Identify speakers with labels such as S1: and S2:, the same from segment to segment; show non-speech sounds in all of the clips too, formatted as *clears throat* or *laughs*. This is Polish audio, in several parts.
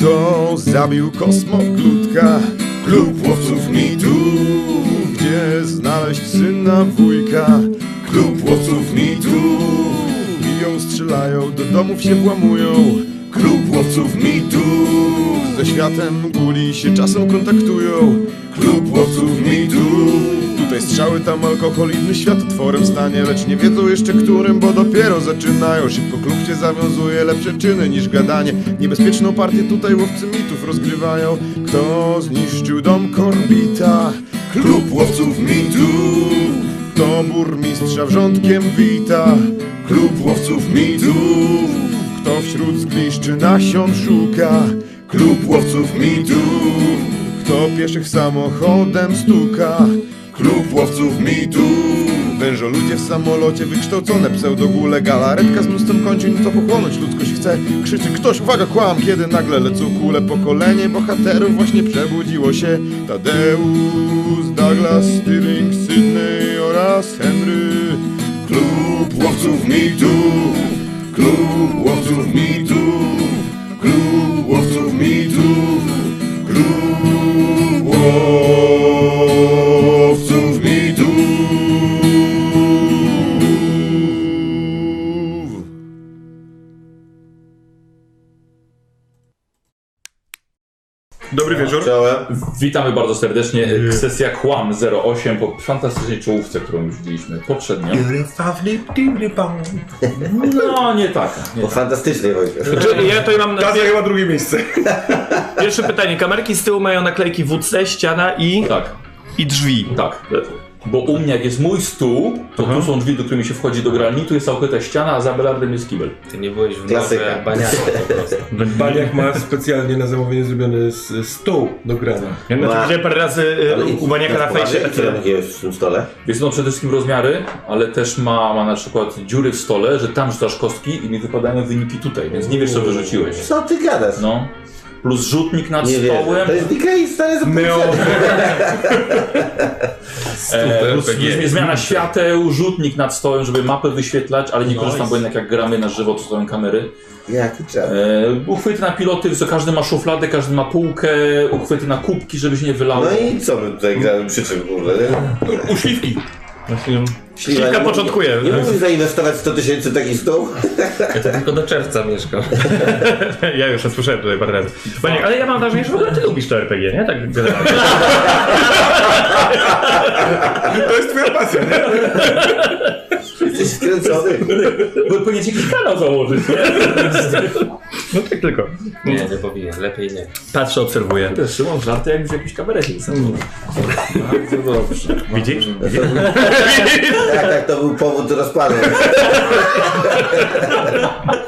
S1: mną zabił kosmoklutka Klub łowców mitu Gdzie znaleźć syna wujka Klub łowców mitu Biją, strzelają, do domów się włamują Klub łowców mitu Ze światem guli się czasem kontaktują Klub łowców mitu Tutaj strzały, tam alkohol, inny świat otworem stanie Lecz nie wiedzą jeszcze którym, bo dopiero zaczynają Szybko klub się zawiązuje, lepsze czyny niż gadanie Niebezpieczną partię tutaj łowcy mitów rozgrywają Kto zniszczył dom Korbita? Klub łowców mitów Kto burmistrza wrzątkiem wita? Klub łowców mitów Kto wśród zgliszczy nasion szuka? Klub łowców mitów kto pieszych samochodem stuka? Klub łowców mitu Wężo ludzie w samolocie, wykształcone pseudogule Galaretka z mnóstwem kończyn, to pochłonąć ludzkość chce Krzyczy ktoś, uwaga, kłam, kiedy nagle lecą kule Pokolenie bohaterów właśnie przebudziło się Tadeusz, Douglas, Stirling, Sydney oraz Henry Klub łowców mitu Klub łowców mitu Klub łowców mitu Klub łowców mitów. Dobry wieczór.
S2: Witamy bardzo serdecznie. Sesja Kłam 08 po fantastycznej czołówce, którą już widzieliśmy poprzednio. No, nie taka. Nie taka.
S3: Po fantastycznej wojnie.
S4: Znaczy, ja tutaj mam na...
S1: Kadia chyba drugie miejsce.
S4: *laughs* pierwsze pytanie. Kamerki z tyłu mają naklejki WC, ściana i,
S2: Tak,
S4: i drzwi.
S2: tak. Bo u mnie, jak jest mój stół, to tu są drzwi, do których się wchodzi do grani, tu jest całkowita ściana, a za belardem jest kibel.
S5: Ty nie byłeś w
S3: Klasyka.
S5: nowe baniaku po prostu.
S6: Baliak ma specjalnie na zamówienie zrobiony s- stół do grania.
S4: Ja na
S3: Ma-
S4: tym widziałem parę razy
S3: Ale
S4: y,
S3: i-
S4: u maniaka na
S3: poważnie,
S4: fejsie.
S3: I tyle jest w tym stole?
S2: Więc no przede wszystkim rozmiary, ale też ma, ma na przykład dziury w stole, że tam rzucasz kostki i mi wypadają wyniki tutaj, więc nie wiesz co wyrzuciłeś.
S3: Co ty gadasz?
S2: No. Plus rzutnik nad
S3: nie wiem.
S2: stołem.
S3: To jest Ikei stare
S6: Neo.
S3: zapomnienie.
S2: E, plus,
S6: RPG.
S2: plus zmiana świateł, rzutnik nad stołem, żeby mapę wyświetlać, ale nie korzystam, bo jednak jak gramy na żywo, to stoją kamery.
S3: Jaki czas.
S2: E, uchwyty na piloty, co każdy ma szufladę, każdy ma półkę, uchwyty na kubki, żeby się nie wylało.
S3: No i co my tutaj gramy przy czym kurde?
S4: Uśliwki.
S3: Śliwa,
S4: Śliwka
S3: nie-
S4: początkuje.
S3: Nie mógł zainwestować 100 tysięcy w taki stół?
S5: Ja to tylko do czerwca mieszkam.
S4: Ja już to słyszałem tutaj parę razy. Maniak, ale ja mam wrażenie, że w ogóle ty lubisz to RPG, nie? Tak generalnie.
S6: To jest twoja pasja, nie?
S3: Jesteś skręcony.
S2: Bo powinien ci jakiś kanał założyć.
S4: *laughs* No tak tylko.
S5: Nie, nie powinienem, lepiej nie.
S4: Patrzę, obserwuję.
S2: Trzymam żarty jak w jakiejś kamerecie. Bardzo dobrze.
S4: Widzisz?
S3: Tak, tak, to był powód do rozpadu.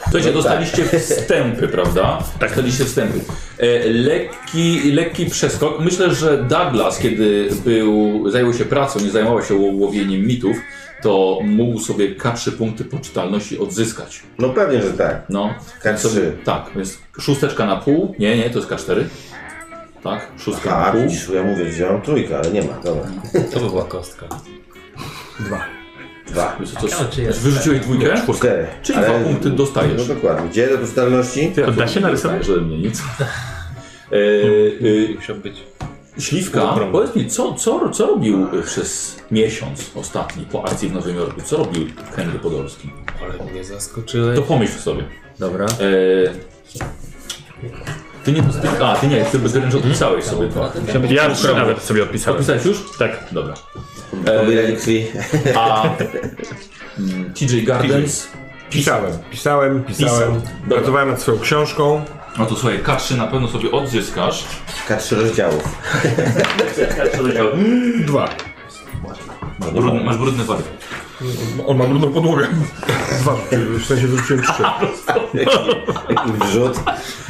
S2: Słuchajcie, dostaliście wstępy, prawda? Tak. Dostaliście wstępy. E, lekki, lekki przeskok. Myślę, że Douglas, kiedy był, zajął się pracą, nie zajmował się ło- łowieniem mitów, to mógł sobie K3 punkty poczytalności odzyskać.
S3: No pewnie, że tak.
S2: No.
S3: K3.
S2: Sobie- Tak, więc szósteczka na pół. Nie, nie, to jest K4. Tak, szóstka na
S3: A,
S2: pół.
S3: widzisz, ja mówię, wziąłem trójkę, ale nie ma. Dobra.
S5: To by była kostka.
S3: Dwa.
S2: Wiesz co, to
S5: Ciekawe, czy jest.
S2: wyrzuciłeś dwójkę?
S3: Cztery.
S2: Czyli dwa punkty dostajesz.
S3: No dokładnie. Gdzie do postalności?
S2: Ty,
S4: To da
S2: jak
S4: się narysować?
S2: dostajesz ode tak, mnie nic. *laughs* E, e,
S5: Musiał być.
S2: Śliwka, powiedz mi, co, co, co robił e, przez miesiąc ostatni po akcji w Nowym Jorku? Co robił Henry Podolski?
S5: Ale mnie zaskoczyłeś.
S2: To pomyśl sobie.
S5: Dobra.
S2: E, ty nie... Ty, a, ty nie, ty bez wręcz odpisałeś sobie to.
S4: Ja trzy nawet sobie odpisałem.
S2: Odpisałeś już? Tak. Dobra.
S3: Pobierali krwi.
S2: A mm, TJ Gardens...
S6: Pisałem, pisałem, pisałem.
S2: Dobra.
S6: Pracowałem nad swoją książką.
S2: No to słuchaj, K3 na pewno sobie odzyskasz.
S3: K3 rozdziałów.
S6: Dwa.
S2: Brudny, masz brudny wariant.
S6: On ma brudną podłogę. Dwa. W sensie wyrzuciłem trzy.
S3: Jaki wrzut.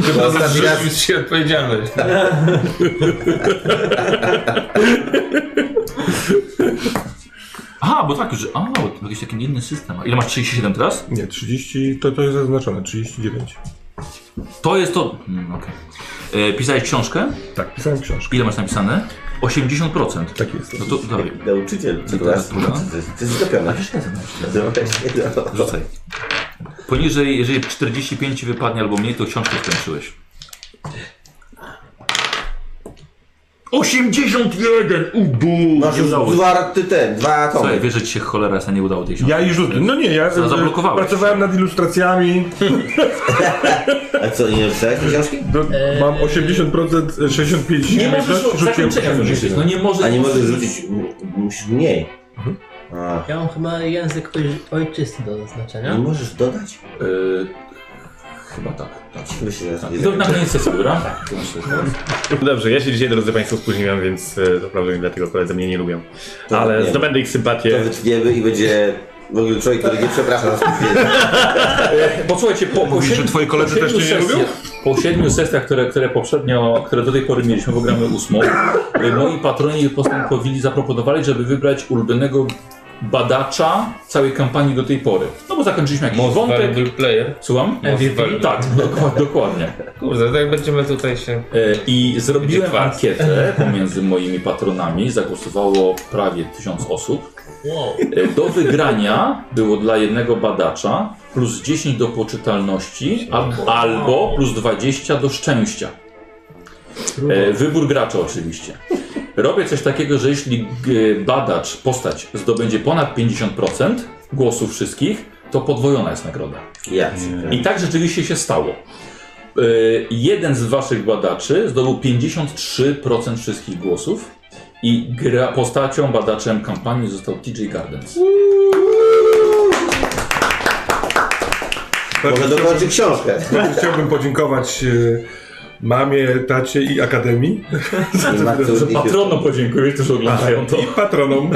S5: Chyba
S3: Ostatni raz
S5: zrzucić się odpowiedzialność.
S2: Aha, bo tak, że... A, bo to jakiś taki inny system. A ile masz 37 teraz?
S6: Nie, 30, to, to jest zaznaczone, 39.
S2: To jest to... Mm, okej. E, Pisałeś książkę?
S6: Tak, pisałem książkę.
S2: Ile masz napisane? 80%.
S6: Tak jest.
S2: No to dawaj.
S3: Nauczyciel. Co to jest?
S2: Literatura.
S3: To jest- to jest zlepione. No właśnie, no.
S2: Rzucaj. Poniżej, jeżeli 45 ci wypadnie albo mniej, to książkę skończyłeś. 81! Ubu!
S3: Masz
S2: Nie
S3: już
S2: udało się.
S3: dwa ty ten, dwa atomy.
S2: Słuchaj, wiesz, że ci się cholera jasna nie udało tej książki.
S6: Ja i rzuty. No nie, ja
S2: Za- zablokowałeś.
S6: pracowałem nad ilustracjami.
S3: A co, nie czytałeś książki?
S6: Do, mam e, 80%, 65
S2: E, Nie możesz
S6: rzuciłem
S2: zakończenia
S6: 80.
S2: wymyślić, no nie możesz.
S3: A nie możesz rzucić, m- musisz mniej.
S2: Mhm.
S3: A,
S7: Ja mam chyba język oj- ojczysty do zaznaczenia.
S3: nie
S2: Mm.
S3: możesz dodać?
S2: Yy, chyba tak.
S3: Myślę, że
S2: E, To na koniec sesji, dobra?
S4: Dobrze, ja się dzisiaj, drodzy Państwo, spóźniłem, więc e, naprawdę dlatego koledzy mnie nie lubią.
S3: To
S4: Ale
S3: nie wiem.
S4: zdobędę ich
S3: To
S4: sympatię.
S3: wytniemy i będzie w ogóle człowiek, który nie przepraszam.
S2: Posłuchajcie, po, po,
S6: Mówisz,
S2: siedmiu,
S6: że twoi koledzy
S2: po
S6: też
S2: siedmiu
S6: cię nie
S2: sesjach- Po siedmiu sesjach, które, które poprzednio, które do tej pory mieliśmy, bo gramy ósmą, y, moi patroni postępowili, zaproponowali, żeby wybrać ulubionego badacza całej kampanii do tej pory. No bo zakończyliśmy jakiś
S5: Most
S2: wątek.
S5: valuable player.
S2: Słucham?
S5: MVP?
S2: Tak, dokła- dokładnie.
S5: Kurde, tak będziemy tutaj się...
S2: E, I zrobiłem
S5: Będzie kwas.
S2: ankietę pomiędzy moimi patronami. Zagłosowało prawie tysiąc osób.
S5: Wow.
S2: E, Do wygrania było dla jednego badacza plus 10 do poczytalności al- albo plus 20 do szczęścia. E, Wybór gracza oczywiście. Robię coś takiego, że jeśli g- badacz, postać zdobędzie ponad 50% głosów wszystkich, to podwojona jest nagroda.
S3: Ja.
S2: I tak rzeczywiście się stało. Yy, Jeden z waszych badaczy zdobył 53% wszystkich głosów i gra, postacią, badaczem kampanii został TJ Gardens. no.
S3: Może dokończy książkę.
S6: Chciałbym podziękować e, mamie, tacie i akademii.
S3: I matce
S2: Że
S3: Ulrike.
S2: patronom podziękuję, którzy oglądają to.
S6: I patronom.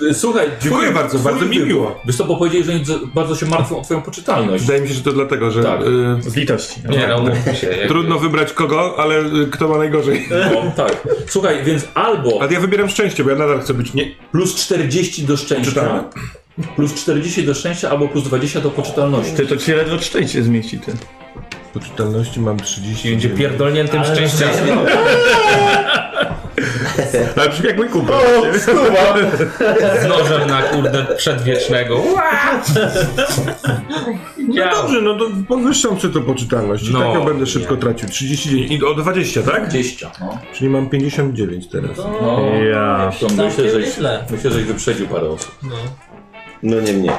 S2: Yy, Słuchaj,
S6: Dziękuję bardzo, bardzo mi miło.
S2: Wiesz co, bo powiedzieli, że oni d- bardzo się martwią o twoją poczytalność.
S6: Wydaje mi się, że to dlatego, że
S2: Tak.
S6: e,
S4: Z litości. No.
S5: Nie, no mówmy się. jakby-
S6: *laughs* Trudno wybrać kogo, ale y, kto ma
S4: *laughs*
S6: najgorzej.
S2: No, tak. Słuchaj, więc albo
S6: Ale ja wybieram szczęście, bo ja nadal chcę być nie.
S2: plus 40 do szczęścia,
S6: Poczytalny.
S2: plus 40 do szczęścia, albo plus 20 do poczytalności.
S4: Ty to ci się ledwo szczęście zmieści, ty.
S6: Po czytelności mam 30.
S5: Będzie pierdolniętym
S7: Ale-
S5: szczęściarzem.
S4: Ale
S6: Tak
S4: brzmi jak mój
S6: *laughs*
S4: kumpel.
S5: Z nożem na kurde przedwiecznego.
S6: No dobrze, no to podwyższam sobie to poczytalność. No,
S5: No,
S6: tak ja będę szybko tracił. 30 dzień. I o 20, tak?
S2: 20, no.
S6: Czyli mam 59 teraz.
S2: no.
S4: Ja.
S2: To
S7: Tak,
S2: myślę,
S7: Całkiem
S2: żeś,
S7: nieźle.
S2: myślę, żeś wyprzedził parę osób.
S3: No nie mnie.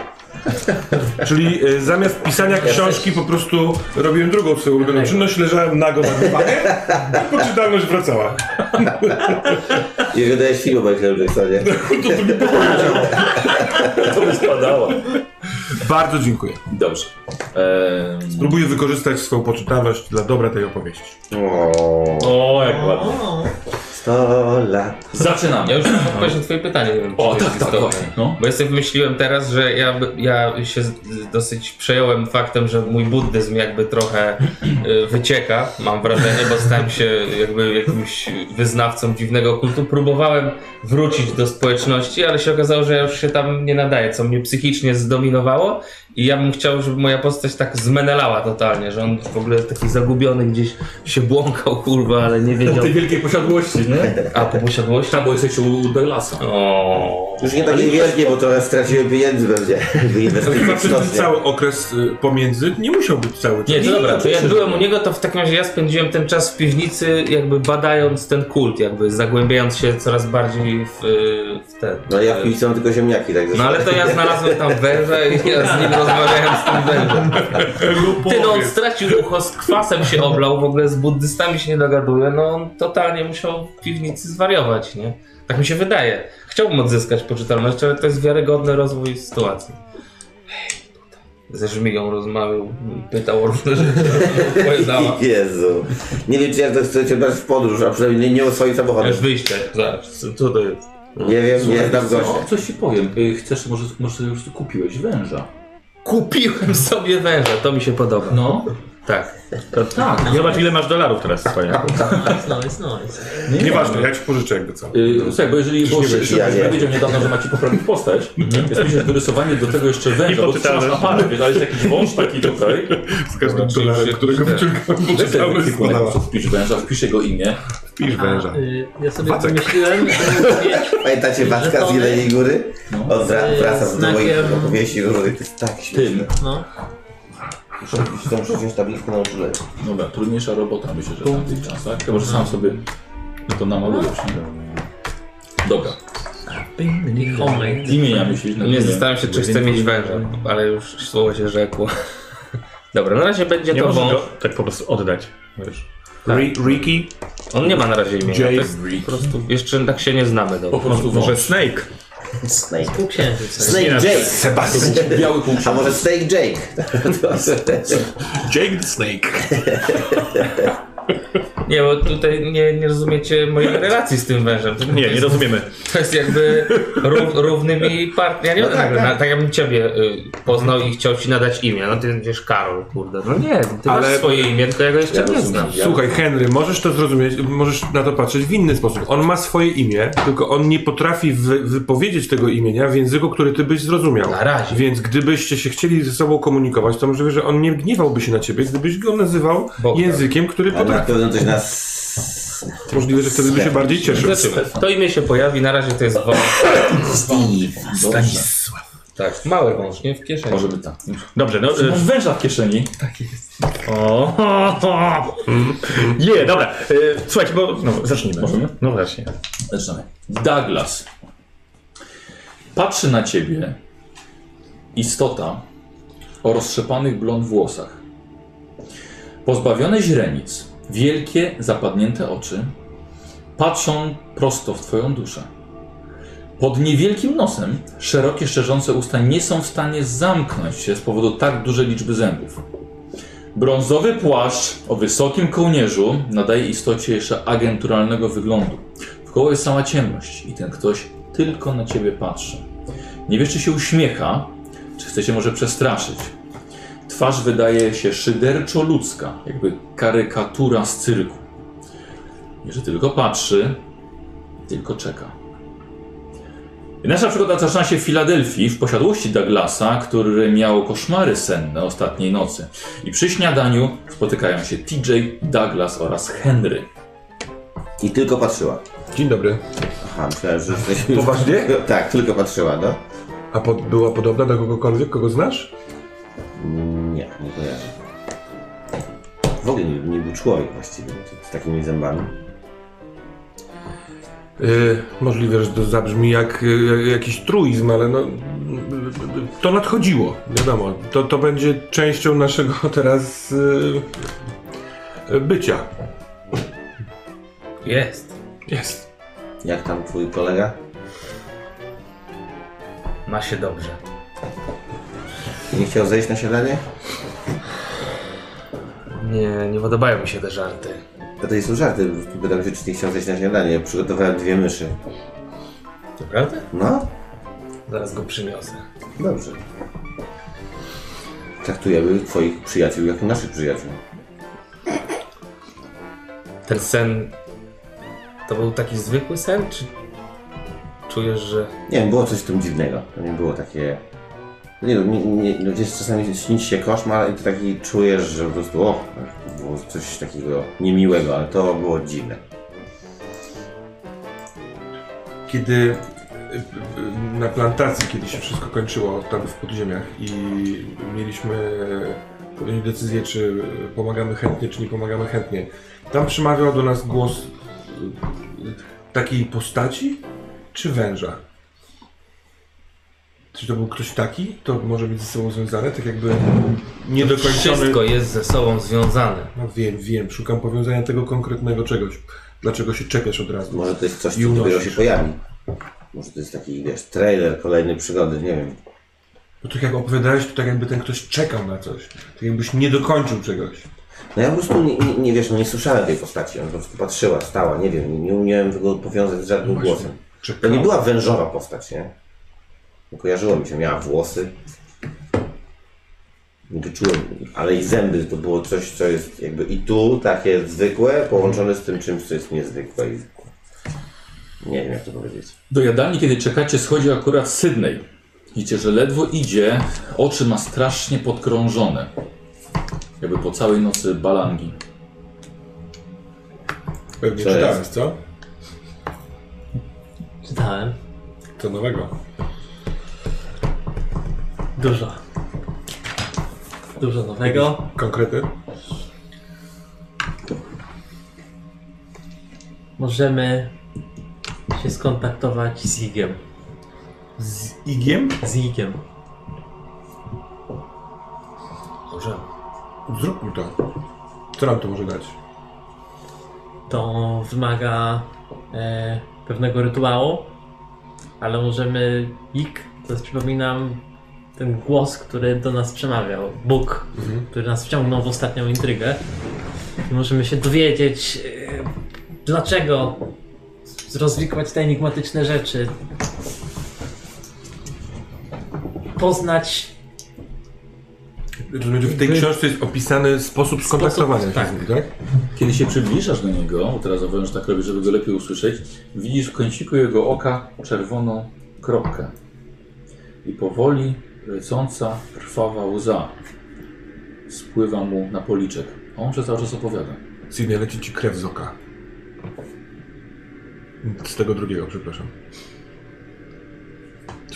S6: Czyli y, zamiast pisania książki po prostu robiłem drugą swoją ulubioną czynność, leżałem nago na dywanie i poczytalność wracała.
S3: Jego dajesz film o Michaelu Jacksonie.
S2: To by spadało.
S6: Bardzo dziękuję.
S2: Dobrze. Ehm,
S6: Próbuję wykorzystać swoją poczytalność dla dobra tej opowieści.
S3: O,
S2: o, jak ładnie.
S3: 100 lat.
S5: Ja
S2: Zaczynamy.
S5: już odpowiedź na twoje pytanie. Nie wiem, czy
S2: O,
S5: to jest
S2: tak, tak,
S5: istotne.
S2: właśnie. No.
S5: Bo ja sobie wymyśliłem teraz, że ja, by- ja się z- dosyć przejąłem faktem, że mój buddyzm jakby trochę y, wycieka, mam wrażenie, bo stałem się jakby jakimś wyznawcą dziwnego kultu. Próbowałem wrócić do społeczności, ale się okazało, że ja już się tam nie nadaję, co mnie psychicznie zdominowało i ja bym chciał, żeby moja postać tak zmenelała totalnie, że on w ogóle taki zagubiony gdzieś się błąkał, kurwa, ale nie
S2: Do
S5: wiedział.
S2: tej wielkiej posiadłości, nie?
S5: A po posiadłości?
S2: Tak, bo jesteście u Douglasa.
S5: O.
S3: Już nie takie wielkie, bo trochę straciłem pieniędzy będzie.
S6: Chyba
S3: Wyinwestuję
S6: przez ten cały okres y, pomiędzy nie musiał być cały czas.
S5: Nie, to dobra, to
S2: oczywiście,
S5: jak
S2: że
S5: byłem
S2: nie.
S5: u niego, to w takim razie ja spędziłem ten czas w piwnicy, jakby badając ten kult, jakby zagłębiając się coraz bardziej w, y, w ten.
S3: No ja w piwnicy mam tylko ziemniaki, tak
S5: No ale to ja znalazłem tam węża i ja z nim rozmawiałem z tym wężem. Ty no on stracił ucho, z kwasem się oblał, w ogóle z buddystami się nie dogaduje, no on totalnie musiał w piwnicy zwariować, nie? Tak mi się wydaje. Chciałbym odzyskać poczytalność, ale to jest wiarygodny rozwój sytuacji. Ze żmigą rozmawiał, pytał o różne rzeczy, odpowiadała.
S3: Jezu. Nie wiem, czy ja to chcę cię brać w podróż, a przynajmniej nie o swoim samochodem.
S5: Masz wyjście, zaraz, co- co to jest?
S3: Nie wiem, nie znam
S2: Słuchaj,
S3: gościa.
S2: co- no, Coś ci powiem. Y, Chcesz, może, może już kupiłeś węża.
S5: Kupiłem sobie węża, to mi się podoba.
S2: No.
S5: Tak.
S4: To, tak. Zobacz, ile masz dolarów teraz swoje.
S7: tak. Nice, nice, nice.
S2: Nie,
S6: Nieważne, ja ci pożyczę jakby co.
S2: Y, Słuchaj, bo jeżeli bo
S6: nie
S2: się,
S6: wiesz,
S2: się
S3: ja nie.
S2: powiedział niedawno, że macie poprawić postać, więc myślę, że wyrysowanie do tego jeszcze węża, bo
S4: poczytałem.
S2: trzymasz na parę, wiesz, ale jest jakiś wąż taki tutaj.
S6: Z każdym dolarem,
S5: czyli-
S6: którego wyciągam,
S2: Weź sobie
S6: poczytałem
S2: wykliku, na
S6: składała.
S2: co wpisz węża, wpisz jego imię.
S6: Pisz węża.
S7: Y, Ja sobie
S6: Wacek.
S7: wymyśliłem, że mieć
S3: Pamiętacie Wacka z
S7: Żetony.
S3: Jeleniej Góry?
S2: No.
S3: On wra-
S7: Z
S3: wraca do
S7: znakiem-
S3: moich opowieści różnych. To jest tak śmieszne.
S2: Tym.
S7: no,
S3: Muszę przecież tablicę na uczuleniu.
S2: Dobra, trudniejsza robota myślę, że w tamtych czasach. Chyba, że sam sobie to namalujesz. Nie? Dobra,
S7: Homemade.
S2: imienia myślisz. no
S5: No Nie zastanawiam się, czy chcę mieć węża, ale już słowo się rzekło. *laughs* Dobra, na razie będzie
S4: Nie
S5: to
S4: możesz
S5: wąż.
S4: go tak po prostu oddać. Wiesz.
S6: Ri- Ricky,
S5: On nie ma na razie imienia.
S6: Jace,
S5: Tak? Po prostu jeszcze tak się nie znamy
S2: Po
S5: dobrze.
S2: prostu
S4: Może
S2: wąż.
S4: Snake.
S3: Snake.
S7: Półksiężyc.
S3: Snake Jake.
S2: Sebastian. Biały
S3: A
S2: półksiąg.
S3: może Snake Jake?
S6: Jake the Snake.
S5: Nie, bo tutaj nie, nie rozumiecie *laughs* mojej relacji z tym wężem. To- to
S4: Nie, nie
S5: jest-
S4: rozumiemy.
S5: To jest jakby ró- równymi partnerami. Ja nie tak, tak. tak jakbym ciebie y, poznał i chciał ci nadać imię. No ty będziesz Karol, kurde. No nie, ty Ale...
S6: Ale-
S5: masz swoje imię, tylko ja go jeszcze nie znam.
S6: Słuchaj, Henry, możesz to zrozumieć, możesz na to patrzeć w inny sposób. On ma swoje imię, tylko on nie potrafi wy, wypowiedzieć tego imienia w języku, który ty byś zrozumiał.
S5: Na razie.
S6: Więc gdybyście się chcieli ze sobą komunikować, to możliwe, że on nie gniewałby się na ciebie, gdybyś go nazywał
S5: Bogdan.
S6: językiem, który
S3: A na
S6: potrafi.
S3: pewno coś nas...
S6: Możliwe, że wtedy by się bardziej cieszył.
S5: Zobaczymy. To imię się pojawi, na razie to jest wąż.
S3: Steve. Dobrze.
S5: Tak, mały wąż, nie w kieszeni.
S2: Może by tak.
S4: Dobrze, no.
S2: Masz węża w kieszeni.
S4: O, *laughs* ho, ho. Nie, dobra. y, Słuchajcie, bo. No, zacznijmy.
S2: Możemy?
S4: No właśnie.
S2: Zaczynamy. Douglas. Patrzy na ciebie istota o roztrzepanych blond włosach. Pozbawione źrenic, wielkie, zapadnięte oczy patrzą prosto w twoją duszę. Pod niewielkim nosem szerokie, szerzące usta nie są w stanie zamknąć się z powodu tak dużej liczby zębów. Brązowy płaszcz o wysokim kołnierzu nadaje istocie jeszcze agenturalnego wyglądu. Wkoło jest sama ciemność i ten ktoś tylko na ciebie patrzy. Nie wiesz, czy się uśmiecha, czy chce się może przestraszyć. Twarz wydaje się szyderczo ludzka, jakby karykatura z cyrku. Jeżeli tylko patrzy, tylko czeka. Nasza przygoda zaczyna się w Filadelfii, w posiadłości Douglasa, który miał koszmary senne ostatniej nocy. I przy śniadaniu spotykają się TJ, Douglas oraz Henry.
S3: I tylko patrzyła.
S6: Dzień dobry.
S3: Aha, myślałem, że jesteśmy...
S6: Poważnie?
S3: *laughs* Tak, tylko patrzyła, no.
S6: A pod, była podobna do kogokolwiek, kogo znasz?
S3: Nie, nie kojarzę. W ogóle nie, nie był człowiek właściwie z takimi zębami.
S6: Yy, możliwe, że to zabrzmi jak yy, jakiś truizm, ale no, yy, to nadchodziło, wiadomo. To, to będzie częścią naszego teraz yy, bycia.
S5: Jest.
S6: Jest.
S3: Jak tam twój kolega?
S5: Ma się dobrze.
S3: Nie chciał zejść na siadanie?
S5: Nie, nie podobają mi się te żarty.
S3: To to są żarty. Pytam się, czy nie chciał zejść na śniadanie. Przygotowałem dwie myszy.
S5: Naprawdę?
S3: No,
S5: Zaraz go przyniosę.
S3: dobrze. Traktujemy twoich przyjaciół jak naszych przyjaciół.
S5: Ten sen. To był taki zwykły sen, czy. Czujesz, że.
S3: Nie wiem, było coś w tym dziwnego. To nie było takie... Nie, wiem, nie, nie, no gdzieś czasami śni ci się koszmar i ty taki czujesz, że po prostu o, było coś takiego niemiłego, ale to było dziwne.
S6: Kiedy yy, na plantacji, kiedy się wszystko kończyło tam w podziemiach i mieliśmy podjąć decyzję, czy pomagamy chętnie, czy nie pomagamy chętnie, tam przemawiał do nas głos yy, takiej postaci czy węża? Czy to był ktoś taki? To może być ze sobą związane, tak jakby niedokończony...
S5: Wszystko jest ze sobą związane.
S6: No wiem, wiem, szukam powiązania tego konkretnego czegoś. Dlaczego się czepiasz od razu?
S3: Może No, to jest coś, co
S6: I
S3: dopiero
S6: unosisz.
S3: się pojawi. Może to jest taki, wiesz, trailer kolejnej przygody, nie wiem.
S6: No tak jak opowiadałeś, to tak jakby ten ktoś czekał na coś. Tak jakbyś nie dokończył czegoś.
S3: No ja po prostu nie, nie, nie wiesz, no nie słyszałem tej postaci, ona po prostu patrzyła, stała, nie wiem, nie, nie umiałem tego powiązać z żadnym głosem. To nie
S6: Czekał.
S3: była wężowa postać, nie? No Kojarzyło mi się, miała włosy. Nie wyczułem, ale i zęby to było coś, co jest jakby i tu takie zwykłe, połączone z tym czymś, co jest niezwykłe i... Nie wiem, jak to powiedzieć.
S2: Do jadalni, kiedy czekacie, schodzi akurat Sydney. Widzicie, że ledwo idzie, oczy ma strasznie podkrążone. Jakby po całej nocy balangi.
S6: Pewnie
S3: Co
S6: czytałeś,
S3: jest?
S6: co?
S7: Czytałem.
S6: Co nowego?
S7: Dużo. Dużo nowego.
S6: Konkrety?
S7: Możemy się skontaktować z Igiem.
S8: Z igiem?
S7: Z Igiem.
S5: Może.
S6: Zróbmy to. Co nam to może dać?
S7: To wymaga e, pewnego rytuału, ale możemy. Ik, to jest, przypominam, ten głos, który do nas przemawiał. Bóg, który nas wciągnął w ostatnią intrygę. I możemy się dowiedzieć, e, dlaczego zrozwikłać te enigmatyczne rzeczy. Poznać
S6: Rozumiem, że w tej książce jest opisany sposób skontaktowania się z nim, tak?
S2: Kiedy się przybliżasz do niego, bo teraz zauważyłem, że tak robię, żeby go lepiej usłyszeć, widzisz w kąciku jego oka czerwoną kropkę i powoli lecąca, krwawa łza spływa mu na policzek. A On przez cały czas opowiada.
S6: Sydney, leci ci krew z oka. Z tego drugiego, przepraszam.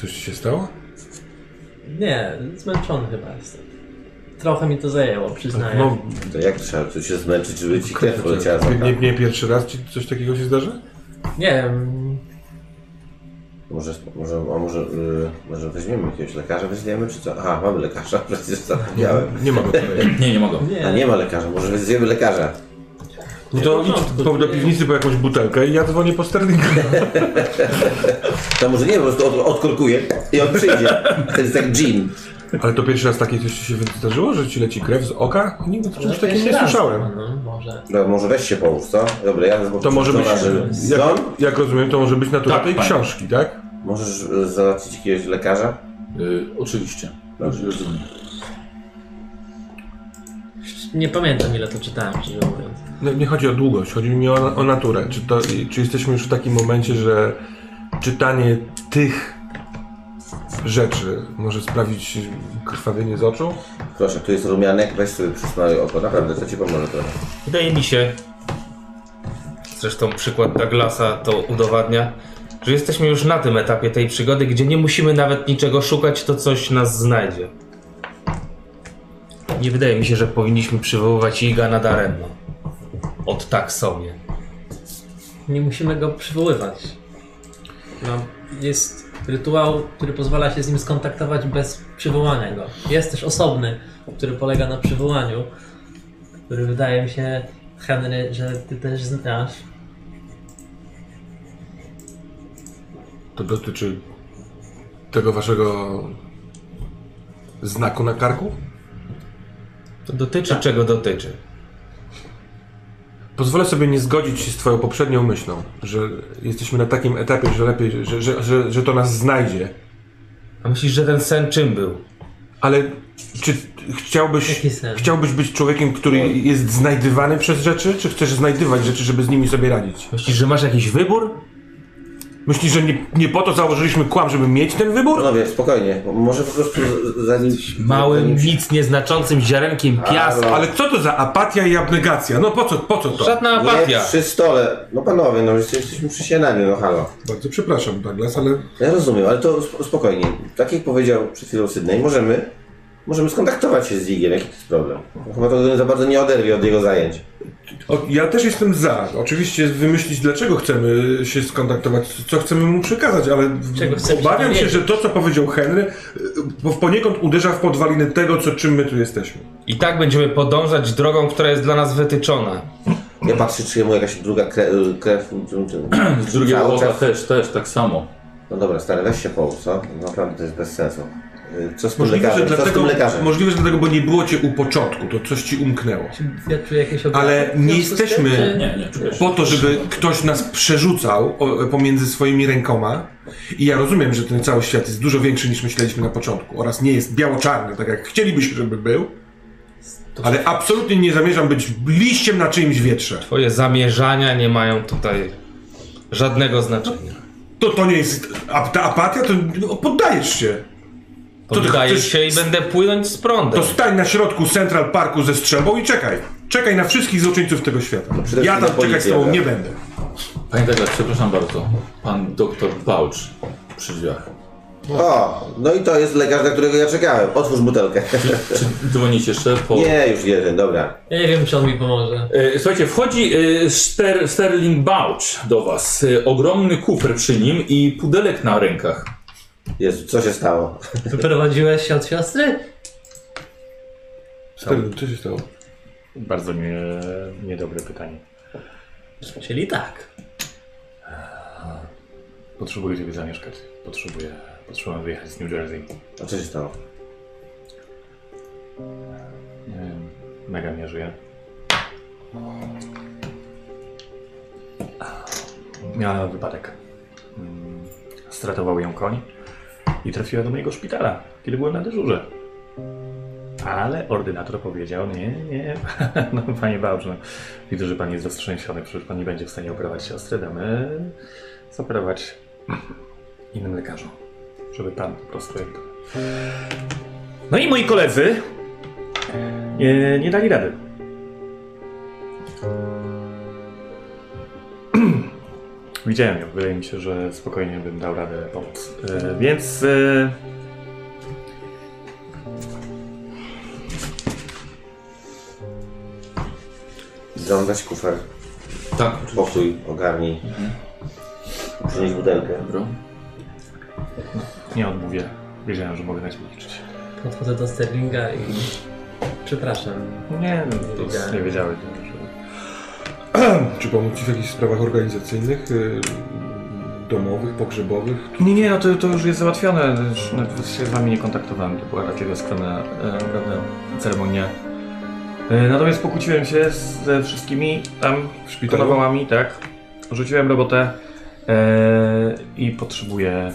S6: Coś ci się stało?
S7: Nie, zmęczony chyba jestem. Trochę mi to zajęło, przyznaję.
S6: No,
S3: To jak trzeba tu się zmęczyć, żeby ci krew poleciała z
S6: nie, nie,
S3: oka?
S6: nie pierwszy raz ci coś takiego się zdarza?
S7: Nie wiem,
S3: Może, może, a może, y, może weźmiemy jakiegoś lekarza, weźmiemy czy co? Aha, mamy lekarza, *laughs* przecież zapomniałem.
S6: Nie *laughs* ma go No tutaj.
S2: Nie, nie mogę.
S7: nie.
S3: A nie ma lekarza, może weźmiemy lekarza.
S6: No to idź po, do piwnicy po jakąś butelkę i ja dzwonię po sterlinga.
S3: To może nie, po prostu od, odkorkuję i on
S6: *laughs*
S3: przyjdzie. To jest jak gin.
S6: Ale to pierwszy raz takie coś ci się zdarzyło, że ci leci krew z oka? Nigdy o
S7: Może
S6: czymś takim
S7: No, pierwszy
S6: nie
S7: raz,
S6: słyszałem.
S7: No, może.
S3: No, może weź się połóż, co? Dobra, ja
S6: To może być,
S3: Don,
S6: jak, jak rozumiem, to może być natura
S2: Tak,
S6: tej
S2: panie.
S6: książki, tak?
S3: możesz y, załatwić jakiegoś lekarza?
S2: Y, oczywiście. Dobrze, rozumiem.
S7: Nie pamiętam ile to czytałem, szczerze mówiąc.
S6: No, nie chodzi o długość, chodzi mi o, o naturę. Czy, to, czy jesteśmy już w takim momencie, że czytanie tych rzeczy może sprawić krwawienie z oczu?
S3: Proszę, tu jest rumianek, weź sobie przysmaruj oko, naprawdę, to ci pomoże trochę.
S5: Wydaje mi się, zresztą przykład Douglasa to udowadnia, że jesteśmy już na tym etapie tej przygody, gdzie nie musimy nawet niczego szukać, to coś nas znajdzie. Nie wydaje mi się, że powinniśmy przywoływać Iga na daremno. Od tak sobie.
S7: Nie musimy go przywoływać. No, jest rytuał, który pozwala się z nim skontaktować bez przywołania go. Jest też osobny, który polega na przywołaniu, który wydaje mi się, Henry, że ty też znasz.
S6: To dotyczy tego waszego znaku na karku?
S5: To dotyczy czego dotyczy.
S6: Pozwolę sobie nie zgodzić się z Twoją poprzednią myślą, że jesteśmy na takim etapie, że lepiej, że, że, że, że to nas znajdzie.
S5: A myślisz, że ten sen czym był?
S6: Ale czy chciałbyś,
S7: Jaki sen?
S6: chciałbyś być człowiekiem, który jest znajdywany przez rzeczy, czy chcesz znajdywać rzeczy, żeby z nimi sobie radzić?
S5: Myślisz, że masz jakiś wybór?
S6: Myślisz, że nie, nie po to założyliśmy kłam, żeby mieć ten wybór?
S3: Panowie, spokojnie, może po prostu z- zanim...
S5: Małym,
S3: zanim-
S5: nic nieznaczącym ziarenkiem piasku.
S6: Ale co to za apatia i abnegacja? No po co, po co to?
S5: Żadna
S3: Nie
S5: apatia.
S3: przy stole. No panowie, no jeste- jesteśmy przy śniadaniu, no halo.
S6: Bardzo przepraszam, Douglas, ale
S3: Ja rozumiem, ale to sp- spokojnie. Tak jak powiedział przed chwilą Sydney, możemy, możemy skontaktować się z Ligiem, jaki to jest problem. Chyba to za bardzo nie oderwie od jego zajęć.
S6: O, ja też jestem za. Oczywiście wymyślić, dlaczego chcemy się skontaktować, co chcemy mu przekazać, ale w-
S7: Czego chcemy
S6: obawiam
S7: się
S6: się, że to, co powiedział Henry, y, po- poniekąd uderza w podwaliny tego, co, czym my tu jesteśmy.
S5: I tak będziemy podążać drogą, która jest dla nas wytyczona.
S3: Ja patrzę, czy jemu jakaś druga krew... krew tym- tym-
S2: Z drugiego
S3: cały
S2: oka
S3: czas-
S2: też, też tak samo.
S3: No dobra, stary, weź się połóż, co? No, Naprawdę to jest bez sensu. Y, Co z tym
S6: Możliwe, że
S3: lekarzem? Co z tym
S6: dlatego,
S3: lekarzem?
S6: możliwe, że dlatego, bo nie było cię u początku, to coś ci umknęło.
S7: Ja czuję jakieś
S6: Ale
S7: obrazy w
S6: nie
S7: związku z tym,
S6: jesteśmy-
S7: czy-
S2: Nie, nie, czujesz.
S6: Po to, żeby ktoś nas przerzucał o, pomiędzy swoimi rękoma. I ja rozumiem, że ten cały świat jest dużo większy niż myśleliśmy na początku oraz nie jest biało-czarny, tak jak chcielibyśmy, żeby był. Ale absolutnie nie zamierzam być liściem na czyimś wietrze.
S5: Twoje zamierzania nie mają tutaj żadnego znaczenia.
S6: To to nie jest. A, ta apatia, to no, poddajesz się. ty
S5: Poddaję
S6: chcesz-
S5: się i będę płynąć z prądem.
S6: To stań na środku Central Parku ze strzelbą i czekaj. Czekaj na wszystkich złoczyńców tego świata.
S3: wszystkim
S6: Ja
S3: na
S6: tam czekać
S3: policję,
S6: z tobą
S3: tak?
S6: nie będę.
S2: Panie Douglas, przepraszam bardzo. Pan doktor Bałcz przy drzwiach.
S3: O, no i to jest lekarz, na którego ja czekałem. Otwórz butelkę.
S2: Dzwonić jeszcze po...
S3: Nie, już jeden, dobra.
S7: Ja nie wiem, czy on mi pomoże.
S2: E, Słuchajcie, wchodzi e, Ster, Sterling Bouch do was. E, Ogromny kufer przy nim i pudelek na rękach.
S3: Jezu, co się stało?
S7: Wyprowadziłeś się od siostry?
S6: Sterling, co się stało?
S8: Bardzo nie, niedobre pytanie.
S7: Czyli tak.
S8: Potrzebuję ciebie zamieszkać. Potrzebuję, potrzebuję wyjechać z New Jersey.
S3: A co się stało?
S8: Nie wiem, Mega nie żyje. Miała wypadek. Mm, Stratował ją koń i trafiła do mojego szpitala, kiedy byłem na dyżurze. Ale ordynator powiedział, nie, nie, *laughs* no, panie Bałcz, no, widzę, że pan jest roztrzęsiony, przecież pan nie będzie w stanie operować siostry, damy zoperować innym lekarzom, żeby pan po prostu jakby... No i moi koledzy, nie, nie dali rady. *clears throat* Widziałem ją, wydaje mi się, że spokojnie bym dał radę pomóc. E, więc. E...
S3: John, weź kufer.
S2: Tak,
S3: Pokój, ogarnij. Przynieś butelkę.
S2: Dobra.
S8: Nie odmówię. Wiedziałem, że mogę na ciebie liczyć.
S7: Podchodzę do Sterlinga i... Przepraszam.
S8: Nie, no, nic nie wiedziałeś. nie, że-
S6: Czy pomóc Ci w jakichś sprawach organizacyjnych, y, domowych, pogrzebowych?
S8: Nie, nie, no to, to już jest załatwione. Już nawet się z wami nie kontaktowałem. To była takiego skromna e, ceremonia. E, natomiast pokłóciłem się z, ze wszystkimi tam
S6: W szpitalu?
S8: kanawałami, tak. Rzuciłem robotę e, i potrzebuję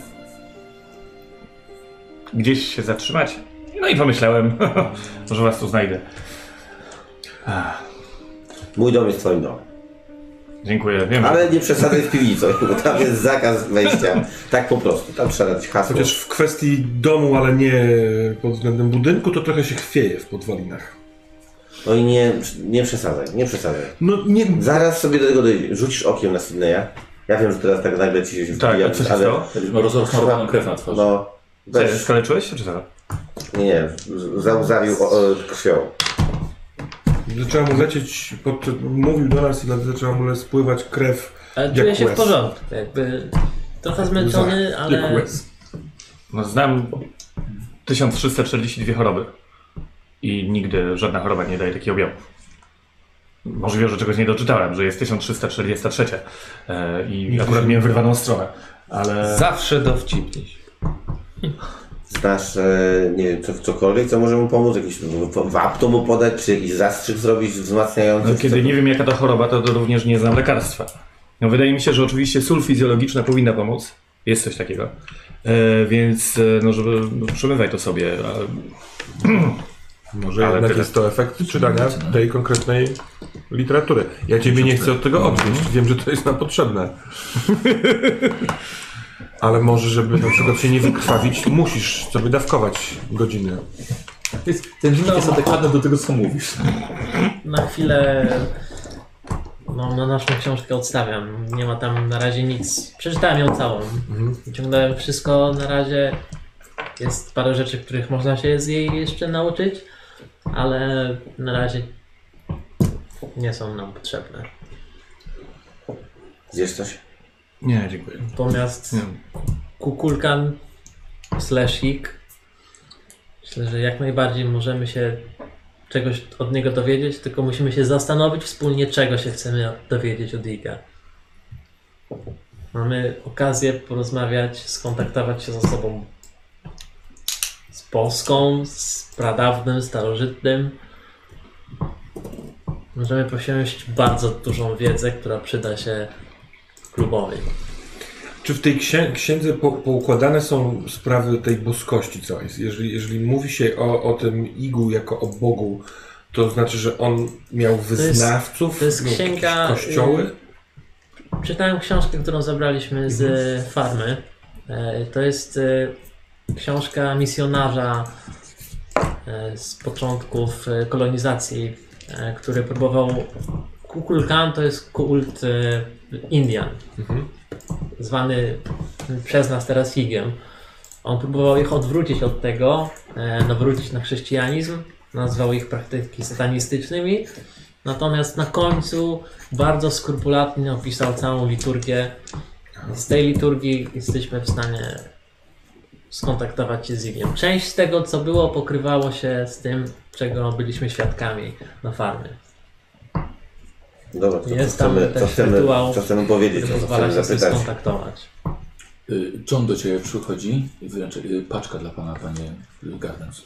S8: gdzieś się zatrzymać. No i pomyślałem, *laughs* że was tu znajdę. Ach,
S3: Mój dom jest twoim domem.
S8: dziękuję, wiem, że...
S3: Ale nie przesadzaj z piwnicą, bo tam jest zakaz wejścia. Tak po prostu, tam trzeba dać hasło.
S6: Chociaż w kwestii domu, ale nie pod względem budynku, to trochę się chwieje w podwalinach.
S3: No i nie, nie przesadzaj, nie przesadzaj.
S6: No nie...
S3: Zaraz sobie do tego dojdzie. Rzucisz okiem na Sydneya. Ja wiem, że teraz tak nagle ci się
S8: Tak,
S3: wbija,
S8: a co się
S3: ale-
S8: stało?
S2: Ma rozmarowaną krew na twarzy.
S3: No,
S8: Cześć,
S3: weź,
S8: skaleczyłeś się czy co?
S3: nie, nie, zauzawił krwią.
S6: Zaczęła mu lecieć, pod... mówił do nas i nawet zaczęła mu le- spływać krew.
S7: Ale
S6: Jak
S7: czuję się w
S6: łez.
S7: porządku. Jakby... Trochę zmęczony,
S6: Jak
S7: ale...
S8: Eee,
S6: łez.
S8: No, znam 1342 choroby. I nigdy żadna choroba nie daje takich objawów. Możliwe, że czegoś nie doczytałem, że jest 1343 e, i akurat miałem wyrwaną stronę, ale
S5: Zawsze dowcipniś.
S3: Znasz, e, nie wiem, co, cokolwiek, co może mu pomóc? Jakiś w- wap to mu podać, czy jakiś zastrzyk zrobić wzmacniający?
S8: no,
S3: czy
S8: kiedy
S3: co?
S8: nie wiem jaka to choroba, to, to również nie znam lekarstwa. No, wydaje mi się, że oczywiście sól fizjologiczna powinna pomóc, jest coś takiego, e, więc e, no, żeby no, przemywaj to sobie. a-
S6: Może
S8: Ale
S6: jednak
S8: tyle. tak. Znaczy,
S6: jest to efekt czytania
S8: no.
S6: tej konkretnej literatury. Ja Ciebie nie chcę od tego
S8: Mhm.
S6: odwieść, wiem, że to jest nam
S8: *laughs*
S6: potrzebne. Ale może, żeby na przykład się nie wykrwawić, musisz sobie dawkować godziny.
S2: Ten dźwięk jest adekwatny do tego, co mówisz.
S7: Na chwilę... No, na naszą książkę odstawiam. Nie ma tam na razie nic. Przeczytałem ją całą. Wyciągnąłem wszystko na razie. Jest parę rzeczy, których można się z jej jeszcze nauczyć, ale na razie nie są nam potrzebne.
S3: Zjesz coś?
S8: Nie, dziękuję.
S7: Natomiast
S8: Nie.
S7: kukulkan slash hik. Myślę, że jak najbardziej możemy się czegoś od niego dowiedzieć, tylko musimy się zastanowić wspólnie, czego się chcemy dowiedzieć od Iga. Mamy okazję porozmawiać, skontaktować się ze sobą z Polską, z pradawnym, starożytnym. Możemy posiąść bardzo dużą wiedzę, która przyda się klubowi.
S6: Czy w tej księ księdze po poukładane są sprawy tej boskości całej? Jeżeli, jeżeli mówi się o, o tym Igu jako o Bogu, to znaczy, że on miał wyznawców,
S7: to jest
S6: miał
S7: księga, y,
S6: jakieś kościoły?
S7: Czytałem książkę, którą zabraliśmy z e, farmy. E, To jest e, książka misjonarza e, z początków e, kolonizacji, e, który próbował. Kukulkan to jest kult e, Indian, zwany przez nas teraz Higiem. On próbował ich odwrócić od tego, e, nawrócić na chrześcijanizm, nazwał ich praktyki satanistycznymi. Natomiast na końcu bardzo skrupulatnie opisał całą liturgię. Z tej liturgii jesteśmy w stanie skontaktować się z Igiem. Część z tego, co było, pokrywało się z tym, czego byliśmy świadkami na farmie.
S3: Dobra, to co
S7: Jest tam
S3: chcemy,
S7: też
S3: co chcemy,
S7: rytuał,
S3: co chcemy powiedzieć,
S7: który
S3: o co
S7: pozwala się
S3: chcemy
S7: z tym
S3: zapytać.
S7: skontaktować.
S2: Y, John do ciebie przychodzi i wręcz y, paczka dla pana, panie Gardens.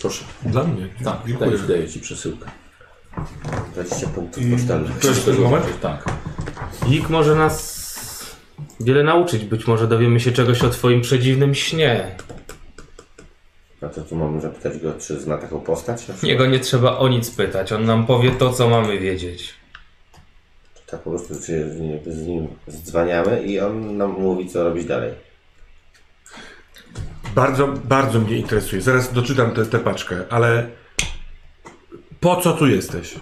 S2: Proszę.
S6: Dla mnie.
S2: Tak,
S6: dziękuję.
S2: daję, daję ci przesyłkę.
S3: 20 punktów
S8: Mm.
S3: pocztalnych.
S6: To jest ten moment?
S2: Tak.
S5: Lik może nas wiele nauczyć. Być może dowiemy się czegoś o twoim przedziwnym śnie.
S3: A to tu mam zapytać go, czy zna taką postać? na przykład?
S5: Jego nie trzeba o nic pytać. On nam powie to, co mamy wiedzieć.
S3: Tak po prostu się z nim, z nim zdzwaniamy i on nam mówi, co robić dalej.
S6: Bardzo, bardzo mnie interesuje. Zaraz doczytam tę tę paczkę, ale po co tu jesteś?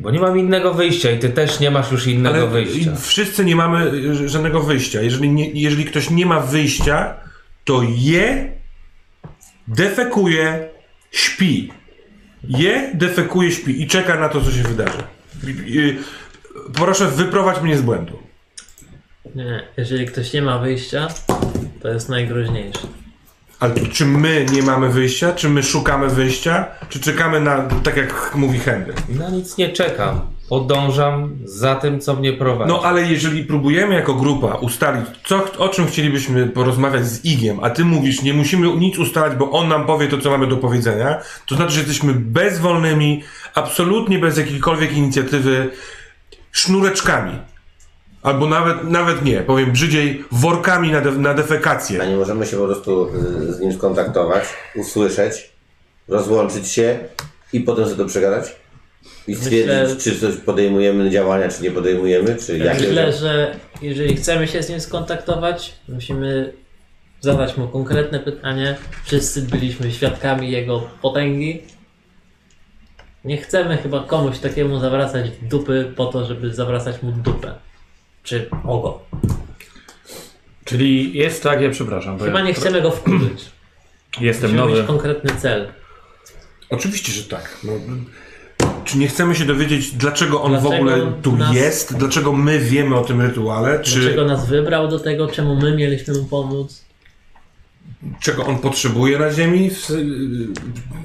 S5: Bo nie mam innego wyjścia i ty też nie masz już innego
S6: Ale
S5: wyjścia.
S6: wszyscy nie mamy y, żadnego wyjścia. Jeżeli, nie, jeżeli ktoś nie ma wyjścia, to je, defekuje, śpi. Je, defekuje, śpi i czeka na to, co się wydarzy. Y, y, Proszę wyprowadź mnie z błędu.
S7: Nie, jeżeli ktoś nie ma wyjścia, to jest najgroźniejsze.
S6: Ale to czy my nie mamy wyjścia? Czy my szukamy wyjścia? Czy czekamy na, tak jak mówi Henry?
S5: Na nic nie czekam. Podążam za tym, co mnie prowadzi.
S6: No ale jeżeli próbujemy jako grupa ustalić, co, o czym chcielibyśmy porozmawiać z Igiem, a ty mówisz, nie musimy nic ustalać, bo on nam powie to, co mamy do powiedzenia, to znaczy, że jesteśmy bezwolnymi, absolutnie bez jakiejkolwiek inicjatywy, sznureczkami. Albo nawet, nawet nie, powiem brzydziej, workami na, de, na
S3: A
S6: defekację.
S3: nie możemy się po prostu y, z nim skontaktować, usłyszeć, rozłączyć się i potem sobie to przegadać? I stwierdzić, czy coś podejmujemy działania, czy nie podejmujemy, czy jakie...
S7: Myślę, że jeżeli chcemy się z nim skontaktować, musimy zadać mu konkretne pytanie. Wszyscy byliśmy świadkami jego potęgi. Nie chcemy chyba komuś takiemu zawracać dupy po to, żeby zawracać mu dupę. Czy ogo.
S8: Czyli jest tak, ja przepraszam, bo
S7: Chyba
S8: ja
S7: nie chcemy go wkurzyć.
S8: jestem
S7: Musimy
S8: nowy.
S7: mieć konkretny cel.
S6: Oczywiście, że tak. No, czy nie chcemy się dowiedzieć, dlaczego on
S7: Dlaczego
S6: w ogóle tu
S7: nas-
S6: jest? Dlaczego my wiemy o tym rytuale? Czy...
S7: Dlaczego nas wybrał do tego? Czemu my mieliśmy mu pomóc?
S6: czego on potrzebuje na Ziemi, w-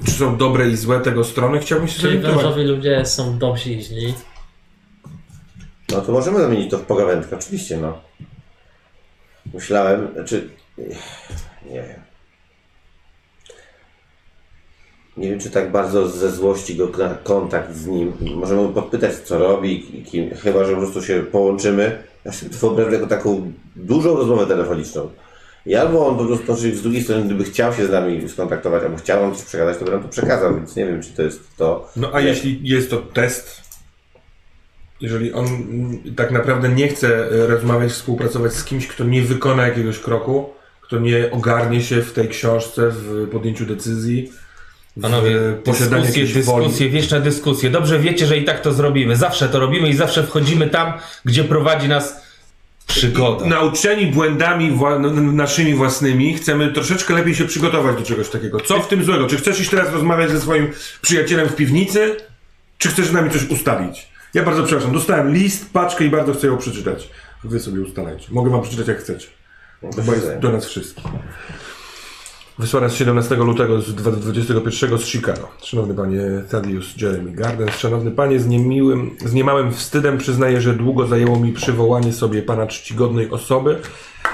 S6: czy są dobre i złe tego strony, chciałbym się
S7: Czyli
S6: zorientować.
S7: wężowi ludzie są dobrzy i źli.
S3: No to możemy zamienić to w pogawędkę, oczywiście, no. Myślałem, czy... Nie wiem. Nie wiem, czy tak bardzo ze złości go na kontakt z nim. Możemy podpytać, co robi, i kim, chyba że po prostu się połączymy. Ja sobie to wyobrażam jako taką dużą rozmowę telefoniczną. I albo on po prostu, znaczy z drugiej strony, gdyby chciał się z nami skontaktować, albo chciał nam coś przekazać, to by nam to przekazał, więc nie wiem, czy to jest to.
S6: No a jeśli jest to test, jeżeli on mm, tak naprawdę nie chce e, rozmawiać, współpracować z kimś, kto nie wykona jakiegoś kroku, kto nie ogarnie się w tej książce, w podjęciu decyzji, w
S5: Panowie,
S6: e, posiadaniu
S5: dyskusje,
S6: jakiejś woli.
S5: dyskusje, wieczne dyskusje. Dobrze wiecie, że i tak to zrobimy. Zawsze to robimy i zawsze wchodzimy tam, gdzie prowadzi nas przygoda.
S6: No. Nauczeni błędami wła- n- n- naszymi własnymi, chcemy troszeczkę lepiej się przygotować do czegoś takiego. Co w tym złego? Czy chcesz iść teraz rozmawiać ze swoim przyjacielem w piwnicy? Czy chcesz z nami coś ustalić? Ja bardzo przepraszam, dostałem list, paczkę i bardzo chcę ją przeczytać. Wy sobie ustalajcie. Mogę wam przeczytać jak chcecie. Bo jest do nas wszystkich. Wysłana z 17 lutego z 2021 z Chicago. Szanowny panie Thaddeus Jeremy Gardens, szanowny panie, z niemiłym, z niemałym wstydem przyznaję, że długo zajęło mi przywołanie sobie pana czcigodnej osoby.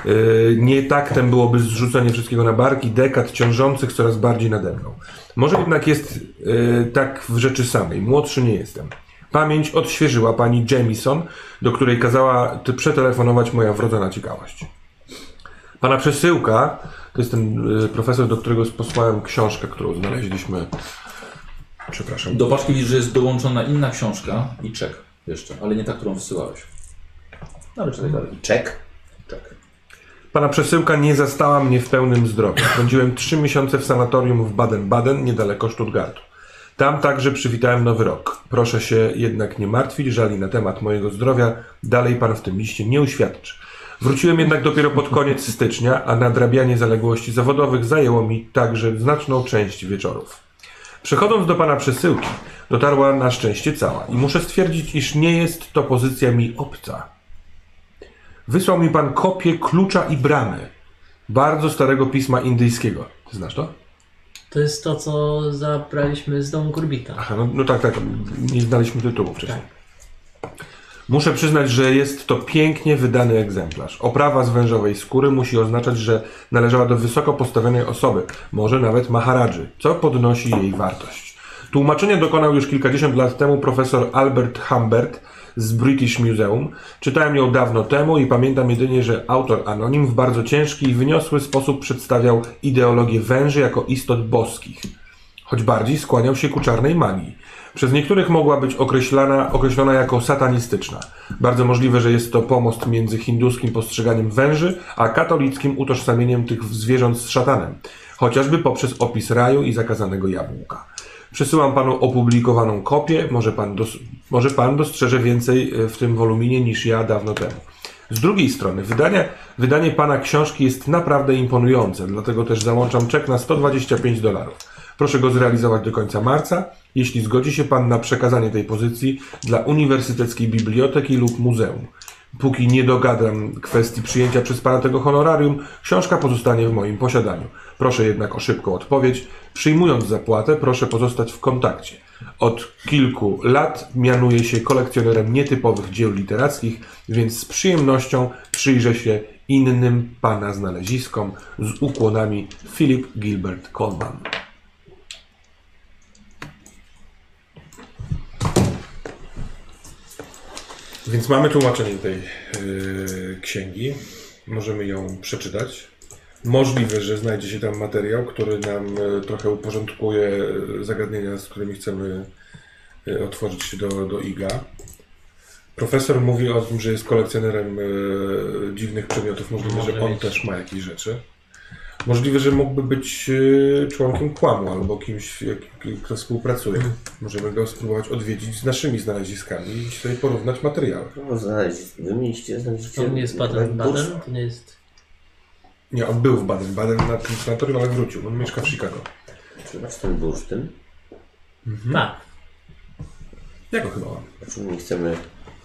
S6: Yy, nie taktem byłoby zrzucenie wszystkiego na barki dekad ciążących coraz bardziej nade mną. Może jednak jest yy, tak w rzeczy samej. Młodszy nie jestem. Pamięć odświeżyła pani Jamieson, do której kazała ty przetelefonować moja wrodzona ciekawość. Pana przesyłka to jest ten y, profesor, do którego posłałem książkę, którą znaleźliśmy. Przepraszam.
S2: Do paczki widzisz, że jest dołączona inna książka i czek jeszcze, ale nie ta, którą wysyłałeś. No, Ale czytaj dalej.
S3: Czek?
S2: Czek.
S6: Pana przesyłka nie zastała mnie w pełnym zdrowiu. Spędziłem trzy miesiące w sanatorium w Baden-Baden, niedaleko Stuttgartu. Tam także przywitałem nowy rok. Proszę się jednak nie martwić, żali na temat mojego zdrowia dalej pan w tym liście nie uświadczy. Wróciłem jednak dopiero pod koniec stycznia, a nadrabianie zaległości zawodowych zajęło mi także znaczną część wieczorów. Przechodząc do pana przesyłki, dotarła na szczęście cała i muszę stwierdzić, iż nie jest to pozycja mi obca. Wysłał mi pan kopię klucza i bramy bardzo starego pisma indyjskiego. Ty znasz to?
S7: To jest to, co zabraliśmy z domu Kurbita.
S6: Aha, no, no tak, tak. Nie znaliśmy tytułu wcześniej. Muszę przyznać, że jest to pięknie wydany egzemplarz. Oprawa z wężowej skóry musi oznaczać, że należała do wysoko postawionej osoby, może nawet maharadży, co podnosi jej wartość. Tłumaczenia dokonał już kilkadziesiąt lat temu profesor Albert Humbert z British Museum. Czytałem ją dawno temu i pamiętam jedynie, że autor anonim w bardzo ciężki i wyniosły sposób przedstawiał ideologię węży jako istot boskich choć bardziej skłaniał się ku czarnej magii. Przez niektórych mogła być określana, określona jako satanistyczna. Bardzo możliwe, że jest to pomost między hinduskim postrzeganiem węży, a katolickim utożsamieniem tych zwierząt z szatanem, chociażby poprzez opis raju i zakazanego jabłka. Przesyłam panu opublikowaną kopię, może pan, dos- może pan dostrzeże więcej e, w tym woluminie niż ja dawno temu. Z drugiej strony, wydanie, wydanie pana książki jest naprawdę imponujące, dlatego też załączam czek na 125 dolarów. Proszę go zrealizować do końca marca, jeśli zgodzi się pan na przekazanie tej pozycji dla Uniwersyteckiej Biblioteki lub Muzeum. Póki nie dogadam kwestii przyjęcia przez pana tego honorarium, książka pozostanie w moim posiadaniu. Proszę jednak o szybką odpowiedź. Przyjmując zapłatę, proszę pozostać w kontakcie. Od kilku lat mianuje się kolekcjonerem nietypowych dzieł literackich, więc z przyjemnością przyjrzę się innym pana znaleziskom z ukłonami Philip Gilbert Coleman. Więc mamy tłumaczenie tej yy, księgi. Możemy ją przeczytać. Możliwe, że znajdzie się tam materiał, który nam y, trochę uporządkuje y, zagadnienia, z którymi chcemy y, otworzyć się do, do IGA. Profesor mówi o tym, że jest kolekcjonerem y, dziwnych przedmiotów. Możliwe, że on też ma jakieś rzeczy. Możliwe, że mógłby być y, członkiem kłamu albo kimś, jak, kto współpracuje. Możemy go spróbować odwiedzić z naszymi znaleziskami i sobie porównać materiały.
S3: No, znaleźć, wymieniście, znaleźliście.
S7: On nie jest Baden-Baden, to nie jest...
S6: Nie, on był w Baden-Baden na tym sanatorium, ale wrócił. On mieszka w Chicago.
S3: Czy masz ten bursztyn?
S6: Mhm.
S7: Tak.
S6: Ja go chyba mam
S3: Czy znaczy nie chcemy,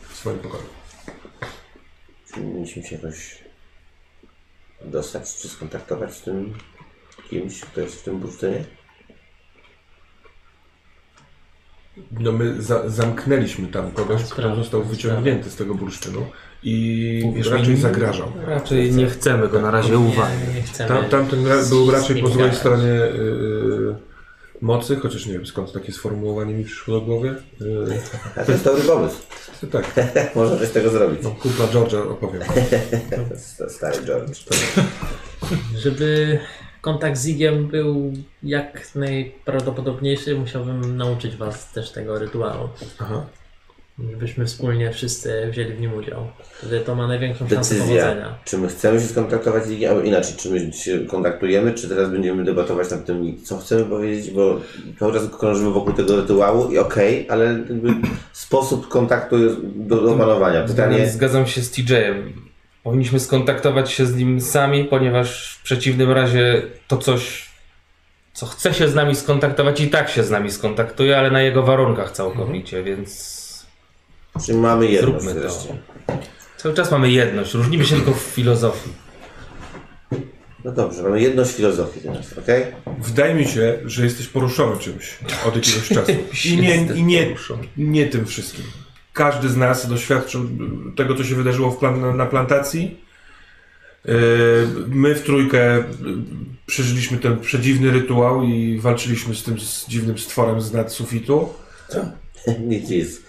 S6: w swoim pokoju.
S3: czy mieliśmy się jakoś dostać, czy skontaktować z tym kimś, kto jest w tym bursztynie?
S6: No my za zamknęliśmy tam kogoś,
S5: Tak,
S7: Sprawa,
S6: kto został
S7: sprawa.
S6: wyciągnięty z tego bursztynu i
S5: Mówisz,
S6: raczej
S5: mi-
S6: zagrażał.
S5: Raczej nie chcemy go na razie uwagi.
S7: Tak, Nie, nie chcemy.
S6: Tam, tamten ra- był raczej po złej
S7: Zlikwidować.
S6: stronie yy, mocy, chociaż nie wiem skąd takie sformułowanie mi przyszło do głowy. Yy,
S3: A to jest dobry pomysł. *laughs*
S6: tak,
S3: Można coś z tego zrobić.
S6: no, kupla George'a opowiem.
S3: Sta- Stary George.
S7: Żeby kontakt z Igiem był jak najprawdopodobniejszy, musiałbym nauczyć was też tego rytuału.
S6: Aha.
S7: Żebyśmy wspólnie wszyscy wzięli w nim udział. Wtedy to ma największą szansę
S3: Decyzja,
S7: powodzenia.
S3: czy my chcemy się skontaktować z Igiem, albo inaczej, czy my się kontaktujemy, czy teraz będziemy debatować nad tym, co chcemy powiedzieć, bo cały czas krążymy wokół tego rytuału i okej, ale jakby sposób kontaktu jest do, do opanowania. Pytanie,
S5: Zgadzam się z TJ-em. Powinniśmy skontaktować się z nim sami, ponieważ w przeciwnym razie to coś, co chce się z nami skontaktować, i tak się z nami skontaktuje, ale na jego warunkach całkowicie, więc
S3: czy mamy jedno
S5: Zróbmy to.
S3: wreszcie?
S5: Cały czas mamy jedność, różnimy się tylko w filozofii.
S3: No dobrze, mamy jedność filozofii teraz, okej? *laughs*
S6: Wydaje mi się, że jesteś poruszony czymś od jakiegoś czasu. I nie, i nie, nie tym wszystkim. Każdy z nas doświadczył tego, co się wydarzyło w plan, na plantacji. Yy, My w trójkę yy, przeżyliśmy ten przedziwny rytuał i walczyliśmy z tym z dziwnym stworem z nad sufitu.
S3: Nic, nic.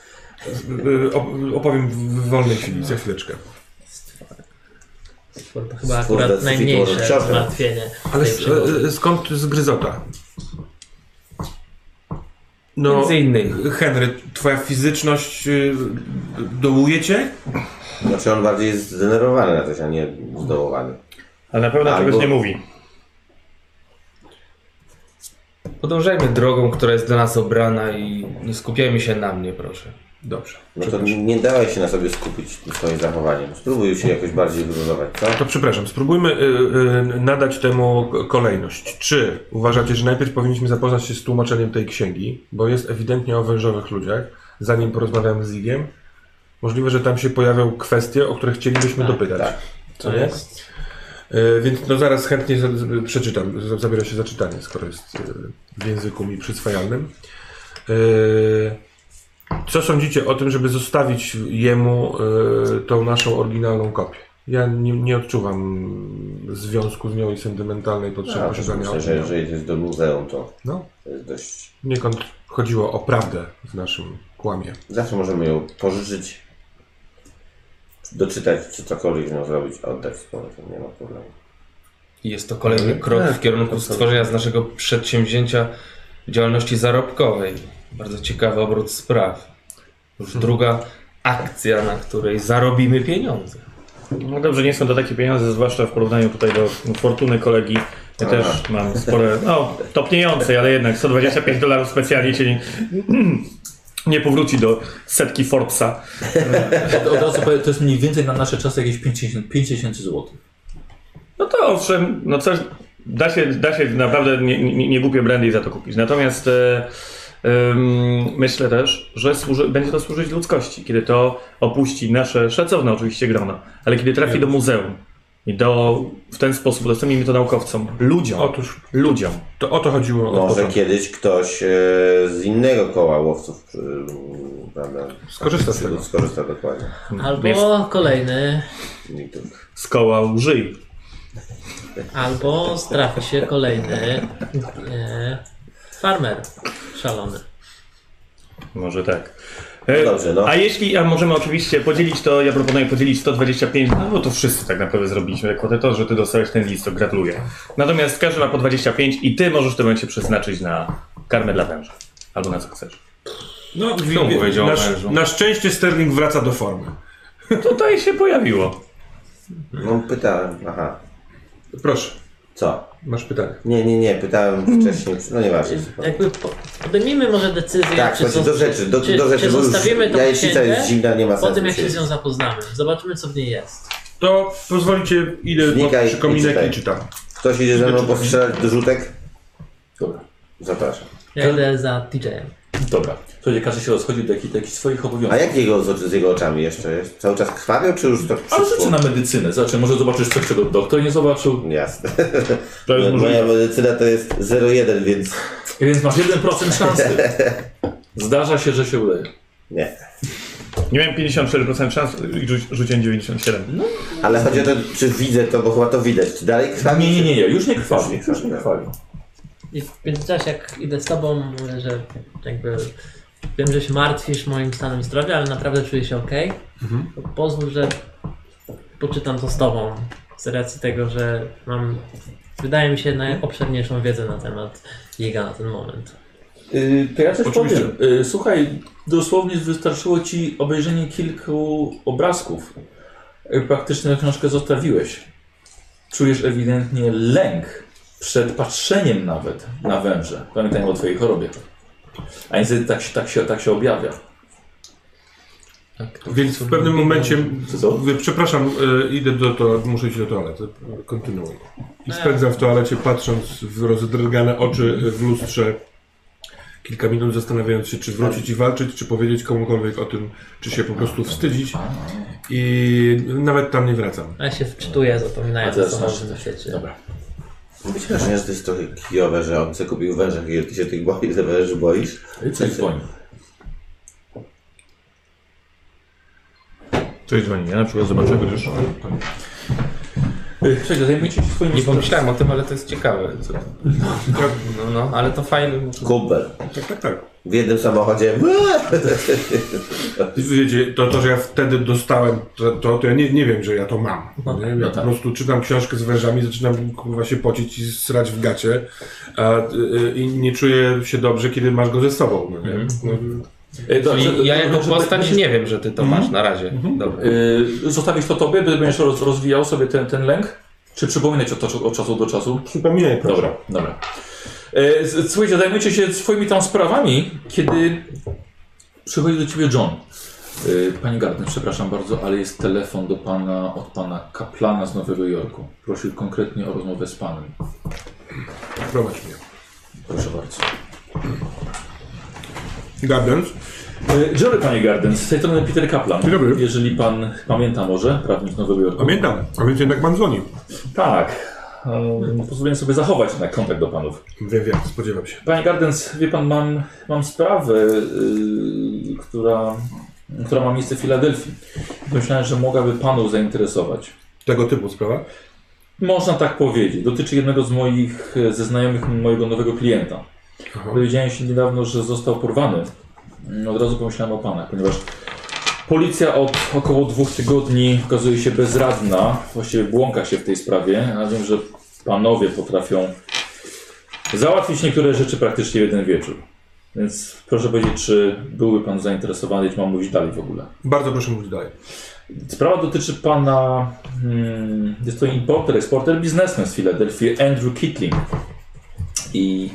S6: Yy, op- Opowiem w- w wolnej chwili, za chwileczkę.
S7: To chyba
S3: Stwór
S7: akurat
S3: decyzji może
S7: najmniejsze
S3: książkę.
S7: zmartwienie.
S6: Ale
S7: tej
S6: s-
S7: przygody.
S6: e, e, skąd zgryzota? No,
S5: Między innymi.
S6: Henry, twoja fizyczność y, dołuje cię?
S3: Znaczy on bardziej jest zdenerwowany na coś, a nie zdołowany.
S8: Ale na pewno
S3: Albo-
S8: czegoś nie mówi.
S5: Podążajmy drogą, która jest dla nas obrana i nie skupiajmy się na mnie, proszę.
S6: Dobrze.
S3: No to nie dałeś się na sobie skupić tym swoim zachowaniem. Spróbuj się jakoś bardziej wyluzować, co?
S6: To przepraszam, spróbujmy y, y, nadać temu k- kolejność. Czy uważacie, że najpierw powinniśmy zapoznać się z tłumaczeniem tej księgi, bo jest ewidentnie o wężowych ludziach, zanim porozmawiamy z Igiem? Możliwe, że tam się pojawią kwestie, o które chcielibyśmy dopytać.
S3: tak.
S6: Co nie? Y, Więc no zaraz chętnie za- z- przeczytam, z- zabiorę się za czytanie, skoro jest y, w języku mi przyswajalnym. Y, Co sądzicie o tym, żeby zostawić jemu y, tą naszą oryginalną kopię? Ja nie, nie odczuwam związku z nią i sentymentalnej potrzeby
S3: A, to
S6: posiadania
S3: myślę, że
S6: oryginału.
S3: jeżeli to jest do muzeum, to
S6: No,
S3: to jest dość...
S6: poniekąd chodziło o prawdę w naszym kłamie.
S3: Zawsze możemy ją pożyczyć, doczytać, czy cokolwiek z nią zrobić, oddać z powrotem, nie ma problemu.
S5: I Jest to kolejny
S2: Tak,
S5: krok w kierunku stworzenia z naszego przedsięwzięcia działalności zarobkowej. Bardzo ciekawy obrót spraw. Już
S2: Hmm.
S5: druga akcja, na której zarobimy pieniądze.
S8: No dobrze, nie są to takie pieniądze, zwłaszcza w porównaniu tutaj do fortuny kolegi. Ja
S3: A.
S8: też mam spore, no topniejącej, ale jednak 125 dolarów specjalnie, czyli *clears throat* nie powróci do setki Forbesa.
S2: Od, od razu powiem, to jest mniej więcej na nasze czasy jakieś 5000 5000 zł.
S8: No to owszem, no coś, da się, da się naprawdę nie, nie, nie głupie brandy za to kupić. Natomiast e, em, myślę też, że służy, będzie to służyć ludzkości, kiedy to opuści nasze szacowne oczywiście grono, ale kiedy trafi do muzeum i do, w ten sposób udostępnimy to naukowcom, ludziom,
S6: Otóż
S8: ludziom.
S6: to o to chodziło od
S3: Może
S6: początku.
S3: kiedyś ktoś e, z innego koła łowców, e, prawda?
S6: Skorzysta z tego.
S3: Skorzysta dokładnie.
S7: Albo
S8: Jest
S7: kolejny,
S3: Mitów.
S8: z koła łży.
S7: albo trafi się kolejny e, farmer szalony.
S8: Może tak.
S3: No dobrze, no.
S8: A jeśli, a możemy oczywiście podzielić to, ja proponuję podzielić 125, no bo to wszyscy tak naprawdę zrobiliśmy, jako to, że ty dostałeś ten list, to gratuluję. Natomiast każdy ma po 25 i ty możesz w tym momencie przeznaczyć na karmę dla węża. Albo na co chcesz.
S6: No,
S5: Kto mu powiedział o
S6: na,
S5: mężu?
S6: na szczęście Sterling wraca do formy.
S8: Tutaj się pojawiło.
S3: No pytałem, aha,
S6: Proszę,
S3: co?
S6: masz pytanie.
S3: Nie, nie, nie, pytałem wcześniej, no nieważne.
S7: Jakby po, podejmijmy może decyzję,
S3: Tak,
S7: czy,
S3: właśnie do
S7: zos-
S3: rzeczy, do,
S7: czy,
S3: do rzeczy,
S7: czy
S3: bo już
S7: zostawimy tą
S3: jajecica
S7: księgę,
S3: jest zimna, nie ma sensu.
S7: po tym jak się
S3: dzisiaj.
S7: z nią zapoznamy. Zobaczymy, co w niej jest.
S6: To pozwolicie, idę
S3: Znikaj
S6: po
S3: i
S6: przykominek
S3: czytaj.
S6: i czytam.
S3: Ktoś idzie ze mną postrzelać do rzutek? Dobra, zapraszam.
S7: Ja idę za TJ-em.
S2: Dobra. Słuchajcie, każdy się rozchodzi do jakichś jakich swoich
S3: A
S2: obowiązków.
S3: jak jego z, z jego oczami jeszcze jest? Cały czas krwawią, czy już to
S2: Ale
S3: przyszło?
S2: rzeczy na medycynę. Znaczy, może zobaczysz coś, czego doktor nie zobaczył.
S3: Jasne.
S8: To jest
S3: Moja
S8: możliwe.
S3: medycyna to jest 0,1, więc
S2: Więc masz 1%
S3: *laughs*
S2: szansy. Zdarza się, że się uleje.
S3: nie.
S8: Nie miałem 54% szans i rzu- rzuciłem 97. No,
S3: Ale chodzi o to, czy widzę to, bo chyba to widać. Czy dalej krwawi?
S2: Nie, nie, nie, nie. Już nie
S3: Już nie
S2: krwawi. Już
S3: krwawi.
S2: nie krwawi.
S7: I w międzyczasie, jak idę z tobą, mówię, że jakby wiem, że się martwisz moim stanem zdrowia, ale naprawdę czuję się ok.
S3: Mhm.
S7: To pozwól, że poczytam to z tobą. Z racji tego, że mam, wydaje mi się, najobszerniejszą wiedzę na temat jego na ten moment.
S2: Yy, to ja coś
S6: Oczywiście.
S2: powiem. Yy, słuchaj, dosłownie wystarczyło ci obejrzenie kilku obrazków. Yy, praktycznie tę książkę zostawiłeś. Czujesz ewidentnie lęk przed patrzeniem nawet na węże. Pamiętajmy o twojej chorobie. A niestety tak, się- tak, się, tak się objawia.
S6: Więc w pewnym momencie,
S2: Co?
S6: mówię, przepraszam, y, idę do toalety, muszę iść do toalety, kontynuuję. I spędzam w toalecie, patrząc w rozdrgane oczy y, w lustrze, kilka minut zastanawiając się, czy wrócić i walczyć, czy powiedzieć komukolwiek o tym, czy się po prostu wstydzić. I nawet tam nie wracam.
S7: A ja się wczytuję,
S2: A
S7: zapominając o
S2: teraz
S7: co
S2: masz-
S7: mam w świecie.
S2: Dobra.
S3: Być wrażenie, że to jest trochę kijowe, że on sobie kupił węża, kiedy ty się tych boi, te węży boisz.
S2: Coś dzwoni.
S8: coś dzwoni, ja na przykład zobaczę, gdyż...
S2: Yy, Słuchaj, zajmujecie się swoim
S5: Nie pomyślałem o tym, ale to jest ciekawe. Co to- No, no, ale to fajne.
S3: Kumpel.
S6: Tak, tak, tak.
S3: W jednym samochodzie.
S6: Wiecie, to, to, że ja wtedy dostałem, to, to, to ja nie, nie wiem, że ja to mam. nie? Ja po prostu czytam książkę z wężami, zaczynam kurwa się pocić i srać w gacie a, y, y, i nie czuję się dobrze, kiedy masz go ze sobą. No, nie? No,
S2: Yy, dobrze,
S5: Czyli ja jako
S2: dobrze,
S5: postać
S2: będziesz-
S5: nie wiem, że ty to
S2: Mhm.
S5: masz na razie. Dobra.
S2: Yy, zostawisz to tobie, będziesz roz, rozwijał sobie ten, ten lęk? Czy przypominać o to od czasu do czasu?
S6: przypominaj proszę.
S2: Dobra, dobra. E, s- Słuchajcie, zajmujecie się swoimi tam sprawami, kiedy Przychodzi do ciebie John. Y, Panie Gardner, przepraszam bardzo, ale jest telefon do pana, od pana kaplana z Nowego Jorku. Prosił konkretnie o rozmowę z panem.
S6: Prowadź mnie.
S2: Proszę bardzo.
S6: Gardens?
S2: Y, Dzień dobry, panie Garden. Z tej strony Peter Kaplan.
S6: Dzień dobry.
S2: Jeżeli pan pamięta może, prawnik z Nowego Jorku.
S6: Pamiętam, a więc jednak pan dzwoni.
S2: Tak. Um, Pozwoliłem sobie zachować jednak kontakt do panów.
S6: Wiem, wiem, spodziewam się.
S2: Panie Gardens, wie pan, mam, mam sprawę, yy, która, która ma miejsce w Filadelfii. Myślałem, że mogłaby panu zainteresować.
S6: Tego typu sprawa?
S2: Można tak powiedzieć. Dotyczy jednego z moich e, ze znajomych mojego nowego klienta.
S6: Aha.
S2: Dowiedziałem się niedawno, że został porwany. Mm, Od razu pomyślałem o panach, ponieważ policja od około dwóch tygodni okazuje się bezradna, właściwie błąka się w tej sprawie, a wiem, że panowie potrafią załatwić niektóre rzeczy praktycznie w jeden wieczór. Więc proszę powiedzieć, czy byłby pan zainteresowany, czy mam mówić dalej w ogóle?
S6: Bardzo proszę mówić dalej.
S2: Sprawa dotyczy pana. Hmm, jest to importer, eksporter, biznesmen z Filadelfii, Andrew Kitling. I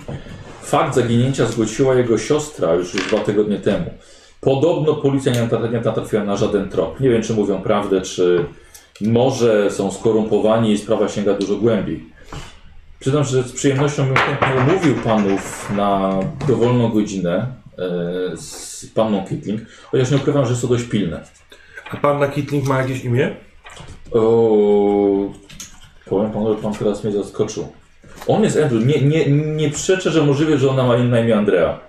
S2: fakt zaginięcia zgłosiła jego siostra już dwa tygodnie temu. Podobno policja nie nata- nie natrafiła na żaden trop. Nie wiem, czy mówią prawdę, czy może są skorumpowani i sprawa sięga dużo głębiej. Przyznam, że z przyjemnością bym chętnie umówił panów na dowolną godzinę e, z panną Kitling, chociaż nie ukrywam, że jest to dość pilne.
S6: A panna Kitling ma jakieś imię?
S2: O, powiem panu, że pan teraz mnie zaskoczył. On jest Andrew. Nie, nie, nie przeczę, że możliwe, że ona ma na imię Andrea,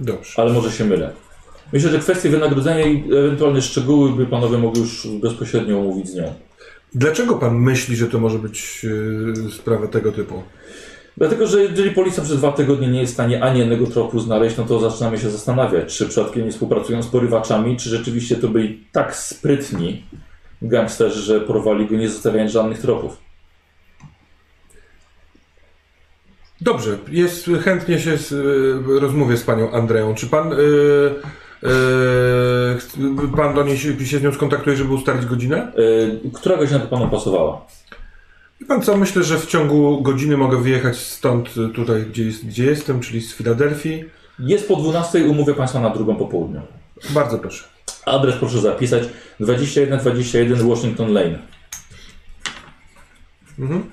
S6: Dobrze.
S2: ale może się mylę. Myślę, że kwestie wynagrodzenia i ewentualne szczegóły by panowie mogli już bezpośrednio omówić z nią.
S6: Dlaczego pan myśli, że to może być yy, sprawa tego typu?
S2: Dlatego, że jeżeli policja przez dwa tygodnie nie jest w stanie ani jednego tropu znaleźć, no to zaczynamy się zastanawiać, czy przypadkiem nie współpracują z porywaczami, czy rzeczywiście to byli tak sprytni gangsterzy, że porwali go nie zostawiając żadnych tropów.
S6: Dobrze, jest, chętnie się z, y, rozmówię z panią Andreą. Czy pan, y, y, chc- pan do niej się, się z nią skontaktuje, żeby ustalić godzinę?
S2: Yy, która godzina to panu pasowała?
S6: I pan co, myślę, że w ciągu godziny mogę wyjechać stąd, y, tutaj, gdzie, jest, gdzie jestem, czyli z Filadelfii.
S2: Jest po 12, umówię Państwa na drugą po południu.
S6: Bardzo proszę.
S2: Adres proszę zapisać 2121 Washington Lane.
S6: Mhm.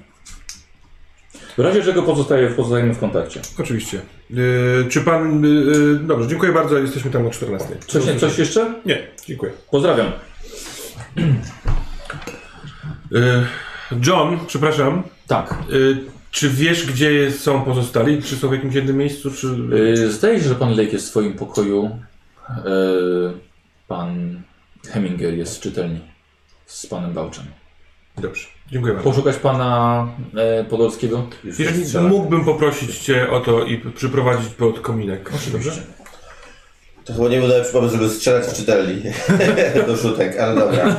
S2: W razie czego pozostaje, pozostajemy w kontakcie.
S6: Oczywiście. Y, czy pan, y, y, dobrze, dziękuję bardzo, jesteśmy tam o 14.
S2: Coś, nie, coś jeszcze?
S6: Nie, dziękuję.
S2: Pozdrawiam.
S6: Y, John, przepraszam.
S2: Tak.
S6: Y, czy wiesz, gdzie są pozostali? Czy są w jakimś jednym miejscu? Czy...
S2: Yy, zdaje się, że pan Lake jest w swoim pokoju. Yy, pan Heminger jest w czytelni z panem Bałczem.
S6: Dobrze, dziękuję bardzo.
S2: Poszukać pana e, Podolskiego?
S3: Już nie
S6: Jeżeli
S3: strzela.
S6: mógłbym poprosić Cię o to i przyprowadzić pod kominek. Dobrze?
S3: To chyba nie był najlepszy pomysł, żeby strzelać w czytelni *laughs* do szutek, ale dobra.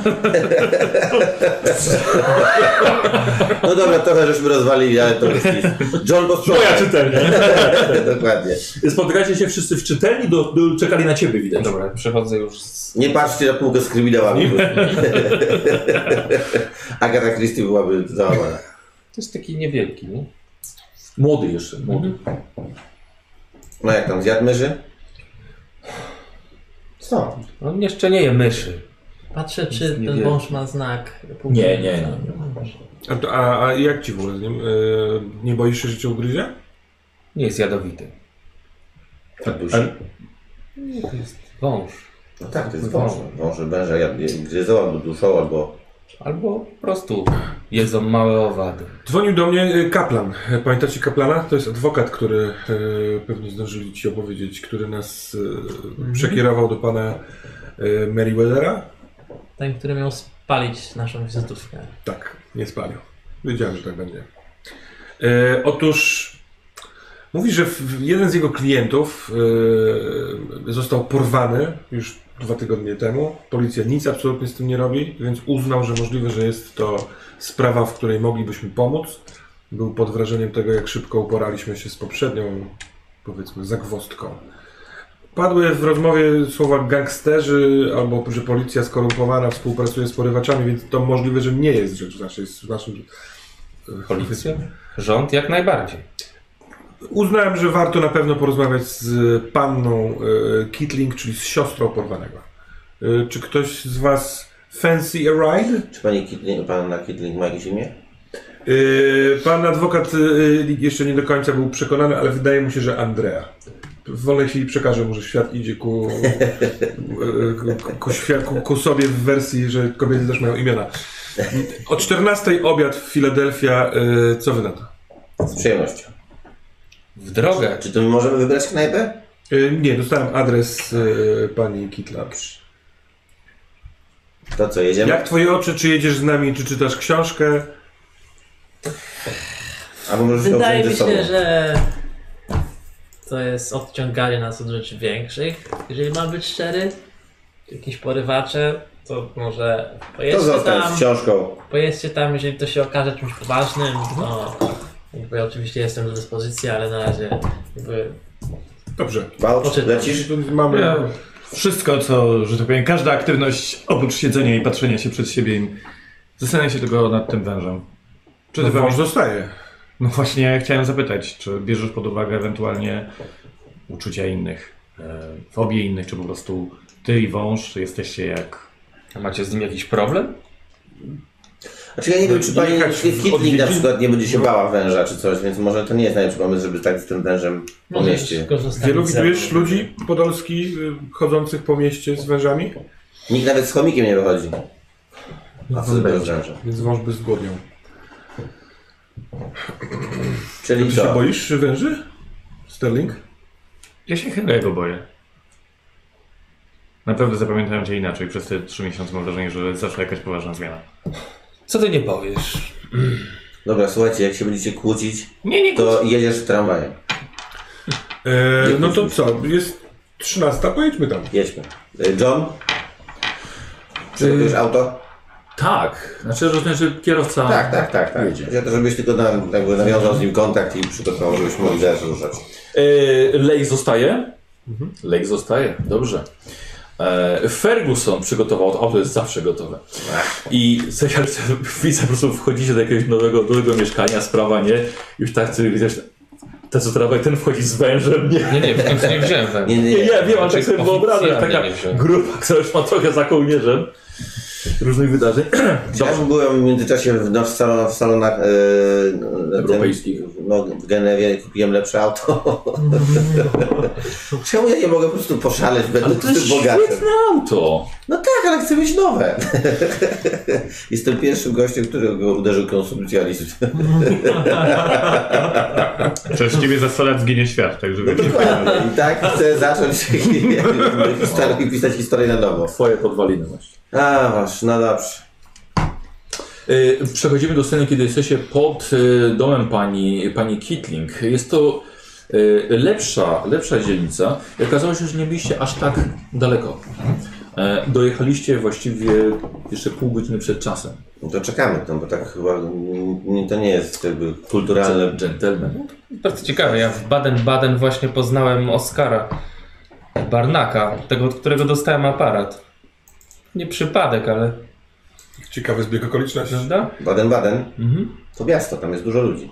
S3: no dobra, trochę żeśmy rozwalili, ale to jest nic. John Bosco.
S2: czytelnia.
S3: *laughs* Dokładnie.
S2: Spotykacie się wszyscy w czytelni, do, do, czekali na ciebie widać.
S5: Dobra, przechodzę już z...
S3: Nie patrzcie na półkę z kryminałami. *laughs* Agata Christie byłaby załamana.
S5: To jest taki niewielki, nie?
S2: Młody jeszcze, młody.
S3: No jak tam, zjadł myszy?
S5: Co? On jeszcze no, nie je myszy.
S7: Patrzę, czy
S5: Nie
S7: ten
S5: wiem.
S7: wąż ma znak.
S2: Nie, nie, nie.
S6: A, to- a, a jak Ci w ogóle z nim? Yy, nie boisz się, że Cię ugryzie?
S5: Nie jest jadowity.
S3: Tak, dusi.
S4: ale-
S5: Nie, to jest wąż.
S3: No tak, to jest wąż. Wąże węża jadł, gryzą albo duszą, albo...
S5: Albo po prostu jedzą małe owady.
S6: Dzwonił do mnie y, kaplan. Y, Pamiętacie kaplana? To jest adwokat, który y, pewnie zdążyli Ci opowiedzieć, który nas y, przekierował do pana y, Merriwethera.
S7: Ten, który miał spalić naszą wizytówkę.
S6: Tak, nie spalił. Wiedziałem, że tak będzie. E, otóż mówi, że w- w- jeden z jego klientów e, został porwany już dwa tygodnie temu. Policja nic absolutnie z tym nie robi, więc uznał, że możliwe, że jest to sprawa, w której moglibyśmy pomóc. Był pod wrażeniem tego, jak szybko uporaliśmy się z poprzednią, powiedzmy, zagwostką. Padły w rozmowie słowa gangsterzy albo że policja skorumpowana współpracuje z porywaczami, więc to możliwe, że nie e, jest rzecz w naszej, w naszym
S5: Policja? Rząd jak najbardziej.
S6: uznałem, że warto na pewno porozmawiać z panną e, Kitling, czyli z siostrą porwanego. E, czy ktoś z was fancy a ride?
S3: Czy pani Kitling, panna Kitling ma jakieś imię?
S6: E, pan adwokat e, jeszcze nie do końca był przekonany, ale wydaje mu się, że Andrea. W wolnej chwili przekażę mu, że świat idzie ku, e, ku, ku, świat- ku, ku sobie w wersji, że kobiety też mają imiona. O 14 obiad w Filadelfia, e, co wy na to?
S3: Z przyjemnością.
S5: W drogę.
S3: Czy to my możemy wybrać knajpę?
S6: E, Nie, dostałem adres e, pani Kitlacz.
S3: To co, jedziemy?
S6: Jak twoje oczy, czy jedziesz z nami, czy czytasz książkę?
S3: Albo możesz ją
S7: Wydaje
S3: wziąć
S7: mi
S3: ze sobą.
S7: się, że to jest odciąganie nas od rzeczy większych. Jeżeli mam być szczery, jakieś porywacze, to może
S3: To
S7: pojedźcie tam,
S3: zostań z książką.
S7: pojedźcie tam, jeżeli to się okaże czymś poważnym, no jakby oczywiście jestem do dyspozycji, ale na razie jakby
S6: Dobrze.
S3: Bałcz,
S7: Poczytam.
S3: lecisz?
S6: Tu Mamy...
S8: Wszystko, co, że tak powiem, każda aktywność oprócz siedzenia i patrzenia się przed siebie. i- Zastanawiam się tylko nad tym wężem. Czy
S6: No,
S8: ty
S6: wąż
S8: węż...
S6: zostaje.
S8: No właśnie chciałem zapytać, czy bierzesz pod uwagę ewentualnie uczucia innych, e, fobie innych, czy po prostu ty i wąż jesteście jak...
S5: A macie z nim jakiś problem?
S3: Znaczy ja nie wiem, czy pani
S6: Jechać w
S3: Kitling na
S6: odwiedzin-
S3: przykład nie będzie się bała węża czy coś, więc może to nie jest najlepszy pomysł, żeby tak z tym wężem po mieście.
S7: korzystać
S6: Wielu
S7: z zewnątrz.
S6: widujesz ludzi podolski y, chodzących po mieście z wężami?
S3: Nikt nawet z chomikiem nie wychodzi.
S6: No
S3: A co dopiero z wężem?
S6: Więc wąż by zgłodniał. Ty
S3: Czyli
S6: się
S3: co?
S6: boisz węży? Sterling?
S8: Ja się chyba jego boję. Naprawdę zapamiętałem cię inaczej. Przez te trzy miesiące mam wrażenie, że zaszła jakaś poważna zmiana.
S5: Co ty nie powiesz?
S3: Dobra, słuchajcie, jak się będziecie kłócić,
S8: Nie, nie,
S3: to jedziesz w tramwajem.
S6: E, no to co? Jest 13, pojedźmy tam.
S3: Jedźmy. E, John?
S6: Y-
S3: Przygotujesz auto?
S2: Tak, znaczy rozumiem, że kierowca...
S3: Tak, tak, tak. tak.
S2: jedzie.
S3: Ja to żebyś tylko na, jakby nawiązał z nim kontakt i przygotował, żebyśmy mogli zaraz ruszać.
S2: E, Lake zostaje? Lake zostaje, dobrze. E, Ferguson przygotował, to auto jest zawsze gotowe. I słuchaj, ale *laughs* widzę po prostu wchodzicie do jakiegoś nowego, nowego mieszkania, sprawa nie, już tak, ty widzisz, ten co trawę, ten wchodzi z wężem, nie.
S5: Nie, nie, w końcu nie wziąłem tam.
S3: Nie, nie,
S2: Nie,
S3: nie.
S2: ja wiem, ale tak sobie
S5: Znaczy, Oficjalnie
S2: wyobrażam, taka
S5: nie wziąłem.
S2: grupa, która już ma trochę za kołnierzem różnych wydarzeń.
S3: Ja już byłem w międzyczasie w, no, w, salon, w salonach e, tym-
S2: Europejskich.
S3: no, w Genewie kupiłem lepsze auto. *laughs* Czemu ja nie mogę po prostu poszaleć, będę
S2: Ale to
S3: tym
S2: jest
S3: bogatym?
S2: świetne auto.
S3: No tak, ale chcę mieć nowe. *laughs* Jestem pierwszym gościem, którego uderzył konsumpcjonizm.
S8: Przez ciebie za 100 lat zginie świat, także wiecie.
S3: Dokładnie. I tak chcę zacząć nie wiem, historię- pisać historię na nowo.
S2: Twoje podwaliny właśnie.
S3: A, masz, no dobrze.
S2: E, Przechodzimy do sceny, kiedy jesteście pod e, domem pani, pani Kitling. Jest to e, lepsza, lepsza dzielnica. I Okazało się, że nie byliście aż tak daleko. E, Dojechaliście właściwie jeszcze pół godziny przed czasem.
S3: No to czekamy tam, bo tak chyba mm, nie, to nie jest jakby kulturalne.
S2: Gentleman.
S5: Bardzo ciekawe, ja w Baden-Baden właśnie poznałem Oskara Barnaka, tego, od którego dostałem aparat. Nie przypadek, ale
S6: Ciekawy zbieg okoliczności.
S5: prawda?
S3: Baden-Baden to miasto, tam jest dużo ludzi.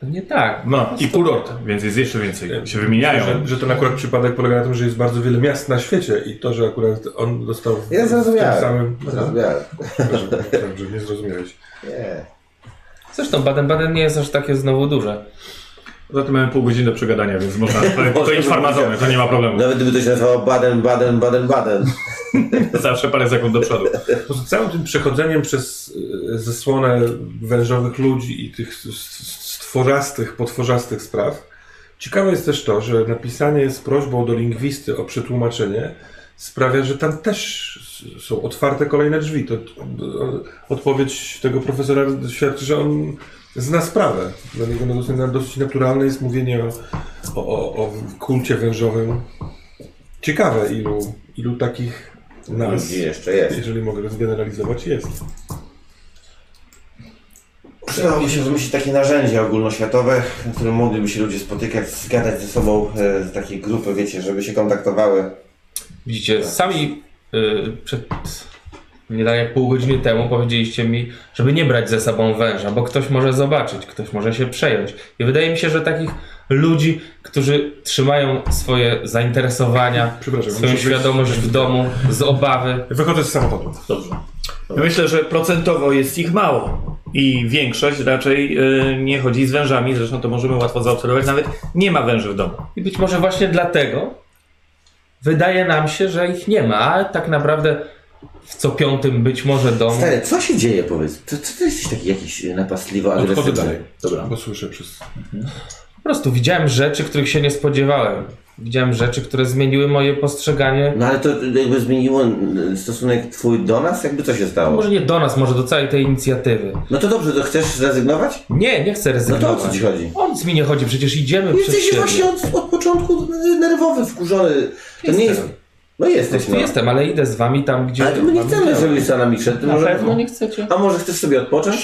S5: Pewnie tak.
S8: No i kurort, więc jest jeszcze więcej. Się wymieniają.
S6: Że, że ten akurat przypadek polega na tym, że jest bardzo wiele miast na świecie i to, że akurat on dostał w,
S3: Ja
S6: w tym
S3: zrozumiałem.
S6: samym...
S3: Zrozumiałem.
S6: Dobrze, że nie zrozumiałeś.
S3: Nie.
S5: Zresztą Baden-Baden nie jest aż takie znowu duże.
S8: Zatem mamy pół godziny do przegadania, więc można. To, to
S3: Można
S8: idź farmazony, to nie ma problemu.
S3: Nawet gdyby to się nazywało Baden, Baden, Baden, Baden.
S8: Zawsze parę sekund do przodu.
S6: Poza całym tym przechodzeniem przez e, zasłonę wężowych ludzi i tych s- s- stworzastych, potworzastych spraw, ciekawe jest też to, że napisanie z prośbą do lingwisty o przetłumaczenie sprawia, że tam też s- są otwarte kolejne drzwi. To, to odpowiedź tego profesora świadczy, że on zna sprawę. Dla niego no, dosyć- dosyć naturalne jest mówienie o, o, o, o kulcie wężowym. Ciekawe, ilu, ilu takich nas
S3: Ludzi jeszcze jest.
S6: jeżeli mogę zgeneralizować, jest.
S3: Przydałoby się wymyślić takie narzędzia ogólnoświatowe, na którym mogliby się ludzie spotykać, zgadać ze sobą e, z takiej grupy, wiecie, żeby się kontaktowały.
S5: Widzicie, sami y, przed Nie tak jak pół godziny temu powiedzieliście mi, żeby nie brać ze sobą węża, bo ktoś może zobaczyć, ktoś może się przejąć. I wydaje mi się, że takich ludzi, którzy trzymają swoje zainteresowania,
S6: Przepraszam,
S5: swoją
S6: muszę wyjść.
S5: świadomość w domu z obawy,
S6: Wychodzę z samochodu.
S2: Dobrze.
S8: Myślę, że procentowo jest ich mało. I większość raczej y, nie chodzi z wężami, zresztą to możemy łatwo zaobserwować, nawet nie ma węży w domu.
S5: I być może właśnie dlatego wydaje nam się, że ich nie ma, a tak naprawdę w co piątym być może domu.
S3: Stary, co się dzieje, powiedz? Co, co ty jesteś taki jakiś y, napastliwo
S6: Odchodzę
S3: agresywny?
S6: dalej.
S2: Dobra.
S6: Bo słyszę przez...
S5: Po prostu widziałem rzeczy, których się nie spodziewałem. Widziałem rzeczy, które zmieniły moje postrzeganie.
S3: No ale to y, jakby zmieniło y, stosunek twój do nas? Jakby co się
S5: No
S3: stało?
S5: może nie do nas, może do całej tej inicjatywy.
S3: No to dobrze, to chcesz zrezygnować?
S5: Nie, nie
S3: No to o
S5: chcę rezygnować.
S3: co ci chodzi?
S5: o nic mi nie chodzi, przecież idziemy przez
S3: Jesteś
S5: siebie.
S3: właśnie od, od początku nerwowy, wkurzony. To nie jest...
S5: Jestem.
S3: No jesteś,
S5: Tu
S3: no.
S5: Jestem, ale idę z wami tam, gdzie...
S3: Ale to my nie chcemy, żebyś za nami szedł.
S5: Na
S3: Może-
S5: pewno nie chcecie.
S3: A może chcesz sobie odpocząć?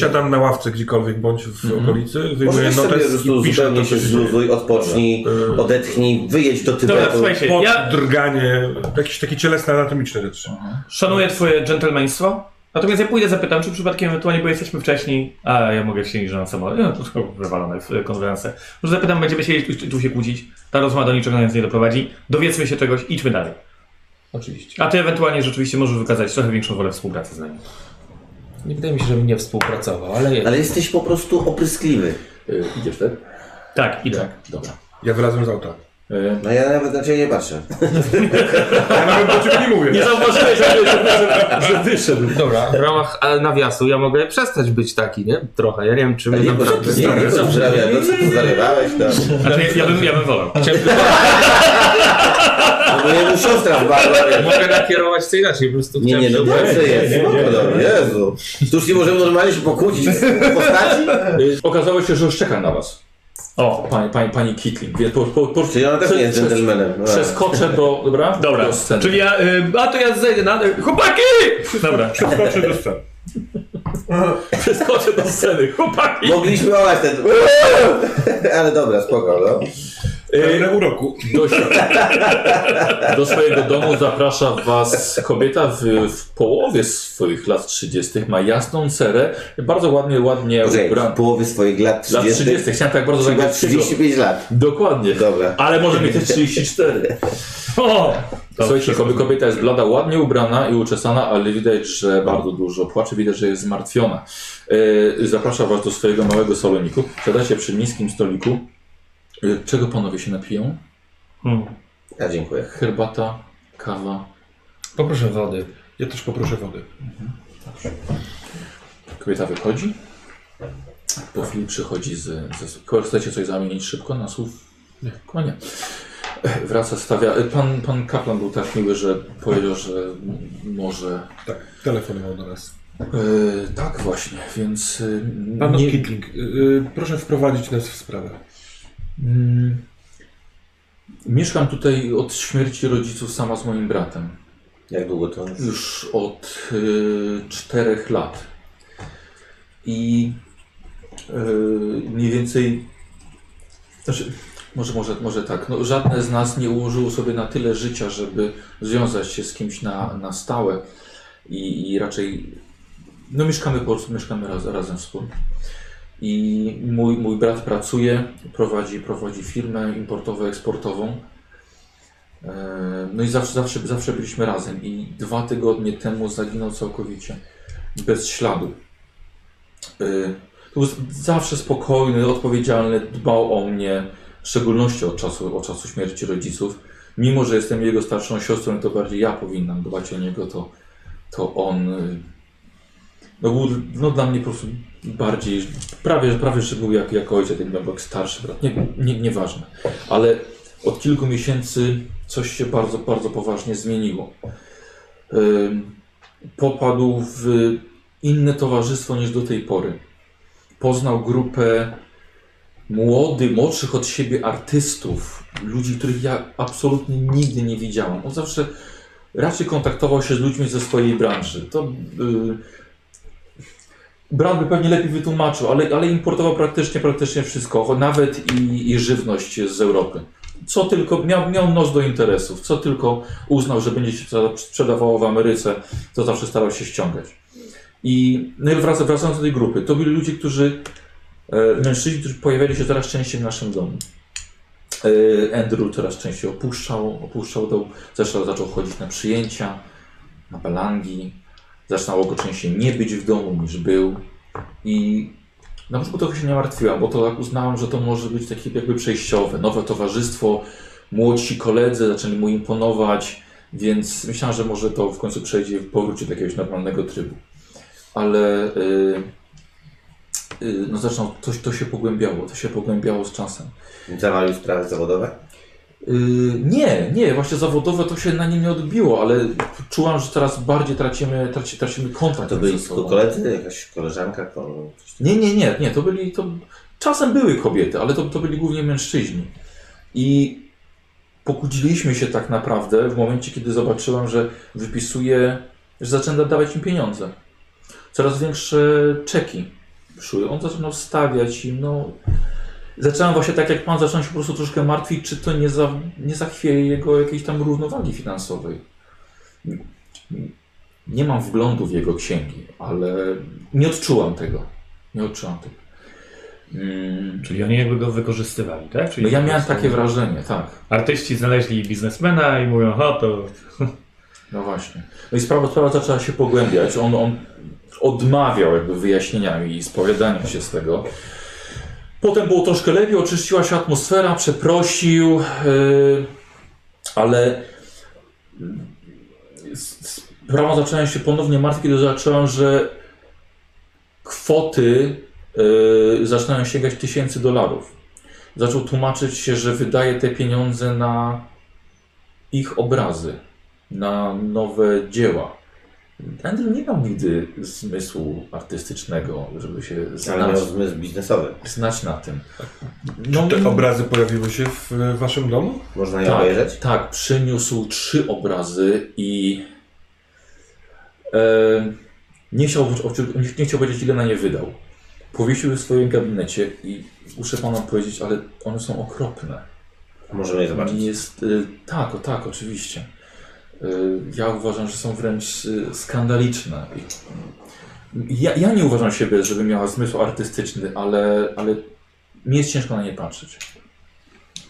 S6: Siadam na ławce gdziekolwiek bądź w okolicy,
S3: Może
S6: wyjmuję
S3: weź sobie po
S6: notes
S3: prostu
S6: i piszę
S3: zupełnie
S6: to, co
S3: się
S6: się dzieje.
S3: zluzuj, odpocznij,
S6: Dobra.
S3: odetchnij, wyjedź do Tybetu.
S8: Dobra, słuchajcie, ja
S6: Pod drganie, jakieś takie cielesne, anatomiczne rzeczy.
S8: szanuję twoje dżentelmeństwo, natomiast ja pójdę zapytam, czy przypadkiem ewentualnie, bo jesteśmy wcześniej, a ja mogę siedzieć na samolot, no, to wywalone w e, konferencję. Może zapytam, będziemy siedzieć tu, tu się kłócić, ta rozmowa do niczego nas nie doprowadzi, dowiedzmy się czegoś, idźmy dalej.
S5: Oczywiście.
S8: A ty ewentualnie rzeczywiście możesz wykazać trochę większą wolę współpracy z nami.
S5: Nie wydaje mi się, żebym nie współpracował, ale...
S3: Ale jesteś po prostu opryskliwy.
S2: Y, idziesz wtedy?
S8: Tak, idę.
S2: Dobra.
S6: Ja wylazłem z auta.
S2: Y,
S3: No ja nawet na ciebie nie patrzę.
S6: Ja nawet do ciebie nie mówię.
S2: nie zauważyłeś, że, że, że wyszedł.
S5: Dobra, w ramach e, nawiasu ja mogę przestać być taki, nie? Trochę, ja nie wiem, czy my
S3: Nie, bo co
S5: naprawdę...
S3: ty znowu zarywałeś? No co ty zarywałeś tam?
S8: Znaczy, ja, ja, bym, ja bym wolał.
S3: No bo jego siostra w barbarze.
S5: Mogę nakierować to inaczej, po prostu
S3: Nie, nie,
S5: chciałem
S3: no
S5: się
S3: dobrze jest, spoko, dobra, Jezu. Tuż nie możemy normalnie się pokłócić w postaci?
S2: Y, Okazało się, że już czeka na was. O, pani, pani, pani Kitling. Wie, po, po, po,
S3: Czyli ona też nie jest
S2: przez-
S3: dżentelmenem.
S2: Przeskoczę do, dobra?
S8: Dobra,
S2: Do sceny.
S8: czyli ja, y, a to ja zejdę na... y, Chłopaki! Dobra,
S6: Przeskoczę do sceny.
S2: Przeskoczę do sceny, chłopaki!
S3: Mogliśmy olać ten... Ale dobra, spoko, no.
S2: Y,
S6: Na uroku.
S2: Do, do swojego domu zaprasza was kobieta w, w połowie swoich lat 30. Ma jasną cerę, bardzo ładnie, ładnie
S3: Poczekaj,
S2: ubrana.
S3: w połowie swoich lat
S2: Lat
S3: 30.
S2: 30. Chciałem tak bardzo
S3: czyli ma
S2: zagrać.
S3: 35 lat.
S2: Dokładnie.
S3: Dobra.
S2: Ale może mieć też 34.
S8: o!
S2: Słuchajcie, kobie- kobieta jest blada, ładnie ubrana i uczesana, ale widać, że bardzo dużo płacze, widać, że jest zmartwiona. Yy, zaprasza was do swojego małego saloniku. Siadacie przy niskim stoliku. Yy, czego panowie się napiją?
S8: Hmm.
S3: Ja dziękuję.
S2: Herbata, kawa.
S5: Poproszę wody.
S6: Ja też poproszę wody.
S2: Kobieta wychodzi. Po chwili przychodzi z... z chcecie coś zamienić szybko na słów? Nie. Chyba nie. Ech, Wraca, stawia... e, Pan, pan Kaplan był tak miły, że powiedział, że m- może...
S6: Tak, telefonował do nas.
S2: E, tak właśnie, więc... e,
S6: Pan
S2: nie-
S6: Kitling, y, y, proszę wprowadzić nas w sprawę.
S2: Mm, Mieszkam tutaj od śmierci rodziców sama z moim bratem.
S3: Jak długo to?
S2: Już od y, czterech lat. I y, mniej więcej. Znaczy, może, może, może tak. No, żadne z nas nie ułożyło sobie na tyle życia, żeby związać się z kimś na, na stałe. I, I raczej. No, mieszkamy po prostu, mieszkamy raz, razem wspólnie. I mój, mój brat pracuje, prowadzi, prowadzi firmę importowo-eksportową. E, No i zawsze, zawsze, zawsze byliśmy razem i dwa tygodnie temu zaginął całkowicie, bez śladu. E, Był z- zawsze spokojny, odpowiedzialny, dbał o mnie, w szczególności od czasu, od czasu śmierci rodziców. Mimo, że jestem jego starszą siostrą, to bardziej ja powinnam dbać o niego, to, to on e, no był no, dla mnie po prostu bardziej, prawie, prawie że był jak, jak ojciec, jak, jak starszy brat, nie, nie, nieważne. Ale od kilku miesięcy coś się bardzo, bardzo poważnie zmieniło. Ym, Popadł w inne towarzystwo niż do tej pory. Poznał grupę młodych, młodszych od siebie artystów, ludzi, których ja absolutnie nigdy nie widziałam. On zawsze raczej kontaktował się z ludźmi ze swojej branży. To yy, Brat by pewnie lepiej wytłumaczył, ale, ale importował praktycznie, praktycznie wszystko, nawet i, i żywność z Europy. co tylko, miał, miał nos do interesów, co tylko uznał, że będzie się sprzeda- sprzedawało w Ameryce, to zawsze starał się ściągać. I no i wrac, wracając do tej grupy, to byli ludzie, którzy, e, mężczyźni, którzy pojawiali się coraz częściej w naszym domu. E, Andrew coraz częściej opuszczał, opuszczał dom, zaczął, zaczął chodzić na przyjęcia, na balangi, zaczynało go częściej nie być w domu niż był i na początku trochę się nie martwiłam, bo to tak uznałam, że to może być takie jakby przejściowe, nowe towarzystwo, młodsi koledzy zaczęli mu imponować, więc myślałam, że może to w końcu przejdzie powróci do jakiegoś normalnego trybu. Ale y, y, no zresztą to, to się pogłębiało, to się pogłębiało z czasem.
S3: Zawalił sprawy zawodowe?
S2: Y, nie, nie, właśnie zawodowe to się na nim nie odbiło, ale czułam, że coraz bardziej tracimy, traci, tracimy kontakt
S3: To
S2: ze
S3: byli
S2: sobą.
S3: tylko koledzy, jakaś koleżanka, ko- coś
S2: Nie, nie, nie, nie, to byli, to czasem były kobiety, ale to, to byli głównie mężczyźni. I pokłóciliśmy się tak naprawdę w momencie, kiedy zobaczyłam, że wypisuje, że zaczyna dawać im pieniądze. Coraz większe czeki szły. On zaczynał stawiać im, no... Zacząłem właśnie tak jak pan, zacząłem się po prostu troszkę martwić, czy to nie, za, nie zachwieje jego jakiejś tam równowagi finansowej. Nie mam wglądu w jego księgi, ale nie odczułam tego. Nie odczułam tego. Mm,
S8: Czyli oni jakby go wykorzystywali, tak? Czyli
S2: no ja miałem
S8: po prostu
S2: takie wrażenie, tak.
S8: Artyści znaleźli biznesmena i mówią, ho, to
S2: No właśnie. No i sprawa, sprawa zaczęła się pogłębiać. On, on odmawiał jakby wyjaśnieniami i spowiadaniem się z tego. Potem było troszkę lepiej, oczyściła się atmosfera, przeprosił, yy, ale yy, s- sprawa zaczęła się ponownie martwić, kiedy zacząłem, że kwoty yy, zaczynają sięgać tysięcy dolarów. Zaczął tłumaczyć się, że wydaje te pieniądze na ich obrazy na nowe dzieła. Andrew nie miał nigdy zmysłu artystycznego, żeby się
S3: Ale miał
S2: znać,
S3: zmysł biznesowy.
S2: znać na tym.
S6: Czy te obrazy pojawiły się w e, waszym domu?
S3: Można je
S2: tak,
S3: obejrzeć?
S2: Tak, przyniósł trzy obrazy i e, nie, chciał, oczy- nie- nie chciał powiedzieć, ile na nie wydał. Powiesił je w swoim gabinecie i muszę panu powiedzieć, ale one są okropne.
S3: Możemy je zobaczyć.
S2: Jest, y, tak, o tak, oczywiście. Y, ja uważam, że są wręcz y, skandaliczne. I- Ja, ja nie uważam siebie, żeby miała zmysł artystyczny, ale, ale mi jest ciężko na nie patrzeć.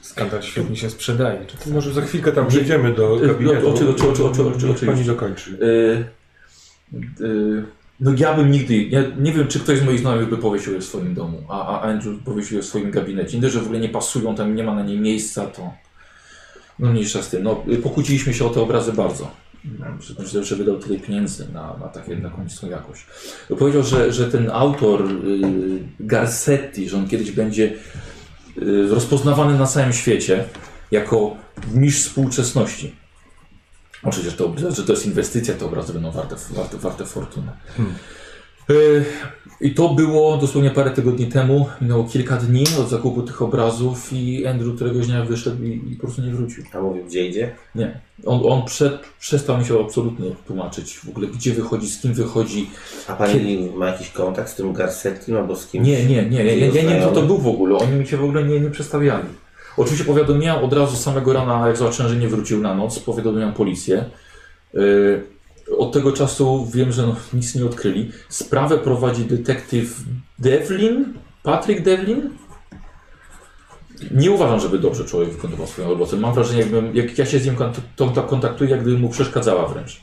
S5: Skandal świetnie się sprzedaje. Czy
S6: To może za chwilkę tam przejdziemy do
S2: Y,
S6: gabinetu.
S2: o- oczy- oczy- oczy- oczy-
S6: Niech
S2: oczywiście.
S6: Pani dokończy.
S2: Y, y, no ja bym nigdy, ja nie wiem, czy ktoś z moich znajomych by powiesił je w swoim domu, a, a Andrew powiesił je w swoim gabinecie. Nie, dość, że w ogóle nie pasują, tam nie ma na nie miejsca, to no mniejsza z tym. No, y, pokłóciliśmy się o te obrazy bardzo. Że- Że, że wydał tyle pieniędzy na, na takie na końcową jakość. Powiedział, że, że ten autor y, Garcetti, że on kiedyś będzie y, rozpoznawany na całym świecie jako mistrz współczesności. Oczywiście, że No to, obraz- że to jest inwestycja, te obrazy będą warte, warte, warte fortunę. Y, I to było dosłownie parę tygodni temu. Minęło kilka dni od zakupu tych obrazów i Andrew któregoś dnia wyszedł i, i po prostu nie wrócił.
S3: A mówił, gdzie idzie?
S2: Nie. On, on prze, przestał mi się absolutnie tłumaczyć w ogóle, gdzie wychodzi, z kim wychodzi.
S3: A pani ma jakiś kontakt z tym Garcetti albo z kimś?
S2: Nie, nie, nie. Ja, ja, ja nie wiem, kto to
S3: Znajomy?
S2: był w ogóle. Oni mi się w ogóle nie, nie przedstawiali. Oczywiście powiadomiłem od razu samego rana, jak zobaczyłem, że nie wrócił na noc, powiadomiłem policję. Yy, Od tego czasu wiem, że no, nic nie odkryli. Sprawę prowadzi detektyw Devlin, Patrick Devlin. Nie uważam, żeby dobrze człowiek wykonywał swoją robotę. Mam wrażenie, jakbym, jak ja się z nim kont- to- kontaktuję, jak gdybym mu przeszkadzała wręcz.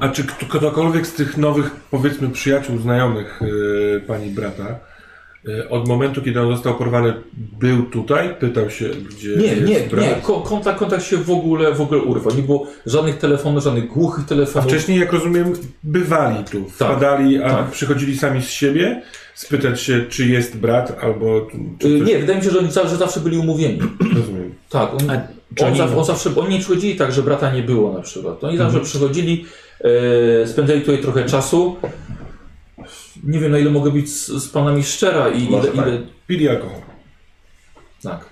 S6: A czy kto- ktokolwiek z tych nowych, powiedzmy, przyjaciół, znajomych e, pani brata, e, od momentu, kiedy on został porwany, był tutaj? Pytał się, gdzie
S2: Nie,
S6: jest
S2: nie,
S6: brat?
S2: nie. Ko- kontakt, kontakt się w ogóle, w ogóle urwał. Nie było żadnych telefonów, żadnych głuchych
S6: A
S2: telefonów.
S6: wcześniej, jak rozumiem, bywali tu, wpadali, a
S2: tak.
S6: przychodzili sami z siebie, spytać się, czy jest brat, albo... Czy
S2: Y,
S6: coś-
S2: Nie, wydaje mi się, że oni za- że zawsze byli umówieni.
S6: Rozumiem.
S2: Tak, on,
S8: czy
S2: on,
S8: oni-
S2: zawsze, on zawsze, oni nie przychodzili tak, że brata nie było na przykład. Oni zawsze przychodzili, e, spędzali tutaj trochę czasu. Nie wiem, na ile mogę być z, z panami szczera i ile,
S3: Może tak.
S2: ile...
S6: Pili alkohol.
S2: Tak.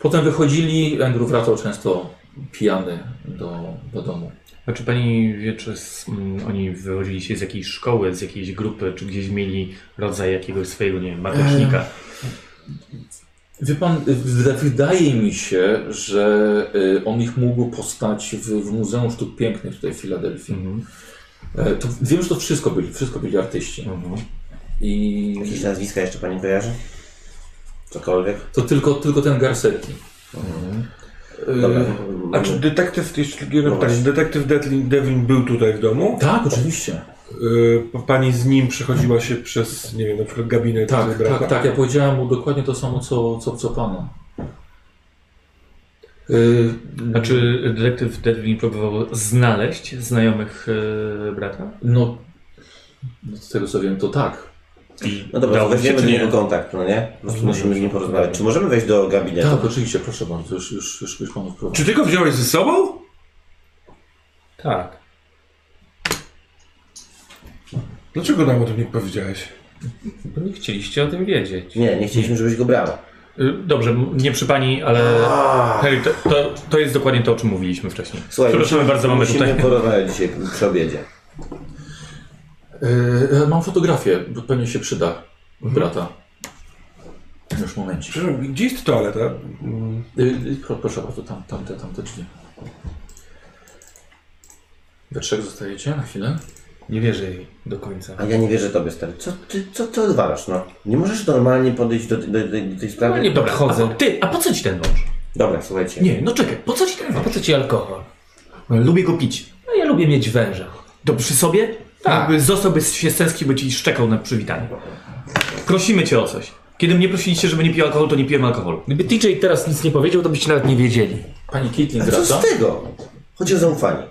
S2: Potem wychodzili, Andrew wracał często pijany do, do domu.
S8: A czy pani wie, czy z, mm, oni wywodzili się z jakiejś szkoły, z jakiejś grupy, czy gdzieś mieli rodzaj jakiegoś swojego, nie wiem, matecznika?
S2: Wie pan, wyda- wydaje mi się, że y, on ich mógł postać w, w Muzeum Sztuk Pięknych tutaj w Filadelfii.
S8: Mhm.
S2: E, To, wiem, że to wszystko byli, wszystko byli artyści.
S8: Mhm.
S2: I
S3: Jakieś nazwiska jeszcze pani kojarzy? Cokolwiek?
S2: to tylko, tylko ten Garcetti.
S3: Dobra.
S2: E,
S6: A czy detektyw, jeszcze jedno
S3: No
S6: pytanie,
S3: właśnie.
S6: detektyw Devlin, Devlin był tutaj w domu?
S2: Tak, oczywiście.
S6: Yy, pa- pani z nim przechodziła się przez, nie wiem, na przykład gabinet
S2: Tak,
S6: brata?
S2: tak, tak. Ja powiedziałem mu dokładnie to samo, co, co, co panu. Y,
S8: A czy detektyw Devlin Znaczy, próbował znaleźć znajomych e, brata?
S2: No, no, z tego co wiem, to tak.
S8: I
S3: No dobra, to
S8: udało mu się,
S3: weźmiemy
S8: czy
S3: do
S8: nie?
S3: niego kontakt, no nie? Po prostu musimy z nim porozmawiać. Czy możemy wejść do gabinetu?
S2: Tak, oczywiście, proszę bardzo, już, już, już, już panu wprowadzę.
S6: Czy ty go wziąłeś ze sobą?
S8: Tak.
S6: Dlaczego nam o tym nie powiedziałeś?
S5: Bo nie chcieliście o tym wiedzieć.
S3: Nie, nie chcieliśmy, żebyś go brał.
S8: Y, Dobrze, m- nie przy pani, ale. Harry, to, to, to jest dokładnie to, o czym mówiliśmy wcześniej.
S3: Słuchaj,
S8: Przepraszamy
S3: musimy-
S8: bardzo, mamy
S3: musimy
S8: tutaj.
S3: porozmawiać dzisiaj przy obiedzie.
S2: E, mam fotografię, bo pewnie się przyda
S8: Mhm.
S2: brata. Już momencik.
S6: Przepraszam, gdzie jest toaleta?
S2: E, e, pro- proszę bardzo, tam, tamte, tamte drzwi. We trzech zostajecie na chwilę?
S5: Nie wierzę jej do końca.
S3: A ja nie wierzę tobie, stary. Co ty, co ty odwalasz, no? Nie możesz normalnie podejść do, do, do, do tej sprawy?
S5: nie
S8: Dobra,
S5: podchodzę.
S8: A, ty, a po co ci ten nóż?
S3: Dobra, słuchajcie.
S8: Nie, no czekaj, po co ci ten
S5: A
S8: nóż?
S5: po co ci alkohol?
S8: Lubię go pić.
S5: No ja lubię mieć węża.
S8: To przy sobie?
S5: Tak.
S8: Jakby Zostałby się stęsknił, by ci szczekał na przywitanie. Prosimy cię o coś. Kiedy mnie prosiliście, żeby nie pił alkoholu, to nie piłem alkoholu.
S5: Gdyby TJ teraz nic nie powiedział, to byście nawet nie wiedzieli.
S2: Pani Caitlin
S3: A co
S2: wraca.
S3: z tego? Chodzi o zaufanie.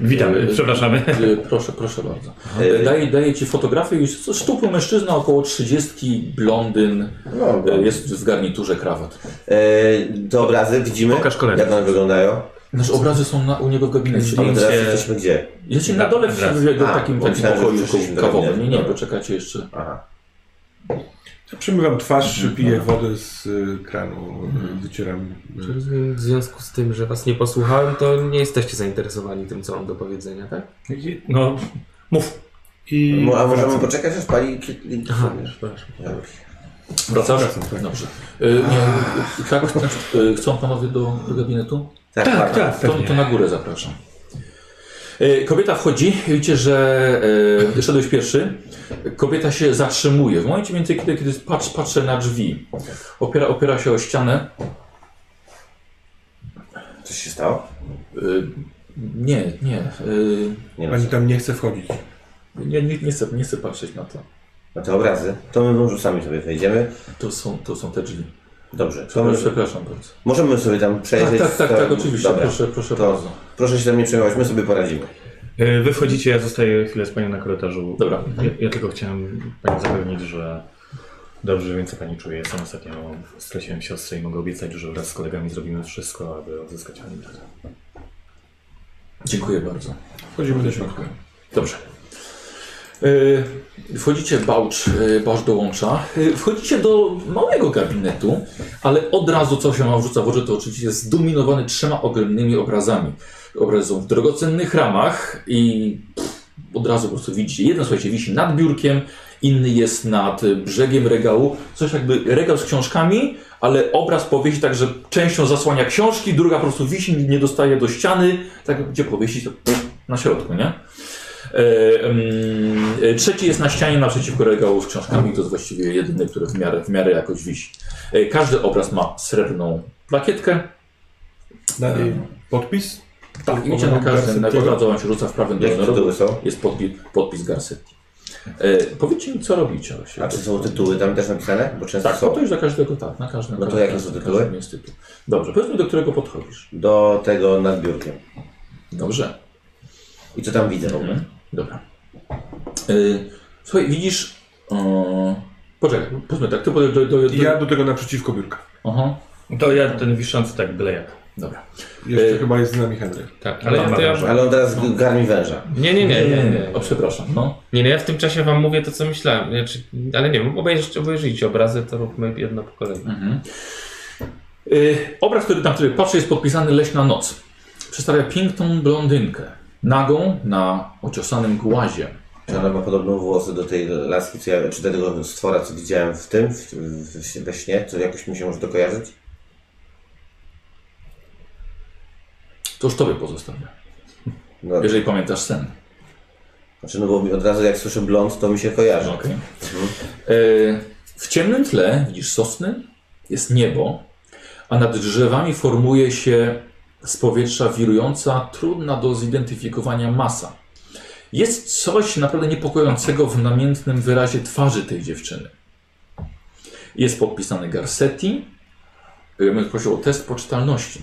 S8: Witamy, przepraszamy.
S2: E, proszę, proszę bardzo. E, daję, daję ci fotografię i jest to szczupły mężczyzna, około 30, blondyn.
S3: No,
S2: E, jest w garniturze krawat.
S3: E, te obrazy widzimy,
S8: Pokaż kolejny.
S3: jak one wyglądają.
S2: Nasze obrazy są na, u niego w gabinecie.
S3: Ale teraz
S8: Zdjęcie-
S3: jesteśmy gdzie?
S2: Jesteśmy na dole w, w, jego
S3: A,
S2: takim, takim
S3: myślałem, że
S2: pokoju
S3: przeszliśmy do
S2: kawowym. Nie,
S3: gabinetu.
S2: nie,
S3: Dobra.
S2: poczekacie jeszcze.
S3: Aha.
S6: Przemywam twarz, piję wodę z y, kranu, y, wycieram. y,
S5: Rozumiem, w związku z tym, że was nie posłuchałem, to nie jesteście zainteresowani tym, co mam do powiedzenia, tak?
S8: No, mów.
S6: I
S3: Mo- A możemy
S6: wracam.
S3: poczekać, aż pali kiedy...
S5: przepraszam.
S3: Dobra.
S2: Wracasz?
S6: Wracam, tak.
S2: Dobrze. E, nie, tak, e, chcą panowie do, do gabinetu?
S3: Tak, tak.
S2: To, to na górę zapraszam. E, Kobieta wchodzi, widzicie, że e, szedłeś pierwszy. Kobieta się zatrzymuje. W momencie mniej więcej, kiedy, kiedy patrz, patrzę na drzwi, opiera, opiera się o ścianę.
S3: Coś się stało?
S2: E, nie, nie, e,
S3: Nie no, ma.
S6: Pani tam nie chce wchodzić.
S2: nie, nie, nie, chcę, nie chcę patrzeć na to.
S3: No te obrazy, to my może sami sobie wejdziemy.
S2: To są, to są te drzwi.
S3: Dobrze, to
S2: Przepraszam,
S3: może,
S2: przepraszam bardzo.
S3: możemy sobie tam
S2: Tak,
S3: przejrzeć.
S2: tak, tak,
S3: to-
S2: tak oczywiście,
S3: Dobra.
S2: proszę, proszę
S3: To
S2: bardzo.
S3: proszę się tam nie przejmować, my sobie poradzimy.
S8: Y, Wy wchodzicie, ja zostaję chwilę z panią na korytarzu.
S2: Dobra.
S8: Ja, ja tylko chciałem panią zapewnić, że dobrze wiem, co pani czuje. Sam ostatnio straciłem siostrę i mogę obiecać, że wraz z kolegami zrobimy wszystko, aby odzyskać pani brata.
S2: Dziękuję bardzo.
S6: Wchodzimy do środka.
S2: Dobrze. Y, Wchodzicie, bałcz, y, bałcz dołącza. Y, Wchodzicie do małego gabinetu, ale od razu co się wam rzuca w oczy, to oczywiście jest zdominowany trzema ogromnymi obrazami. Obrazy są w drogocennych ramach i pff, od razu po prostu widzicie. Jeden, słuchajcie, wisi nad biurkiem, inny jest nad y, brzegiem regału. Coś jakby regał z książkami, ale obraz powiesi tak, że częścią zasłania książki, druga po prostu wisi, nie dostaje do ściany. Tak, gdzie powiesić, to pff, na środku, nie? E, mm, e, Trzeci jest na ścianie naprzeciwko regału z książkami. To jest właściwie jedyny, który w miarę, w miarę jakoś wisi. E, Każdy obraz ma srebrną plakietkę.
S6: Dalej podpis?
S2: Tak, i macie na każdym, na
S6: Garcetti'ego.
S2: każdym wam się rzuca w prawym
S3: Jakie tytuły
S2: dolnym
S3: są?
S2: jest podpis, podpis Garcetti. E, powiedzcie mi, co robicie.
S3: A czy są tytuły tam też napisane? Bo często
S2: Tak, no
S3: są.
S2: to już dla każdego, tak, na każdym.
S3: No to
S2: na
S3: jakie
S2: każdym-
S3: są
S2: na
S3: tytuły?
S2: każdym jest tytuł. Dobrze, powiedzmy, do którego podchodzisz.
S3: Do tego nad biurkiem.
S2: Dobrze.
S3: I co tam widzę w ogóle?
S2: Dobra. Y, słuchaj, widzisz... O, poczekaj, powiedzmy tak, ty podejdziesz do... do, do
S6: Ja do tego naprzeciwko biurka.
S2: Aha,
S8: To ja ten wiszący tak byle jak.
S2: dobra.
S6: Jeszcze
S2: E,
S6: chyba jest z nami Henry.
S5: Tak, ale ja, to ja...
S3: Ale on teraz g- garmi węża.
S5: Nie, nie, nie, nie, nie.
S2: O, przepraszam, no.
S5: Nie, no ja w tym czasie wam mówię to, co myślałem. Znaczy, ale nie wiem, obejrzyjcie, obejrzyjcie obrazy, to róbmy jedno po kolei.
S2: Y, obraz, który, na który patrzę, jest podpisany Leśna Noc. Przedstawia piękną blondynkę, nagą na ociosanym głazie.
S3: Czy ona ma podobną włosy do tej laski, co ja, czy do tego stwora, co widziałem w tym, w, w, we śnie? Co jakoś mi się może to kojarzyć?
S2: To już tobie pozostawia.
S3: No,
S2: Jeżeli pamiętasz sen.
S3: znaczy, no bo mi od razu jak słyszę blond, to mi się kojarzy.
S2: No, Okej. E, W ciemnym tle widzisz sosny, jest niebo, a nad drzewami formuje się z powietrza wirująca, trudna do zidentyfikowania masa. Jest coś naprawdę niepokojącego w namiętnym wyrazie twarzy tej dziewczyny. Jest podpisany Garcetti. Ja bym prosił o test poczytalności.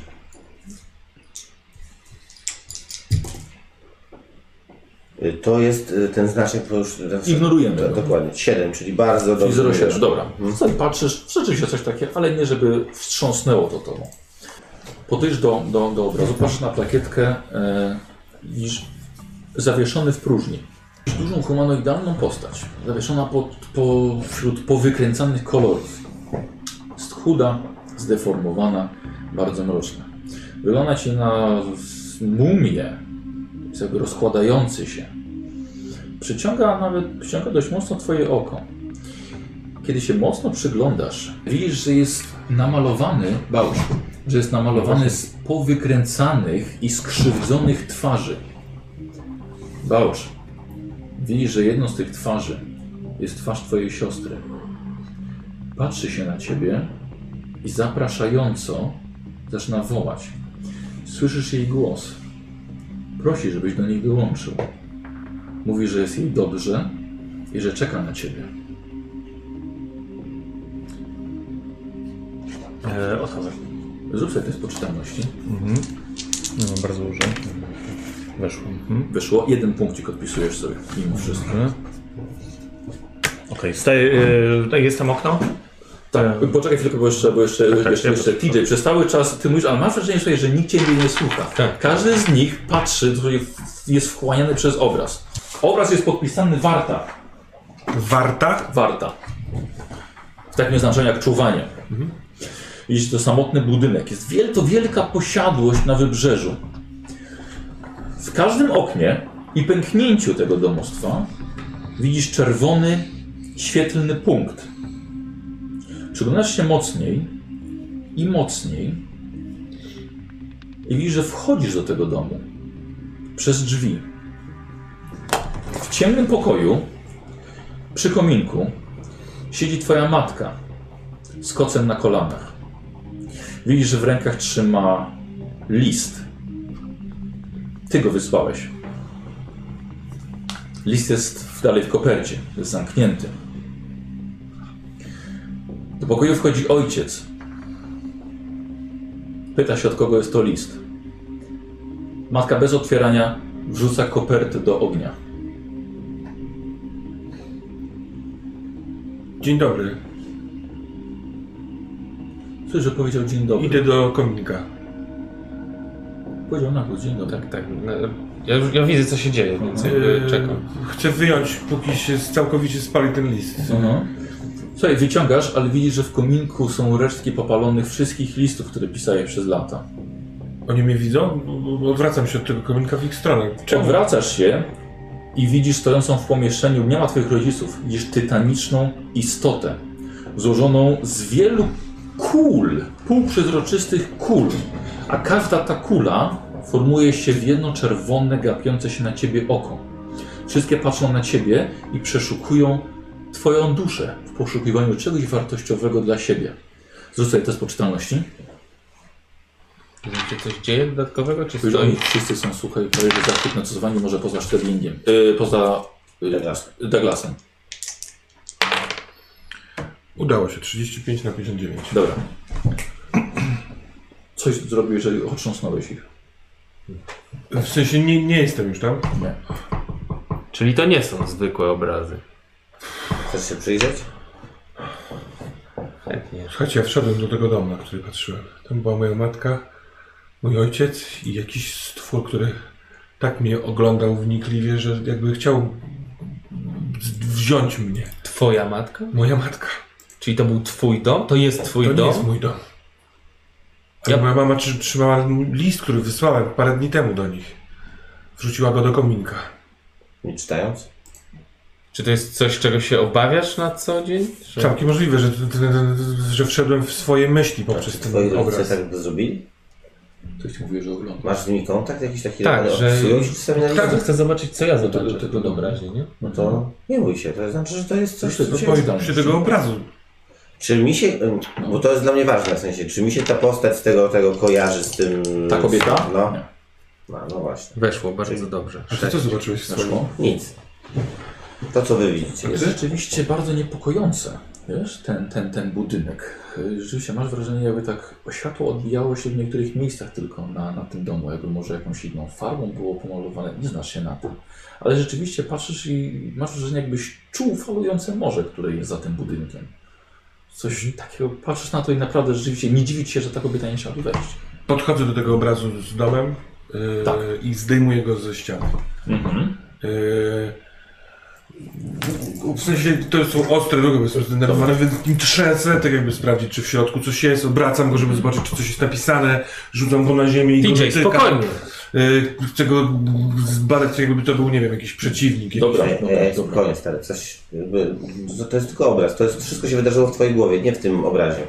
S3: Y, To jest y, ten znaczek, to już... ten-
S2: Ignorujemy
S3: to,
S2: go.
S3: Dokładnie, 7, czyli bardzo
S2: Czyli
S3: dobrze.
S2: 07, dobra. Sobie patrzysz, rzeczywiście coś takie, ale nie żeby wstrząsnęło to tobą. Podejdź do, do, do obrazu, patrzysz na plakietkę, e, widzisz zawieszony w próżni. Widzisz Dużą humanoidalną postać, zawieszona pod, po, wśród powykręcanych kolorów. Jest chuda, zdeformowana, bardzo mroczna. Wygląda ci na w- mumię, jest jakby rozkładający się. Przyciąga nawet, przyciąga dość mocno twoje oko. Kiedy się mocno przyglądasz, widzisz, że jest namalowany bałsz, że jest namalowany z powykręcanych i skrzywdzonych twarzy. Bałsz, widzisz, że jedną z tych twarzy jest twarz twojej siostry. Patrzy się na ciebie i zapraszająco zaczyna wołać. Słyszysz jej głos. Prosi, żebyś do niej dołączył. Mówi, że jest jej dobrze i że czeka na ciebie.
S8: E, odchodzę.
S2: Zrób sobie test poczytalności.
S8: No, bardzo dużo. Weszło. Mhm.
S2: Wyszło. Jeden punkcik odpisujesz sobie mimo wszystko.
S8: Okej, staję, e, tak, jest tam okno?
S2: Tak, poczekaj chwilkę, bo jeszcze, bo jeszcze, jeszcze,
S8: ja
S2: jeszcze TJ, przez cały czas ty mówisz, ale masz wrażenie, słuchaj, że nikt ciebie nie słucha.
S5: Tak.
S2: Każdy z nich patrzy, który jest wchłaniany przez obraz. Obraz jest podpisany Warta.
S6: Warta?
S2: Warta. W takim znaczeniu jak czuwanie. Widzisz, to samotny budynek. Jest wiel, to wielka posiadłość na wybrzeżu. W każdym oknie i pęknięciu tego domostwa widzisz czerwony, świetlny punkt. Przyglądasz się mocniej i mocniej i widzisz, że wchodzisz do tego domu przez drzwi. W ciemnym pokoju przy kominku siedzi twoja matka z kocem na kolanach. Widzisz, że w rękach trzyma list. Ty go wysłałeś. List jest w- dalej w kopercie, jest zamknięty. Do pokoju wchodzi ojciec. Pyta się, od kogo jest to list. Matka bez otwierania wrzuca kopertę do ognia.
S6: Dzień dobry.
S2: Słyszę, że powiedział dzień dobry.
S6: Idę do kominka.
S2: Powiedział nagło dzień dobry.
S5: Tak, tak. No, Ja, już, ja widzę co się dzieje, więc jakby
S6: Yy,
S5: czekam.
S6: Chcę wyjąć, póki się całkowicie spali ten list.
S2: Mhm. Słuchaj, wyciągasz, ale widzisz, że w kominku są resztki popalonych wszystkich listów, które pisałeś przez lata.
S6: Oni mnie widzą? Odwracam się od tego kominka w ich stronę. Czemu?
S2: Odwracasz się i widzisz stojącą w pomieszczeniu, nie ma twoich rodziców, widzisz tytaniczną istotę, złożoną z wielu kul, półprzezroczystych kul, a każda ta kula formuje się w jedno czerwone, gapiące się na ciebie oko. Wszystkie patrzą na ciebie i przeszukują twoją duszę w poszukiwaniu czegoś wartościowego dla siebie. Zostaje test poczytalności.
S5: Czy coś dzieje dodatkowego, czy
S2: Powiedział,
S5: stoi?
S2: oni wszyscy są słuchaj, prawie że zachwyt nocowanie może poza Sterlingiem. Yy, poza yy,
S3: Teraz.
S2: Douglasem.
S6: Udało się, 35 na 59.
S2: Dobra. Coś zrobił, jeżeli otrząsnąłeś ich.
S6: W sensie nie, nie jestem już tam.
S2: Nie.
S5: Czyli to nie są zwykłe obrazy.
S3: Chcesz się przyjrzeć?
S5: Chętnie.
S6: Słuchajcie, ja wszedłem do tego domu, na który patrzyłem. Tam była moja matka, mój ojciec i jakiś stwór, który tak mnie oglądał wnikliwie, że jakby chciał z- wziąć mnie.
S5: Twoja matka?
S6: Moja matka.
S5: Czyli to był twój dom? To jest twój
S6: To nie
S5: dom?
S6: jest mój dom.
S5: Ja-
S6: Ja... Moja mama trzy- trzymała list, który wysłałem parę dni temu do nich. Wrzuciła go do kominka.
S3: Nie czytając?
S5: Czy to jest coś, czego się obawiasz na co dzień? Że...
S6: Czapki możliwe, że, że wszedłem w swoje myśli poprzez
S3: Twoi
S6: ten
S3: rodzice
S6: obraz.
S3: tak by zrobili?
S2: Ktoś ci mówił, że ogląda.
S3: Masz z nimi kontakt jakiś taki?
S5: Tak,
S3: ale
S5: że-
S3: obsują ci seminarium?
S2: Tak.
S5: Każdy chce zobaczyć, co ja
S2: to-
S5: zobaczę.
S2: to- to dobra.
S5: nie?
S3: No to nie bój się, to znaczy, że to jest coś,
S2: Myślę,
S3: co
S2: to
S3: cię...
S2: powiem-
S6: Przy tego obrazu.
S3: Czy mi się, ym, bo to jest dla mnie ważne w sensie, czy mi się ta postać z tego, tego kojarzy z tym...
S2: Ta kobieta?
S3: No, no, no właśnie.
S5: Weszło bardzo dobrze.
S6: A tak. ty co zobaczyłeś w swoim?
S2: Weszło.
S3: Nic. To, co wy widzicie.
S2: Jest rzeczywiście bardzo niepokojące. Wiesz, ten, ten, ten budynek. Y, Rzeczywiście masz wrażenie, jakby tak światło odbijało się w niektórych miejscach tylko na, na tym domu, jakby może jakąś inną farbą było pomalowane. Nie znasz się na tym. Ale rzeczywiście patrzysz i masz wrażenie, jakbyś czuł falujące morze, które jest za tym budynkiem. Coś takiego, patrzysz na to i naprawdę rzeczywiście nie dziwić się, że ta kobieta nie chciała tu wejść.
S6: Podchodzę do tego obrazu z domem yy,
S2: Tak.
S6: i zdejmuję go ze ściany.
S2: Mhm.
S6: Yy, w sensie to są ostre ruchy, bo jestem zdenerwowany, więc nim trzęsę, tak jakby sprawdzić, czy w środku coś jest. Obracam go, żeby zobaczyć, czy coś jest napisane. Rzucam go na ziemię i go
S5: DJ,
S6: dotykam.
S5: spokojnie.
S6: Yy, chcę go zbadać, tak jakby to był, nie wiem, jakiś przeciwnik. jakiś-
S2: Dobra,
S3: Ej,
S2: dobra,
S3: ej,
S2: dobra.
S3: e, Koniec, stary, coś, jakby, to, to jest tylko obraz, to jest, wszystko się wydarzyło w twojej głowie, nie w tym obrazie.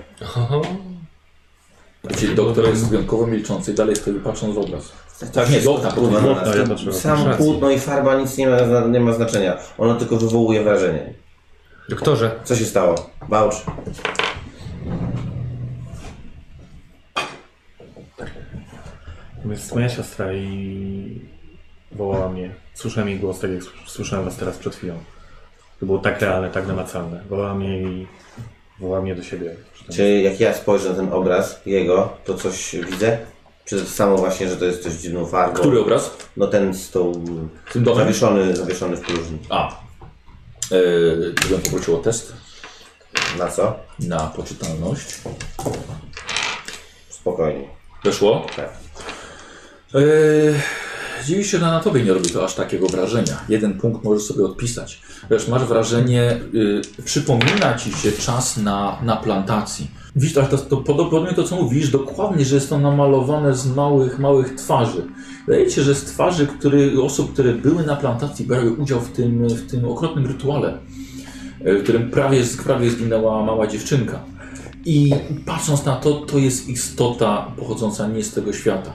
S2: Czyli Znaczy, doktor jest wyjątkowo milczący i dalej wtedy patrząc w obraz. Tak, nie, dobra,
S3: Kurwa,
S2: dobra.
S3: no, to sam płótno i farba nic nie ma, nie ma znaczenia. Ono tylko wywołuje wrażenie.
S5: Doktorze,
S3: Co się stało? Bałcz.
S8: Więc moja siostra i wołała mnie. Słyszałem jej głos, tak jak słys- słyszałem was teraz przed chwilą. To było tak realne, tak namacalne. Wołała mnie i wołała mnie do siebie.
S3: Czy jak ja spojrzę na ten obraz jego, to coś widzę? Czy samo właśnie, że to jest coś dziwną farbą?
S2: Który obraz?
S3: No ten z tą...
S2: Z tym domem?
S3: Zawieszony, zawieszony w próżni.
S2: A. Yy, bym poprosił o test
S3: Na co?
S2: na poczytalność.
S3: Spokojnie.
S2: Weszło?
S3: Tak.
S2: Yy, dziwisz się, że na tobie nie robi to aż takiego wrażenia. Jeden punkt możesz sobie odpisać. Wiesz, masz wrażenie, yy, przypomina ci się czas na, na plantacji. Widzisz, tak, to, to podobnie to, co mówisz, dokładnie, że jest to namalowane z małych, małych twarzy. Wydaje ci się, że z twarzy który, osób, które były na plantacji, brały udział w tym, w tym okropnym rytuale, yy, w którym prawie, prawie zginęła mała dziewczynka. I patrząc na to, to jest istota pochodząca nie z tego świata.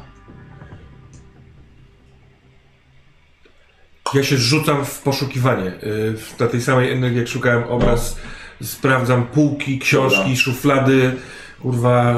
S6: Ja się rzucam w poszukiwanie. Yy, w- Na tej samej energii, jak szukałem obraz, sprawdzam półki, książki,
S2: Dobra.
S6: szuflady. Kurwa,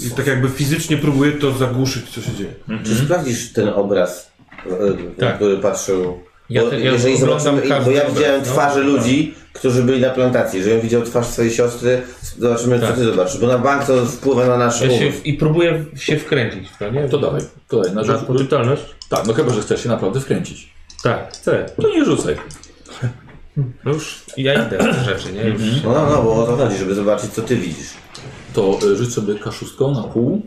S6: yy, i tak jakby fizycznie próbuję to zagłuszyć, co się dzieje.
S2: Mhm.
S3: Czy sprawdzisz ten obraz, e, na
S5: Mhm. Tak.
S3: który patrzył?
S5: Ja
S3: Bo
S5: te- ja
S3: jeżeli
S5: oglądam
S3: zobaczymy, bo
S5: każdy
S3: ja
S5: obraz,
S3: widziałem
S5: no.
S3: twarze ludzi, którzy byli na plantacji. Jeżeli widział twarz swojej siostry, zobaczymy, co
S5: Tak.
S3: ty zobaczysz. Bo na bank to wpływa na nasz
S5: ja się,
S3: umysł.
S5: w- i próbuję w- się wkręcić w to, nie?
S2: To dawaj, to dawaj, na
S5: Na
S2: rzecz.
S5: poczytalność?
S2: Tak, no chyba, że chcesz się naprawdę wkręcić.
S5: Tak, chcę.
S2: To nie rzucaj.
S5: No już ja idę w te rzeczy, nie? Już
S3: No, no, no, bo o to chodzi, żeby zobaczyć, co ty widzisz.
S2: To y, rzuć sobie K6 na pół.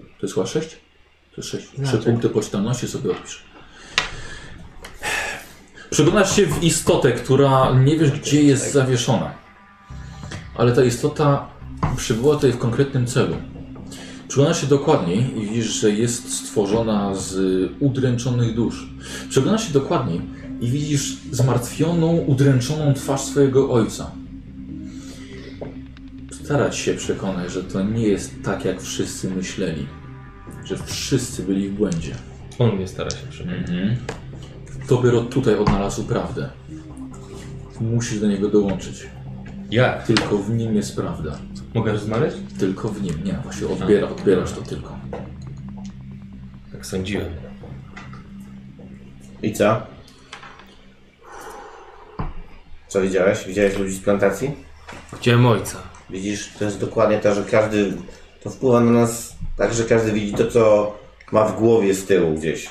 S2: To jest chyba 6? To jest 6. Trzy punkty poczytalności sobie odpisz. Przeglądasz się w istotę, która nie wiesz gdzie jest zawieszona. Ale ta istota przybyła tutaj w konkretnym celu. Przyglądasz się dokładniej i widzisz, że jest stworzona z udręczonych dusz. Przyglądasz się dokładniej i widzisz zmartwioną, udręczoną twarz swojego ojca. Starać się przekonać, że to nie jest tak, jak wszyscy myśleli. Że wszyscy byli w błędzie.
S5: on mnie stara się przekonać.
S2: To by Rod tutaj odnalazł prawdę. Musisz do niego dołączyć.
S5: Jak?
S2: Tylko w nim jest prawda.
S5: Mogę rozmawiać?
S2: Tylko w nim. Nie, no właśnie odbiera, odbierasz to tylko.
S5: Tak sądziłem.
S3: I co? Co widziałeś? Widziałeś ludzi z plantacji?
S5: Widziałem ojca.
S3: Widzisz, to jest dokładnie to, że każdy. To wpływa na nas tak, że każdy widzi to, co ma w głowie z tyłu gdzieś.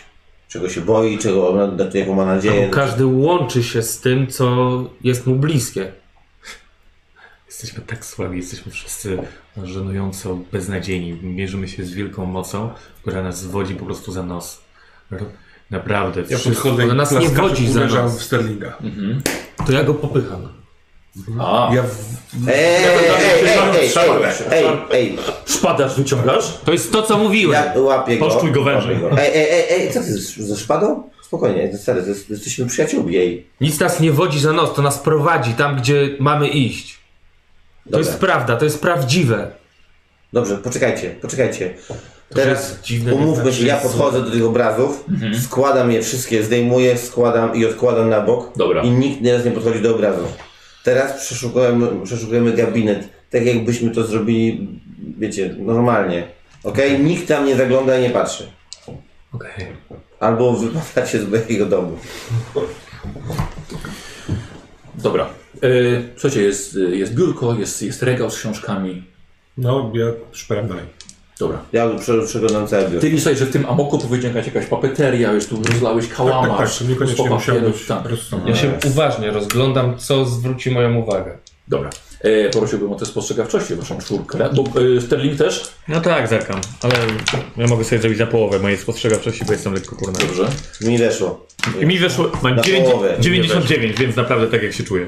S3: Czego się boi, czego, na jaką ma nadzieję.
S5: Albo No, każdy łączy się z tym, co jest mu bliskie.
S8: Jesteśmy tak słabi, jesteśmy wszyscy żenująco beznadziejni. Mierzymy się z wielką mocą, która nas zwodzi po prostu za nos. Ro- Naprawdę.
S6: Ja
S8: wszyscy-
S6: podchodzę
S5: Ona nas nie
S6: klaskam,
S5: wodzi za
S6: uderzam
S5: nos.
S6: w Sterlinga.
S5: To ja go popycham.
S2: A,
S6: Ja w...
S3: Ej, ej, ej, ej, ej, ej, ej,
S2: szpadasz wyciągasz?
S5: To jest to, co mówiłem.
S3: ja łapię go.
S8: Poszczuj go
S3: łapię
S8: wężej.
S3: Ej, ej, ej, ej, co ty z- ze szpadą? Spokojnie, stary, jesteś- jesteśmy przyjaciółmi jej.
S5: Nic nas nie wodzi za nos, to nas prowadzi tam, gdzie mamy iść. To
S3: Dobra.
S5: jest prawda, to jest prawdziwe.
S3: Dobrze, poczekajcie, poczekajcie. Teraz
S5: jest dziwne,
S3: umówmy
S5: jednak,
S3: się,
S5: że
S3: ja
S5: jest
S3: podchodzę do tych obrazów, składam je wszystkie, zdejmuję, składam i odkładam na bok.
S2: Dobra.
S3: I nikt nieraz nie podchodzi do obrazu. Teraz przeszukujemy, przeszukujemy gabinet, tak jakbyśmy to zrobili, wiecie, normalnie. Okej? Nikt tam nie zagląda i nie patrzy.
S5: Okej.
S3: Albo wypadacie z mojego domu.
S2: Dobra. E, słuchajcie, jest, jest biurko, jest, jest regał z książkami.
S6: No, ja szperam dalej.
S2: Dobra.
S3: Ja prze- przeglądam całe biuro.
S2: Ty mi słuchaj, że w tym amoku tu wyciąga ci jakaś papeteria, już tu rozlałeś kałamarz.
S6: Tak, tak, to
S2: mnóstwo
S6: niekoniecznie musiało
S2: papierów,
S6: być
S2: Tak.
S6: rozsądne.
S5: Ja się uważnie rozglądam, co zwróci moją uwagę.
S2: Dobra. E, prosiłbym o te spostrzegawczości, waszą czwórkę. Bo e, Sterling też?
S8: No tak, zerkam, ale ja mogę sobie zrobić za połowę mojej spostrzegawczości, bo jestem lekko kurna.
S2: Dobrze.
S3: Mi weszło.
S8: I mi weszło, mam
S3: Na
S8: 9,
S3: połowę.
S8: 99, więc naprawdę tak jak się
S3: *laughs*
S8: czuję.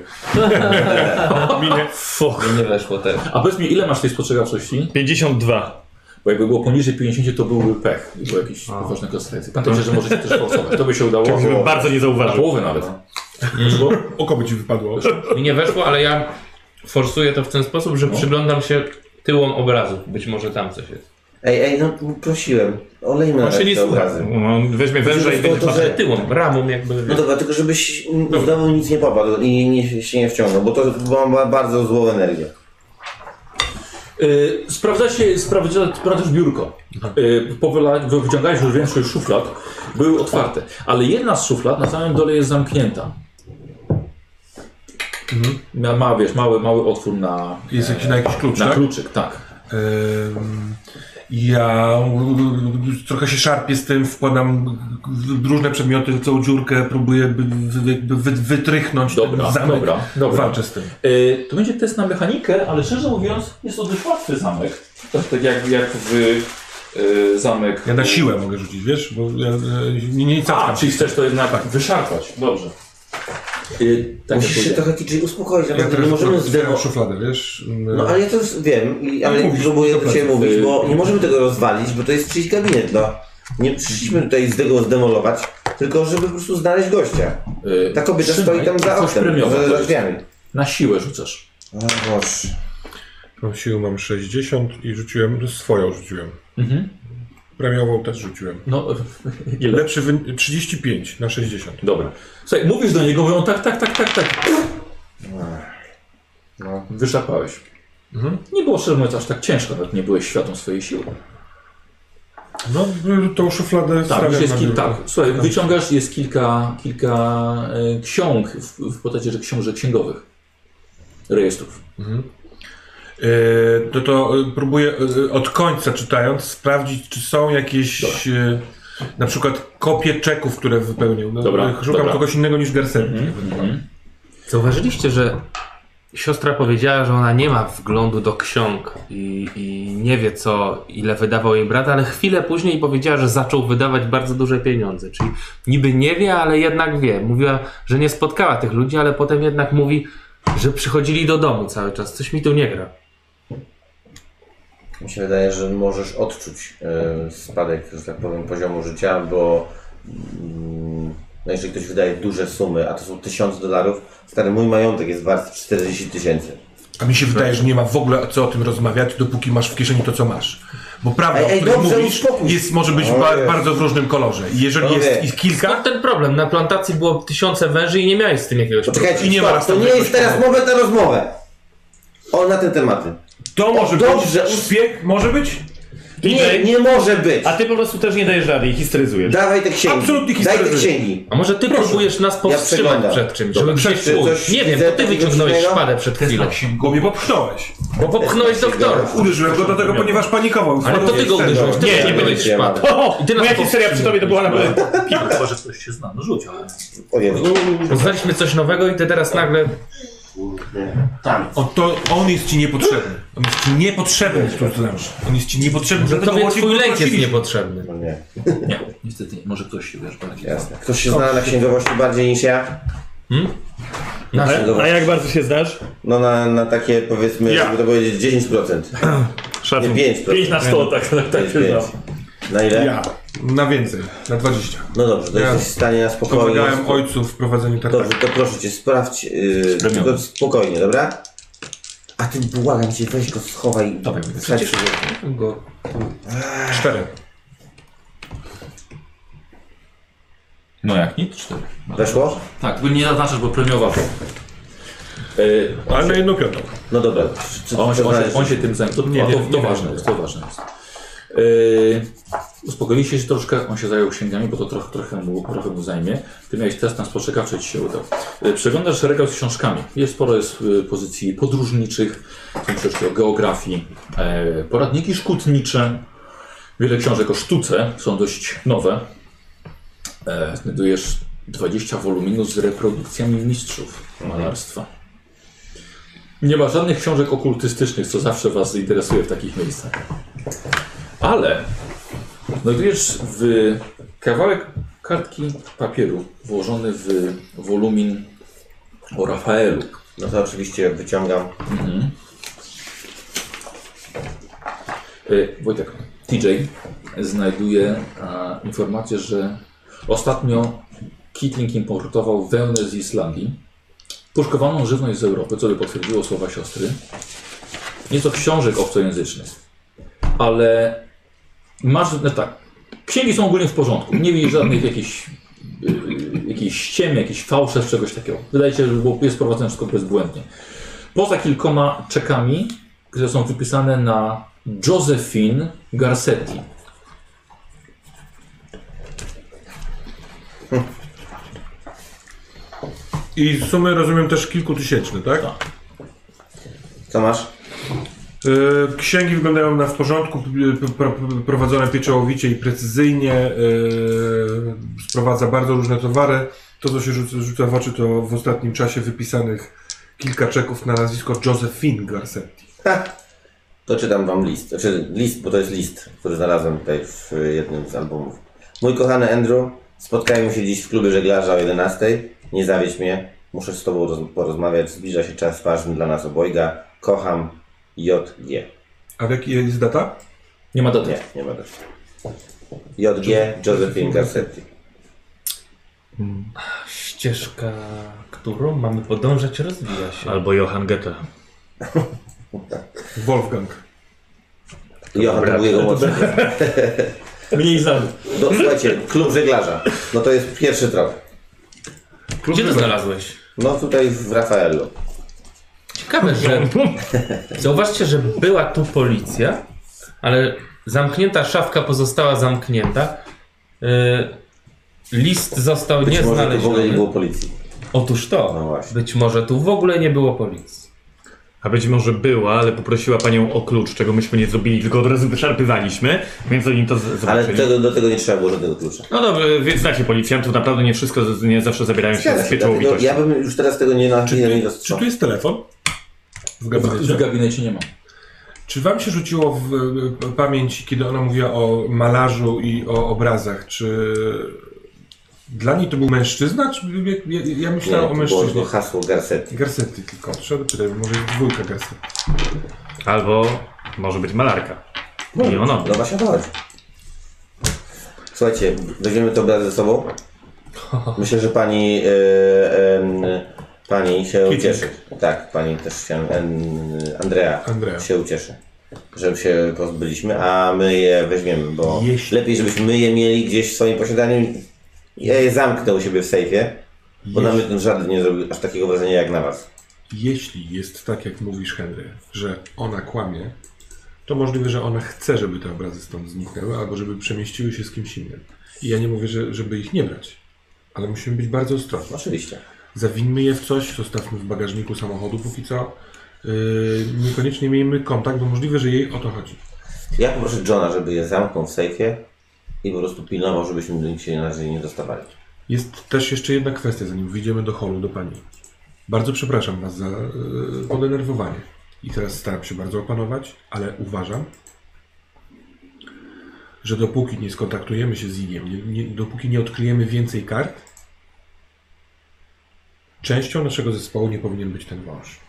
S8: Minie. Fuck.
S5: Nie weszło też.
S2: A powiedz mi, ile masz tej spostrzegawczości?
S8: 52.
S2: Bo jakby było poniżej 50, to byłby pech. I było jakieś poważne konsekwencje. Pamiętajcie, że możecie też forsować. To by się udało.
S8: Jakbym bardzo nie
S2: Na
S8: zauważył.
S2: połowę nawet.
S6: Oko by ci wypadło.
S5: Mi nie weszło, ale ja forsuję to w ten sposób, że przyglądam się tyłom obrazu. Być może tam coś jest.
S3: Ej, ej, no prosiłem. Olejmy na
S5: On się nie
S3: te
S5: słucha.
S3: obrazy.
S8: No, weźmie węża i
S3: Żeby było
S8: będzie
S3: to, że-
S8: patrzył.
S5: Tyłom, ramą jakby.
S3: No dobra, tylko żebyś no, znowu nic nie popadł i nie, się nie wciągnął, bo to ma- ma bardzo złą energię.
S2: Yy, sprawdzacie, sprawdza, sprawdzasz biurko. Yy, powyla- wy- wyciągałeś już większość szuflad. Były otwarte. Ale jedna z szuflad na samym dole jest zamknięta. Ma, ma, wiesz, mały, mały otwór na,
S6: Jest jakiś na jakiś klucz,
S2: na
S6: tak?
S2: kluczyk, tak.
S6: Ym, Ja trochę się szarpię z tym, wkładam różne przedmioty w całą dziurkę, próbuję by- wy- jakby wy- wytrychnąć
S2: Dobra,
S6: ten zamek.
S2: dobra, dobra.
S6: Walczę z tym.
S2: Yy, to będzie test na mechanikę, ale szczerze mówiąc jest to dość łatwy zamek. Tak, tak jak, jak w yy, zamek...
S6: Ja na siłę mogę rzucić, wiesz? Bo ja e, nie, nie
S2: A,
S6: cackam.
S2: czyli chcesz to jednak wyszarpać. Dobrze. Yy, tak jak
S3: Musisz się
S2: powiedziałem.
S3: trochę TJ uspokoić,
S6: Ja
S3: naprawdę
S6: teraz
S3: nie możemy
S6: otwieram
S3: zdemo...
S6: szufladę, wiesz? Ym,
S3: No ale ja to już wiem, i,
S2: No
S3: ale
S6: Mówisz,
S3: próbuję
S6: dobra.
S3: do Ciebie mówić, bo nie możemy tego rozwalić, bo to jest czyjś gabinet, no. Nie przyszliśmy tutaj z tego zdemolować, tylko żeby po prostu znaleźć gościa.
S2: Yy,
S3: Ta kobieta
S2: trzymaj,
S3: stoi tam za
S2: coś
S3: oknem,
S2: premiowe
S3: za,
S2: to
S3: za
S2: jest.
S3: drzwiami.
S2: Na siłę rzucasz.
S3: O Boże.
S6: Mam siłę mam 60 i rzuciłem, swoją rzuciłem. Premiową też rzuciłem.
S2: No, ile?
S6: Lepszy wyn- 35 na 60.
S2: Dobra. Słuchaj, mówisz do niego, mówią tak, tak, tak, tak, tak. No. Wyszarpałeś.
S6: Mhm.
S2: Nie było szczerze mówiąc aż tak ciężko, nawet nie byłeś świadom swojej siły.
S6: No, tą szufladę
S2: Tak,
S6: stawiam
S2: już jest
S6: na
S2: kilka.
S6: biurku.
S2: Tak, słuchaj, wyciągasz, jest kilka, kilka e, ksiąg w, w postaci że książek księgowych. Rejestrów.
S6: E, to, to e, próbuję e, od końca czytając sprawdzić, czy są jakieś e, na przykład kopie czeków, które wypełnił. No,
S2: Dobra,
S6: e, Szukam
S2: dobra.
S6: kogoś innego niż Gersen.
S5: Zauważyliście, że siostra powiedziała, że ona nie ma wglądu do ksiąg i, i nie wie co, ile wydawał jej brat, ale chwilę później powiedziała, że zaczął wydawać bardzo duże pieniądze. Czyli niby nie wie, ale jednak wie. Mówiła, że nie spotkała tych ludzi, ale potem jednak mówi, że przychodzili do domu cały czas. Coś mi tu nie gra.
S3: Mi się wydaje, że możesz odczuć e, spadek, że tak powiem, poziomu życia, bo mm, no jeżeli ktoś wydaje duże sumy, a to są tysiące dolarów, stary mój majątek jest wart 40 tysięcy.
S6: A mi się wydaje, że nie ma w ogóle co o tym rozmawiać, dopóki masz w kieszeni to, co masz. Bo prawda,
S3: Ej,
S6: o
S3: ej,
S6: której
S3: dobrze,
S6: mówisz,
S3: uspokój się.
S6: jest, może być
S3: O
S6: ba-
S3: Jezu.
S6: bardzo w różnym kolorze. I Jeżeli
S3: O
S6: jest
S3: nie.
S6: ich kilka,
S5: Skąd ten problem? Na plantacji było tysiące węży i nie miałeś z tym jakiegoś
S3: Poczekajcie,
S6: I nie
S3: stop, to nie
S6: ma następnego
S3: jest teraz
S6: ślubu.
S3: moment na rozmowę. O, na te tematy.
S6: to może
S3: dobrze,
S6: być
S3: us-
S6: szpieg, może być?
S3: Nie, nie może być.
S8: A ty po prostu też nie dajesz rady i histeryzujesz. *laughs*
S3: Dawaj te księgi.
S6: Absolutnie
S3: Daj te
S6: historycznie.
S3: księgi.
S5: A może ty próbujesz nas powstrzymać
S3: przeglądam.
S5: przed czymś,
S3: Dobra,
S5: żeby gdzieś
S3: czy coś
S5: pójść. Nie wiem,
S3: widzę
S5: to ty wyciągnąłeś
S3: takiego
S5: szpadę przed chwilą,
S6: Bo mnie popchnąłeś.
S5: bo
S2: No
S5: popchnąłeś doktora.
S6: Uderzyłem go do tego, ponieważ panikował.
S5: Ale to ty go uderzyłeś, ty
S8: Nie,
S5: nie,
S8: nie
S5: nie byłeś
S3: będzie.
S5: szpadę.
S8: O,
S5: I ty nas
S8: moja histeria
S5: powstrzymujesz.
S8: przy tobie to była naprawdę...
S2: Chyba, że ktoś się zna. No rzuć, ale...
S3: O Jezu.
S5: Poznaliśmy coś nowego i ty teraz nagle...
S6: O, to on jest ci niepotrzebny. On jest ci niepotrzebny, który to znasz. On jest ci niepotrzebny,
S5: Że
S6: dlatego
S5: tobie
S6: właśnie
S5: twój lęk jest
S6: poprosiliśmy.
S5: niepotrzebny.
S3: No nie,
S2: Nie, niestety nie. Może ktoś się, wiesz, tak bardziej zna.
S3: jasne. Ktoś się zna na księgowości bardziej niż ja?
S5: Na
S3: Ale-
S8: Hmm? A jak bardzo się znasz?
S3: No na, na takie powiedzmy,
S8: Ja.
S3: żeby to powiedzieć 10%.
S8: Szacun.
S3: Nie, pięć,
S8: 5 na 100, tak, tak, tak się
S3: Pięć.
S8: znam.
S3: Na ile?
S6: Ja. Na więcej, na 20.
S3: No dobrze, to
S6: Ja
S3: jesteś w stanie na spokojnie.
S6: Pomagałem ojcu w prowadzeniu tartaku.
S3: Dobrze, to proszę cię, sprawdź. Yy,
S2: Zrobione.
S3: tylko spokojnie, dobra? A ty błagam cię, weź go schowaj.
S8: Dobra,
S3: wsadź
S8: przecież-
S3: sobie.
S6: Go. Cztery.
S2: No jak nic? Cztery.
S3: Weszło?
S2: Tak, bo nie zaznaczasz, bo premiowa to. E,
S6: Ale na jedną piątą.
S3: No dobra. Czy-
S2: On, się- on, się-
S3: znaleźć?
S2: on się tym zajął. To, to,
S6: Nie
S2: to,
S6: wiem, nie
S2: ważne
S6: wiem.
S2: jest, to ważne jest. Yy, uspokoiliście się troszkę, on się zajął księgami, bo to trochę, trochę, mu, trochę mu zajmie. Ty miałeś test na spostrzegawczość, ci się udał. Yy, przeglądasz regał z książkami. Jest sporo jest yy, pozycji podróżniczych, są książki o geografii, yy, poradniki szkutnicze, wiele książek o sztuce, są dość nowe. Yy, znajdujesz 20 woluminów z reprodukcjami mistrzów malarstwa. Nie ma żadnych książek okultystycznych, co zawsze Was interesuje w takich miejscach. Ale znajdujesz w kawałek kartki papieru włożony w wolumin o Rafaelu.
S3: No to oczywiście wyciągam.
S2: E, Wojtek, TJ znajduje a, informację, że ostatnio Kitling importował wełnę z Islandii, puszkowaną żywność z Europy, co by potwierdziło słowa siostry. Nieco książek obcojęzycznych, ale masz, no tak, księgi są ogólnie w porządku, nie widzisz żadnych jakichś yy, jakichś ściem, jakichś fałszerstw, czegoś takiego. Wydaje się, że było, jest prowadzone wszystko bezbłędnie. Poza kilkoma czekami, które są wypisane na Josephine Garcetti.
S6: I sumy rozumiem też kilkutysięczne, tak?
S2: Tak.
S3: Co masz?
S6: Y, Księgi wyglądają na w porządku, y, p- pro- prowadzone pieczołowicie i precyzyjnie, y, sprowadza bardzo różne towary. To, co się rzuca, rzuca w oczy, to w ostatnim czasie wypisanych kilka czeków na nazwisko Josephine Garcetti.
S3: Ha! To czytam wam list. Znaczy list, bo to jest list, który znalazłem tutaj w y, jednym z albumów. Mój kochany Andrew, spotkajmy się dziś w klubie żeglarza o 11. Nie zawiedź mnie. Muszę z tobą roz- porozmawiać. Zbliża się czas ważny dla nas obojga. Kocham JG.
S6: A w jaki jest data?
S2: Nie ma daty.
S3: Nie, nie ma też. JG Josephine Garcetti.
S5: Ścieżka, którą mamy podążać, rozwija się.
S8: Albo Johan Goethe.
S6: Wolfgang.
S3: Johan to był jego młodszy.
S2: Mniej znany.
S3: No, słuchajcie, klub żeglarza. No to jest pierwszy trop.
S5: Gdzie to znalazłeś?
S3: No tutaj w Rafaelu.
S5: Ciekawe, że... Zauważcie, że była tu policja, ale zamknięta szafka pozostała zamknięta. Y, List został
S3: Być może tu w ogóle nie
S5: nieznaleziony.
S3: było policji.
S5: Otóż to.
S3: No właśnie.
S5: Być może tu w ogóle nie było policji.
S8: A być może była, ale poprosiła panią o klucz, czego myśmy nie zrobili, tylko od razu wyszarpywaliśmy, więc oni to z-
S3: Ale
S8: zobaczyli.
S3: tego, do tego nie trzeba było żadnego klucza.
S8: No dobrze, więc znacie policjantów, naprawdę nie wszystko, z- nie zawsze zabierają się
S3: Zgadza
S8: z
S3: się, dlatego
S8: pieczołowitością.
S3: ja bym już teraz tego nie na nie
S6: Czy
S3: rozstrzał.
S6: tu jest telefon? W
S2: W
S6: gabinecie.
S2: gabinecie nie ma.
S6: Czy wam się rzuciło w y, pamięci, kiedy ona mówiła o malarzu i o obrazach? Czy dla niej to był mężczyzna? Czy ja, ja- ja
S3: Nie,
S6: myślałem
S3: to
S6: o
S3: było
S6: mężczyźnie.
S3: tylko hasło Garcetti.
S6: Garcety tylko. Trzeba dopytać, bo może jest dwójka garcety.
S8: Albo może być malarka. I ona.
S3: No właśnie o to chodzi. Słuchajcie, weźmiemy to obraz ze sobą. Myślę, że pani e, em, pani się
S6: Kitty.
S3: ucieszy. Tak, pani też się em, Andrea,
S6: Andrea.
S3: się ucieszy. Że się pozbyliśmy, a my je weźmiemy, bo
S6: Jeśli-
S3: lepiej, żebyśmy je mieli gdzieś w swoim posiadaniu. Ja je zamknę u siebie w sejfie, bo na mnie żaden nie zrobił aż takiego wrażenia jak na was.
S6: Jeśli jest tak, jak mówisz, Henry, że ona kłamie, to możliwe, że ona chce, żeby te obrazy stąd zniknęły, albo żeby przemieściły się z kimś innym. I ja nie mówię, że, żeby ich nie brać. Ale musimy być bardzo ostrożni.
S3: Oczywiście.
S6: Zawińmy je w coś, zostawmy w bagażniku samochodu póki co. Yy, niekoniecznie miejmy kontakt, bo możliwe, że jej o to chodzi.
S3: Ja poproszę Johna, żeby je zamknął w sejfie i po prostu pilnował, żebyśmy do nich się na razie nie dostawali.
S6: Jest też jeszcze jedna kwestia, zanim wyjdziemy do holu, do pani. Bardzo przepraszam Was za yy, podenerwowanie. I teraz staram się bardzo opanować, ale uważam, że dopóki nie skontaktujemy się z Igiem, nie, nie, dopóki nie odkryjemy więcej kart, częścią naszego zespołu nie powinien być ten wąż.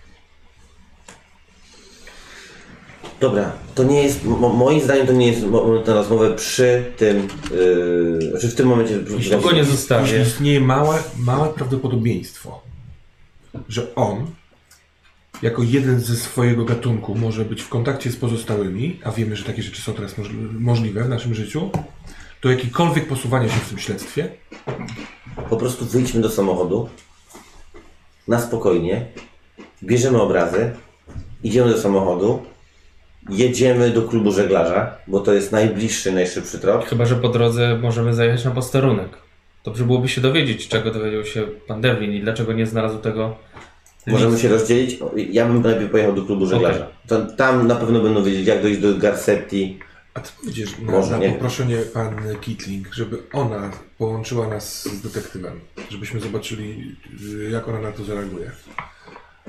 S3: Dobra, to nie jest, mo, moim zdaniem to nie jest mo- moment na rozmowę przy tym, yy, znaczy w tym momencie...
S5: Go nie
S8: Tak,
S5: zostawię.
S6: Już istnieje małe, małe prawdopodobieństwo, że on, jako jeden ze swojego gatunku, może być w kontakcie z pozostałymi, a wiemy, że takie rzeczy są teraz moż możliwe w naszym życiu, do jakikolwiek posuwania się w tym śledztwie,
S3: Po prostu wyjdźmy do samochodu, na spokojnie, bierzemy obrazy, idziemy do samochodu, jedziemy do klubu żeglarza, bo to jest najbliższy, najszybszy trop.
S5: Chyba, że po drodze możemy zajechać na posterunek. Dobrze byłoby się dowiedzieć, czego dowiedział się pan Devlin i dlaczego nie znalazł tego.
S3: Możemy się rozdzielić. Ja bym najpierw pojechał do klubu żeglarza. To, tam na pewno będą wiedzieć, jak dojść do Garcetti.
S6: a ty powiedziesz na,
S3: Może
S6: na
S3: nie.
S6: poproszenie pan Kitling, żeby ona połączyła nas z detektywem, żebyśmy zobaczyli, y, jak ona na to zareaguje.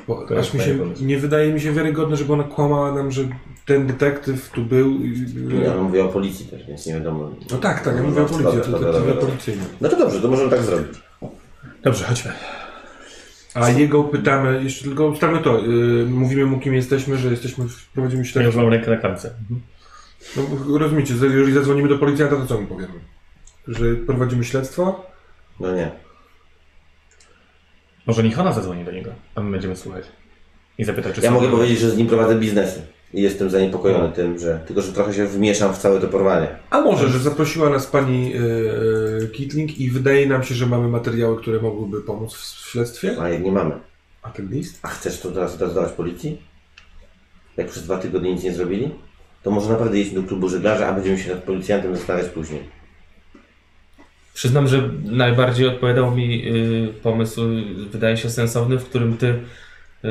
S6: Bo
S8: To jest
S6: aż mi się,
S8: fajny pomysł.
S6: nie wydaje mi się wiarygodne, żeby ona kłamała nam, że ten detektyw tu był i...
S3: Ja mówię o policji też, więc nie wiadomo.
S6: No tak, tak, ja mówię o
S3: No,
S6: policji,
S3: dobra,
S6: to
S3: dobra,
S6: detektywie
S3: dobra.
S6: policyjnym.
S3: No to dobrze, to możemy tak zrobić.
S8: Dobrze, chodźmy.
S6: A jego pytamy, jeszcze tylko ustalmy to, yy, mówimy mu kim jesteśmy, że jesteśmy, w- prowadzimy
S8: Ja
S6: śledztwo.
S8: już mam rękę na klamce.
S6: No, rozumiecie, że jeżeli zadzwonimy do policjanta, to co mu powiemy? Że prowadzimy śledztwo?
S3: No nie.
S8: Może niech ona zadzwoni do niego, a my będziemy słuchać. I zapytać, czy
S3: Ja
S8: są-
S3: mogę powiedzieć, że z nim prowadzę biznesy. I jestem zaniepokojony tym, że... Tylko, że trochę się wmieszam w całe to porwanie.
S6: A może, że zaprosiła nas pani yy, Kitling i wydaje nam się, że mamy materiały, które mogłyby pomóc w, w śledztwie?
S3: A jak nie mamy.
S6: A ten list?
S3: A chcesz to teraz zdawać policji? Jak przez dwa tygodnie nic nie zrobili? To może naprawdę jedźmy do klubu żeglarza, a będziemy się nad policjantem zastanawiać później.
S5: Przyznam, że najbardziej odpowiadał mi y, pomysł, y, wydaje się sensowny, w którym ty y,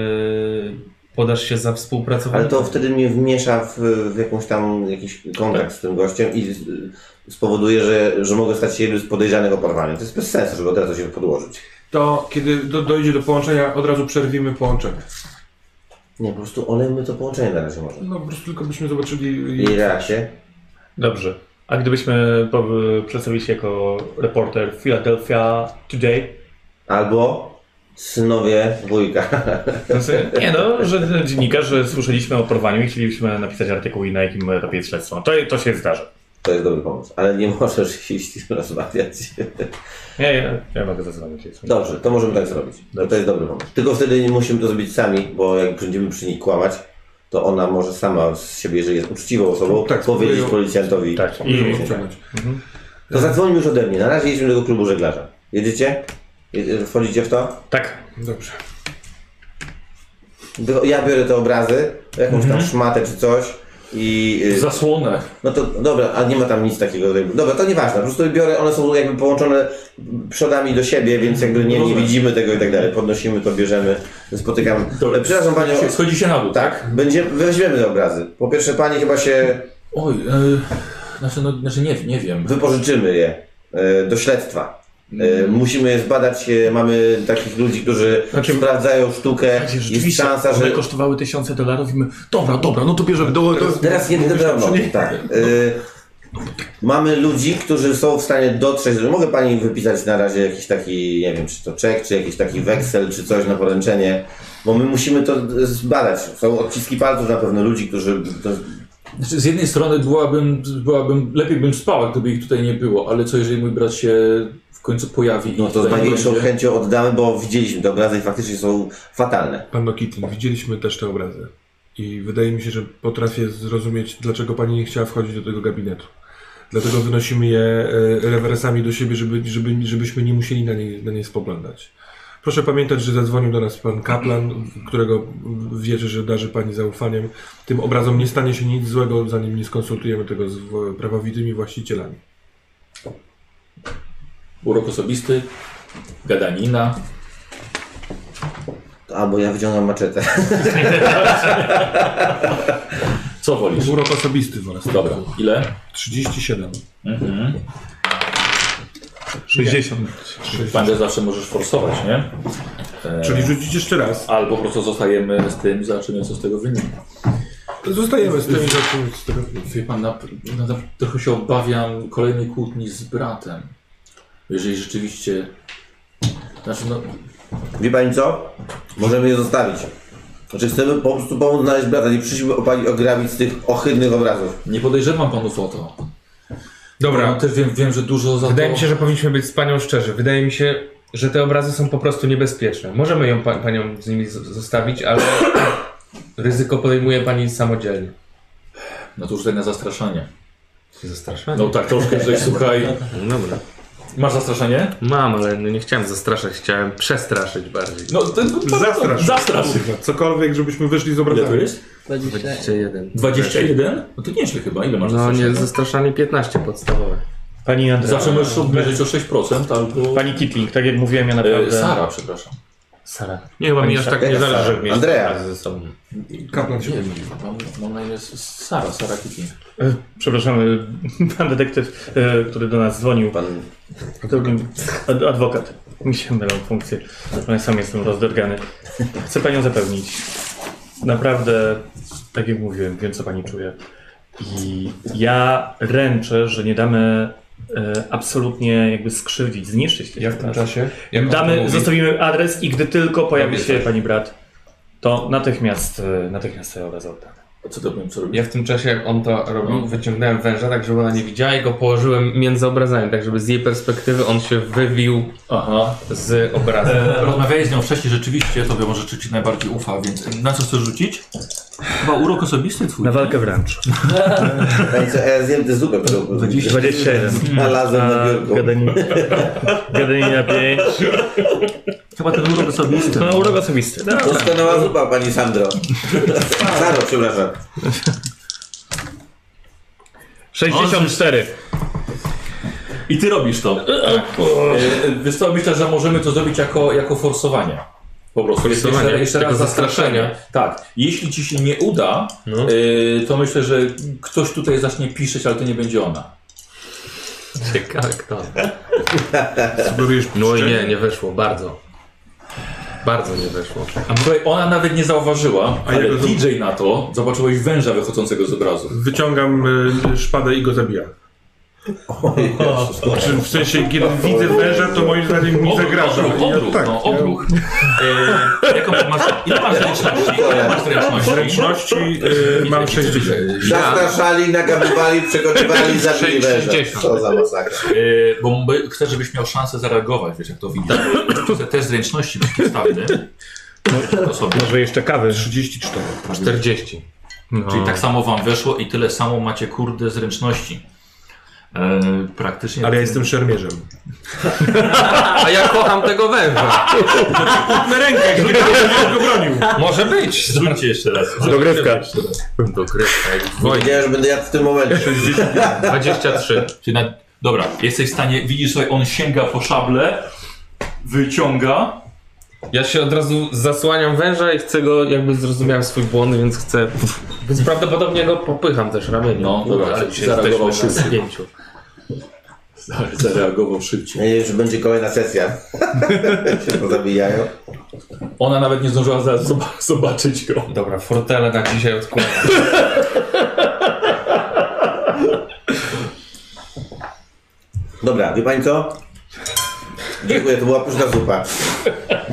S5: podasz się za współpracownika.
S3: Ale to wtedy mnie wmiesza w, w jakąś tam jakiś kontakt z tym gościem i z- spowoduje, że, że mogę stać się jednym z podejrzanych o porwanie. To jest bez sensu, żeby od razu się podłożyć.
S6: To kiedy do, dojdzie do połączenia, od razu przerwimy połączenie.
S3: Nie, po prostu olejmy to połączenie na razie może.
S6: No po prostu tylko byśmy zobaczyli...
S3: Jej reakcję.
S8: Dobrze. A gdybyśmy po, przedstawili się jako reporter Philadelphia Today,
S3: Albo synowie wujka.
S8: W sensie, nie no, że dziennikarz, że słyszeliśmy o porwaniu i chcielibyśmy napisać artykuł i na jakim etapie jest śledztwo. To, to się zdarzy.
S3: *laughs* To jest dobry pomysł, ale nie *laughs* możesz iść rozmawiać.
S8: Nie, ja, ja mogę zadzwonić. Jestem.
S3: Dobrze, to możemy tak zrobić. To, to jest dobry pomysł. Tylko wtedy nie musimy to zrobić sami, bo jak będziemy przy niej kłamać, to ona może sama z siebie, jeżeli jest uczciwą osobą,
S6: Tak,
S3: powiedzieć
S6: spróbuję-
S3: policjantowi.
S8: Tak. I,
S6: Możemy wciągnąć.
S3: To zadzwoń już ode mnie. Na razie jedźmy do tego klubu żeglarza. Jedziecie? Je- Wchodzicie w to?
S8: tak.
S6: Dobrze.
S3: Wy- Ja biorę te obrazy, jakąś tam szmatę czy coś i... y,
S2: Zasłonę.
S3: No to dobra, a nie ma tam nic takiego. jakby- Dobra, to nieważne. Po prostu biorę, one są jakby połączone przodami do siebie, więc jakby nie, nie
S2: Rozumiem.
S3: widzimy tego i tak dalej. Podnosimy to, bierzemy, spotykamy. E,
S2: Dobra,
S3: Przepraszam panią.
S2: Schodzi się na dół,
S3: Tak, będziemy, weźmiemy te obrazy. Po pierwsze, pani chyba się
S2: Oj, e, znaczy, no, znaczy nie, nie wiem.
S3: wypożyczymy je e, do śledztwa.
S8: Mhm.
S3: E, Musimy je zbadać, e, mamy takich ludzi, którzy
S8: Znaczy-
S3: sprawdzają sztukę, jest
S8: Rzeczywiście,
S3: szansa,
S8: one
S3: że...
S8: kosztowały tysiące dolarów i my, dobra, dobra, no to bierzemy, do, do,
S3: Teraz jedyne drewno, tak. E, Mamy ludzi, którzy są w stanie dotrzeć, że mogę pani wypisać na razie jakiś taki, nie wiem, czy to czek, czy jakiś taki weksel, czy coś na poręczenie, bo my musimy to e, zbadać. Są odciski palców na pewno ludzi, którzy... To,
S2: Znaczy, z jednej strony byłabym, byłabym, lepiej bym spała, gdyby ich tutaj nie było, ale co jeżeli mój brat się w końcu pojawi i
S3: no to z
S2: tutaj nie
S3: największą
S2: będzie?
S3: chęcią oddamy, bo widzieliśmy te obrazy i faktycznie są fatalne.
S6: Panno Kitling, widzieliśmy też te obrazy. I wydaje mi się, że potrafię zrozumieć, dlaczego pani nie chciała wchodzić do tego gabinetu. Dlatego wynosimy je e, rewersami do siebie, żeby, żeby, żebyśmy nie musieli na nie, na nie spoglądać. Proszę pamiętać, że zadzwonił do nas pan Kaplan, którego wierzę, że darzy pani zaufaniem. Tym obrazom nie stanie się nic złego, zanim nie skonsultujemy tego z w- prawowitymi właścicielami.
S2: Urok osobisty, gadanina.
S3: Albo ja wyciągam maczetę. *laughs*
S2: Co wolisz?
S6: Urok osobisty wolę.
S2: Dobra, ile?
S6: 37.
S8: 60.
S2: Bandę zawsze możesz forsować, nie?
S6: Czyli rzucić jeszcze raz.
S2: Albo po prostu zostajemy z tym i zobaczymy, co z tego wyniknie.
S6: Zostajemy z tym i zobaczymy, co z tego wyjdzie.
S2: Wie pan, na, na, trochę się obawiam kolejnej kłótni z bratem. Jeżeli rzeczywiście... Znaczy, no,
S3: Wie pani co? Możemy je zostawić. Znaczy chcemy po prostu pomóc znaleźć brata, nie przyszliśmy opalić ograbić z tych ohydnych obrazów.
S2: Nie podejrzewam panów o to. Ja
S5: Dobra,
S2: też wiem, wiem, że dużo za
S5: wydaje
S2: to...
S5: mi się, że powinniśmy być z panią szczerzy. Wydaje mi się, że te obrazy są po prostu niebezpieczne. Możemy ją pa panią z nimi z- zostawić, ale *coughs* ryzyko podejmuje pani samodzielnie.
S2: No to już tak na zastraszanie.
S5: Zastraszanie?
S2: No tak troszkę, *laughs* że słuchaj...
S5: Dobra.
S2: Masz zastraszanie?
S5: Mam, ale no nie chciałem zastraszać, chciałem przestraszyć bardziej.
S2: No, to, to,
S6: Zastrasz.
S2: Zastrasz.
S6: Kurwa, Cokolwiek, żebyśmy wyszli z
S2: Ile to
S6: obrazami.
S2: jest?
S5: 21.
S2: 21? No to nieźle chyba. Ile masz
S5: No nie,
S2: zastraszania?
S5: zastraszanie 15 podstawowe.
S8: Pani Andrea.
S2: Zawsze możesz obniżyć o 6% albo...
S8: Pani Kitling, tak jak mówiłem, ja
S2: E,
S8: naprawdę...
S2: Sara, przepraszam.
S8: Sara.
S5: Nie, chyba mi aż tak nie zależy, żeby mieć
S3: Andrea.
S5: obrazy ze sobą.
S6: Kaplan się
S2: Nie, mam, No, mam na imię S- Sara, Sara Kitling.
S8: E, Przepraszam, *laughs* e, pan detektyw, e, który do nas dzwonił, pan
S3: Pan
S8: ad, adwokat. Mi się mylą funkcje. Ja sam jestem rozdergany. Chcę panią zapewnić. Naprawdę, tak jak mówiłem, wiem co pani czuje. I ja ręczę, że nie damy e, absolutnie jakby skrzywdzić, zniszczyć tej
S6: Ja w tym
S8: sprzedaży.
S6: czasie.
S5: Jak
S8: Damy,
S5: mówi-
S8: zostawimy adres i gdy tylko pojawi
S5: Robię
S8: się
S5: tak.
S8: pani brat, to natychmiast, e, natychmiast sobie obraz oddam.
S2: A Co to powiem, co robię?
S5: Ja w tym czasie, jak on to robił, wyciągnąłem węża, tak żeby ona nie widziała i go położyłem między obrazami, tak żeby z jej perspektywy on się wywił
S2: Aha.
S5: z obrazu.
S2: *laughs* E, rozmawiałeś z nią wcześniej, rzeczywiście, tobie może ci najbardziej ufa, więc na co chcesz rzucić? Chyba urok osobisty twój.
S8: walkę wręcz.
S3: Ręce, a ja zjem tę zupę, którą
S8: 21.
S3: znalazłem na
S8: Mm.
S3: biurku.
S8: *laughs* Gadanina 5.
S2: Chyba ten urok osobisty.
S8: No, urok osobisty. No,
S3: Doskonała zupa, pani Sandro. Saro, przepraszam.
S8: 64.
S2: I ty robisz to. E, Wiesz co, myślę, że możemy to zrobić jako, jako forsowanie. Po prostu. Jest
S5: Forsowanie,
S2: Jeszcze, jeszcze
S5: jako
S2: raz zastraszenie. Tak. Jeśli ci się nie uda,
S5: No.
S2: e, to myślę, że ktoś tutaj zacznie piszeć, ale to nie będzie ona.
S5: Ciekawe kto.
S6: Spróbujesz
S5: No i nie, nie weszło, bardzo. Bardzo nie weszło.
S2: A Słuchaj, ona nawet nie zauważyła,
S6: A
S2: ale
S6: jego to-
S2: DJ na to zobaczyłeś węża wychodzącego z obrazu.
S6: Wyciągam y, szpadę i go zabijam. Znaczy, w sensie, kiedy widzę węża, to moim zdaniem mi zagraża.
S2: Odruch,
S6: Ja-
S2: odruch,
S6: tak,
S2: no, odruch. E, jaką masz, ile masz zręczności? Ile masz zręczności?
S6: Zręczności y, mam 60.
S3: Zastraszali, nagamywali, przegotowali, zabili węża.
S5: 60.
S3: Co za masakra.
S2: E, bo by- chcę, żebyś miał szansę zareagować, wiesz jak to widać. Chcę test zręczności przeciwstawny. To sobie.
S8: Może jeszcze kawy.
S6: 34.
S5: 40.
S6: No.
S2: Czyli tak samo wam weszło i tyle samo macie kurde zręczności. E, praktycznie.
S6: Ale ja jestem szermierzem.
S5: A ja kocham tego węża.
S6: Na rękę, nie będę go bronił.
S5: Może być.
S2: Zróbcie jeszcze raz.
S8: Dogrywka.
S5: Dogrywka jak w wojnie.
S3: Powiedziałem, że będę jadł w tym momencie.
S5: 23.
S2: Czyli na, dobra, jesteś w stanie, widzisz sobie, on sięga po szablę, wyciąga.
S5: Ja się od razu zasłaniam węża i chcę go, jakby zrozumiałem swój błąd, więc chcę... Więc prawdopodobnie go popycham też ramieniem.
S2: No, dobra,
S5: ale
S2: ale
S5: dzisiaj
S2: zareagował
S5: jesteśmy na
S2: szybko.
S5: zdjęciu.
S2: Zareagował szybciej.
S3: Nadzieję, że będzie kolejna sesja. się pozabijają.
S2: Ona nawet nie zdążyła za- zoba- zobaczyć go.
S5: Dobra, fortele na dzisiaj odkładam.
S3: Dobra, wie pani co? Dziękuję, to była pyszna zupa.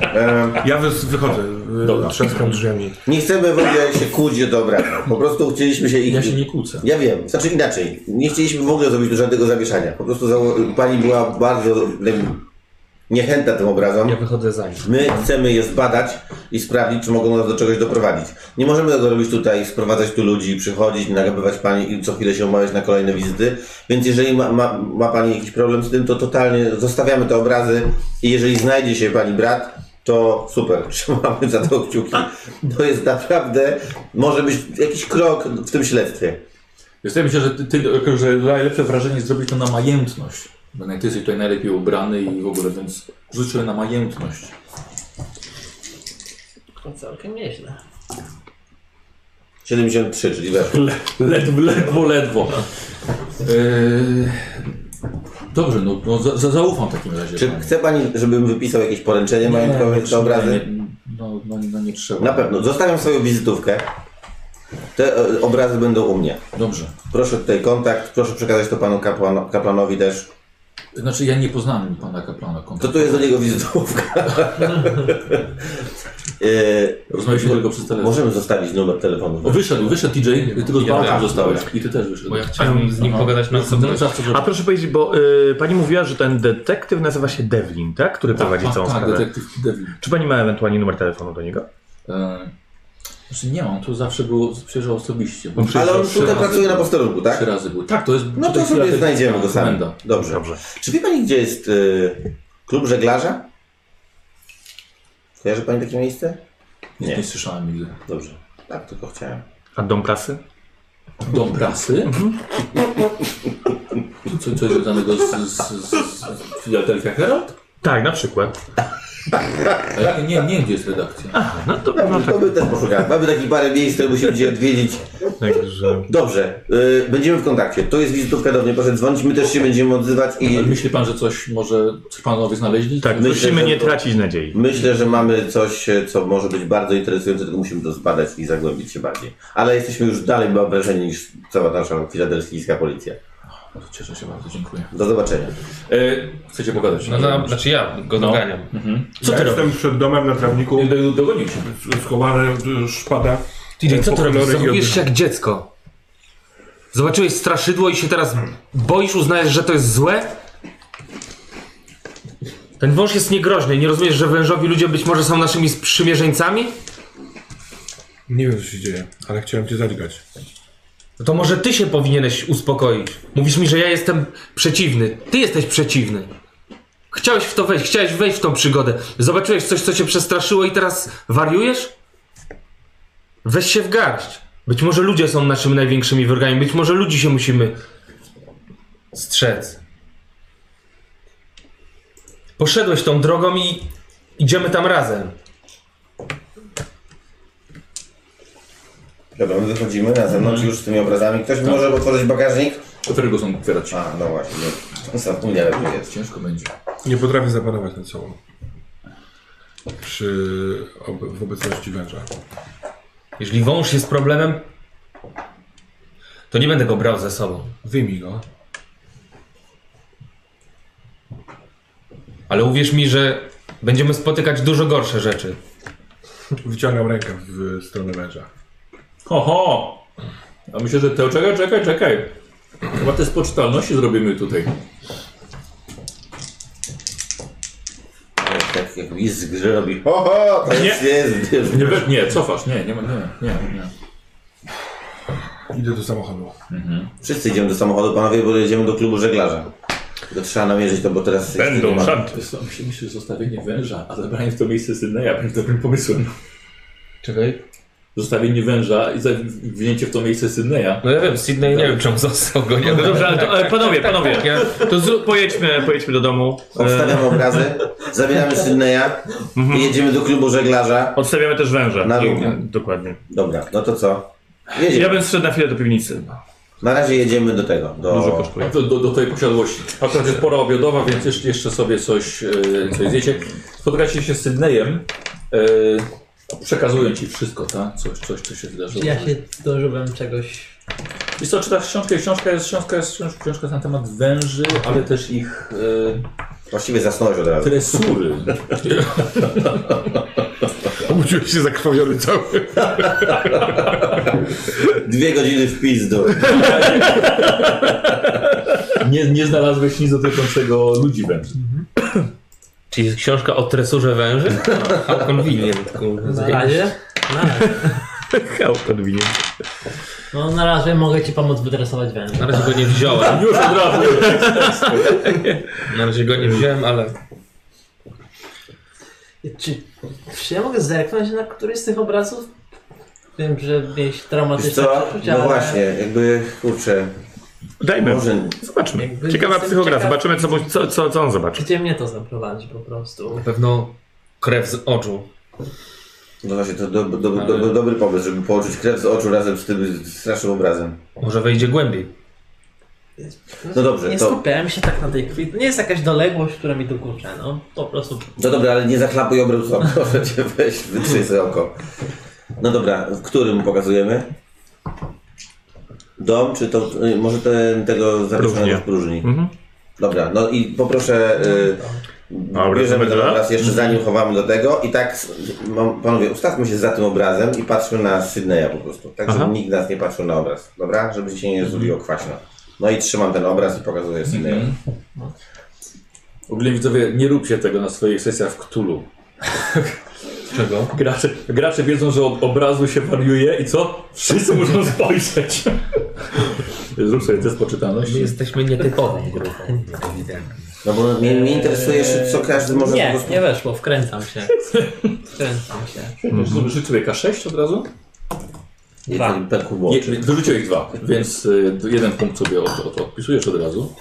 S3: Em,
S6: Ja wy, wychodzę, y,
S2: Dobra.
S6: trzaskam drzwiami.
S3: nie chcemy w ogóle się kłócić do obrazu. Po prostu chcieliśmy się ich...
S2: Ja się nie kłócę.
S3: Ja wiem, znaczy inaczej. Nie chcieliśmy w ogóle zrobić tu żadnego zamieszania. Po prostu zało- pani była bardzo em, niechętna tym obrazom.
S5: Ja wychodzę za nim.
S3: My chcemy je zbadać i sprawdzić, czy mogą nas do czegoś doprowadzić. Nie możemy tego robić tutaj, sprowadzać tu ludzi, przychodzić, nagabywać pani i co chwilę się umawiać na kolejne wizyty. Więc jeżeli ma, ma, ma pani jakiś problem z tym, to totalnie zostawiamy te obrazy i jeżeli znajdzie się pani brat, to super, *laughs* trzymamy za to kciuki. To jest naprawdę, może być jakiś krok w tym śledztwie.
S2: Wydaje mi się, że, ty, ty, że najlepsze wrażenie zrobić to na majętność. Bo naj- ty jesteś tutaj najlepiej ubrany i w ogóle, więc życzę na majętność.
S7: To całkiem nieźle.
S3: 73, czyli weszło.
S2: Le, ledwo, ledwo, ledwo. Yy, dobrze, no, no za, za, zaufam w takim razie.
S3: Czy
S2: panu.
S3: chce pani, żebym wypisał jakieś poręczenie majątkowe czy obrazy?
S2: Nie, no, no, no nie trzeba.
S3: Na pewno. Zostawiam swoją wizytówkę. Te e, obrazy będą u mnie.
S2: Dobrze.
S3: Proszę tutaj kontakt, proszę przekazać to panu kapłan, kaplanowi też.
S2: Znaczy ja nie poznałem pana kaplana.
S3: *laughs* To tu jest do niego wizytówka. Yy,
S2: Rozmawialiśmy tylko przez telefon.
S3: Możemy zostawić numer telefonu.
S2: O, wyszedł, wyszedł TJ, ty tylko z
S5: Ja
S2: Bałką
S5: też.
S2: zostałeś. I ty też wyszedł.
S5: Bo ja chciałem z nim
S2: Aha.
S5: pogadać na
S2: No, no,
S5: osobność.
S2: czas, co
S8: A proszę powiedzieć, bo y, pani mówiła, że ten detektyw nazywa się Devlin, tak? Który prowadzi
S2: tak,
S8: całą
S2: tak,
S8: sprawę.
S2: detektyw Devlin.
S8: Czy pani ma ewentualnie numer telefonu do niego?
S2: E, Znaczy nie mam, to zawsze było, przyjeżdżał osobiście. Bo
S8: przyjeżdżał
S3: Ale on
S2: trzy
S3: tutaj
S2: razy
S3: pracuje na
S2: był.
S3: posterunku,
S2: Trzy
S3: tak?
S2: razy był. Tak, to jest...
S3: No
S2: to
S3: to
S2: jest
S3: sobie
S2: biblioteka-
S3: znajdziemy go sami.
S2: komenda.
S3: Dobrze. Czy wie pani, gdzie jest y, klub żeglarza? Kojarzy pani takie miejsce?
S2: Nie, nie słyszałem nigdy.
S3: Dobrze. Tak, tylko chciałem.
S8: A dom prasy?
S2: Dom prasy? To co, coś związanego z, z, z, z Philadelphia Herald?
S8: Tak, na przykład.
S2: A ja nie, nie wiem, gdzie jest redakcja.
S8: Aha, no to,
S3: Dobrze,
S8: no tak.
S3: to my też poszukamy. Mamy takich parę miejsc, które musimy gdzieś odwiedzić.
S8: Także...
S3: Dobrze, y, będziemy w kontakcie. To jest wizytówka do mnie, proszę dzwonić, my też się będziemy odzywać i
S2: Ale myśli pan, że coś może, coś panowie znaleźli?
S8: Tak,
S3: Myślę,
S8: musimy
S3: że
S8: nie
S3: to-
S8: tracić nadziei.
S3: myślę, że mamy coś, y, co może być bardzo interesujące, tylko musimy to zbadać i zagłębić się bardziej. Ale jesteśmy już dalej mam wrażenie niż cała nasza filadelfijska policja.
S2: Bardzo Cieszę się bardzo, dziękuję.
S3: Do zobaczenia.
S2: E, chcecie pogadać?
S5: No, no, znaczy ja go
S2: No.
S5: doganiam.
S2: Mhm.
S6: Co ja jestem przed domem na trawniku,
S2: Nie, do- Dogonił się.
S6: schowany, y, szpada.
S5: TJ, co ty
S6: Pokrojonej
S5: robisz?
S6: i
S5: Zachowujesz
S6: odbyt-
S5: się jak dziecko. Zobaczyłeś straszydło i się teraz boisz, uznajesz, że to jest złe? Ten wąż jest niegroźny. Nie rozumiesz, że wężowi ludzie być może są naszymi sprzymierzeńcami?
S6: Nie wiem, co się dzieje, ale chciałem cię zadźgać.
S5: No to może ty się powinieneś uspokoić. Mówisz mi, że ja jestem przeciwny. Ty jesteś przeciwny. Chciałeś w to wejść, chciałeś wejść w tą przygodę. Zobaczyłeś coś, co cię przestraszyło i teraz wariujesz? Weź się w garść. Być może ludzie są naszymi największymi wrogami. Być może ludzi się musimy strzec. Poszedłeś tą drogą i idziemy tam razem.
S3: Dobra, my wychodzimy na zewnątrz już z tymi obrazami.
S2: Tak.
S3: Ktoś może otworzyć bagażnik?
S2: Do którego są otwierać?
S3: A, no właśnie, nie. zapomniałem, że jest.
S2: Ciężko będzie.
S6: Nie potrafię zapanować nad sobą. Przy ob w obecności węża.
S5: Jeżeli wąż jest problemem, to nie będę go brał ze sobą.
S6: Wyjmij go.
S5: Ale uwierz mi, że będziemy spotykać dużo gorsze rzeczy.
S6: Wyciągam rękę w stronę węża.
S2: Oho! A myślę, że to czekaj, czekaj, czekaj. Chyba te z poczytalności zrobimy tutaj.
S3: Tak jak list grze robi. Ho, ho, to jest, jest, jest.
S2: Nie, we- nie cofasz, nie, nie, ma- nie, nie, nie.
S6: Idę do samochodu.
S3: Wszyscy idziemy do samochodu, panowie, bo jedziemy do klubu żeglarza. Tylko trzeba namierzyć to, bo teraz...
S8: Będą
S3: ma...
S8: szanty.
S2: Wiesz co, myślę, że zostawienie węża, a zabranie w to miejsce Sydneya będzie dobrym pomysłem.
S5: Czekaj.
S2: Zostawienie węża i zawinięcie w to miejsce Sydneya.
S5: No ja wiem, Sydney nie wiem, czemu został go. Nie
S8: No dobrze, ale to, e, panowie, panowie,
S5: Ja,
S8: to zrób, pojedźmy, pojedźmy do domu. E, Mhm.
S3: Obstawiam obrazy, zabieramy Sydneya i jedziemy do klubu żeglarza.
S8: odstawiamy też węża.
S3: Na
S8: I-
S3: równo.
S8: Dokładnie.
S3: Dobra, no to co? Jedziemy.
S8: Ja bym zszedł na chwilę do piwnicy.
S3: Na razie jedziemy do tego,
S8: Dużo
S3: do...
S8: kosztuje.
S2: Do, do, do tej posiadłości. Akurat jest pora obiadowa, więc jeszcze, jeszcze sobie coś, e, coś zjecie. Spotkacie się z Sydneyem. E, przekazuję ci wszystko, tak? Coś, coś, co się wydarzyło.
S7: Ja się dożyłem czegoś.
S2: Wiesz co, czytasz książkę i książka jest, książka jest, książ- książka jest na temat węży, ale też ich
S3: Właściwie zasnąłeś od
S2: e,
S3: razu.
S2: tresury.
S6: Obudziłem się zakrwawiony cały.
S3: Dwie godziny w pizdu.
S2: Nie, nie znalazłeś nic dotyczącego ludzi węży.
S5: czyli jest książka o tresurze węży? *laughs* How convenient. kurwa.
S7: Na razie? Na razie.
S8: Hał, podwinie.
S7: No na razie mogę ci pomóc wytresować węża.
S5: Na razie go nie wziąłem.
S2: Już od razu.
S5: Na razie go nie wziąłem, ale...
S7: Czy, czy ja mogę zerknąć na któryś z tych obrazów? Wiem, że miałeś
S3: Wiesz
S7: traumatyczne
S3: co?
S7: przeczucia,
S3: No
S7: ale-
S3: właśnie, jakby, kurczę,
S8: Dajmy.
S3: może...
S8: Zobaczmy.
S7: Jakby
S8: Ciekawa
S7: jestem
S8: psychogra.
S7: ciekaw-
S8: Zobaczymy, co, mu- co, co, co on zobaczy.
S7: Gdzie mnie to zaprowadzi po prostu?
S5: Na pewno krew z oczu.
S3: No właśnie, to do, do, do, do, dobry pomysł, żeby połączyć krew z oczu razem z tym strasznym obrazem.
S5: Może wejdzie głębiej.
S3: No dobrze,
S7: Nie
S3: to-
S7: skupiałem się tak na tej krwi. To nie jest jakaś doległość, która mi tu kurczę, no. Po prostu
S3: No dobra, ale nie zachlapuj obrysu, *laughs* proszę cię, weź, wytrzyj sobie oko. No dobra, w którym pokazujemy? Dom, czy to, y, może ten, tego zapisanego
S8: Próżnię.
S3: w próżni?
S8: Mhm.
S3: Dobra, no i poproszę y,
S4: Dobra,
S3: bierzemy
S4: to
S3: ten
S4: będzie
S3: obraz jeszcze zanim chowamy do tego i tak, s- mam- panowie, ustawmy się za tym obrazem i patrzmy na Sydneya po prostu. Tak, żeby
S4: Aha.
S3: nikt nas nie patrzył na obraz, dobra? Żeby się nie zrobiło kwaśno. No i trzymam ten obraz i pokazuję Sydneyowi.
S2: W ogóle widzowie, nie róbcie tego na swoich sesjach w Ktulu.
S5: Czego?
S2: Gracze, gracze wiedzą, że od obrazu się wariuje i co? Wszyscy muszą spojrzeć. *laughs* Zrób sobie test
S5: My
S2: poczytalności.
S5: jesteśmy nietypową grupą.
S3: No bo mnie, mnie interesuje jeszcze, co każdy może po
S7: Nie,
S3: prostu...
S7: nie weszło, wkręcam się. Wkręcam się.
S2: Rzucił K6 od razu? Tak.
S7: Dwa.
S3: Jeden peku było.
S2: Nie, dorzuciłeś dwa, więc y, jeden punkt sobie od, od, odpisujesz od razu.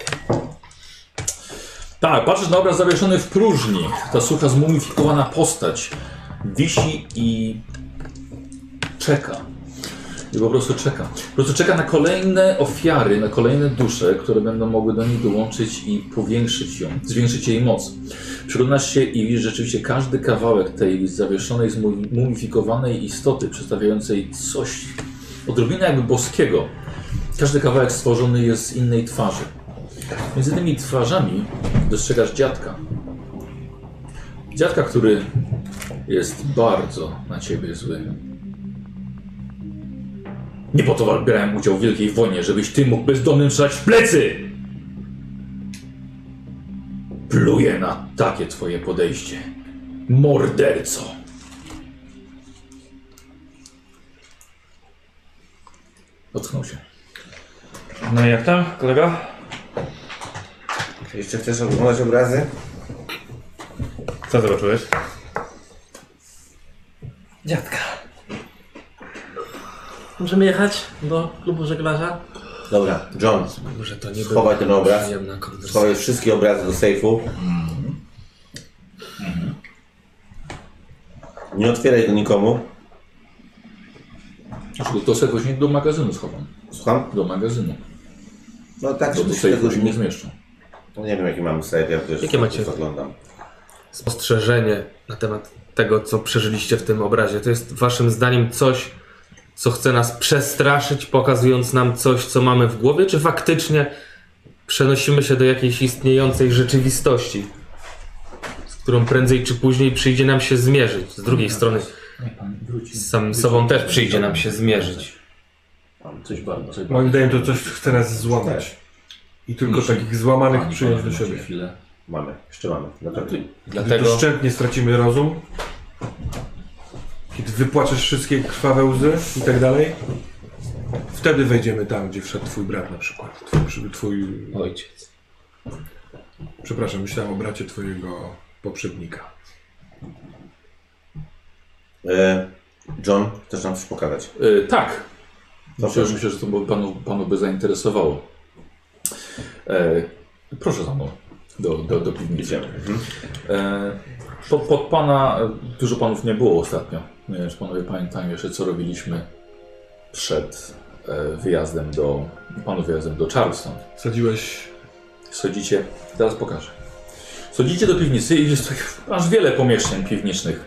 S2: Tak, patrzysz na obraz zawieszony w próżni. Ta sucha, zmumifikowana postać wisi i czeka. I po prostu czeka. Po prostu czeka na kolejne ofiary, na kolejne dusze, które będą mogły do niej dołączyć i powiększyć ją, zwiększyć jej moc. Przyglądasz się i widzisz rzeczywiście każdy kawałek tej zawieszonej, zmu- mumifikowanej istoty, przedstawiającej coś odrobinę jakby boskiego. Każdy kawałek stworzony jest z innej twarzy. Między tymi twarzami dostrzegasz dziadka. Dziadka, który jest bardzo na ciebie zły. Nie po to brałem udział w wielkiej wojnie, żebyś ty mógł bezdomnym strzelać w plecy! Pluję na takie twoje podejście. Morderco! Ocknął się.
S8: No i jak tam, kolega?
S3: Jeszcze chcesz oglądać obrazy?
S8: Co zobaczyłeś?
S7: Dziadka. Możemy jechać do klubu żeglarza?
S3: Dobra, John,
S5: Może to nie
S3: Schowaj ten obraz.
S5: przyjemna konwersacja.
S3: schowaj wszystkie obrazy do sejfu. Nie otwieraj go nikomu.
S2: To sobie później do magazynu schowam.
S3: Słucham?
S2: Do magazynu.
S3: No tak,
S2: Do,
S3: żeby
S2: do
S3: się
S2: sejfu
S3: tego
S2: się
S3: nie...
S2: nie zmieszczą.
S3: No nie wiem jaki mam sejf, ja też
S5: Jakie macie?
S3: oglądam.
S5: spostrzeżenie na temat tego, co przeżyliście w tym obrazie. To jest waszym zdaniem coś, co chce nas przestraszyć, pokazując nam coś, co mamy w głowie, czy faktycznie przenosimy się do jakiejś istniejącej rzeczywistości, z którą prędzej czy później przyjdzie nam się zmierzyć. Z drugiej strony z samym sobą też przyjdzie nam się zmierzyć.
S2: Coś bardzo. Coś
S6: Moim zdaniem to coś chce nas złamać. I tylko takich złamanych przyjąć do siebie.
S2: Chwilę.
S3: Mamy, jeszcze mamy. No to
S6: Gdy
S5: Dlatego
S6: doszczętnie stracimy rozum, kiedy wypłaczesz wszystkie krwawe łzy i tak dalej, wtedy wejdziemy tam, gdzie wszedł twój brat na przykład. Twój, przy- twój
S5: ojciec.
S6: przepraszam, myślałem o bracie twojego poprzednika.
S3: E, John, chcesz nam coś pokazać?
S2: E, tak. Myślę,
S3: Zapraszam.
S2: że, myślę, że to by panu, panu by zainteresowało. E, proszę za mną do, do, do piwnicy. E, pod, pod pana, e, dużo panów nie było ostatnio. Nie wiem, czy panowie pamiętają jeszcze, co robiliśmy przed e, wyjazdem do, panu wyjazdem do Charleston.
S6: Sadziłeś
S2: Schodzicie, zaraz pokażę. Schodzicie do piwnicy i jest tak aż wiele pomieszczeń piwniczych.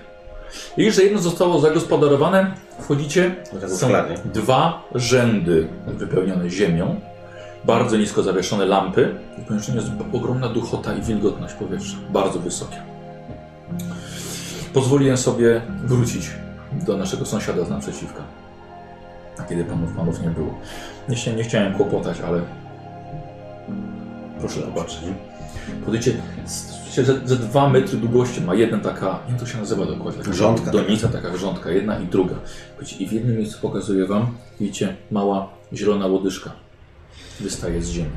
S2: I już, że jedno zostało zagospodarowane, wchodzicie,
S3: Do tego
S2: są
S3: szklarni.
S2: dwa rzędy wypełnione ziemią, bardzo nisko zawieszone lampy i w pomieszczeniu jest ogromna duchota i wilgotność powietrza, bardzo wysokie. Pozwoliłem sobie wrócić do naszego sąsiada z naprzeciwka, kiedy panów panów nie było. Nie, chcia- nie chciałem kłopotać, ale Proszę zobaczyć. Podejdźcie z- ze, ze dwa metry długości ma jedna taka, jak to się nazywa dokładnie? Taka
S3: Grządka.
S2: Donica, taka grządka, jedna i druga. Słuchajcie, I w jednym miejscu pokazuję wam, widzicie, mała zielona łodyżka wystaje z ziemi.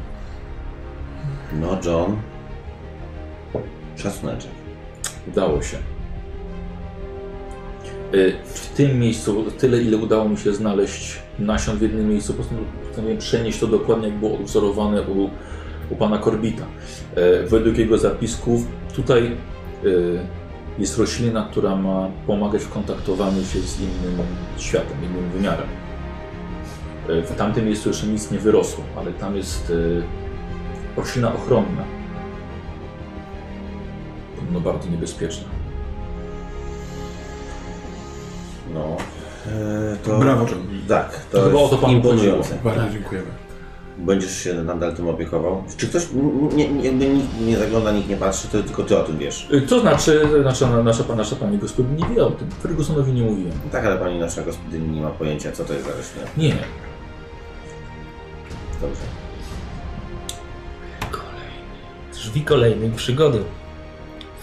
S3: No John. Szacuneczek.
S2: Udało się. Y, W tym miejscu, tyle ile udało mi się znaleźć nasion w jednym miejscu, postanowiłem- postanowiłem przenieść to dokładnie jak było odwzorowane u, u pana Korbita. Y, Według jego zapisków tutaj y, jest roślina, która ma pomagać w kontaktowaniu się z innym światem, innym wymiarem. Y, W tamtym miejscu jeszcze nic nie wyrosło, ale tam jest y, roślina ochronna. No bardzo niebezpieczna.
S3: No. E, to...
S6: Brawo, John.
S3: Tak, to,
S2: To chyba o
S3: jest
S2: to panu
S3: Tak, imponujące.
S2: Tak.
S6: Bardzo dziękujemy.
S3: Będziesz się nadal tym opiekował? Czy ktoś, n- nie, nie, jakby nikt nie zagląda, nikt nie patrzy, to tylko ty o tym wiesz.
S2: Y, To znaczy, nasza, nasza, nasza pani gospodyni nie wie o tym. Fergusonowi nie mówiłem.
S3: No Tak, ale pani nasza gospodyni nie ma pojęcia, co to jest za roślina.
S2: Nie.
S3: Dobrze.
S5: Drzwi kolejnej przygody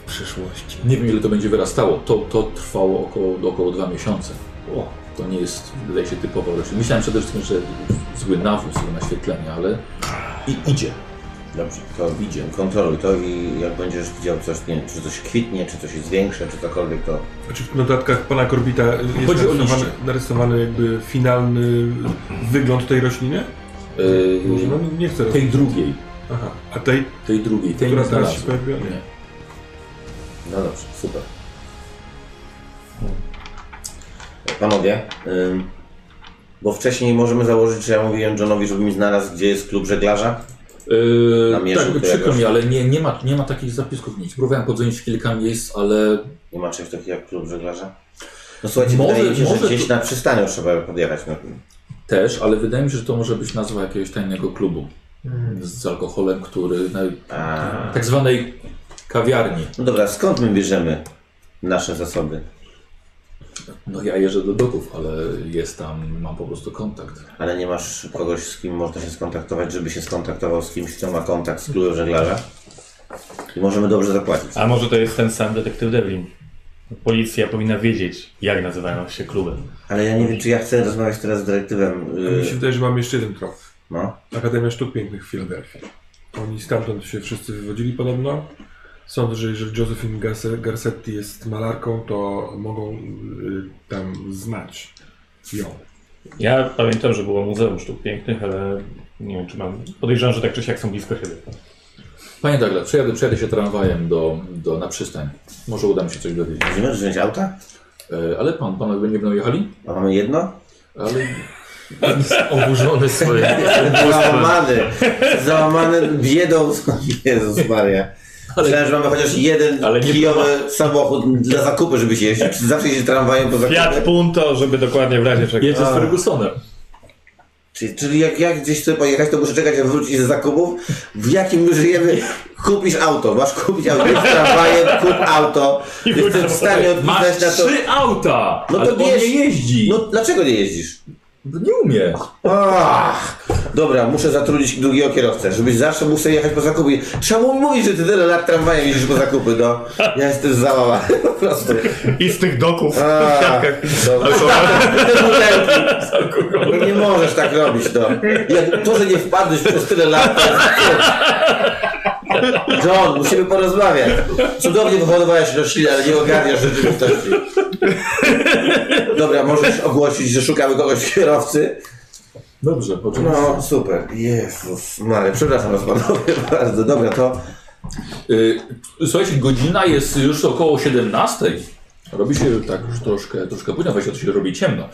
S5: w przyszłości.
S2: Nie wiem ile to będzie wyrastało. To, to trwało około, około dwa miesiące.
S8: O.
S2: To nie jest, wydaje się, typowa roślina. Myślałem przede wszystkim, że zły nawóz, złe naświetlenie, ale i idzie.
S3: Dobrze, to idzie. Kontroluj to i jak będziesz widział coś, nie wiem, czy coś kwitnie, czy coś jest większe, czy cokolwiek, to
S6: Znaczy w notatkach pana Korbita jest
S2: Chodzi o
S6: narysowany,
S2: liście.
S6: narysowany jakby finalny wygląd tej rośliny?
S2: Yy,
S6: Może no, nie chcę.
S2: tej drugiej,
S6: Aha, a tej,
S2: tej drugiej, tej
S6: która
S2: nie
S6: teraz się
S2: znalazłem.
S6: pojawiła?
S2: Nie.
S3: no dobrze, super. Panowie, ym, bo wcześniej możemy założyć, że ja mówiłem Johnowi, żeby mi znalazł, gdzie jest klub żeglarza.
S2: Yy,
S3: Namierzył
S2: tak,
S3: to
S2: przykro
S3: jakoś.
S2: mi, ale nie, nie, ma, nie ma takich zapisków nic. Próbowałem podzwonić w kilka miejsc, ale
S3: Nie ma czegoś takiego jak klub żeglarza? No słuchajcie,
S2: Może-
S3: wydaje mi się, że
S2: może
S3: gdzieś
S2: tu-
S3: na przystaniu trzeba podjechać. No,
S2: też, ale wydaje mi się, że to może być nazwa jakiegoś tajnego klubu z alkoholem, który na
S3: Hmm. a,
S2: tak zwanej kawiarni.
S3: no dobra, skąd my bierzemy nasze zasoby?
S2: No ja jeżdżę do doków, ale jest tam, mam po prostu kontakt.
S3: Ale nie masz kogoś, z kim można się skontaktować, żeby się skontaktował z kimś, kto ma kontakt z klubem żeglarza? I możemy dobrze zapłacić.
S8: A może to jest ten sam detektyw Devlin? Policja powinna wiedzieć, jak nazywają się klubem.
S3: Ale ja nie wiem, czy ja chcę rozmawiać teraz z dyrektywem.
S6: Mi się
S3: Yy,
S6: wydaje, że mamy jeszcze jeden trop.
S3: no.
S6: Akademia Sztuk Pięknych w Filadelfii. Oni stamtąd się wszyscy wywodzili podobno. Sądzę, że jeżeli Josephine Garce- Garcetti jest malarką, to mogą y, tam znać ją.
S8: Ja pamiętam, że było Muzeum Sztuk Pięknych, ale nie wiem, czy mam. Podejrzewam, że tak czy siak są blisko siebie.
S2: Panie Douglas, przejadę, przejadę się tramwajem do, do, na przystań. Może uda mi się coś dowiedzieć.
S3: Będziemy wziąć auta?
S2: E, ale pan, panowie nie będą jechali?
S3: A mamy jedno?
S2: Ale
S5: Oburzony swoje.
S2: *laughs*
S3: Załamany! Załamany biedą. Jezus Maria. Myślałem, że mamy chociaż jeden
S2: Ale nie-
S3: kijowy samochód dla zakupy, żeby się jeździć. Zawsze się tramwajem po
S8: Fiat
S3: zakupy.
S8: Punto, żeby dokładnie w razie czego.
S2: jedzie z Fergusonem.
S3: Czyli, czyli jak ja gdzieś chcę pojechać, to muszę czekać, aż wrócić z zakupów. W jakim my żyjemy? Kupisz auto, masz kupić auto, jedź tramwajem, kup auto. Jestem w stanie
S2: Masz
S3: odpisać na to.
S2: trzy auta!
S3: No to
S2: ale on
S3: bierz.
S2: nie jeździ. No
S3: No dlaczego nie jeździsz?
S2: Nie umie.
S3: Ach, dobra, muszę zatrudnić drugiego kierowcę, żebyś zawsze mógł sobie jechać po zakupy. Trzeba mu mówić, że ty tyle lat tramwajem jeździsz po zakupy, no. Ja jestem załamany po prostu.
S8: I z tych doków
S3: A,
S8: w siatkach.
S3: dobra. *laughs* Te butelki. No nie możesz tak robić, no. Jak to, że nie wpadłeś przez tyle lat. to- John, musimy porozmawiać. Cudownie wyhodowałeś rośliny, ale nie ogarniasz rzeczywistości. Dobra, możesz ogłosić, że szukamy kogoś kierowcy.
S2: Dobrze, poczekaj.
S3: No super, Jezus Mary, przepraszam was panowie bardzo, dobra to
S2: Y, słuchajcie, godzina jest już około 17. Robi się tak już troszkę, troszkę późno, właśnie to się robi ciemno.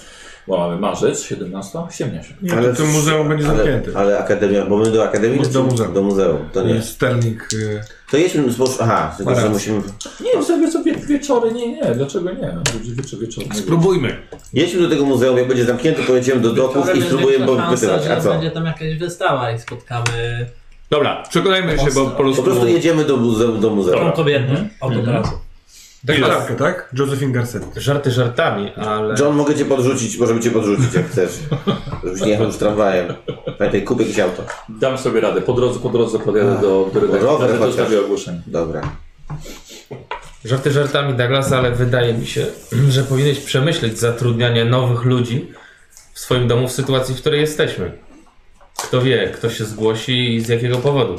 S2: Bo mamy marzec, 17, ciemnia się.
S6: Nie, ale to muzeum będzie
S3: ale,
S6: zamknięte.
S3: ale akademia, bo my do akademii
S6: Do
S3: czy-
S6: muzeum.
S3: do muzeum, to nie.
S6: Sterling. y,
S3: To jedźmy, zboż... aha, tylko że
S6: Marat.
S3: musimy,
S2: Nie, sobie sobie wieczory, nie, nie, dlaczego nie? Wieczor, wieczor,
S6: Spróbujmy.
S3: jedźmy do tego muzeum, jak będzie zamknięte to jedziemy do doków i spróbujemy go wypytywać, a
S7: że
S3: co?
S7: Będzie tam jakaś wystawa i spotkamy
S4: Dobra, przekonajmy się, bo po
S3: Po
S4: prostu...
S3: prostu jedziemy do muzeum, do muzeum.
S7: tą kobietę autokrasu.
S6: Malarkę, tak? Josephine Garcetti.
S5: Żarty żartami, ale...
S3: John, mogę cię podrzucić, możemy cię podrzucić jak chcesz, żebyś nie jechał już tramwajem. Pamiętaj, kup jakieś auto.
S2: Dam sobie radę. Po drodze, po drodze podjadę do
S3: rower
S2: redakcji,
S3: chociaż.
S2: dostawię ogłoszenie.
S3: Dobra.
S5: Żarty żartami Douglas, ale wydaje mi się, *clears throat* że powinieneś przemyśleć zatrudnianie nowych ludzi w swoim domu w sytuacji, w której jesteśmy. Kto wie, kto się zgłosi i z jakiego powodu.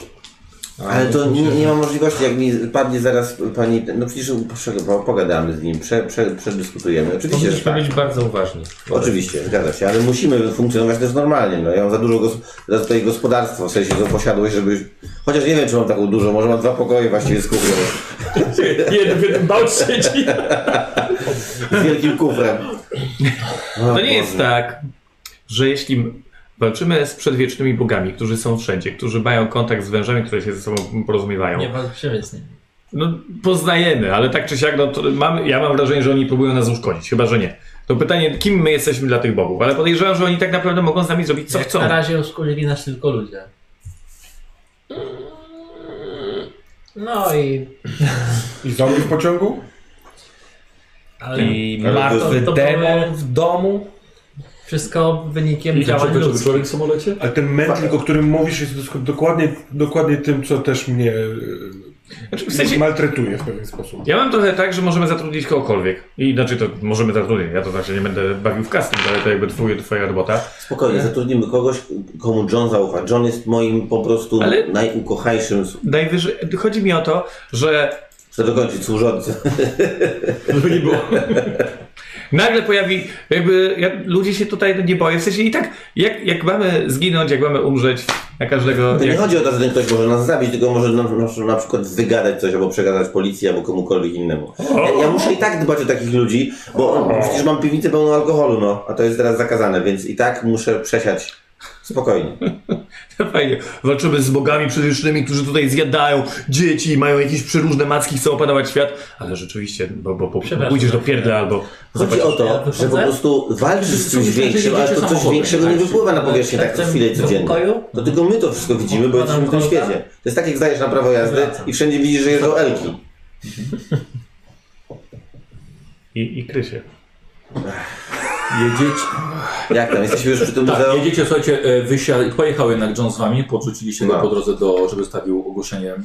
S3: Ale to nie, nie ma możliwości, jak mi padnie zaraz pani. No przecież poszedł- po- pogadamy z nim, prze, prze, przedyskutujemy. Oczywiście, że
S5: Powinniśmy
S3: tak.
S5: być bardzo uważni.
S3: Oczywiście, zgadza się, ale musimy funkcjonować też normalnie. No, ja mam za dużo gos- za tutaj gospodarstwo, w sensie za posiadłość, żeby. Chociaż nie wiem, czy mam taką dużo, może mam dwa pokoje właściwie z kufrem.
S2: Jeden, jeden bałcz siedzi.
S3: Z wielkim kufrem.
S8: To nie jest tak, że jeśli walczymy z przedwiecznymi bogami, którzy są wszędzie, którzy mają kontakt z wężami, które się ze sobą porozumiewają,
S7: Nie walczymy z nim.
S8: No, poznajemy, ale tak czy siak, no, to mamy, ja mam wrażenie, że oni próbują nas uszkodzić, chyba że nie. To pytanie, kim my jesteśmy dla tych bogów, ale podejrzewam, że oni tak naprawdę mogą z nami zrobić co
S7: Jak
S8: chcą.
S7: Na razie uszkodzili nas tylko ludzie. No i
S6: I zombie w pociągu?
S5: I
S3: Ale to
S5: martwy
S7: jest- to
S5: demon
S7: były-
S5: w domu.
S7: wszystko wynikiem
S2: Widział
S7: działań
S2: żeby
S7: ludzkich.
S2: człowiek w samolocie?
S6: Ale ten mętlik, o którym mówisz, jest dosk- dokładnie, dokładnie tym, co też mnie
S8: Znaczy, w
S6: e,
S8: sensie,
S6: maltretuje w pewien sposób.
S8: ja mam trochę tak, że możemy zatrudnić kogokolwiek. I znaczy, to możemy zatrudnić, ja to znaczy nie będę bawił w casting, ale to jakby twój, twoja robota.
S3: Spokojnie, zatrudnimy kogoś, komu John zaufa. John jest moim po prostu
S8: Ale-
S3: najukochajszym,
S8: Najwyżej, chodzi mi o to, że
S3: chcę dokończyć, służącym.
S8: *laughs* Nagle pojawi, jakby ja, ludzie się tutaj nie boją. W sensie i tak, jak, jak mamy zginąć, jak mamy umrzeć, na każdego.
S3: To nie
S8: jak,
S3: chodzi o to, że ten ktoś może nas zabić, tylko może na, na, na przykład wygadać coś, albo przekazać policji, albo komukolwiek innemu. Ja, ja muszę i tak dbać o takich ludzi, bo przecież mam piwnicę pełną alkoholu, no, a to jest teraz zakazane, więc i tak muszę przesiać spokojnie.
S8: Fajnie. Walczymy z bogami przedwiecznymi, którzy tutaj zjadają dzieci, mają jakieś przeróżne macki, chcą opanować świat. Ale rzeczywiście, bo, bo, bo
S7: Przepraszam.
S8: pójdziesz do pierdla albo
S3: Chodzi o to,
S7: No ja
S3: że po
S7: wychodzę.
S3: prostu walczysz z czymś
S2: Słyszycie, że
S3: większym, ale
S2: jedziecie
S3: to coś
S2: samochodem,
S3: większego nie
S2: tak?
S3: wypływa na powierzchnię tak co
S7: Jestem
S3: chwilę
S7: w
S3: codziennie.
S7: pokoju.
S3: To tylko my to wszystko widzimy, bo jesteśmy w tym
S7: Odkładam
S3: świecie. To jest tak jak zdajesz na prawo jazdy
S7: Wracam.
S3: i wszędzie widzisz, że jeżdżą Elki.
S8: i, i kry się.
S2: Jedziecie.
S3: Jak tam, jesteśmy już przy tym
S2: Tak,
S3: muzeum?
S2: jedziecie, słuchajcie, e, wysia... pojechał jednak John z wami, podrzuciliście go
S3: No.
S2: po drodze, do, żeby stawił ogłoszenie em,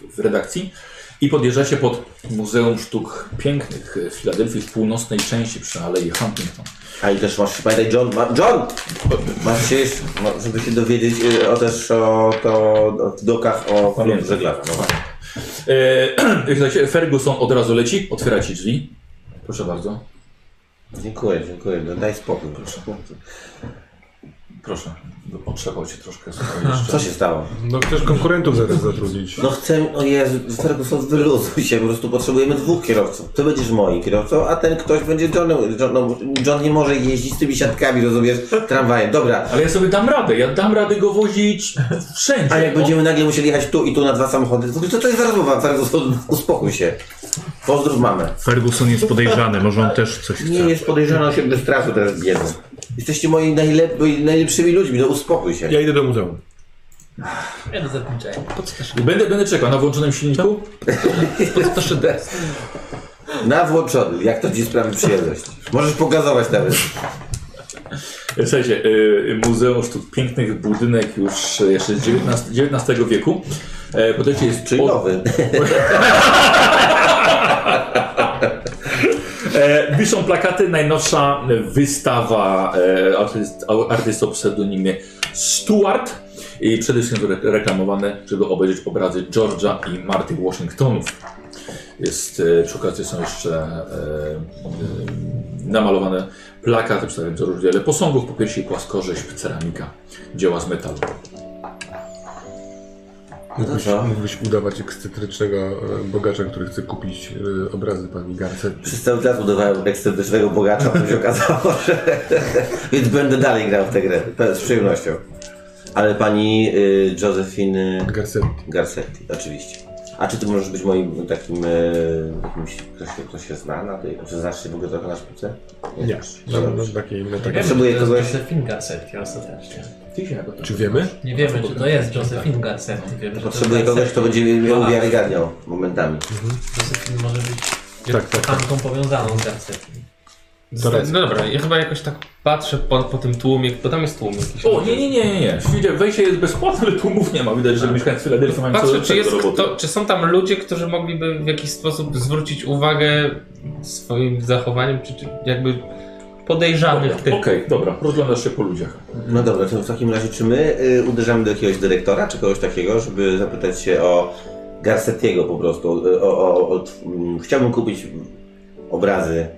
S2: w- w redakcji i podjeżdżacie pod Muzeum Sztuk Pięknych w Filadelfii, w północnej części przy Alei Huntington.
S3: A i też masz, pamiętaj John, ma, John! Masz się jeszcze, no, żeby się dowiedzieć y, o też o to, o dokach, o panu
S2: Pamiętam.
S3: żeglarza. No właśnie.
S2: E, słuchajcie, Ferguson od razu leci, otwiera ci drzwi. Proszę bardzo,
S3: Dziękuję, dziękuję, no, daj spokój. Proszę.
S2: proszę, potrzebał cię troszkę słuchaj,
S3: Co
S2: jeszcze.
S3: się stało?
S6: No chcesz konkurentów zaraz zatrudnić.
S3: No chcę, o Jezu, Ferguson wyluzuj się, po prostu potrzebujemy dwóch kierowców. Ty będziesz moim kierowcą, a ten ktoś będzie Johnem. John, no, John nie może jeździć z tymi siatkami, rozumiesz, tramwajem. Dobra,
S2: Ale ja sobie dam radę, ja dam radę go wozić wszędzie.
S3: a jak
S2: no.
S3: będziemy nagle musieli jechać tu i tu na dwa samochody, to co to jest za rozmowa, Ferguson? Uspokój się. Pozdrów mamę.
S8: Ferguson jest podejrzany, może on też coś
S3: Nie jest podejrzana się bez strachu teraz biedzą. Jesteście moi najlep- moi najlepszymi ludźmi, no uspokój się.
S6: Ja idę do muzeum.
S7: Ja do zakończenia.
S2: Będę, będę czekał na włączonym silniku.
S3: Na włączony, jak to ci sprawi przyjemność. Możesz pokazować nawet.
S2: W sensie, y, Muzeum Sztuk Pięknych, budynek już y, jeszcze z XIX, XIX wieku. E, Podejście jest
S3: Czyli nowy.
S2: E, Wiszą plakaty, najnowsza wystawa e, artyst, au- artyst o pseudonimie Stuart i przede wszystkim re- reklamowane, żeby obejrzeć obrazy Georgia i Marty Washingtonów. Jest, e, przy okazji są jeszcze e, e, namalowane plakaty przedstawiające rozdziale posągów, popiersi, płaskorzeźb, ceramika, dzieła z metalu.
S6: Mógłbyś,
S3: co?
S6: mógłbyś udawać ekscentrycznego e, bogacza, który chce kupić e, obrazy pani Garce.
S3: Przez cały czas udawałem ekscentrycznego bogacza, to się okazało, *laughs* że... Więc będę dalej grał w tę grę, pe- z przyjemnością. Ale pani y, Josephine
S6: Garcetti.
S3: Garcetti, oczywiście. A czy ty możesz być moim takim, y, jakimś, ktoś, ktoś się zna na tej, czy znasz się w ogóle trochę na szpice?
S6: Nie,
S3: No
S6: no, no,
S3: dobrze.
S6: takiej, no,
S7: Nie
S6: takiej.
S7: wiemy,
S3: Potrzebuję
S7: czy to
S3: kogoś-
S7: jest Josephine Garcetti ostatecznie.
S6: Czy wiemy?
S7: Nie wiemy, czy to jest Josephine Garcetti. Wiemy, że to
S3: Potrzebuję
S7: Garcetti.
S3: kogoś, kto będzie mnie
S7: Ma-
S3: uwiarygadniał momentami.
S7: Josephine może być
S6: Tak, tak.
S7: kochanką powiązaną z Garcetti.
S6: Teraz.
S5: No dobra, ja chyba jakoś tak patrzę po, po tym tłumie, bo tam jest tłum jakiś.
S2: O, nie, nie, nie, nie, nie. Świecie, wejście jest bezpłatne, ale tłumów nie ma. Widać, że mieszkańcy Filadelfii mają co
S5: Patrzę,
S2: do
S5: czy, jest
S2: czego roboty.
S5: kto, czy są tam ludzie, którzy mogliby w jakiś sposób zwrócić uwagę swoim zachowaniem, czy, czy jakby podejrzanych
S2: Okej,
S5: tych.
S2: dobra, rozglądasz się po ludziach.
S3: No dobra, to w takim razie czy my y, uderzamy do jakiegoś dyrektora czy kogoś takiego, żeby zapytać się o Garcetiego po prostu, y, o, o, o, tw- mm, chciałbym kupić mm, obrazy.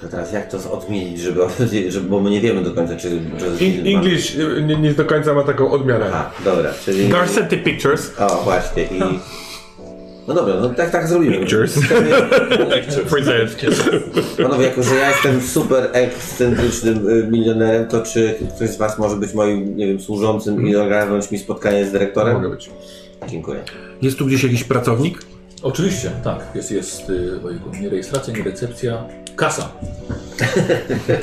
S3: To teraz jak to odmienić, żeby, *laughs* żeby bo my nie wiemy do końca, czy... czy
S6: In, English e, nie, nie do końca ma taką odmianę.
S3: Aha, dobra, czyli...
S8: Garcetti Pictures.
S3: O, właśnie i... No dobra, no tak, tak zrobimy.
S8: Pictures. Present.
S3: Panowie, jako że ja jestem super ekscentrycznym y, milionerem, to czy ktoś z Was może być moim, nie wiem, służącym i ogarnąć mi spotkanie z dyrektorem?
S6: Mogę być.
S3: Dziękuję.
S6: Jest tu gdzieś jakiś pracownik?
S2: Oczywiście, tak. Jest, jest y, ojku, nie rejestracja, nie recepcja. Kasa. Y,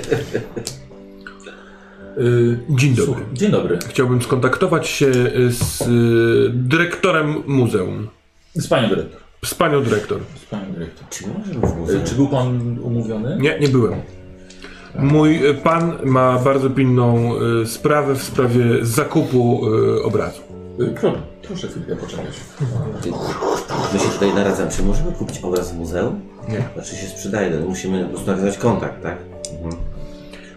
S6: E, Dzień dobry.
S2: słuchaj, Dzień dobry.
S6: Chciałbym skontaktować się y, z y, dyrektorem muzeum.
S2: Z panią dyrektor.
S6: Z panią dyrektor.
S2: Z panią dyrektor.
S3: Czy możemy w
S2: Y,
S3: muzeum?
S2: Czy był pan umówiony?
S6: Nie, nie byłem. Mój y, pan ma bardzo pilną y, sprawę w sprawie zakupu y, obrazu.
S2: Y, pro- Proszę chwilkę poczekać.
S3: My się tutaj naradzamy. Czy możemy kupić obraz w muzeum?
S6: Nie.
S3: Znaczy się sprzedaje, no musimy po prostu nawiązać kontakt, tak?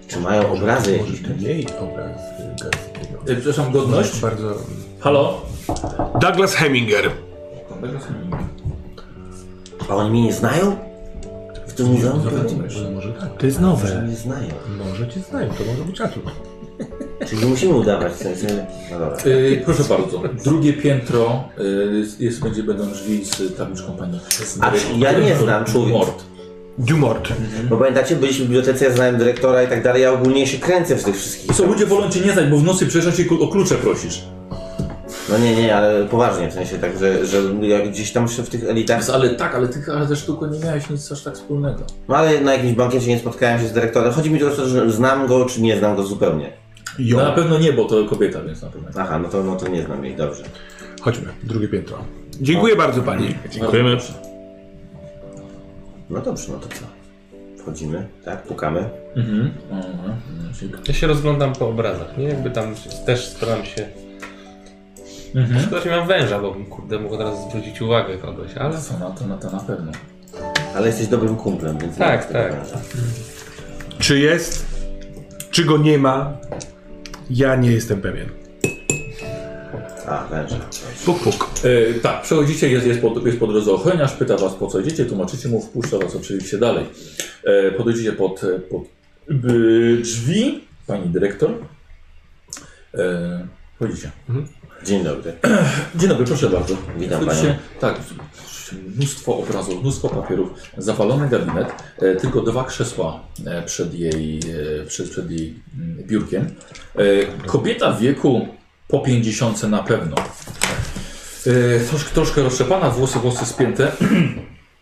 S3: Czy mają obrazy jakieś?
S6: Jej obraz y, Garstiego.
S2: Y, Przepraszam, godność?
S6: Bardzo.
S2: Halo?
S6: Douglas Heminger.
S3: A oni mnie nie znają? W tym muzeum?
S6: Może tak.
S8: To jest
S3: Że
S8: nowe.
S3: mnie znają.
S6: Może cię znają, to może być atut.
S3: Czyli nie musimy udawać, w sensie... No dobra.
S2: Y, Proszę bardzo. Drugie piętro y, jest, będzie będą drzwi z tabliczką pani.
S3: A czy ja nie znam człowieka.
S2: Mord.
S6: Dumort.
S8: No
S3: Bo pamiętacie, byliśmy w bibliotece, ja znałem dyrektora i tak dalej, ja ogólnie się kręcę w tych wszystkich.
S2: Co, ludzie wolą cię nie znać, bo w nocy przyjeżdżasz i ku- o klucze prosisz.
S3: No nie, nie, ale poważnie, w sensie tak, że, że ja gdzieś tam się w tych elitach...
S2: Ale tak, ale ty ale ze sztuką nie miałeś nic aż tak wspólnego.
S3: No ale na jakimś bankiecie nie spotkałem się z dyrektorem. Chodzi mi tylko o to, że znam go, czy nie znam go zupełnie.
S2: No, na pewno nie, bo to kobieta, więc na pewno.
S3: Aha, no to, no to nie znam jej, dobrze.
S6: Chodźmy, drugie piętro. Dziękuję bardzo pani.
S4: Dziękujemy.
S3: No dobrze, no to co? Wchodzimy, tak? Pukamy.
S2: Mhm. Mhm. Czyli-
S5: Ja się rozglądam po obrazach, nie? Jakby tam też staram się...
S2: Mhm.
S5: Szkoda, że nie mam węża, bo bym, kurde, mógł od razu zwrócić uwagę kogoś, ale...
S2: Co na to, na to na pewno.
S3: Ale jesteś dobrym kumplem, więc... nie
S5: Tak,
S3: ma tego
S5: tak.
S3: wrażenia.
S6: Czy jest, czy go nie ma, ja nie jestem pewien.
S3: A, węża.
S6: Puk, puk.
S2: E, tak, przechodzicie, jest, jest, po, jest po drodze ochroniarz, pyta was po co idziecie, tłumaczycie mu, wpuszcza was oczywiście dalej. E, podejdziecie pod, e, pod y, drzwi, pani dyrektor. E, wchodzicie.
S3: Dzień dobry.
S2: Dzień dobry, proszę bardzo.
S3: Witam
S2: Wchodzicie-
S3: panią.
S2: Tak, mnóstwo obrazów, mnóstwo papierów, zawalony gabinet, e, tylko dwa krzesła e, przed jej, e, przed, przed jej mm, biurkiem. E, kobieta w wieku po 50 na pewno. E, trosz, troszkę rozszczepana, włosy, włosy spięte. *clears throat*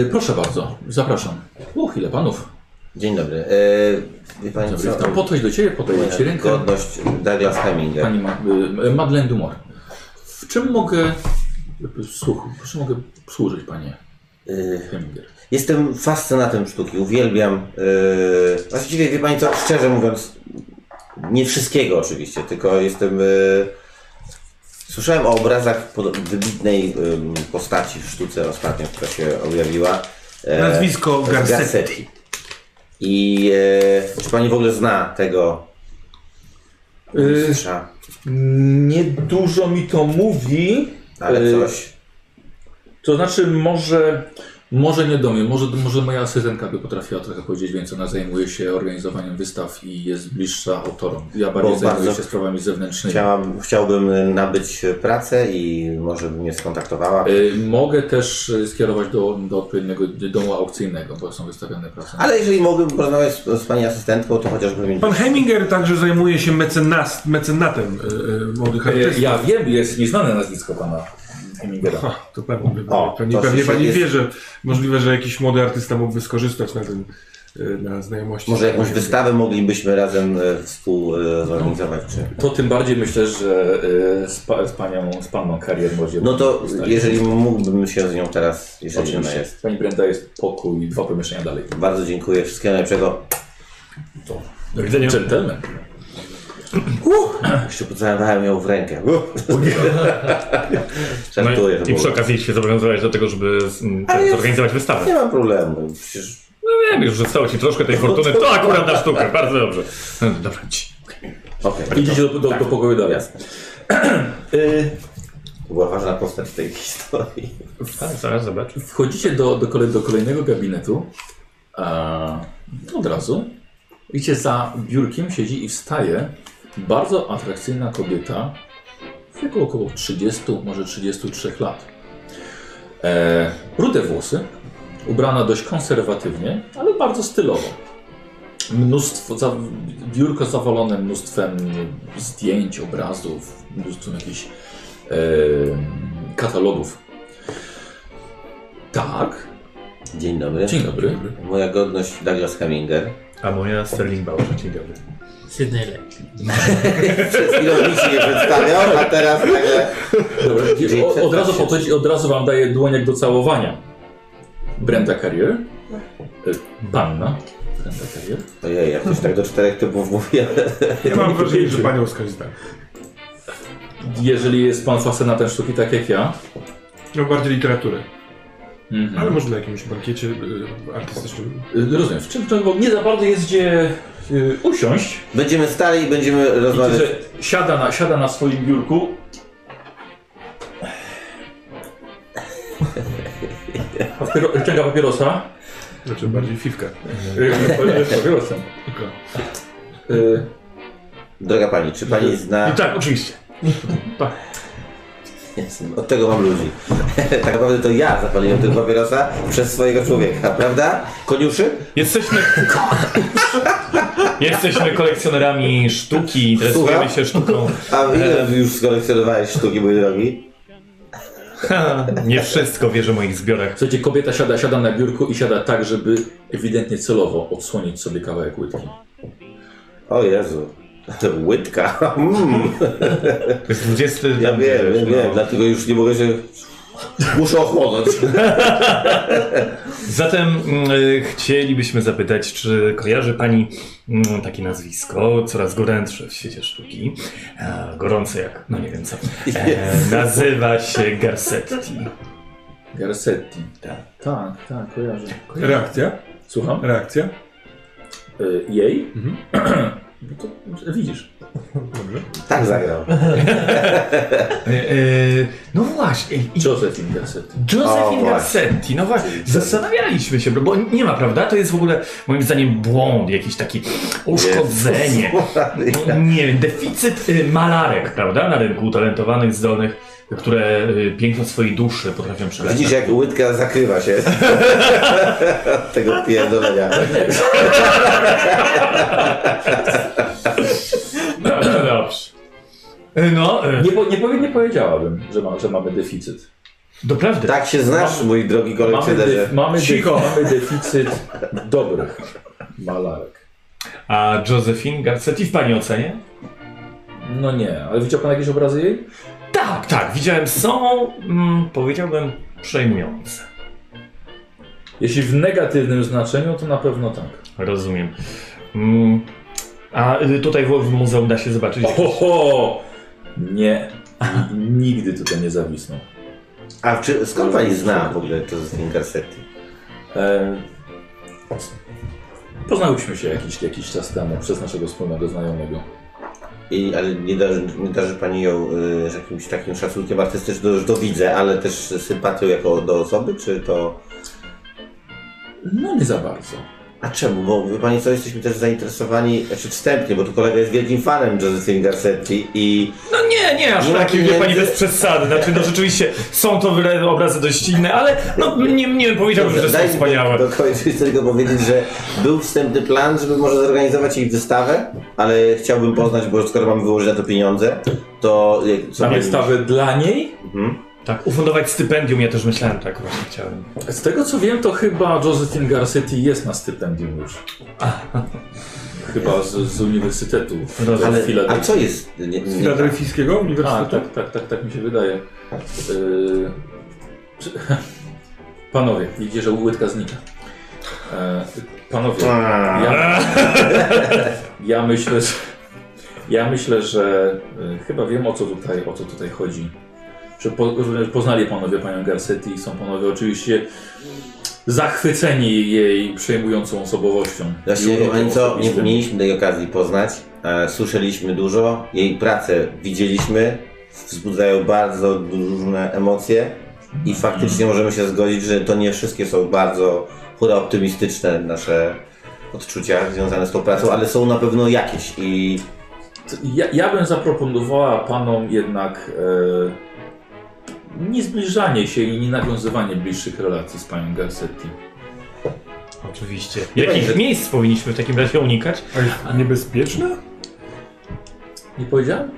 S2: E, proszę bardzo, zapraszam. Uch, ile panów.
S3: Dzień dobry. E, wie pani
S2: Dobry,
S3: co?
S2: witam. Podchodź do ciebie, podaję ci
S3: Moja
S2: rękę.
S3: Godność Douglas Heminger.
S2: Pani Ma y, Madeleine Dumor. W czym mogę... Słuch, w czym mogę służyć, panie
S3: Y,
S2: Heminger?
S3: Jestem fascynatem sztuki, uwielbiam. Yy, właściwie wie pani co, szczerze mówiąc, nie wszystkiego oczywiście, tylko jestem. Yy, słyszałem o obrazach pod, wybitnej ym, postaci w sztuce ostatnio, która się objawiła. E,
S6: Nazwisko Garcetti.
S3: I e, czy pani w ogóle zna tego
S2: Y,
S3: mistrza?
S2: Niedużo mi to mówi.
S3: Ale
S2: y-
S3: coś.
S2: To znaczy, może, może nie do mnie, może, może moja asystentka by potrafiła trochę powiedzieć więcej. Ona zajmuje się organizowaniem wystaw i jest bliższa autorom. Ja bardziej
S3: Bo
S2: zajmuję
S3: bardzo
S2: się sprawami zewnętrznymi.
S3: Chciałam, chciałbym nabyć pracę i może by mnie skontaktowała.
S2: Y, Mogę też y, skierować do, do odpowiedniego domu aukcyjnego, bo są wystawiane prace.
S3: Ale jeżeli mogłabym porozmawiać z, z pani asystentką, to chociażby mi.
S6: Pan Heminger także zajmuje się mecenas, mecenatem y, y, młodych
S3: E,
S6: artystów.
S2: Y, Ja wiem, jest nieznane nazwisko pana Hemingera.
S6: Ha, to pewnie, by-
S3: O,
S6: pewnie,
S3: to
S6: pewnie
S3: się
S6: pani
S3: jest-
S6: wie, że możliwe, że jakiś młody artysta mógłby skorzystać na tym, y, na znajomości.
S3: Może jakąś wystawę moglibyśmy razem e, współ e, zorganizować, czy...
S2: To tym bardziej myślę, że y, z, pa, z, panią, z panną karier będzie.
S3: No to jeżeli mógłbym się z nią teraz, jeżeli ona
S2: Oczywiście.
S3: jest.
S2: Pani Brenda jest pokój, dwa pomieszczenia dalej.
S3: Bardzo dziękuję, wszystkiego najlepszego.
S8: Do widzenia.
S2: Dżentelmen.
S3: Uh! Jeszcze pocałowałem ją w rękę. Uh!
S8: *laughs* No
S3: Żartuję. to
S8: i, I
S3: było.
S8: przy okazji się zobowiązałeś do tego, żeby mm, ten, zorganizować wystawę.
S3: Nie mam problemu, przecież
S8: No wiem, już zostało ci troszkę tej fortuny, No to akurat na sztukę, bardzo dobrze. No, dobra, ci.
S3: okej,
S2: Idziecie do, do, do pokoju dalej.
S3: jasne. To była ważna postać w tej historii.
S8: Tak, zaraz zobacz.
S2: Wchodzicie do, do, kole, do kolejnego gabinetu. A, od razu. Widzicie, za biurkiem siedzi i wstaje bardzo atrakcyjna kobieta w wieku około 30, może 33 lat. E, rude włosy, ubrana dość konserwatywnie, ale bardzo stylowo. Mnóstwo, za, biurko zawalone mnóstwem zdjęć, obrazów, mnóstwem jakichś e, katalogów. Tak.
S3: Dzień dobry.
S2: Dzień dobry.
S3: Moja godność Douglas Heminger.
S8: A moja Sterling Bauer, dzień dobry.
S7: Sydney Lake.
S3: Przed chwilą nikt się nie przedstawiał, a teraz nagle...
S2: Dobra,
S3: Dzień
S2: o, od razu
S3: przed-
S2: podchodzi, od razu wam daje dłoń jak do całowania. Brenda Carrier. E, Panna. Brenda Carrier.
S3: Ojej, jak ktoś tak do czterech typów mówi, ale...
S6: Ja mam wrażenie, że panią skorzystam.
S2: Jeżeli jest pan fascynatem sztuki tak jak ja.
S6: No bardziej literaturę.
S2: Mhm.
S6: Ale może na jakimś bankiecie y, artystycznym.
S2: Y, Rozumiem, w czym to bo nie za bardzo jest gdzie y, usiąść.
S3: Będziemy stali i będziemy
S2: Widzicie,
S3: rozmawiać.
S2: że siada na, siada na swoim biurku. Papiro, ciąga papierosa.
S6: Znaczy bardziej fiwkę.
S2: Y, Papierosem.
S6: Tylko.
S2: Y,
S3: Droga pani, czy pani zna...
S8: I tak,
S3: *laughs*
S8: oczywiście. Tak.
S3: no, Od tego mam ludzi. *laughs* tak naprawdę to ja zapaliłem tego papierosa przez swojego człowieka, prawda? Koniuszy?
S8: Jesteśmy... Jesteśmy kolekcjonerami sztuki, interesujemy
S3: Słucham?
S8: się sztuką.
S3: A ile
S8: E.
S3: już skolekcjonowałeś sztuki, mój drogi?
S8: Ha, nie wszystko wie, że w moich zbiorach.
S2: Słuchajcie, kobieta siada, siada na biurku i siada tak, żeby ewidentnie celowo odsłonić sobie kawałek łydki.
S3: O Jezu. *laughs* Łydka. Mm.
S8: To jest 20.
S3: Ja
S8: tam,
S3: wiem,
S8: wiesz, no.
S3: wiem, wiem, dlatego już nie mogę się... Muszę
S8: *laughs*
S3: ochłonąć.
S8: Zatem mm, y, chcielibyśmy zapytać, czy kojarzy Pani mm, takie nazwisko, coraz gorętsze w świecie sztuki, e, gorące jak, no nie wiem co, e, nazywa się Garcetti.
S2: Garcetti.
S8: Tak.
S2: Tak, tak, kojarzę.
S6: Reakcja?
S2: Słucham?
S6: Reakcja?
S2: Y, jej?
S6: Mhm.
S2: *clears throat* No to widzisz.
S6: Dobrze.
S3: Tak
S8: *laughs*
S3: zagrał.
S8: E, e, no właśnie, i- i
S2: Josephine Garcetti.
S8: Josephine
S3: O, właśnie.
S8: Garcetti, no właśnie, zastanawialiśmy się, bo nie ma, prawda? To jest w ogóle moim zdaniem błąd, jakiś taki uszkodzenie. No, Nie wiem, deficyt y, malarek, prawda? Na rynku utalentowanych, zdolnych, które y, piękno swojej duszy potrafią przekazać.
S3: Widzisz, jak łydka zakrywa się *laughs* od tego pierdolenia.
S8: Dobrze, dobrze. Y, No, y,
S2: Nie, po, nie, powie, nie powiedziałabym, że, ma, że mamy deficyt.
S8: doprawdy.
S3: Tak się znasz, mój drogi
S2: Mamy,
S3: kolekcjonerze.
S2: def, mamy, def,
S6: Cicho.
S2: mamy deficyt dobrych malarek.
S8: A Josephine Garcetti w pani ocenie?
S2: No nie, ale widział pan jakieś obrazy jej?
S8: Tak, tak, widziałem, są, mm, powiedziałbym, przejmujące.
S2: Jeśli w negatywnym znaczeniu, to na pewno tak.
S8: Rozumiem. Mm, a y, tutaj w, w muzeum da się zobaczyć.
S2: Oho! Nie. Nigdy tutaj nie zawisną.
S3: A czy, skąd pani zna w ogóle to z Garcetti?
S2: E, poznałyśmy się jakiś, jakiś czas temu przez naszego wspólnego znajomego.
S3: I, ale nie darzy, nie darzy Pani ją y, z jakimś takim szacunkiem artystycznym, już to widzę, ale też sympatią jako do osoby, czy to...
S2: No nie za bardzo.
S3: A czemu? Bo wie Pani co, jesteśmy też zainteresowani, znaczy wstępnie, bo tu kolega jest wielkim fanem Josephine Garcetti i...
S8: No nie, nie, aż
S3: Nie ma
S8: taki, wie pani,
S3: pieniędzy.
S8: bez przesady. Znaczy, no rzeczywiście są to wyra- obrazy dość inne, ale no nie, nie powiedziałbym, że są
S3: Daj mi
S8: wspaniałe.
S3: dokończyć, chcę tylko powiedzieć, że był wstępny plan, żeby może zorganizować jej wystawę, ale chciałbym poznać, bo skoro mamy wyłożyć na to pieniądze, to... jak- Co
S2: Na
S3: pani-
S2: wystawę dla niej?
S3: Mhm.
S8: Tak, ufundować stypendium, ja też myślałem tak właśnie chciałem.
S2: Z tego co wiem, to chyba Josephine Garcetti jest na stypendium już. Chyba z, z uniwersytetu.
S8: Rozumiem.
S2: Ale,
S3: Ale,
S2: chwilę.
S8: tak.
S3: a co jest... Nie, nie,
S6: Z
S3: nie,
S6: Filadelfijskiego
S2: A,
S6: Uniwersytetu?
S2: tak, tak, tak, tak mi się wydaje. Yy, czy- *laughs* Panowie, widzicie, że łydka znika. E, Panowie, ja, *laughs* ja myślę, że, ja myślę, że y, chyba wiem o co tutaj, o co tutaj chodzi. Że po, że poznali panowie panią Garcetti i są panowie oczywiście zachwyceni jej przejmującą osobowością.
S3: Właśnie,
S2: i
S3: wie
S2: urodą
S3: pani co, nie
S2: osobistą.
S3: mieliśmy tej okazji poznać. E, Słyszeliśmy dużo, jej pracę widzieliśmy, wzbudzają bardzo różne emocje i faktycznie możemy się zgodzić, że to nie wszystkie są bardzo hura optymistyczne nasze odczucia związane z tą pracą, ale są na pewno jakieś i
S2: Ja, ja bym zaproponowała panom jednak e, nie zbliżanie się i nie nawiązywanie bliższych relacji z panią Garcetti.
S8: Oczywiście. Jakich miejsc powinniśmy w takim razie unikać?
S6: A jest niebezpieczne?
S2: Nie powiedziałem?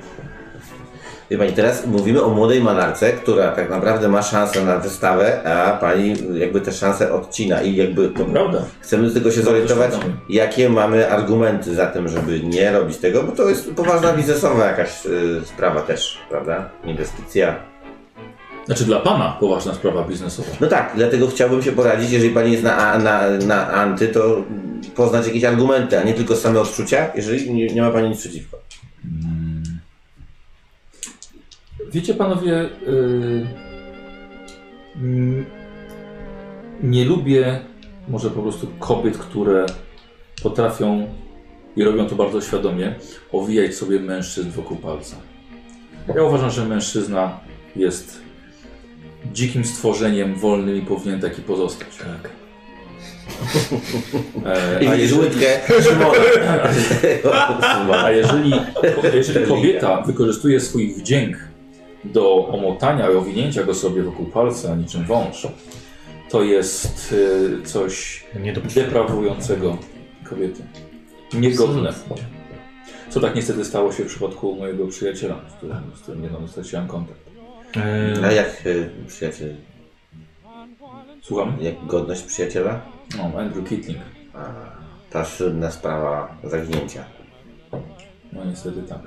S3: Wie pani, teraz mówimy o młodej malarce, która tak naprawdę ma szansę na wystawę, a pani jakby te szanse odcina i jakby to
S2: Prawda.
S3: Chcemy tylko się zorientować,
S2: świadomy.
S3: jakie mamy argumenty za tym, żeby nie robić tego, bo to jest poważna biznesowa jakaś y, sprawa też, prawda? Inwestycja.
S2: Znaczy dla pana poważna sprawa biznesowa.
S3: No tak, dlatego chciałbym się poradzić, jeżeli pani jest na, na, na anty, to poznać jakieś argumenty, a nie tylko same odczucia, jeżeli nie, nie ma pani nic przeciwko.
S2: Wiecie panowie, yy, mm, nie lubię może po prostu kobiet, które potrafią i robią to bardzo świadomie, owijać sobie mężczyzn wokół palca. Ja uważam, że mężczyzna jest dzikim stworzeniem wolnym i powinien taki pozostać. Tak. E,
S3: I
S2: a
S3: widzisz
S2: jeżeli-
S3: łydkę *laughs* Szymona.
S2: A jeżeli, jeżeli kobieta wykorzystuje swój wdzięk do omotania i owinięcia go sobie wokół palca niczym wąż, to jest y, coś
S8: Nie do
S2: deprawującego kobiety. Niegodne. Co tak niestety stało się w przypadku mojego przyjaciela, z którym, z którym niedawno straciłem kontakt.
S3: A jak y, przyjaciel,
S2: Słucham?
S3: jak godność przyjaciela?
S2: No, Andrew Kitling.
S3: A, ta słynna sprawa zaginięcia.
S2: No niestety tak.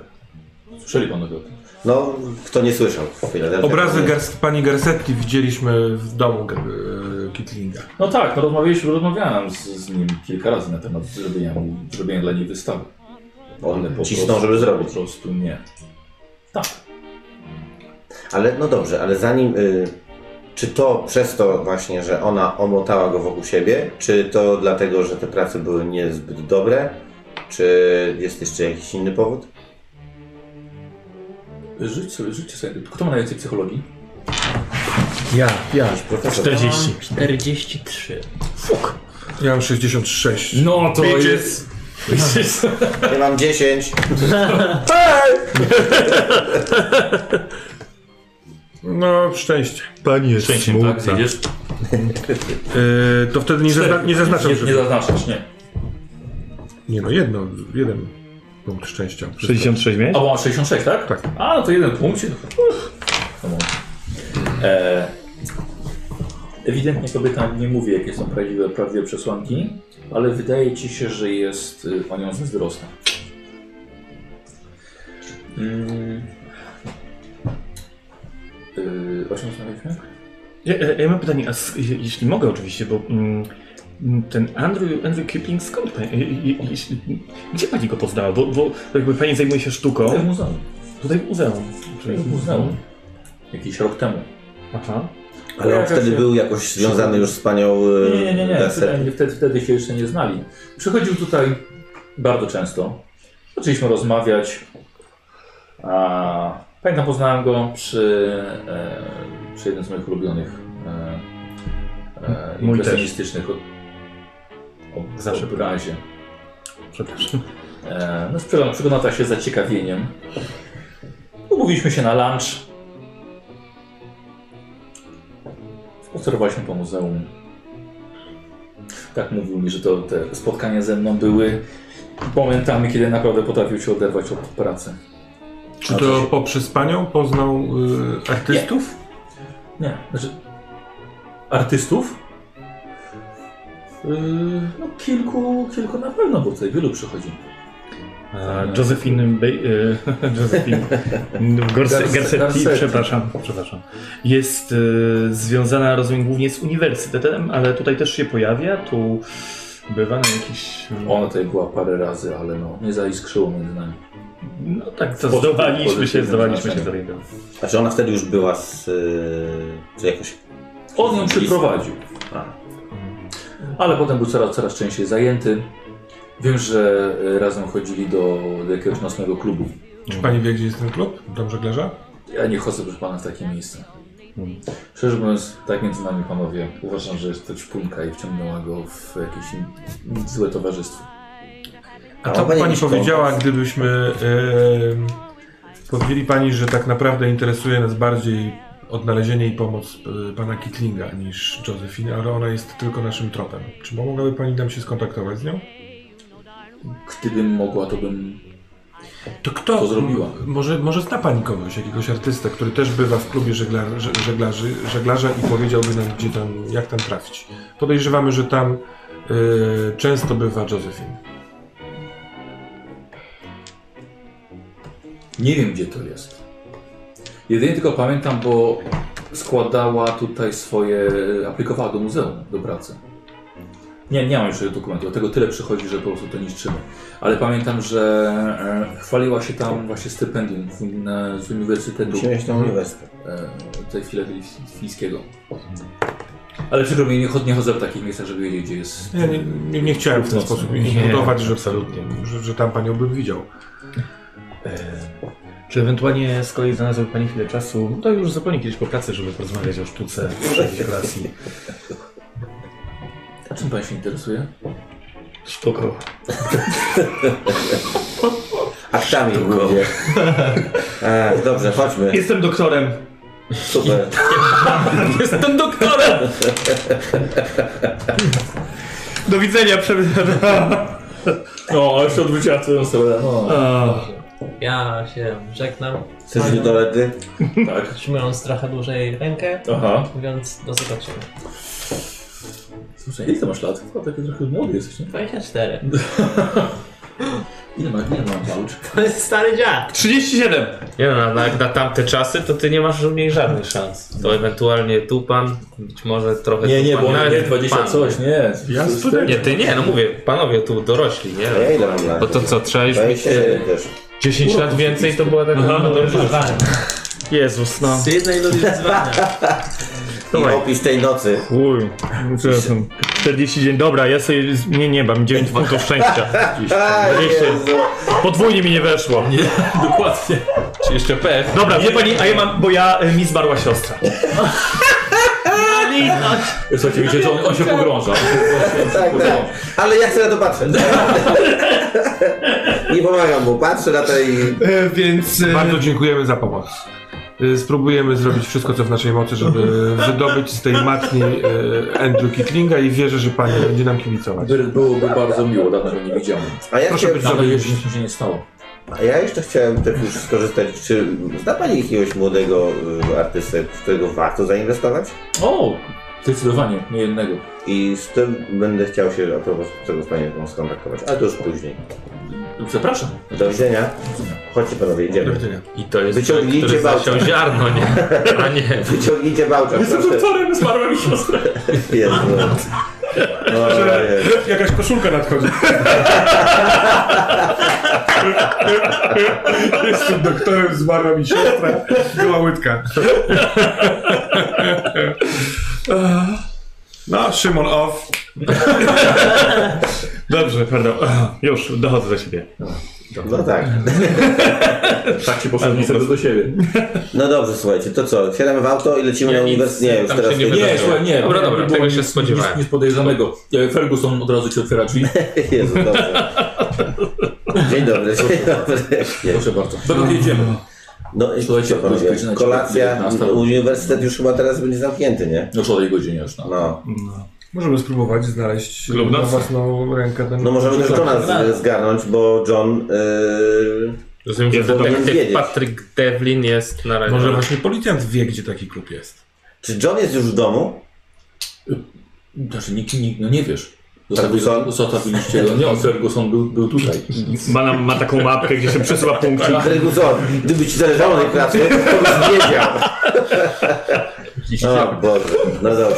S2: Słyszeli panowie o tym?
S3: No, kto nie słyszał w Filadelfii.
S6: Obrazy
S3: to nie-
S6: garst, pani Garsetki widzieliśmy w domu e, Kitlinga.
S2: No tak, no rozmawialiśmy, rozmawiałem z, z nim kilka razy na temat zrobienia, mu- zrobienia dla niej wystawy. Ale po
S3: On cisnął,
S2: prostu-
S3: żeby zrobić.
S2: Po prostu nie.
S3: Ale no dobrze, ale zanim. Y, czy to przez to właśnie, że ona omotała go wokół siebie, czy to dlatego, że te prace były niezbyt dobre, czy jest jeszcze jakiś inny powód?
S2: Żyć sobie, życie sobie. Kto ma najwięcej psychologii?
S8: Ja, ja.
S2: Tak,
S3: Jakiś profesor?
S8: 40.
S7: Mam 43.
S6: Ja mam 66.
S2: No to
S6: Bitches.
S2: jest...
S3: Ja mam 10.
S6: No, szczęście.
S8: Pani jest
S4: Szczęściem, tak? Widzisz?
S6: E, to wtedy nie, zazna nie zaznaczam,
S2: nie,
S6: że...
S2: nie zaznaczasz, nie.
S6: Nie no, jedno, jeden punkt szczęścia.
S8: 66 miałeś?
S2: A bo mam 66, tak?
S6: Tak.
S2: A, no to jeden punkt. Uff. No może. E, ewidentnie kobieta nie mówi, jakie są prawdziwe, prawdziwe przesłanki, ale wydaje ci się, że jest y, o nią zazdrosna. Mm. Y, o czym rozmawialiśmy?
S8: Ja, ja ja mam pytanie, a s- je- jeśli mogę oczywiście, bo mm, mm, ten Andrew, Andrew Kipling skąd pani, i- i- jeśli- gdzie pani go poznała? Bo, bo jakby pani zajmuje się sztuką,
S2: Tutaj w muzeum.
S8: tutaj w muzeum.
S2: Tutaj w muzeum. Jakiś rok temu.
S8: Aha.
S3: Ale on
S2: Pojawia
S3: wtedy
S2: się-
S3: był jakoś związany już z panią y,
S2: Nie, nie, nie, nie.
S3: Garset.
S2: Wtedy, wtedy, wtedy się jeszcze nie znali. Przychodził tutaj bardzo często. Zaczęliśmy rozmawiać. A, pamiętam, poznałem go przy, e, przy jednym z moich ulubionych e, e,
S8: Mój też.
S2: impresjonistycznych o- o-
S8: Zawsze
S2: obrazie.
S8: Przepraszam.
S2: E, no, sprzedam, przyglądał się z zaciekawieniem. Umówiliśmy się na lunch. Spacerowaliśmy po muzeum. Tak mówił mi, że to te spotkania ze mną były momentami, kiedy naprawdę potrafił się oderwać od pracy.
S6: Czy to poprzez panią poznał y, artystów?
S2: Nie, znaczy artystów? Yy, no kilku, kilku na pewno, bo tutaj wielu przychodzi.
S8: A, E, Josephine, Be- y, *laughs* Josephine Gorse-
S2: Garse-
S8: Garcetti,
S2: Garcetti.
S8: przepraszam, przepraszam, jest y, związana, rozumiem, głównie z uniwersytetem, ale tutaj też się pojawia, tu bywa na jakiś...
S2: Ona tutaj była parę razy, ale no nie zaiskrzyło między nami.
S8: No tak, to
S2: Pozytyw-
S8: zdołaliśmy się,
S2: pozytywnym
S8: zdołaliśmy się
S2: znaczeniu.
S8: zorientować.
S3: A czy Znaczy, ona wtedy już była z. Y, czy jakoś.
S2: On ją przyprowadził. Tak.
S3: A.
S2: Ale potem był coraz, coraz częściej zajęty. Wiem, że e, razem chodzili do, do jakiegoś nocnego klubu.
S6: Czy pani wie, gdzie jest ten klub? Dom żeglarza?
S2: Ja nie chodzę, proszę pana, w takie miejsce. Szczerze mówiąc, tak między nami panowie, uważam, że jest to ćpunka i wciągnęła go w jakieś in- złe towarzystwo.
S6: A
S3: A
S2: No,
S6: co
S3: pani
S6: pani
S3: jakiś
S6: powiedziała, gdybyśmy y, powiedzieli pani, że tak naprawdę interesuje nas bardziej odnalezienie i pomoc y, pana Kitlinga niż Josephine, ale ona jest tylko naszym tropem. Czy mogłaby pani nam się skontaktować z nią?
S2: Gdybym mogła, to bym
S6: To kto?
S2: To zrobiła.
S6: m- Może, może zna pani kogoś, jakiegoś artystę, który też bywa w klubie żeglar, ż- żeglarzy, żeglarza i powiedziałby nam, gdzie tam, jak tam trafić. Podejrzewamy, że tam y, często bywa Josephine.
S2: Nie wiem, gdzie to jest. Jedynie tylko pamiętam, bo składała tutaj swoje. aplikowała do muzeum, do pracy. Nie, nie mam jeszcze dokumentu, dlatego tyle przychodzi, że po prostu to niszczymy. Ale pamiętam, że e, chwaliła się tam właśnie stypendium w, na, z uniwersytetu
S3: Musiałeś na uniwersytet.
S2: e, tej fińskiego. Ale przykro mi, nie, chod, nie chodzę w takich miejscach, żeby wiedzieć, gdzie jest.
S6: Ja nie, nie, nie chciałem w ten
S8: Mocno.
S6: sposób
S8: Nie,
S6: budować, że,
S8: absolutnie.
S6: Że, że tam panią bym widział.
S8: E, Czy ewentualnie z kolei znalazłby Pani chwilę czasu, No to już zupełnie kiedyś po pracy, żeby porozmawiać o sztuce, relacji,
S2: A czym pan się interesuje?
S8: sztuką.
S3: Aktami *laughs* mówię. Ach, dobrze, chodźmy.
S8: Jestem doktorem.
S3: Super.
S8: Jestem doktorem! Do widzenia, przepraszam.
S2: No, jeszcze odwróciła twoją stronę.
S7: Ja się żegnam,
S3: Chcesz iść do ledy?
S2: tak.
S7: trzymując trochę dłużej rękę,
S2: Aha.
S7: mówiąc do zobaczenia.
S2: Słuchaj, ile ty masz lat? Chyba taki trochę młody jesteś, nie?
S7: 24.
S2: Ile ma, ile mam bałcz?
S7: To jest stary dziad.
S8: 37!
S5: Nie no, na- na, jak na tamte czasy, to ty nie masz mniej żadnych szans. To ewentualnie tu pan, być może trochę
S2: Nie,
S5: tu
S2: nie,
S5: pan,
S2: bo on
S5: nawet
S2: nie 20
S5: pan.
S2: coś, nie.
S6: Ja student.
S5: Nie, ty nie, no mówię, panowie tu dorośli, nie?
S3: Ja ile mam lat?
S5: Bo to co, trzeba już mieć e,
S3: 27 też.
S5: 10 lat więcej, to była taka...
S8: Jezus, no.
S7: Z jednej ludzi
S6: *laughs*
S7: wyzwania.
S3: I
S8: Dawaj.
S3: opis tej nocy.
S8: Uj, przepraszam. 40 dzień, dobra, ja sobie z- nie, nie mam 9 punktów *laughs* szczęścia.
S6: Tak,
S8: 20. Podwójnie mi nie *laughs* weszło.
S2: Nie, dokładnie.
S5: Czy jeszcze PF?
S8: Dobra, wie pani, a ja mam, bo ja, y, mi zmarła siostra.
S2: Słuchajcie, wiecie, że on, on się pogrąża. On się pogrąża.
S3: Tak, tak. Ale ja chcę na to patrzeć.
S6: *laughs*
S3: Nie pomagam mu, patrzę na to i...
S6: E, więc... e, Bardzo dziękujemy za pomoc. E, Spróbujemy zrobić wszystko, co w naszej mocy, żeby *laughs* wydobyć z tej matni e, Andrew Kitlinga i wierzę, że pani będzie nam kibicować.
S2: By- Byłoby bardzo miło, dawno go nie widziałem.
S3: A ja,
S6: Proszę
S3: chciałem,
S6: być-
S2: Dawno już nic mi się nie stało.
S3: a ja jeszcze chciałem też już skorzystać, czy zna pani jakiegoś młodego y, artystę, w którego warto zainwestować?
S2: O, zdecydowanie, nie jednego.
S3: I z tym będę chciał się a propos tego z panią skontaktować, ale to już później.
S2: Zapraszam.
S3: Do widzenia. Chodźcie panowie,
S6: Do
S3: idziemy.
S6: widzenia.
S5: I to jest człowiek,
S3: Wyciągnijcie
S5: który
S3: bałkę.
S5: zasiał ziarno, nie? A nie.
S3: Wyciągnijcie bałcza, proszę.
S2: doktorem, zmarła mi siostra.
S3: *laughs* Jezu. No, Jezu.
S6: Jakaś koszulka *laughs* nadchodzi. Jestem doktorem, zmarła mi siostra, była łydka. *laughs* No, Szymon off.
S8: Dobrze, pardon. *laughs* Już, dochodzę do siebie.
S3: no tak.
S2: Tak się poszedłem
S8: Ale po
S2: sobie do siebie.
S3: No dobrze, słuchajcie, to co? Wsiadamy w auto i lecimy
S5: Nie,
S3: na
S5: nic,
S3: uniwersytet. Nie, już
S5: tam
S3: teraz
S5: się nie
S3: nie
S2: Nie,
S5: Wydarzyło.
S2: słuchaj, nie.
S5: Dobra,
S2: nie,
S5: dobra,
S2: nie było
S5: tego się
S2: nic-
S5: spodziewałem.
S2: Nic, nic podejrzanego. E, Ferguson od razu ci otwiera *laughs* drzwi.
S3: *laughs* Jezu, dobrze. Dzień dobry, dzień dobry.
S2: Proszę bardzo. Dokąd jedziemy?
S3: No,
S2: Słuchajcie,
S3: co panowie,
S2: godzina dziewiętnasta.
S3: kolacja, uniwersytet już chyba teraz będzie zamknięty, nie?
S2: No co tej godzinie już, no.
S3: No,
S6: Możemy spróbować znaleźć
S8: Klub
S6: na
S8: nocy.
S6: własną rękę ten
S3: no możemy też Johna z- zgarnąć, bo John... Yy,
S5: Rozumiem, że
S3: Jest dobrze
S5: detektyw
S3: wiedzieć.
S5: Patrick Devlin jest na razie.
S6: Może właśnie policjant wie, gdzie taki klub jest.
S3: czy John jest już w domu?
S2: Znaczy nikt, nikt no nie wiesz.
S3: Ferguson?
S2: Zostawiliście go. Nie, Ferguson był, był *laughs* tutaj.
S8: Ma, nam, ma taką mapkę, gdzie się przesuwa punkty.
S3: Ferguson, gdyby ci zależało na tej pracy, to byś wiedział. O Boże, no dobrze.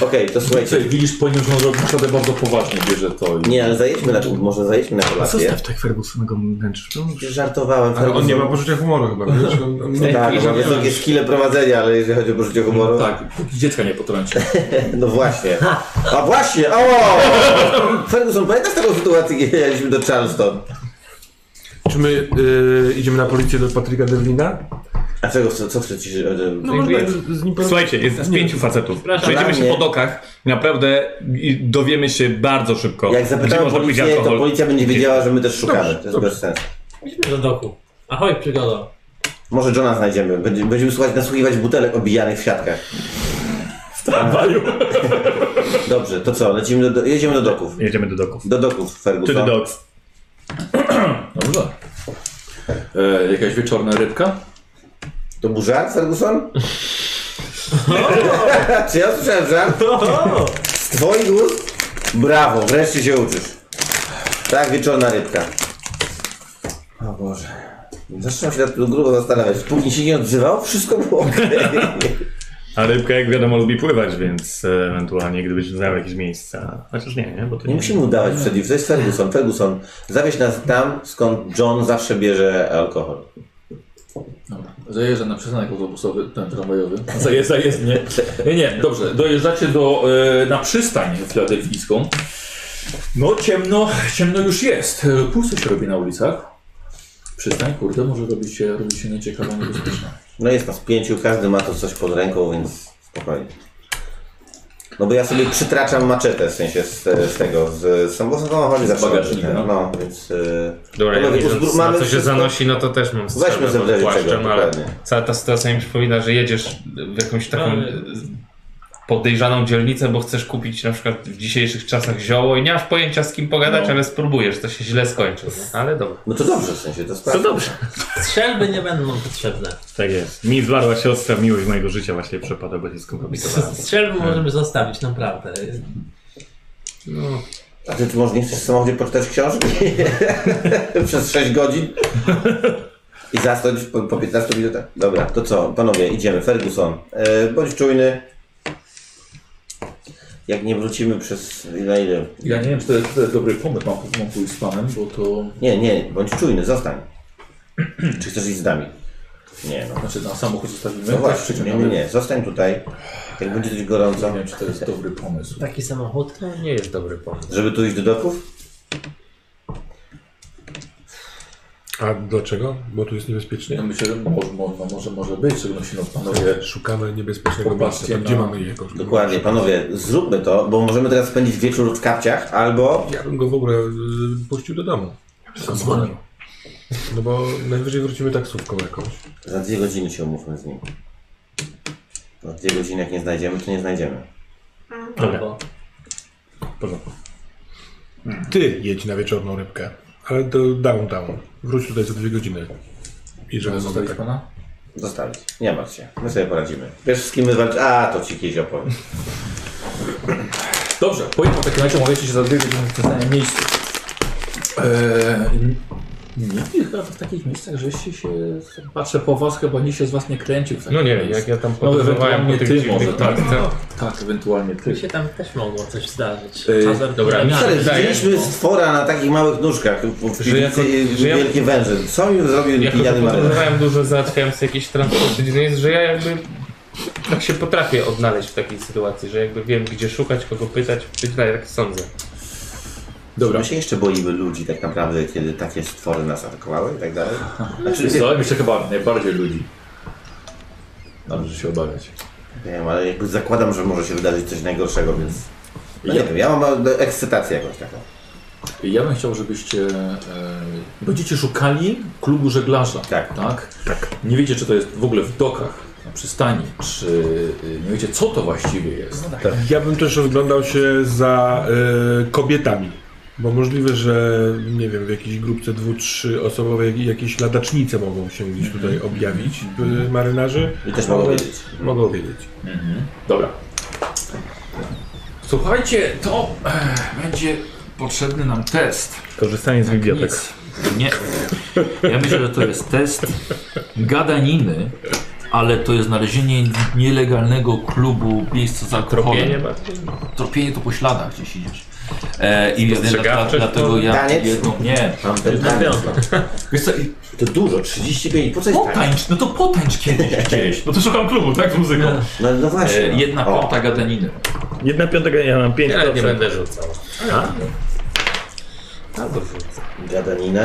S3: Okej, to słuchajcie.
S2: Słuchaj, widzisz po nim, że on robi naprawdę bardzo poważnie, bierze to. I...
S3: Nie, ale zajedźmy na, może zajedźmy na kolację.
S8: Zostaw tak Fergusonego męczysz.
S3: Żartowałem,
S6: Ale on nie ma
S3: Ferguson.
S6: poczucia humoru chyba. wiesz? On, on,
S3: *laughs* Tak, on ma wysokie skille prowadzenia, ale jeżeli chodzi o poczucie humoru,
S6: No
S2: Tak, póki dziecka nie potrąci.
S3: No właśnie. A właśnie! O! Ferguson, pamiętasz taką sytuację, kiedy jechaliśmy do Charleston?
S6: Czy my y, idziemy na policję do Patryka Devlina?
S3: A czego, co, co chcecie? No,
S6: No można z nim porozmawiać.
S8: *laughs* Słuchajcie, jest z pięciu facetów. Przejdziemy
S3: Dla
S8: się
S3: mnie-
S8: po dokach, naprawdę i dowiemy się bardzo szybko.
S3: Jak
S8: gdzie
S3: zapytałem
S8: można pić
S3: policję, to
S8: alkohol.
S3: policja będzie wiedziała, że my też szukamy. To jest bez sensu.
S7: Idźmy do doku. Ahoj, przygoda.
S3: Może Johna znajdziemy. Będzie- Będziemy słuchać, nasłuchiwać butelek obijanych w siatkach. Dobrze, to co? Lecimy do, do, jedziemy do doków.
S8: Jedziemy do doków.
S3: Do doków,
S8: To the
S3: Ferguson.
S8: dogs.
S2: Dobrze. E, jakaś wieczorna rybka?
S3: To był żart, Ferguson? *laughs* Czy ja słyszałem żart? Z twoich ust? Brawo, wreszcie się uczysz. Tak, wieczorna rybka. O Boże. Zaczynam się nad tym grubo zastanawiać. Póki się nie odzywał, wszystko było okej.
S8: A rybka, jak wiadomo, lubi pływać, więc e, ewentualnie gdybyś znał jakieś miejsca. Chociaż nie, nie, bo to
S3: Nie
S8: nie.
S3: musimy udawać przeciw, to jest Ferguson. Ferguson, zawieź nas tam, skąd John zawsze bierze alkohol.
S2: Zajeżdżam na przystanek autobusowy, ten *laughs* tramwajowy. Zaje, zajeżdż, nie. nie. Nie, dobrze. Dojeżdżacie do, e, na przystań filadelfijską. No ciemno, ciemno już jest. E, Pusto się robi na ulicach. Przystań, kurde, może robić się, robić się nieciekawa, niebezpieczna.
S3: No jest nas pięciu, każdy ma tu coś pod ręką, więc spokojnie. No bo ja sobie przytraczam maczetę, w sensie z, te- z tego, z samochodu zawsze.
S2: bagażnika,
S3: mam,
S2: no.
S3: No, więc... y,
S5: Dobra, ja
S3: no,
S5: widzę,
S3: uzbro-
S5: na co się
S3: wszystko-
S5: zanosi, no to też mam strzelbę
S3: Weźmy sobie
S5: pod
S3: czego,
S5: płaszczem, ale
S3: dokładnie.
S5: cała ta sytuacja mi przypomina, że jedziesz w jakąś taką
S7: Ale-
S5: e, podejrzaną dzielnicę, bo chcesz kupić na przykład w dzisiejszych czasach zioło i nie masz pojęcia z kim pogadać,
S2: No.
S5: ale spróbujesz, to się źle skończy, no. ale dobra.
S3: No to dobrze, w sensie, to
S8: To
S3: sprawdza.
S8: dobrze.
S7: Strzelby nie będą nam potrzebne.
S8: Tak jest. Mi zwarła siostra, miłość mojego życia właśnie przepada, bo jest
S5: *laughs*
S8: skompromitowana.
S7: Strzelby możemy zostawić, naprawdę.
S3: A ty, ty może nie chcesz w samochodzie poczytać książki? *laughs* Przez 6 godzin? I zasnąć po, po 15 minutach? Dobra, to co, panowie, idziemy. Ferguson, e, bądź czujny. Jak nie wrócimy przez... na ile?
S2: Ja nie wiem, czy to jest, to jest dobry pomysł, mam, mam pójść z panem, bo to...
S3: Nie, nie, bądź czujny, zostań. Czy chcesz iść z nami? Nie, no.
S2: Znaczy na samochód zostawimy,
S3: No
S2: tak,
S3: właśnie, nie,
S2: przeciągamy.
S3: nie, nie, zostań tutaj. Jak będzie coś gorąco.
S2: Nie wiem, czy to jest dobry pomysł.
S7: Taki samochód? no,
S5: To nie jest dobry pomysł.
S3: Żeby tu iść do doków?
S6: A dlaczego? Bo tu jest niebezpiecznie?
S2: Ja No myślę, że może, może, może, może być, szczególnie no, panowie...
S6: Szukamy niebezpiecznego
S2: Popatrzcie
S6: miejsca. To
S2: na-
S6: Gdzie mamy jego?
S3: no. Dokładnie, panowie, zróbmy to, bo możemy teraz spędzić wieczór w kapciach, albo...
S6: Ja bym go w ogóle y, puścił do domu.
S2: Dzwonią.
S6: No bo najwyżej wrócimy taksówką jakąś.
S3: Za dwie godziny się umówmy z nim. Za dwie godziny jak nie znajdziemy, to nie znajdziemy.
S8: Dobra. W porządku.
S6: Ty jedź na wieczorną rybkę, ale do downtown. Wróć tutaj za dwie godziny. I żeby
S2: Zostawić
S6: tak.
S2: pana?
S3: Zostawić. Nie martw się, my sobie poradzimy. Wiesz z kim my walczymy? A, to ci kiedyś opowiem.
S5: *laughs*
S2: Dobrze, pojechał w takim razie, omawiacie się za dwie godziny w przestanie miejscu. Eee, nigdy chyba w takich miejscach, żeście się, patrzę po was, chyba nikt się z was nie kręcił. tak? w takim
S5: No nie,
S2: miejscu.
S5: jak ja tam
S2: No
S5: podróżowałem
S2: ewentualnie
S5: po tych
S2: ty może,
S5: dziwnych
S2: tak,
S5: miejscach.
S2: tak, ewentualnie ty.
S7: Mi się tam też mogło coś zdarzyć.
S2: Ej,
S7: Hazard
S5: dobra,
S7: nie
S5: mi
S7: miałem.
S3: Stary,
S5: wydaje,
S3: widzieliśmy stwora na takich małych nóżkach w
S5: Że jako-
S3: piwnicy
S5: że ja-
S3: wielkie węże. Co mi zrobił
S5: Jako, że *laughs*
S3: pijany marynarz?
S5: podróżowałem dużo, załatwiałem sobie jakieś transporty, no jest, że ja jakby tak się potrafię odnaleźć w takiej sytuacji, że jakby wiem gdzie szukać, kogo pytać, przynajmniej tak sądzę.
S2: Dobra.
S3: My się jeszcze boimy ludzi tak naprawdę, kiedy takie stwory nas atakowały i tak dalej. Znaczy,
S5: *laughs*
S2: Wiesz co, mi się chyba najbardziej ludzi. Dobrze się obawiać.
S3: nie wiem, ale jakby zakładam, że może się wydarzyć coś najgorszego, więc... No nie wiem, ja mam e, ekscytację jakąś taką.
S2: Ja bym chciał, żebyście... E, będziecie szukali klubu żeglarza.
S3: Tak.
S5: No.
S2: tak? Nie wiecie, czy to jest w ogóle w dokach, na przystani, czy y, nie wiecie, co to właściwie jest.
S6: Ja bym też oglądał się za y, kobietami. Bo możliwe, że nie wiem, w jakiejś grupce dwu, trzy osobowej jakieś ladacznice mogą się gdzieś tutaj objawić y, marynarzy.
S3: I też mogą
S6: Ale-
S3: wiedzieć.
S6: Mogą wiedzieć.
S2: Dobra. Słuchajcie, to eh, będzie potrzebny nam test.
S8: Korzystanie z
S5: Tak
S8: bibliotek.
S2: Nic. Nie. Ja myślę, że to jest test gadaniny, ale to jest znalezienie nielegalnego klubu, miejsca za alkoholem.
S5: Tropienie bardziej?
S2: Tropienie to po śladach gdzieś idziesz. E, I dla,
S5: Spostrzegawczość
S2: dlatego
S5: to-
S2: ja
S3: Taniec?
S2: jedną... Nie.
S3: Mam ten
S7: Nawiązał.
S2: Wiesz co, i
S3: To dużo, 35, po co jest tak?
S2: potańcz, no to potańcz kiedyś gdzieś.
S4: No to szukam klubu, tak, z muzyką.
S3: No, no właśnie.
S2: E,
S3: no.
S2: Jedna
S3: O.
S2: piąta gadaniny.
S8: Jedna piątego, ja mam pięć
S5: Ja nie
S8: procent.
S5: będę rzucał.
S3: Gadanina.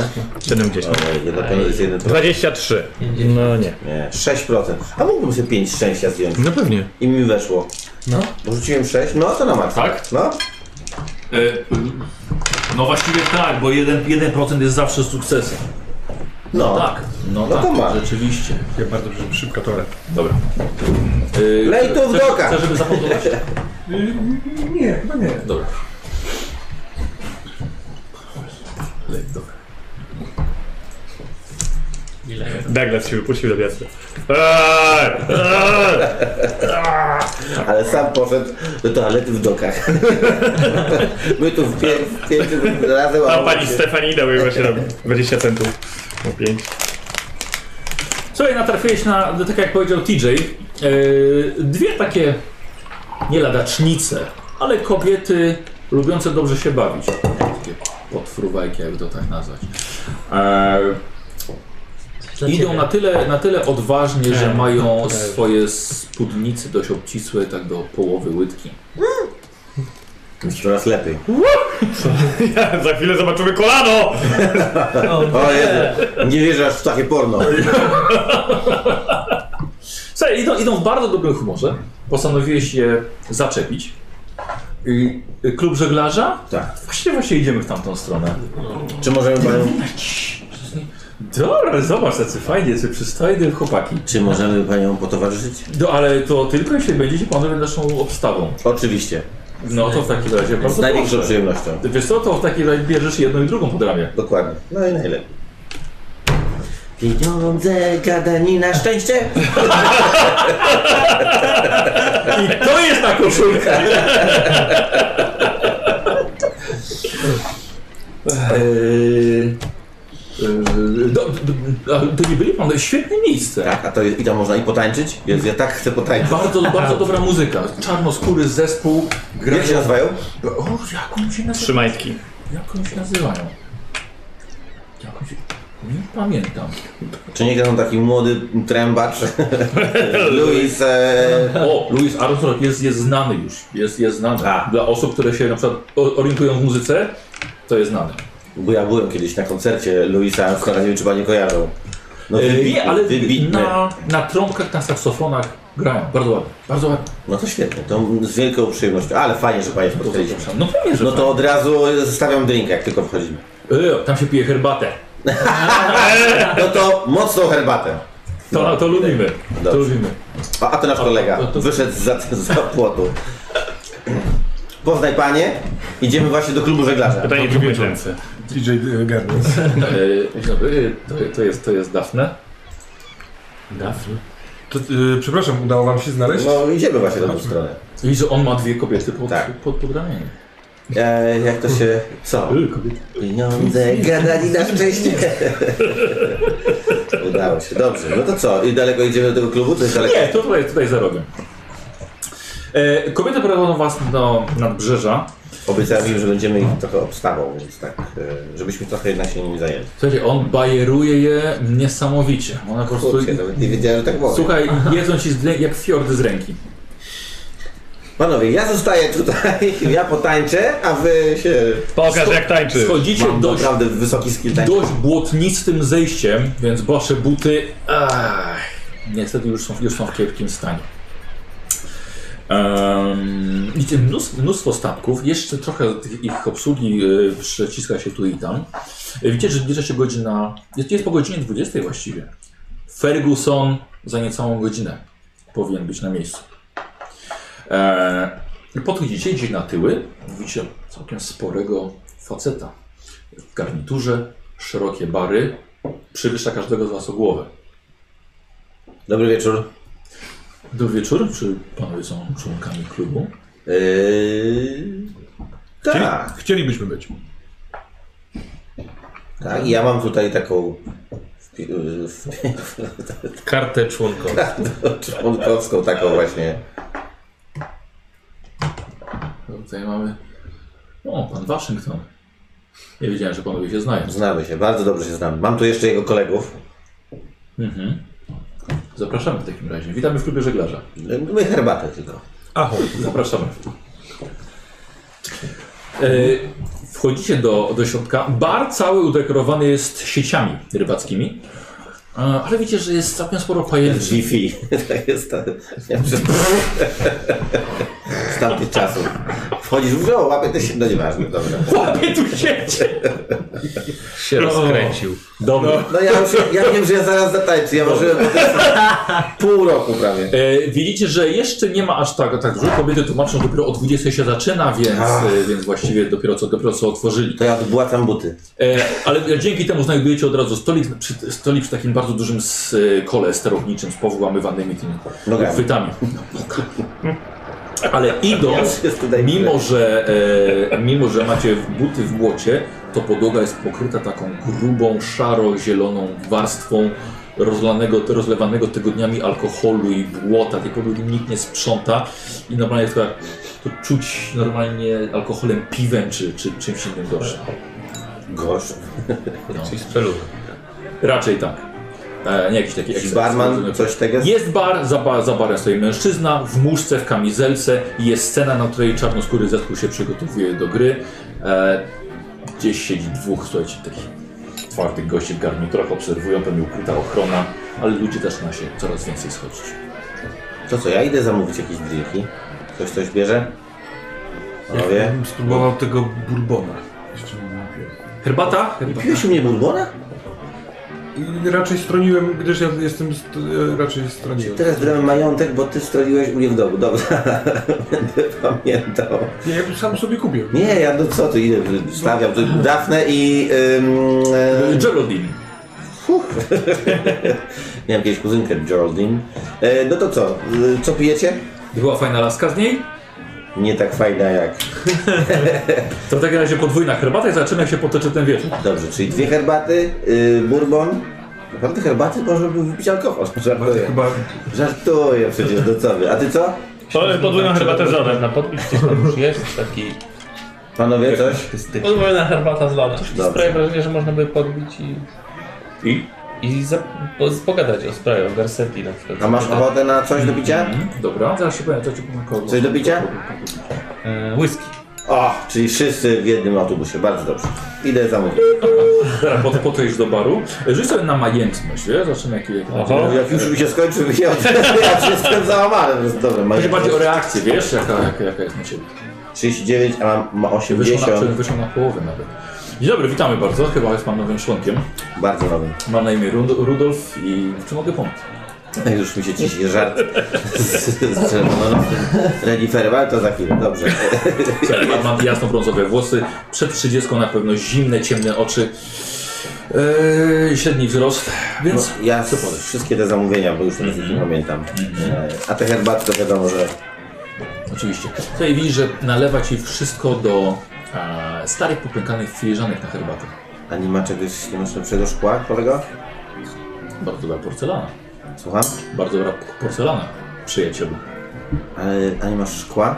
S8: 70.
S3: Ojej, E, Jedna piąta jest jeden.
S8: 23. No nie.
S3: Nie, 6%. A mógłbym sobie 5 szczęścia zdjąć.
S4: No pewnie.
S3: I mi weszło.
S2: No.
S3: Bo rzuciłem 6, no to na maksa.
S2: Tak?
S3: No.
S2: E, No właściwie tak, bo 1%, 1 jest zawsze sukcesem.
S3: No.
S2: Tak, no,
S3: No
S2: tak,
S3: to ma.
S2: rzeczywiście.
S6: Ja bardzo proszę, szybka toaleta.
S2: Dobra.
S3: Lej to w
S2: chcesz,
S3: doka.
S2: Chcesz, Yy, żeby
S3: *laughs*
S2: zapodować?
S6: Nie, chyba nie.
S2: Dobra. Lej w doka.
S7: Ile?
S4: Douglas się wypuścił do wiatru. Eee, eee.
S3: Ale sam poszedł do toalety w dokach. *laughs* My tu w pię- w pięciu razem...
S4: Tam
S3: a
S4: pani
S3: on-
S4: Stefanida by właśnie robi 20 centów. O 5.
S2: Słuchaj, natrafiłeś na, tak jak powiedział TJ, e, dwie takie, nie ladacznice, ale kobiety lubiące dobrze się bawić. Takie potfruwajki, jak to tak nazwać. E,
S7: Dla
S2: idą
S7: ciebie.
S2: na tyle, na tyle odważnie, że
S4: Tak,
S2: mają
S4: tak.
S2: swoje spódnicy dość obcisłe, tak do połowy łydki.
S3: Już coraz lepiej.
S4: Ja, za chwilę zobaczymy kolano!
S3: *laughs* O Jezu, nie wierzę aż w takie porno.
S2: Słuchaj, idą, idą w bardzo dobrym humorze. Postanowiłeś je zaczepić. I y, klub żeglarza?
S3: Tak.
S2: Właśnie, właśnie idziemy w tamtą stronę.
S3: Czy możemy panią...
S2: Dobra, zobacz, tacy fajnie, tacy przystojny chłopaki.
S3: Czy możemy panią potowarzyszyć?
S2: No ale to tylko jeśli będziecie panowie naszą obstawą.
S3: Oczywiście.
S2: No to w takim razie
S3: Z
S2: bardzo
S3: największą
S2: proszę.
S3: przyjemnością.
S2: Wiesz co, to w takim razie bierzesz jedną i drugą pod ramię.
S3: Dokładnie. No i najlepiej. Pieniądze, gadanina, szczęście.
S2: I to jest ta koszulka! Eee, eee, do- do- a To nie byli panowie, świetne miejsce.
S3: Tak, a to i tam można i potańczyć? Jezu, ja tak chcę potańczyć.
S2: Bardzo, bardzo dobra muzyka. Czarnoskóry zespół.
S3: Jak się
S2: Grają...
S3: nazywają?
S2: O, jak oni się nazywają?
S4: Trzymajtki.
S2: Jak oni się nazywają? Jak oni się... Nie pamiętam.
S3: Czy nie gra on taki młody trębacz?
S2: *laughs*
S3: Louis... E...
S2: O, Louis Armstrong jest, jest znany już. Jest, jest znany.
S3: A.
S2: Dla osób, które się na przykład o- orientują w muzyce, to jest znany.
S3: Bo ja byłem kiedyś na koncercie Louisa Armstronga, nie wiem czy panie kojarzą. No,
S2: E,
S3: wybitny,
S2: nie, ale No.
S3: wybitny.
S2: na, na trąbkach, na saksofonach grają. Bardzo ładnie. Bardzo ładnie.
S3: No to świetnie, to z wielką przyjemnością. Ale fajnie, że panie spotkaliśmy.
S2: No pewnie, że
S3: No to od razu zostawiam drink, jak tylko wchodzimy.
S2: e, Tam się pije herbatę.
S3: No to mocną herbatę.
S2: To, to lubimy. To
S3: No. Dobrze.
S2: lubimy.
S3: A, a to nasz
S2: to-
S3: kolega
S2: to-
S3: wyszedł za, za płotu. Poznaj panie, idziemy właśnie do klubu żeglarza.
S4: Pytanie, czy były ręce.
S6: TJ Garnier.
S2: E, dzień dobry. to, to, jest, to jest Dafne.
S8: Dafne.
S6: To, y, przepraszam, udało wam się znaleźć?
S3: No idziemy właśnie na tą stronę.
S2: I że on ma dwie kobiety pod,
S3: Tak.
S2: pod, pod, ramieniem.
S3: E, jak to się... co?
S2: Yy,
S3: Pieniądze, gadali na szczęście. *laughs* Udało się, dobrze. No to co, i daleko idziemy do tego klubu? To jest daleko?
S2: Nie, to tutaj, tutaj zarobię. E, kobiety prowadzą was do nadbrzeża.
S3: Obiecałem im, że będziemy ich trochę obstawą, więc tak, e, żebyśmy trochę jednak się nimi zajęli.
S2: Słuchajcie, on bajeruje je niesamowicie. Ona po prostu...
S3: Kurczę, nawet nie wiedziałem, że tak mogę.
S2: Słuchaj, jedzą ci z, jak fiordy z ręki.
S3: Panowie, ja zostaję tutaj, *laughs* ja potańczę, a wy się...
S4: Pokaż jak tańczy.
S2: Schodzicie
S3: Mam
S2: dość,
S3: naprawdę wysoki skill tańca.
S2: dość błotnistym zejściem, więc wasze buty ach, niestety już są, już są w kiepskim stanie. Um, widzicie mnóstwo, mnóstwo statków, jeszcze trochę tych- ich obsługi y, przeciska się tu i tam. Y, Widzicie, że zbliża się godzina, jest, jest po godzinie 20 właściwie. Ferguson za niecałą godzinę powinien być na miejscu. E, i podchodzicie, idzie na tyły, widzicie całkiem sporego faceta w garniturze, szerokie bary, przywyższa każdego z was o głowę.
S3: Dobry wieczór.
S2: Do wieczór, czy panowie są członkami klubu?
S3: Yy...
S6: Chcieli,
S3: Tak,
S6: chcielibyśmy być.
S3: tak. I ja mam tutaj taką wpi- yy, wpi-
S5: Kartę członką.
S3: członkowską taką właśnie.
S2: No, Tutaj mamy... O, pan Waszyngton. Nie wiedziałem, że panowie się znają.
S3: Znamy się, bardzo dobrze się znamy. Mam tu jeszcze jego kolegów.
S2: Mhm. Zapraszamy w takim razie. Witamy w klubie żeglarza.
S3: My herbatę tylko.
S6: Aho,
S2: Zapraszamy. E, wchodzicie do, do środka. Bar cały udekorowany jest sieciami rybackimi. E, ale widzicie, że jest całkiem sporo pajęczy.
S3: Jiffy. *laughs* To Tak jest to. Ja przez... *laughs* Z tamtych czasów. Wchodzisz w grą, łapie to się, no nieważne, dobra.
S2: Łapie tu sieć!
S5: się rozkręcił.
S2: Dobra.
S3: No ja, już, ja wiem, że ja zaraz zatańczę, ja marzyłem o tym pół roku prawie.
S2: E, widzicie, że jeszcze nie ma aż tak, tak dużo. Kobiety tłumaczą, dopiero o 20 się zaczyna, więc, e, więc właściwie dopiero co, dopiero co otworzyli.
S3: To ja odbłacam buty.
S2: E, ale dzięki temu znajdujecie od razu stolik przy, stolik przy takim bardzo dużym s- e, kole sterowniczym z powłamywanymi tymi
S3: Nogami.
S2: chwytami. Ale idąc,
S3: Jest tutaj
S2: mimo że, e, mimo że macie buty w błocie, to podłoga jest pokryta taką grubą, szaro-zieloną warstwą rozlanego, rozlewanego tygodniami alkoholu i błota. Tej podłogi nikt nie sprząta i normalnie jest taka- to czuć normalnie alkoholem, piwem czy, czy czymś innym gorszym.
S3: Gorzej.
S5: Czyli z peluchy.
S2: Raczej tak. E, nie jakiś taki
S3: Jakiś
S2: ekses,
S3: barman,
S2: rozumiesz?
S3: coś tego?
S2: Jest bar, za, ba, za barem stoi mężczyzna w muszce, w kamizelce i jest scena, na której czarnoskóry zespół się przygotowuje do gry. E, gdzieś siedzi dwóch, słuchajcie, takich twardych gości w garniturach, obserwują, pewnie ukryta ochrona, ale ludzie zaczyna się coraz więcej schodzić.
S3: To co, ja idę zamówić jakieś drinki. Ktoś coś bierze?
S6: Ja
S3: Panowie.
S6: bym spróbował tego bourbona. Jeszcze nie napiłem.
S2: Herbata?
S3: Piłeś u mnie bulgona?
S6: I Raczej stroniłem, gdyż ja jestem, st- e, raczej stroniłem.
S3: Teraz brałem majątek, bo ty strzeliłeś u mnie w domu. Dobra, *laughs* będę pamiętał.
S6: Nie, ja sam sobie kupię.
S3: Nie, ja no co ty, ile stawiam? Tu Dafne i... Ym, e,
S2: Geraldine.
S3: miałem kiedyś kuzynkę Geraldine. E, no to co, y, co pijecie?
S2: Była fajna laska z niej?
S3: Nie tak fajna jak...
S2: To w takim razie podwójna herbata i zobaczymy jak się potoczy ten wieczór.
S3: Dobrze, czyli dwie herbaty, y, bourbon. Naprawdę herbaty można by wypić alkohol.
S6: Ale
S3: Żartuję.
S6: chyba
S3: Żartuję przecież, no co wy. A ty co?
S8: To podwójną herbatę z lodem na podbić.
S5: *laughs* Już jest taki...
S3: Panowie coś?
S5: Podwójna herbata z lodem.
S3: Dobrze.
S5: Sprawia wrażenie, że można by podbić i...
S2: I?
S5: I za, po, pogadać o sprawie, o Garcetti na przykład.
S3: A masz ochotę na coś do picia?
S2: Mhm, Dobra, zaraz się powiem, co ci powiem kogo.
S3: Coś do picia?
S5: E, whisky.
S3: O, czyli wszyscy w jednym autobusie. Bardzo dobrze. Idę zamówić.
S2: Zaraz po, po to iść do baru. Rzuć sobie na majętność, wiesz? Zobaczymy jaki... jaki
S5: Oho.
S3: Jak już mi się skończy, ja, ja się jestem załamany. To jest Dobra, mam
S2: Będzie bardziej o reakcję, wiesz? Jaka, jaka, jaka jest na ciebie.
S3: 39, a mam ma
S2: Wyszło na,
S3: 80.
S2: wyszło na połowę nawet. Dzień dobry, witamy bardzo. Chyba jest pan nowym członkiem.
S3: Bardzo nowy.
S2: Mam na imię Rud- Rudolf i czy mogę pomóc?
S3: Ej, No Już mi się ciśnie żart z, z czerwoną reniferem, ale to za chwilę. Dobrze.
S2: Słuchaj, ma- Mam jasno-brązowe włosy, przed 30 na pewno zimne, ciemne oczy, eee, średni wzrost, więc...
S3: No, ja s- wszystkie te zamówienia, bo już teraz ich nie
S2: Mhm.
S3: pamiętam. E, A te herbaty to wiadomo, że
S2: Oczywiście. Tutaj widzisz, że nalewa ci wszystko do e, starych, popękanych filiżanek na herbatę.
S3: ani ma czegoś, nie masz lepszego szkła, kolego?
S2: Bardzo dobra porcelana.
S3: Słucham?
S2: Bardzo dobra p- porcelana, przyjacielu.
S3: Ale, ani masz szkła?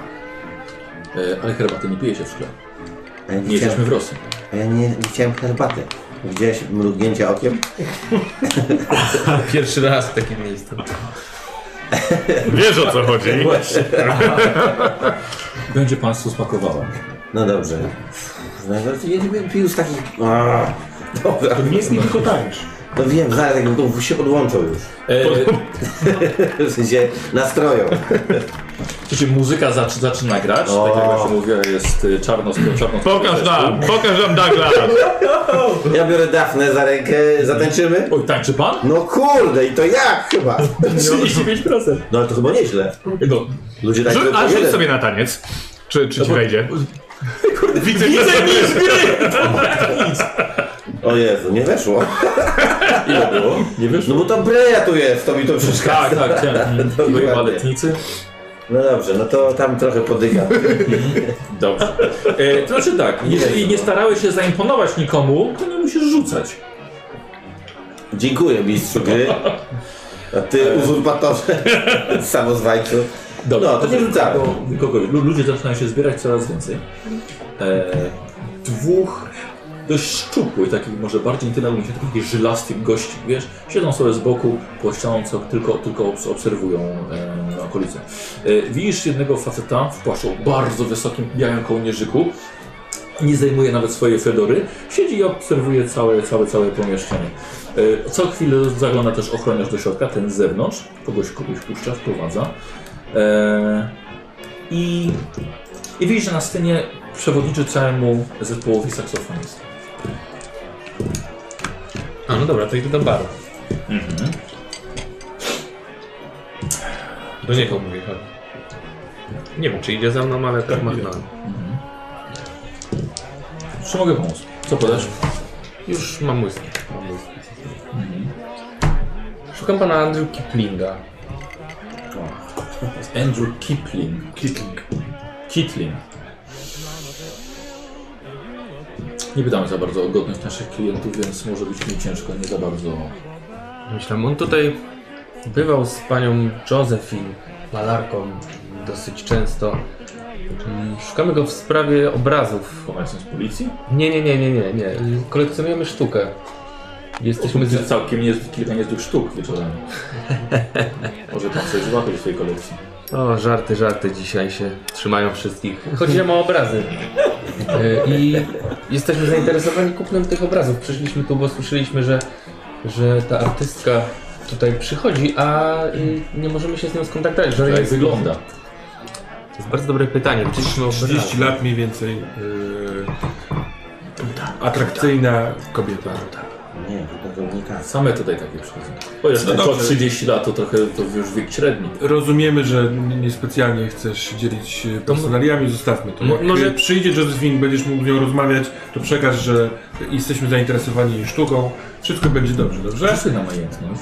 S2: E, ale herbaty nie pije się w szkle.
S3: A ja
S2: Nie
S3: nie,
S2: jesteśmy
S3: chciałem,
S2: w Rosji.
S3: a ja nie, nie chciałem herbaty. Widziałeś mrugnięcie okiem?
S5: Pierwszy raz w takim miejscu.
S4: Wiesz o co chodzi.
S2: Będzie państwu smakowało.
S3: No dobrze. Najbardziej nie bym pił z takich... Aaa, Dobra.
S2: Nie jest tylko tańcz.
S3: No wiem, zaraz jak to się podłączą już.
S2: E,
S3: W sensie nastroją.
S2: Słuchajcie, muzyka zac- zaczyna grać,
S3: O.
S2: tak jak właśnie mówiłem, jest y, czarno czarno
S4: Pokaż nam, pokaż nam
S2: *laughs*
S4: Douglas.
S3: Ja biorę Dafnę za rękę, zatańczymy?
S2: Oj, tańczy pan?
S3: No kurde, i to jak chyba?
S2: 35%.
S3: No ale to chyba nieźle.
S2: No,
S3: Ludzie tak
S4: Rzu- A rzuć
S3: jeden.
S4: sobie na taniec. Czy, czy ci
S2: *laughs*
S4: wejdzie? Widzę,
S2: widzę niż gry!
S3: O Jezu, nie weszło.
S2: *laughs* Ile było? Nie
S3: No
S2: wyszło.
S3: bo to breja tu jest, to mi to przeszkadza.
S2: Tak, tak, chciałem.
S3: Dokładnie.
S2: Byli baletnicy.
S3: No dobrze, no to tam trochę podygam.
S2: Dobrze. E, to znaczy tak, jeżeli nie starałeś się zaimponować nikomu, to nie musisz rzucać.
S3: Dziękuję mistrzu gry. A
S2: E.
S3: ty
S2: *laughs*
S3: uzurpatorze, samozwajcu. No, to nie rzucamy.
S2: Nikogo- Nikogo, lu- ludzie zaczynają się zbierać coraz więcej. E, dwóch dość szczupłych, takich może bardziej nie tyle, jak się takich żylastych gości, wiesz? Siedzą sobie z boku, po ścianą, co tylko, tylko obs- obserwują e, okolicę. E, widzisz jednego faceta w płaszczu, bardzo wysokim, białym kołnierzyku. Nie zdejmuje nawet swojej fedory. Siedzi i obserwuje całe, całe, całe pomieszczenie. E, co chwilę zagląda też ochroniarz do środka, ten z zewnątrz. Kogoś, kogoś puszcza, wprowadza. E, i, I widzisz, że na scenie przewodniczy całemu zespołowi saksofonistów.
S5: no dobra, to idę do baru. Do niego mówię, chodź. Nie wiem, czy idzie za mną, ale tak machnąłem.
S2: Czy mogę pomóc? Co podasz?
S5: Już mam whisky. Mam whisky. Szukam pana Andrew Kiplinga.
S2: Andrew Kipling. Kitling. Kitling. Nie pytamy za bardzo o godność naszych klientów, więc może być mi ciężko, nie za bardzo.
S5: Myślę, on tutaj bywał z panią Josephine, malarką, dosyć często. Mm, Szukamy go w sprawie obrazów.
S2: Informacją z policji?
S5: Nie, nie, nie, nie, nie, nie. Kolekcjonujemy sztukę. Jesteśmy
S2: Jesteśmy
S5: z...
S2: całkiem nie, kilka niezłych sztuk wieczorem. *laughs* Może tam coś złapać w tej kolekcji.
S5: O, żarty, żarty dzisiaj się trzymają wszystkich. Chodziłem o obrazy. Y, I jesteśmy zainteresowani kupnem tych obrazów. Przyszliśmy tu, bo słyszeliśmy, że, że ta artystka tutaj przychodzi, a y, nie możemy się z nią skontaktować. Że
S2: To jak
S5: jest,
S2: Tak wygląda?
S5: to jest bardzo dobre pytanie. Widzieliśmy obrazy.
S6: 30 lat mniej więcej. Yy, atrakcyjna kobieta.
S3: Nie, to nie tak.
S2: Same tutaj takie przychodzą. Bo jest
S6: No
S2: no
S6: dobrze.
S2: 30 lat to trochę to już wiek średni.
S6: Rozumiemy, że n- niespecjalnie chcesz się dzielić e, personaliami, zostawmy to. Jak
S5: może-
S6: może przyjdzie Josephine, będziesz mógł z nią rozmawiać, to przekaż, że jesteśmy zainteresowani jej sztuką. Wszystko będzie dobrze, dobrze?
S2: Przesuń na majętność.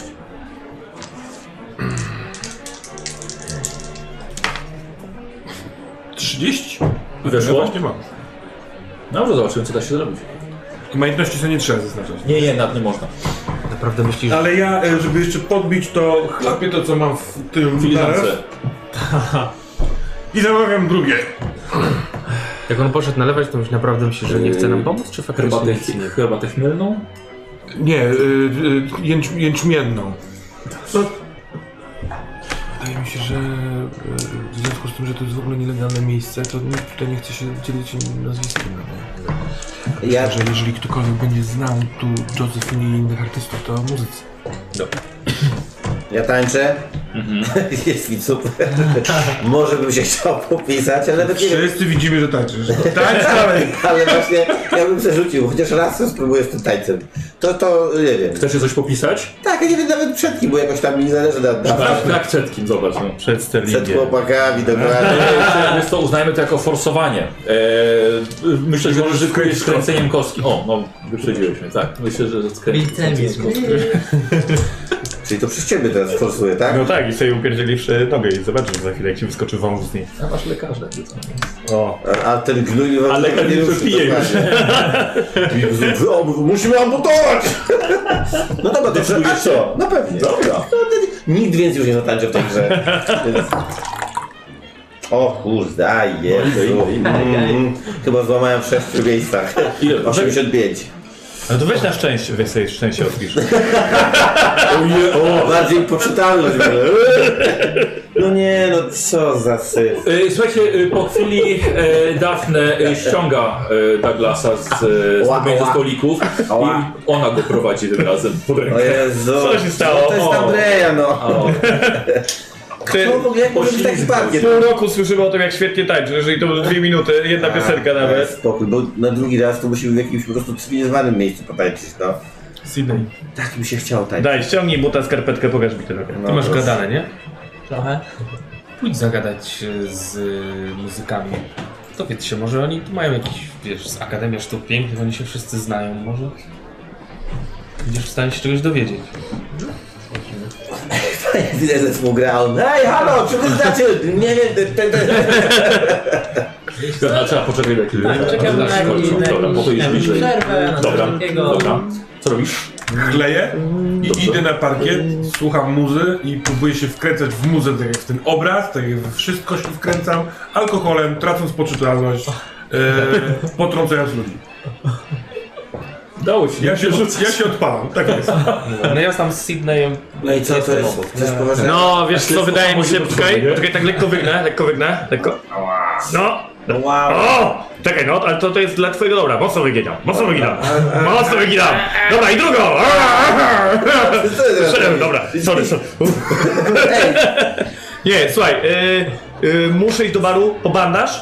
S6: Trzydzieści?
S2: Weszło?
S6: Tak, Ja właśnie mam.
S2: Dobrze, No, zobaczymy co da się zrobić.
S6: Umiejętności sobie nie trzeba zaznaczać.
S2: Nie, nie, nad nie można.
S5: Naprawdę myślisz, że
S6: Ale ja, e, żeby jeszcze podbić to, chlapię to, co mam w tym teraz
S2: Filiżance.
S6: i zamawiam drugie.
S5: jak on poszedł nalewać, to już naprawdę myślisz, że nie chce nam pomóc, czy faktycznie
S2: Herbatę,
S5: nic nie?
S2: herbatę chmielną?
S6: Nie, y, y, jęcz, jęczmienną. No, wydaje mi się, że y, w związku z tym, że to jest w ogóle nielegalne miejsce, to nikt tutaj nie chce się dzielić im nazwiskiem. no nie?
S3: Ja,
S6: Że jeżeli ktokolwiek będzie znał tu Josephine i innych artystów, to muzycy.
S3: ja tańczę.
S2: Mhm.
S3: *laughs* Jest
S2: *laughs*
S3: mi super. Może bym się chciał popisać, ale nawet nie wiem.
S6: Wszyscy widzimy, że *laughs* tańczysz. Tańcz dalej!
S3: Ale właśnie ja bym przerzucił, chociaż raz spróbuję z tym tańcem. To, to nie wiem.
S2: Chcesz się coś popisać?
S3: Tak, ja nie wiem nawet przed kim, bo jakoś tam mi nie zależy na, na
S2: Tak, tak przed kim, zobacz. No.
S8: Przed
S3: przed
S8: Sterlingiem.
S3: chłopakami,
S2: *laughs*
S3: dokładnie.
S2: Więc to uznajmy to jako forsowanie. Eee, myślę, że ryzykujesz skręceniem kostki. O, no, wyprzedziłeś mnie, tak. Myślę, że
S7: Milcenizm.
S2: skręceniem
S3: Czyli to przez ciebie teraz forsuję, tak?
S8: No tak, i sobie upierdzieliwszy nogę i zobaczysz za chwilę, jak ci wyskoczy wąwóz z niej.
S2: A masz lekarza.
S8: O,
S3: A, a ten gnój wam
S2: Ale
S3: tego
S2: ten już
S3: ruszy,
S2: pije
S3: dokładnie. Wy- ob- *laughs* Musimy amputować! No dobra, to trzeba. A co? No pewnie. Dobra. Nikt więcej już nie zatańczy w tej grze. Więc- O kurde, a jezu. Mm, Chyba złamałem w sześciu miejscach.
S2: Ile?
S3: 85.
S8: no to weź na szczęście, weź sobie szczęście odpisz.
S2: No,
S3: O, bardziej poczytalność. No nie, no co za syf.
S2: E, słuchajcie, e, po chwili e, Dafne e, ściąga e, Douglasa z, e,
S3: Ła,
S2: z ze
S3: ła.
S2: stolików
S3: Ła.
S2: i ona go prowadzi tym razem pod
S3: O
S2: rękę.
S3: Jezu.
S8: Co się stało?
S3: To jest
S8: O.
S3: Andrea, no.
S2: O,
S3: No w ogóle jak może być taki parkiet?
S8: Pół roku słyszymy o tym, jak świetnie tańczy, jeżeli to były dwie minuty,
S2: Tak.
S8: jedna piosenka nawet.
S3: Tak, Spokój, bo na drugi raz to musimy w jakimś po prostu cywilizowanym miejscu potańczyć, no.
S8: Sydney.
S3: Tak mi się chciało tańczyć.
S8: Daj, ściągnij buta, skarpetkę, pokaż mi tę nogę.
S3: No,
S5: Ty masz
S3: to-
S5: gadane, nie?
S7: Trochę.
S5: Pójdź zagadać e, z e, muzykami. Dowiedz się, może oni tu mają jakiś, wiesz, z Akademia Sztuk Pięknych, oni się wszyscy znają, może będziesz w stanie się czegoś dowiedzieć.
S3: *laughs* Widzę, że mu gra, on, Ej, halo, czy wy znacie? Nie wiem, ten, ten, ten.
S2: Dobra, trzeba poczekać na chwilę.
S7: Tak, czekam na
S2: Dobra,
S7: jakiś- na
S2: Dobra, po to
S7: jakąś
S2: jest bliżej.
S7: przerwę, na coś
S2: Dobra,
S7: takiego.
S2: dobra. Co robisz?
S6: Kleję i idę na parkiet, słucham muzy i próbuję się wkręcać w muzę, tak jak w ten obraz, tak jak we wszystko się wkręcam, alkoholem, tracąc poczytalność, yy, potrącając ludzi.
S2: Dało ci.
S6: Ja się, ja się odpalam, tak *laughs* jest.
S5: No ja sam z Sydneyem
S3: No i co to
S5: jestem
S3: jest?
S5: obok.
S3: Coś poważnego?
S8: No, wiesz co, wydaje mi się,
S2: to
S8: czekaj,
S2: sobie.
S8: czekaj, tak lekko wygnę, lekko wygnę, lekko. No,
S3: Wow.
S8: o! Czekaj, no, ale to, to jest dla twojego dobra, mocno wyginam, mocno wyginam, mocno wyginam! Dobra, i drugą! Szedłem, dobra, sorry, sorry. Uff.
S3: Ej,
S8: Nie, słuchaj, y, Y, muszę iść do baru po bandaż.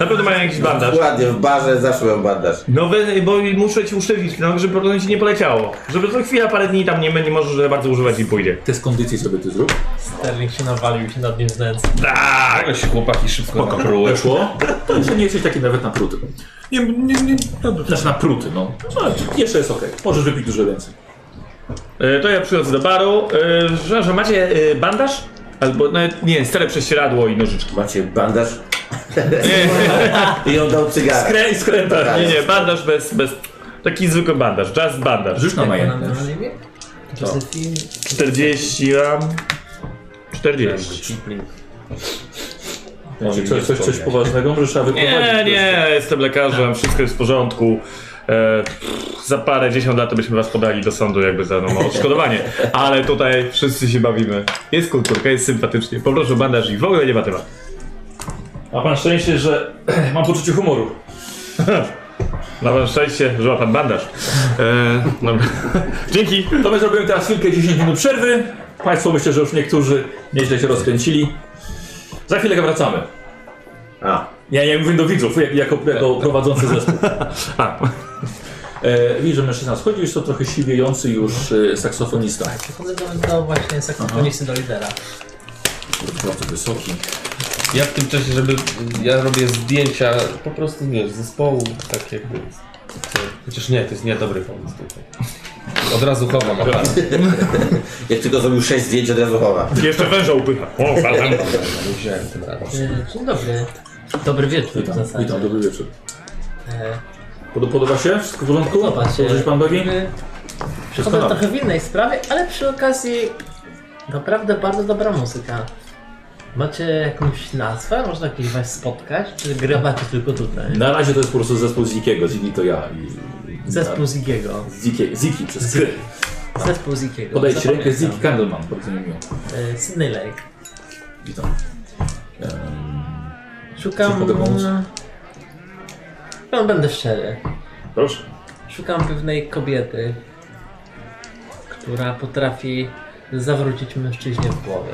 S8: Na pewno mają jakiś bandaż.
S3: Dokładnie, w barze zawsze mam bandaż.
S8: No we- bo muszę ci usztywnić, no, żeby to ci nie poleciało. Żeby co chwila, parę dni tam nie, nie możesz za bardzo używać i pójdzie.
S2: Test kondycji sobie ty zrób.
S7: Sterling się nawalił i się nad nim znęca.
S8: Tak!
S5: Ale się chłopaki szybko napruły.
S2: Weszło. To jeszcze nie jesteś taki nawet na pruty.
S6: Nie, nie, nie. Dobra.
S2: Znaczy na pruty, no. no ale jeszcze jest okej. Możesz wypić dużo więcej.
S8: E, To ja przychodzę do baru. E, Przepraszam, macie e, bandaż? Albo, no nie, stare prześcieradło i nożyczki.
S3: Macie bandaż? I on dał cygara.
S8: Skrę, skręta.
S3: Tak.
S8: Nie, nie, bandaż bez, bez... Taki zwykły bandaż, just bandaż.
S2: Rzuć na
S7: Ona
S2: majętność.
S7: miała na imię? Josephine.
S8: 40 mam... 40.
S2: Znaczy, coś, coś, coś poważnego, może trzeba wyprowadzić.
S8: Nie,
S2: to jest-
S8: nie, jestem lekarzem, wszystko jest w porządku. E, pff, za parę dziesiąt lat to byśmy was podali do sądu jakby za no, odszkodowanie. Ale tutaj wszyscy się bawimy. Jest kulturka, jest sympatycznie. Poproszę o bandaż i w ogóle nie ma tematu.
S2: Ma pan szczęście, że *clears throat* mam poczucie humoru.
S8: Na wasze szczęście, że ma pan bandaż. E, dobra. *laughs* Dzięki.
S2: To my zrobimy teraz chwilkę 10 minut przerwy. Państwo myślę, że już niektórzy nieźle się rozkręcili. Za chwilę wracamy.
S3: A,
S2: Ja, ja mówię do widzów, jak, jako, jako prowadzący zespół.
S8: A,
S2: E, widzę, że mężczyzna schodzi, jest to trochę siwiejący już e, saksofonista.
S7: Chodzę do, do właśnie saksofonisty, do lidera.
S2: Bardzo wysoki.
S5: Ja w tym czasie, żeby... Ja robię zdjęcia po prostu, wiesz, zespołu, tak jakby... Chociaż nie, to jest niedobry pomysł tutaj. Od razu chowam aparat.
S3: jak tylko zrobił 6 zdjęć, od razu chowa.
S8: jeszcze węża upycha. O, razem.
S5: Nie wziąłem tym razem.
S7: E, Dzień dobry. Dobry wieczór w
S2: Witam,
S7: zasadzie.
S2: witam, dobry wieczór.
S7: E,
S2: Pod, podoba się? Wszystko w porządku?
S7: Podoba się.
S2: Dobrze się pan bawi?
S7: E,
S2: Wszystko
S7: Chodzę
S2: dobrze.
S7: trochę w innej sprawie, ale przy okazji naprawdę bardzo dobra muzyka. Macie jakąś nazwę? Można gdzieś was spotkać? Czy grabacie tylko tutaj?
S2: Na razie to jest po prostu zespół Zikiego. Ziki to ja. I- i-
S7: Zespół Zigiego.
S2: Ziki, Ziki przez kry.
S7: Zespół Zigiego.
S2: Tak. Podajcie ci rękę,
S7: No, zapamiętam.
S2: Ziki Candleman, bardzo mi miło.
S7: E, Sydney Lake.
S2: Witam. Czy
S7: Szukam...
S2: mogę pomóc?
S7: No, będę szczery.
S2: Proszę.
S7: Szukam pewnej kobiety, która potrafi zawrócić mężczyźnie w głowie.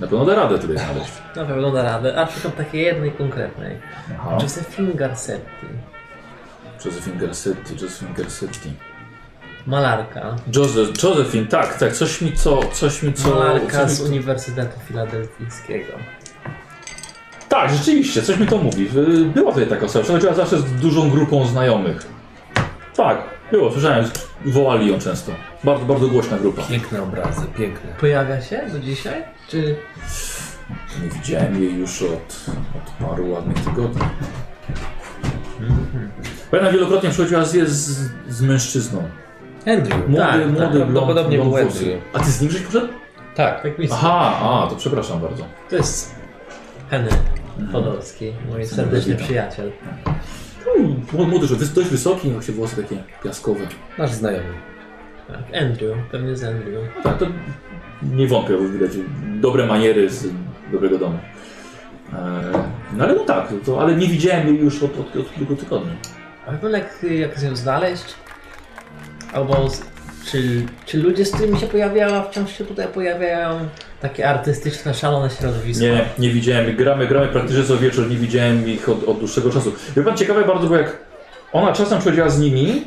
S2: Na pewno da radę tutaj znaleźć.
S7: Na pewno da radę, a szukam takiej jednej konkretnej.
S2: Aha.
S7: Josephine Garcetti.
S2: Josephine Garcetti, Josephine Garcetti.
S7: Malarka.
S2: Joseph, Josephine, tak, tak, coś mi co, coś mi co...
S7: Malarka
S2: coś
S7: z
S2: mi-
S7: Uniwersytetu Filadelfijskiego.
S2: Tak, rzeczywiście, coś mi to mówi. Y, Była tutaj taka osoba, przechodziła zawsze z dużą grupą znajomych. Tak, było, słyszałem, wołali ją często. Bardzo, bardzo głośna grupa.
S5: Piękne obrazy, piękne.
S7: Pojawia się do dzisiaj? Czy
S2: Nie widziałem jej już od, od paru ładnych tygodni. Będę wielokrotnie przychodziła z, z, z mężczyzną.
S5: Andrew.
S2: Młody,
S7: Tak, tak,
S2: młody, blond,
S5: prawdopodobnie
S2: blond
S5: był
S2: włosy.
S5: Andrew.
S2: A ty z nim żeś poszedł?
S5: Tak.
S7: tak mi
S2: Aha, a, to przepraszam bardzo.
S7: To jest Henry Podolski, mój serdeczny przyjaciel.
S2: Mm, Młody, że wys- dość wysoki, miał się włosy takie piaskowe.
S5: Nasz znajomy.
S7: Tak, Andrew, pewnie z Andrew.
S2: No tak, to nie wątpię, bo widać dobre maniery z dobrego domu. Eee, No ale no tak, to, ale nie widziałem jej już od, od, od kilku tygodni.
S7: A wygląda jak, jak ją znaleźć? Albo z, czy, czy ludzie, z którymi się pojawiała, wciąż się tutaj pojawiają? Takie artystyczne, szalone środowisko.
S2: Nie, nie widziałem. Gramy, gramy praktycznie co wieczór, nie widziałem ich od, od dłuższego czasu. Wie pan, ciekawe bardzo, bo jak ona czasem przychodziła z nimi,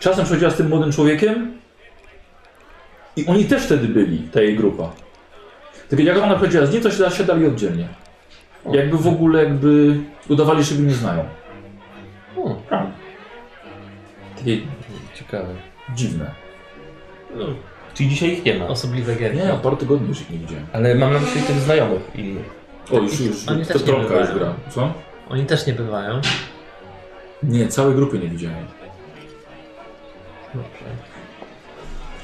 S2: czasem przychodziła z tym młodym człowiekiem i oni też wtedy byli, ta jej grupa. Tylko jak ona przychodziła z nim, to się siadali oddzielnie. Jakby w ogóle, jakby udawali, że się nie znają.
S5: Hmm.
S2: Tak. Takie
S5: Ciekawe.
S2: dziwne.
S5: Czyli dzisiaj ich nie ma.
S7: Osobliwe gierki.
S2: Nie, parę tygodni już ich nie widziałem.
S5: Ale mam na myśli tych znajomych innych.
S2: O, już, już,
S7: Oni
S2: już to
S7: też nie
S2: trąbka już
S7: bywają.
S2: gra. Co?
S7: Oni też nie bywają.
S2: Nie, całej grupy nie widziałem.
S7: Dobrze.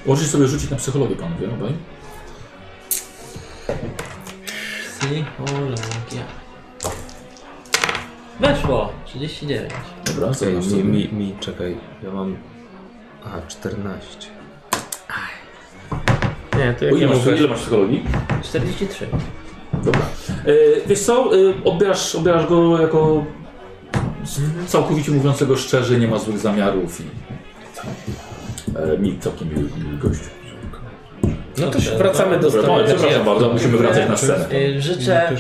S2: Możecie sobie rzucić na psychologię, panowie, obaj?
S7: Psychologia. Weszło! 39.
S2: Dobra,
S5: Czekaj,
S2: zobacz
S5: mi,
S2: sobie.
S5: mi, mi, czekaj. Ja mam... A, 14.
S7: Nie, to
S2: O, ile, masz, ile masz psychologii?
S7: 43.
S2: Dobra. E, wiesz co, e, odbierasz, odbierasz go jako s- całkowicie mówiącego szczerze, nie ma złych zamiarów i e, mi całkiem miły, miły gościu.
S5: No to się wracamy do
S2: Dobra, no,
S5: stanu.
S2: przepraszam bardzo, musimy wracać na scenę.
S7: Y, Życzę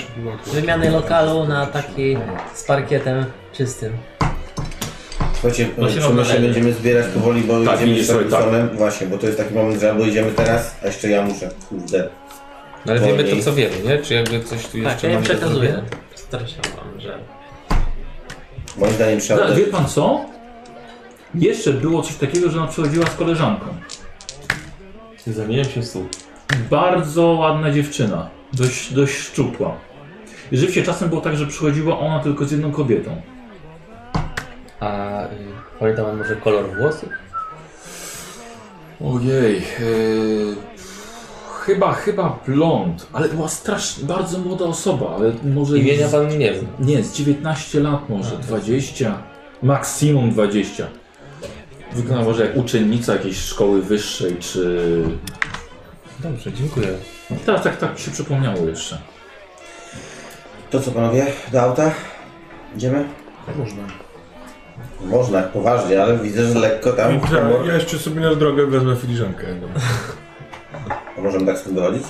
S7: wymiany lokalu na taki z parkietem czystym.
S3: Słuchajcie,
S5: No się
S3: czy my się
S5: nadaje.
S3: będziemy zbierać powoli, bo
S2: Tak,
S3: idziemy
S2: idziesz
S3: z takim
S2: sobie, tak.
S3: tonem? Właśnie, bo to jest taki moment, że albo idziemy teraz, a jeszcze ja muszę. Kurde.
S5: No, ale wiemy to,
S3: Wolniej.
S5: co wiemy, nie? Czy jakby coś tu jeszcze
S7: Tak, ja im
S5: mamy do
S7: przekazuję.
S5: zrobienia?
S7: Staram się wam, że...
S3: Moim zdaniem trzeba...
S2: Ale wie pan co? Jeszcze było coś takiego, że ona przychodziła z koleżanką.
S5: Zamieniam się w stół.
S2: Bardzo ładna dziewczyna, dość, dość szczupła. I Rzeczywiście czasem było tak, że przychodziła ona tylko z jedną kobietą.
S5: A y, pamięta pan może kolor włosów?
S2: Ojej, yy, chyba, chyba blond, ale była strasznie, bardzo młoda osoba, ale może...
S5: Imienia pan nie zna.
S2: Nie, z 19 lat może,
S5: Tak.
S2: 20, maksimum 20. Wygląda może jak uczennica jakiejś szkoły wyższej, czy...
S5: Dobrze, dziękuję.
S2: Tak, tak, tak mi się przypomniało jeszcze.
S3: To co panowie, do auta? Idziemy? Można. Można, poważnie, ale widzę, że lekko tam...
S6: Ja, ja jeszcze sobie na drogę wezmę filiżankę. No.
S3: A możemy tak spędzolić?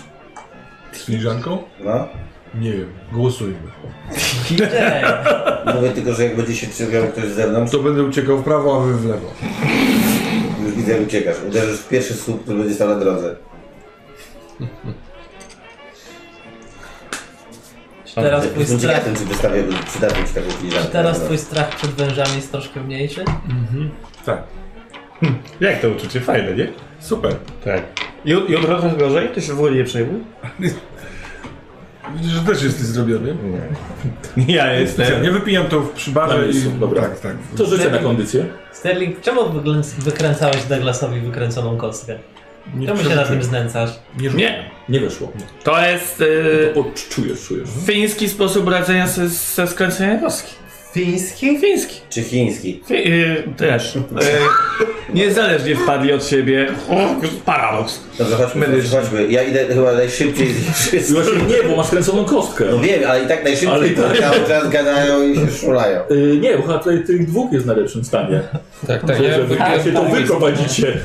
S6: Z filiżanką?
S3: No.
S6: Nie wiem, głosujmy.
S3: Mówię tylko, że jak będzie się trzepiał ktoś z zewnątrz,
S6: To będę uciekał w prawo, a wy w lewo.
S3: już widzę, jak uciekasz. Uderzysz w pierwszy słup, który będzie stał na drodze.
S7: Teraz twój
S3: Jestem
S7: strach...
S3: ciekaw, czy wystawię, przydałbym ci taką filiżankę. no.
S7: Teraz twój strach przed wężami jest troszkę mniejszy.
S6: Tak,
S8: Jak to uczucie? Fajne, nie?
S6: super.
S8: Tak. I, i od razu gorzej? Ty się w ogóle nie przejmuj?
S6: Widzisz, że też jesteś zrobiony.
S8: Ja
S6: Ja
S8: jestem.
S6: nie wypijam to w przy barze
S2: Na miejscu,
S6: i...
S2: dobra.
S6: Tak, tak.
S2: To życie na kondycję.
S7: Sterling, czemu wyglę- wykręcałeś Douglasowi wykręconą kostkę?
S6: Nie
S7: Czemu się na tym znęcasz?
S8: Nie.
S2: Nie wyszło.
S8: To jest
S2: To
S8: y,
S2: po- czujesz, czujesz.
S8: fiński sposób radzenia ze, ze skręceniem kostki.
S7: Fiński?
S8: Fiński.
S3: Czy chiński?
S8: Fi, y, też. Y, niezależnie wpadli od siebie. O, paradoks.
S3: Dobrze, chodźmy,
S8: Medyczny.
S3: chodźmy. Ja idę chyba najszybciej z nich
S2: I
S3: wszystkich.
S2: właśnie nie, bo masz kręconą kostkę.
S3: No wiem, ale i tak
S2: Ale
S3: najszybciej
S2: i
S3: to
S2: tak.
S3: cały czas gadają i się szulają.
S2: Yy, nie, bo chyba tutaj tych dwóch jest w najlepszym stanie.
S5: Tak, tak.
S2: To,
S5: Ja
S2: że wy,
S5: wypiłem
S2: się to
S5: pół miejsca.
S2: wyprowadzicie.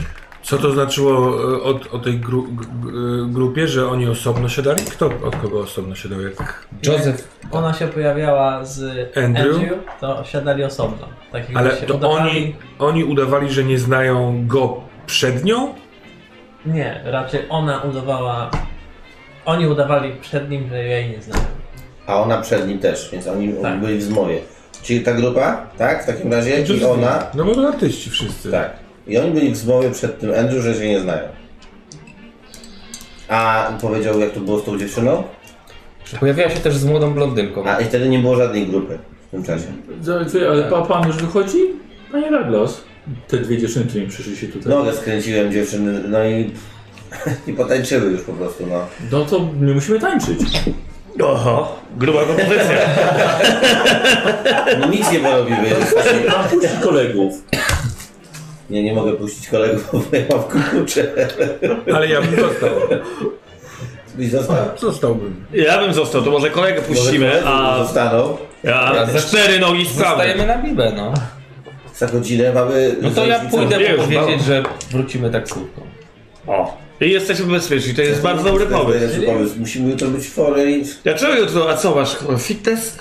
S6: Co to znaczyło e, o, o tej gru, g, g- grupie, że oni osobno siadali? Kto od kogo osobno siadał?
S7: Tak,
S6: Jak...
S5: Joseph,
S7: Ona się pojawiała z
S6: Andrew?
S7: Andrew, to siadali osobno. Tak jakby
S6: Ale
S7: się
S6: to
S7: udawali-
S6: oni, oni udawali, że nie znają go przed nią?
S7: Nie, raczej ona udawała... Oni udawali przed nim, że ja jej nie znam.
S3: A ona przed nim też, więc oni oni
S7: Tak.
S3: byli w zmowie. Czyli ta grupa, tak? W takim razie i ona,
S6: No bo to artyści wszyscy.
S3: tak. I oni byli w zmowie przed tym Andrew, że się nie znają. A powiedział, jak to było z tą dziewczyną?
S5: pojawiła się też z młodą blondynką.
S3: A i wtedy nie było żadnej grupy w tym czasie.
S2: Ale pa, pan już wychodzi? Panie Douglas. Te dwie dziewczyny, które mi przyszły się tutaj.
S3: Nogę skręciłem dziewczyny, no i... *laughs* I potańczyły już po prostu, no.
S2: No to nie musimy tańczyć.
S8: Oho, gruba propozycja.
S3: no nic nie porobimy.
S5: *laughs*
S2: A puści kolegów.
S3: Nie, nie mogę puścić kolegów, bo ja mam klucze.
S6: Ale ja bym został.
S3: I został.
S6: Zostałbym.
S8: Ja bym został, to może kolegę puścimy,
S3: Może koledzy
S8: a,
S3: Zostaną.
S8: a
S5: Ja
S8: cztery nogi sprawdzę.
S5: Zostajemy na Bibę, no.
S3: Za godzinę mamy...
S5: No to ja pójdę
S8: Już,
S5: powiedzieć, że wrócimy tak taksówką.
S8: O. I jesteśmy bezpieczni, to jest bardzo dobry
S3: To
S8: pomysł.
S3: jest pomysł. Musimy jutro być fory i...
S8: Dlaczego jutro, a co masz, fitness?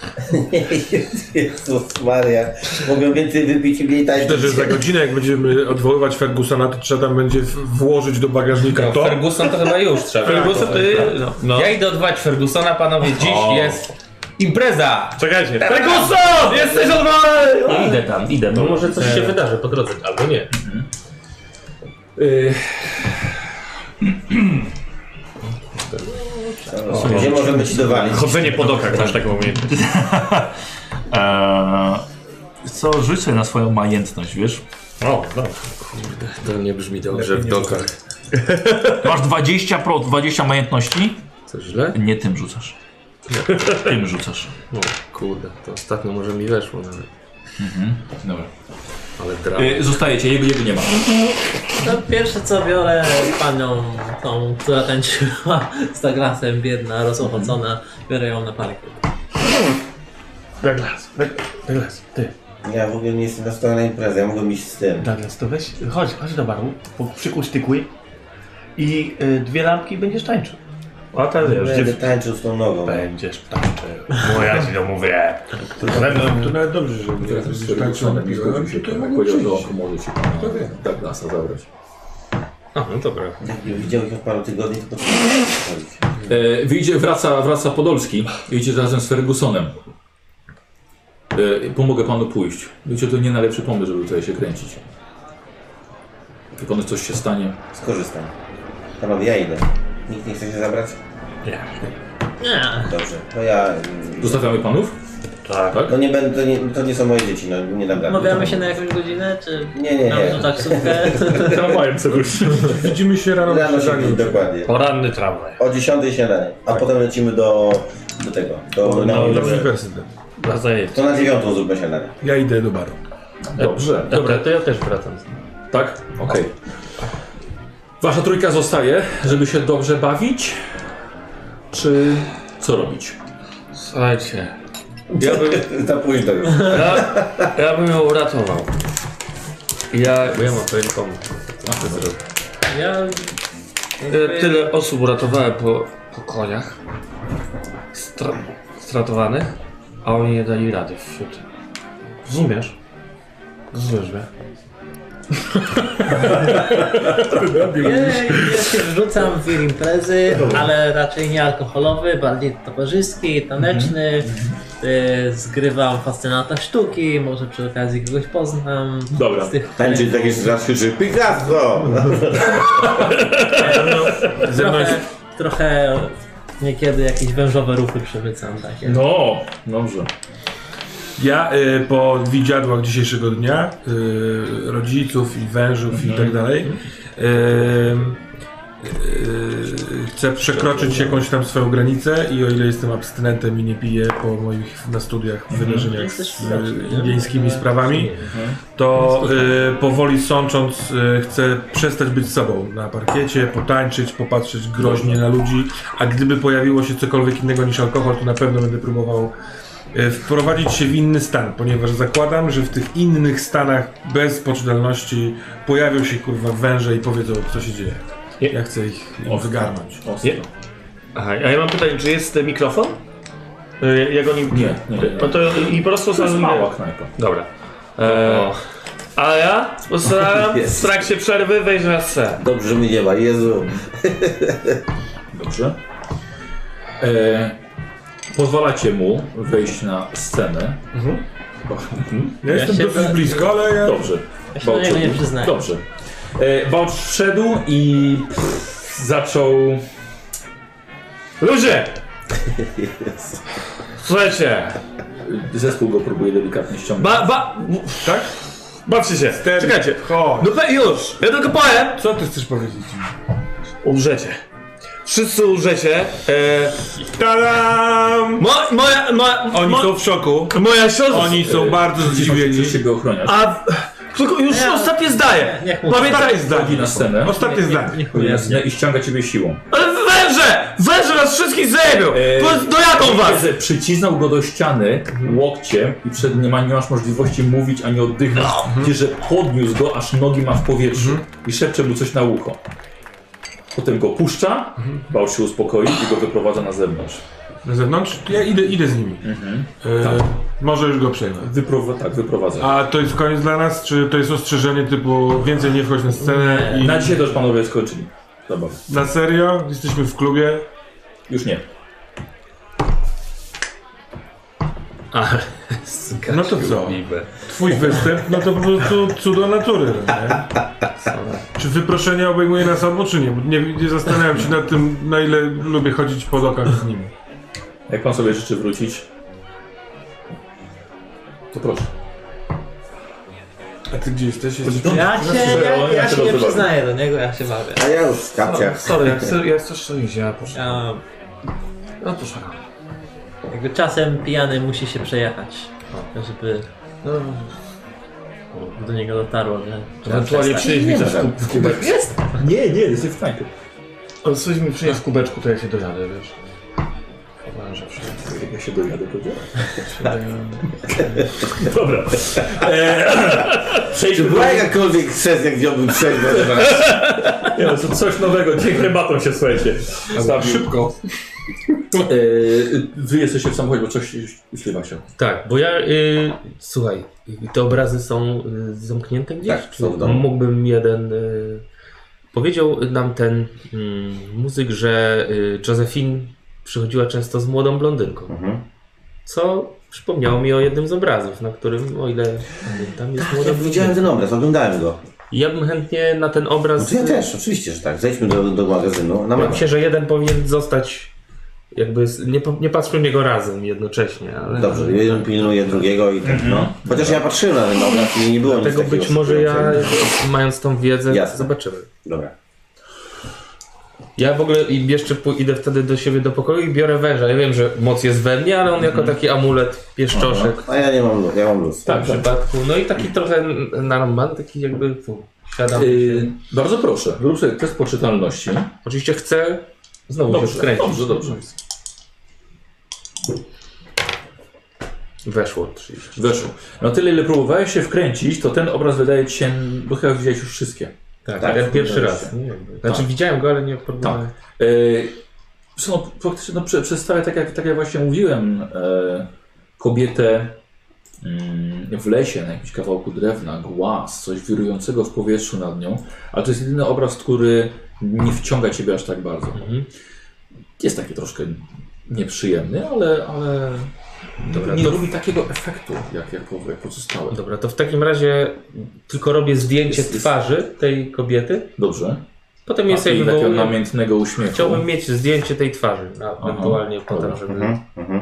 S3: *laughs* Jezus Maria. Mogę więcej wypić i mniej
S6: Myślę,
S3: tańczyć.
S6: że za godzinę, jak będziemy odwoływać Fergusona, to trzeba tam będzie w- włożyć do bagażnika
S5: No,
S6: to.
S5: Ferguson to chyba już trzeba. Tak.
S8: Ferguson, ty... No. no.
S5: Ja idę odwołać Fergusona, panowie. Dziś
S8: O.
S5: jest impreza!
S8: Czekajcie. Ferguson! Jesteś odwalony!
S9: Ja idę tam, idę, bo może coś
S8: E,
S9: się wydarzy po drodze, albo nie.
S3: Gdzie możemy ci dowalić?
S8: Chodzenie po dokach, masz taką umiejętność.
S9: Eee, co rzucę na swoją majętność, wiesz?
S8: O, no.
S5: To nie brzmi dobrze w dokach.
S9: Masz 20, pro, 20 majętności?
S5: Co źle?
S9: Nie tym rzucasz. Tym rzucasz.
S5: No kurde, to ostatnio może mi weszło nawet.
S2: Dobra.
S5: Ale drama.
S2: Yy, zostajecie, jego, jego nie ma.
S7: No pierwsze co biorę panią tą, która tańczyła z Douglasem, biedna, rozochocona, biorę ją na parkiet.
S8: Douglas, Doug- Douglas, ty,
S3: Ja w ogóle nie jestem
S8: Tak,
S6: Tak.
S3: nastawiony na imprezę, ja mogę iść z tym.
S8: Douglas, to weź, chodź, chodź do baru, po- przykuć tykły i y, dwie lampki i będziesz tańczył. A teraz wiesz,
S3: Będę
S8: dziew...
S3: tańczył z tą nogą.
S6: Tak.
S8: Będziesz tańczył. Moja ci to mówię. Ze mną
S6: To nawet dobrze, że teraz będziesz
S2: tak
S6: tańczył na piwo.
S2: zgodził się,
S6: tak To ja
S2: tak,
S6: mogę
S2: powiedział,
S6: przyjść.
S2: że on może ci
S6: No To wiem.
S2: tak nasa zabrać.
S5: A, no dobra.
S3: Jakbym widział ich od paru tygodni, to to
S2: E, wyjdzie, wraca, wraca Podolski, jedzie razem z Fergusonem. E, pomogę panu pójść. Wiecie, to nie najlepszy pomysł, żeby tutaj się kręcić. Jak panu coś się stanie,
S3: skorzystam. Panowie, ja idę. Nikt nie chce się zabrać?
S7: Nie.
S3: Dobrze. To ja... mm,
S2: zostawiamy panów?
S8: Tak.
S3: No nie będę, to nie, to nie są moje dzieci, no nie dam rady.
S7: Umawiamy się na No, jakąś godzinę, czy
S3: Nie, nie,
S7: mamy
S3: nie.
S7: tu taksówkę?
S4: Tramwajem sobie
S6: Widzimy się rano
S3: Rano
S6: przy
S3: się
S6: żaniu.
S3: dokładnie.
S8: Poranny tramwaj.
S3: O 10 śniadanie, a potem lecimy do, do tego, do na
S6: No, na
S3: uniwersytet.
S6: uniwersytet.
S8: Dla zajęć.
S3: To na dziewiątą zróbmy śniadanie.
S6: Ja idę do baru.
S2: Dobrze.
S5: Dobra, to ja też wracam.
S2: Tak? Okej. Wasza trójka zostaje, żeby się dobrze bawić? Czy co robić?
S5: Słuchajcie, ja
S3: *laughs*
S5: bym,
S3: Za późno już.
S5: ja, ja bym ją uratował. Ja, bo ja mam to nikomu.
S7: Ja...
S8: E,
S5: Tyle, tyle osób uratowałem po, po koniach stra, stratowanych, a oni nie dali rady wśród. Rozumiesz? Rozumiesz mnie?
S7: Ja, ja się wrzucam w imprezy, ale raczej nie alkoholowy, bardziej towarzyski, taneczny. Y, Zgrywam fascynata sztuki, może przy okazji kogoś poznam.
S2: Dobra.
S7: Z tych, y,
S3: Tańczyć tak jeszcze raz krzyczy Picasso!
S7: trochę, trochę niekiedy jakieś wężowe ruchy przemycam takie.
S2: No, dobrze.
S6: Ja y, po widziadłach dzisiejszego dnia, y, rodziców i wężów i tak dalej, y, y, chcę przekroczyć jakąś tam swoją granicę i o ile jestem abstynentem i nie piję po moich na studiach wydarzeniach z y, indyjskimi sprawami, to y, powoli sącząc y, chcę przestać być sobą na parkiecie, potańczyć, popatrzeć groźnie na ludzi, a gdyby pojawiło się cokolwiek innego niż alkohol, to na pewno będę próbował e, wprowadzić się w inny stan, ponieważ zakładam, że w tych innych stanach bez poczytalności pojawią się kurwa węże i powiedzą co się dzieje.
S8: Je-
S6: Ja chcę ich im wygarnąć.
S8: Je... Aha, a ja mam pytanie, czy jest e, mikrofon? Y, Ja go nie...
S2: Nie, nie, nie.
S8: No to i po prostu...
S2: To jest mała knajpa.
S8: Dobra. E, a ja postaram w trakcie przerwy wejść na scenę.
S3: Dobrze, że mnie nie ma, Jezu.
S2: Dobrze. E, pozwalacie mu wejść na scenę.
S6: Ja, jestem
S7: się
S6: dosyć
S7: be-
S6: blisko, ale ja...
S2: Dobrze.
S7: Ja się do niego nie przyznaję.
S2: Dobrze. E, Bałcz wszedł i pff, zaczął...
S8: Ludzie!
S5: *laughs*
S8: Słuchajcie,
S2: e, Zespół go próbuje delikatnie ściągnąć.
S8: ba, ba,
S6: Tak?
S8: bawcie się, czekajcie.
S6: Chodź.
S8: No pe, już, ja tylko powiem.
S6: Co ty chcesz powiedzieć?
S8: Umrzecie. Wszyscy umrzecie. E,
S6: Tadam!
S8: mo, moja, moja,
S6: Oni
S8: mo,
S6: są w szoku.
S8: moja siostra.
S6: Oni są bardzo zdziwieni.
S2: Oczywiście go ochroniasz.
S8: A, tylko już ostatnie zdanie.
S7: niech mu-
S8: Pamiętaj,
S6: Ostatnie zdanie.
S2: Na scenę.
S6: Ostatnie zdanie.
S7: no,
S2: Jasne, I ściąga ciebie siłą.
S8: ale węże, węże nas wszystkich zejmią.
S2: E,
S8: Po- Dojadą was.
S2: Jezu, Przycisnął go do ściany łokciem i przed nie, ma, nie masz możliwości mówić ani oddychać. Widzisz, że podniósł go, aż nogi ma w powietrzu i szepcze mu coś na ucho. Potem go puszcza, bał się uspokoić i go wyprowadza na zewnątrz.
S6: Na zewnątrz? Ja idę, idę z nimi. E, Może już go przejmę.
S2: Wyprowa tak, wyprowadza.
S6: A to jest koniec dla nas? Czy to jest ostrzeżenie typu więcej nie wchodź na scenę i...
S2: Na dzisiaj też panowie skończyli. Dobra.
S6: Na serio? Jesteśmy w klubie?
S2: Już nie.
S6: No to co? Twój występ, no to po prostu cudo natury, no nie? Czy wyproszenie obejmuje nas albo czy nie? Bo nie? Nie zastanawiam się nad tym, na ile lubię chodzić po lokach z nimi.
S2: Jak pan sobie życzy wrócić, to proszę.
S6: A ty gdzie jesteś? jesteś...
S7: Ja się, ja, ja się nie przyznaję do niego, ja się bawię.
S3: A ja już w kapciach.
S5: Tak, Sorry, jak, chcę- jak chcesz to iść, ja poszedłem.
S7: Ja,
S5: No poszedłem.
S7: jakby czasem pijany musi się przejechać, żeby no, do niego dotarło, że...
S8: Ewentualnie przynieś mi coś w kub- w kubeczku.
S2: Jest? Nie, nie, jesteś w knajpie.
S8: O, Coś mi przynieś w kubeczku, to ja się dojadę, wiesz. Dobra, że wszystko, jak ja się dojadę, to działa. Dobra.
S2: Eee, *clears throat*
S3: Czy była jakakolwiek sesja, gdzie on był trzeźwy?
S8: Nie, no, to coś nowego, dzisiaj herbatą się słuchajcie.
S6: Szybko.
S2: E, wy jesteście w samochodzie, bo coś śliwa się.
S5: Tak, bo ja. Y, słuchaj, te obrazy są y, zamknięte gdzieś?
S3: Tak, są w domu.
S5: Mógłbym jeden. Y, powiedział nam ten mm, muzyk, że y, Josephine przychodziła często z młodą blondynką.
S3: Mhm.
S5: Co przypomniało mi o jednym z obrazów, na którym, o ile pamiętam, jest młoda
S3: Tak, Ja No, widziałem
S5: blondynka.
S3: ten obraz, oglądałem go.
S5: Ja bym chętnie na ten obraz. y,
S3: Znaczy ja też, oczywiście, że tak. Zejdźmy do, do magazynu. No, Na
S5: Myślę,
S3: mapę.
S5: się, że jeden powinien zostać. Jakby z- nie, po- nie patrzmy w niego razem jednocześnie, ale.
S3: Dobrze, jeden pilnuje drugiego i tak, no. Chociaż ja patrzyłem na ten obraz i nie było nic
S5: Tego
S3: takiego.
S5: być może ja,
S3: skupiającego.
S5: mając tą wiedzę,
S3: Jasne.
S5: zobaczymy.
S3: Dobra.
S5: Ja w ogóle i jeszcze pój- idę wtedy do siebie do pokoju i biorę węża. Ja wiem, że moc jest we mnie, ale on jako
S2: Mhm.
S5: taki amulet, pieszczoszek.
S3: A ja nie mam luz, ja mam luz.
S5: Tak, w przypadku. No i taki trochę n- narąbany, taki jakby fu, świadomy.
S2: Yy,
S5: się.
S2: E, bardzo proszę, rób sobie test poczytalności.
S5: Oczywiście chcę znowu się
S2: Dobrze,
S5: wkręcić.
S2: dobrze, dobrze.
S5: Weszło 30.
S2: Weszło. Na tyle, ile próbowałeś się wkręcić, to ten obraz wydaje ci się, bo chyba widziałeś już wszystkie.
S5: Tak,
S3: Tak,
S5: ten pierwszy
S3: dobrze.
S5: raz. nie? Znaczy
S2: Tak.
S5: widziałem go, ale nie próbowałem.
S2: E, są praktycznie, no, prze- przedstawia, tak jak, tak jak właśnie mówiłem, e, kobietę mm, w lesie, na jakimś kawałku drewna, głaz, coś wirującego w powietrzu nad nią, ale to jest jedyny obraz, który nie wciąga ciebie aż tak bardzo.
S5: Mhm.
S2: Jest taki troszkę nieprzyjemny, ale, ale
S5: Dobra,
S2: nie
S5: to-
S2: robi takiego efektu, jak, jak, po- jak pozostałe.
S5: Dobra, to w takim razie tylko robię zdjęcie
S2: Jest- jest-
S5: twarzy tej kobiety.
S2: Dobrze.
S5: Potem je
S2: A,
S5: sobie
S2: i takiego
S5: wywołuję.
S2: namiętnego uśmiechu.
S5: Chciałbym mieć zdjęcie tej twarzy, na,
S2: Aha.
S5: ewentualnie potem,
S2: Dobra.
S5: żeby...
S3: Mhm, mhm.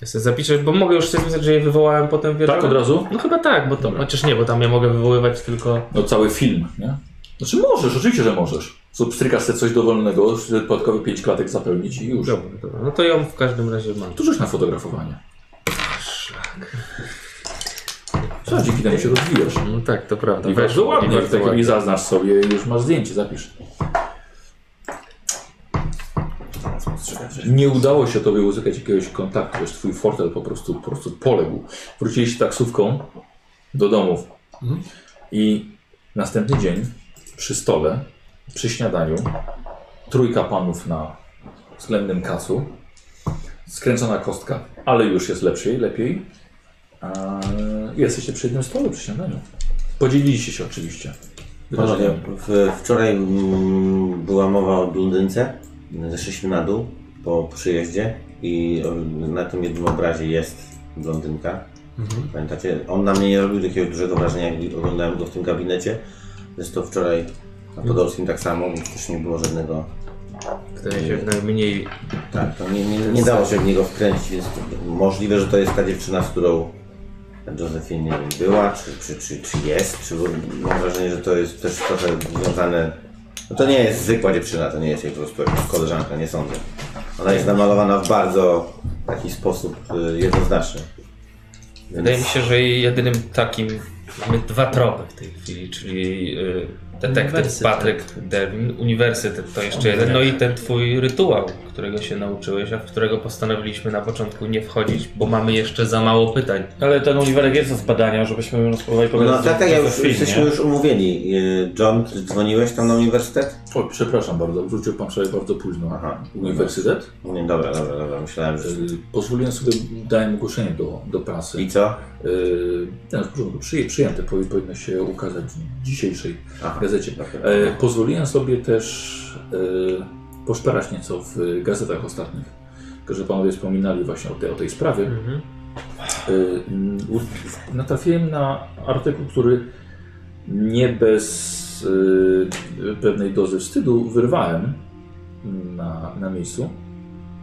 S5: Ja sobie zapiszę, bo mogę już sobie pisać, że je wywołałem potem wieczorem.
S2: Tak, od razu?
S5: No chyba tak, bo to... Chociaż nie, bo tam ja mogę wywoływać tylko...
S2: No cały film, nie? Znaczy możesz, oczywiście, że możesz. Zobstrykasz sobie coś dowolnego, dodatkowe 5 klatek zapełnić i już.
S5: Dobra, dobra. No to ją w każdym razie mam.
S2: Tu rzuć na fotografowanie. Co, dzięki temu się rozwijasz.
S5: No tak, to prawda.
S2: I
S5: Weszło,
S2: bardzo
S5: i
S2: ładnie.
S5: bardzo
S2: I, tak,
S5: ładnie.
S2: I zaznasz sobie, już masz zdjęcie, zapisz. Nie udało się tobie uzyskać jakiegoś kontaktu, wiesz, twój fortel po prostu, po prostu poległ. Wróciliście taksówką do domów
S3: Mhm.
S2: i następny dzień przy stole, przy śniadaniu, trójka panów na względnym kacu, skręcona kostka, ale już jest lepszej, lepiej. A, jesteście przy jednym stole przy śniadaniu. Podzieliliście się oczywiście.
S3: Panowie,
S2: wydarzeniem.
S3: w, wczoraj mm, była mowa o blondynce. Zeszliśmy na dół po przyjeździe i o, na tym jednym obrazie jest blondynka.
S5: Mhm.
S3: Pamiętacie? On na mnie nie robił jakiegoś dużego wrażenia, jak oglądałem go w tym gabinecie. Zresztą wczoraj na Podolskim tak samo, bo też nie było żadnego... y,
S5: Wydaje się najmniej...
S3: Tak, to nie, nie, nie dało się w niego wkręcić, więc możliwe, że to jest ta dziewczyna, z którą Josephine nie wiem, była, czy, czy, czy, czy jest, czy mam wrażenie, że to jest też trochę związane... No to nie jest zwykła dziewczyna, to nie jest jej po prostu jakaś koleżanka, nie sądzę. Ona jest namalowana w bardzo taki sposób y, jednoznaczny.
S5: Wydaje mi się, że jej jedynym takim... Mamy dwa tropy w tej chwili, czyli y, detektyw
S7: Uniwersytet.
S5: Patryk Devin, uniwersytet to jeszcze jeden, no i ten twój rytuał, którego się nauczyłeś, a w którego postanowiliśmy na początku nie wchodzić, bo mamy jeszcze za mało pytań.
S9: Ale ten uniwersytet jest do zbadania, żebyśmy spróbowali
S3: No
S9: pogadać.
S3: tak, tak, ja już, jesteśmy już umówieni. Y, John, ty dzwoniłeś tam na uniwersytet?
S2: O, przepraszam bardzo, wrócił pan wczoraj bardzo późno.
S3: Aha.
S2: Uniwersytet?
S3: Nie, dobra, dobra, dobra, myślałem, że...
S2: Y, Pozwoliłem sobie, dałem ogłoszenie do, do prasy.
S3: I co?
S2: Yy, no, w porządku, przyję- przyjęte, powi- powinno się ukazać w dzisiejszej
S3: Aha.
S2: gazecie.
S3: Dobra.
S2: E, pozwoliłem sobie też e, poszperać nieco w e, gazetach ostatnich, tylko że panowie wspominali właśnie o, te, o tej sprawie. E, mm, u- natrafiłem na artykuł, który nie bez e, pewnej dozy wstydu wyrwałem na, na miejscu.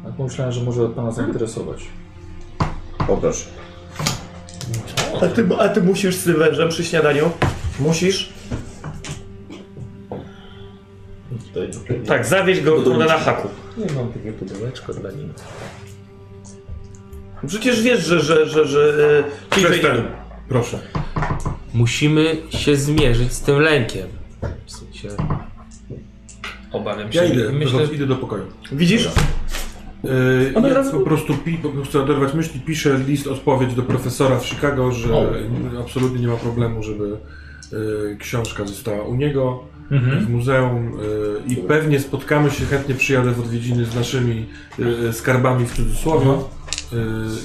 S2: A pomyślałem, że może pana zainteresować.
S3: Poproszę.
S8: A ty, a ty musisz z tym wężem przy śniadaniu? Musisz? Tak, zawieź go kurde na haku.
S5: Nie mam takie pudełeczko dla niej.
S8: Przecież wiesz, że... że, że, że e,
S6: Przestań. Proszę.
S5: Musimy się zmierzyć z tym lękiem. W sensie... Obawiam się.
S6: Ja idę,
S5: Myślę,
S6: idę do pokoju.
S8: widzisz?
S6: Yy,
S4: One
S6: ja
S4: raz-
S6: po prostu pi, po, chcę oderwać myśli, piszę list odpowiedź do profesora w Chicago, że yy, absolutnie nie ma problemu, żeby yy, książka została u niego w muzeum yy, i pewnie spotkamy się, chętnie przyjadę w odwiedziny z naszymi yy, skarbami w cudzysłowie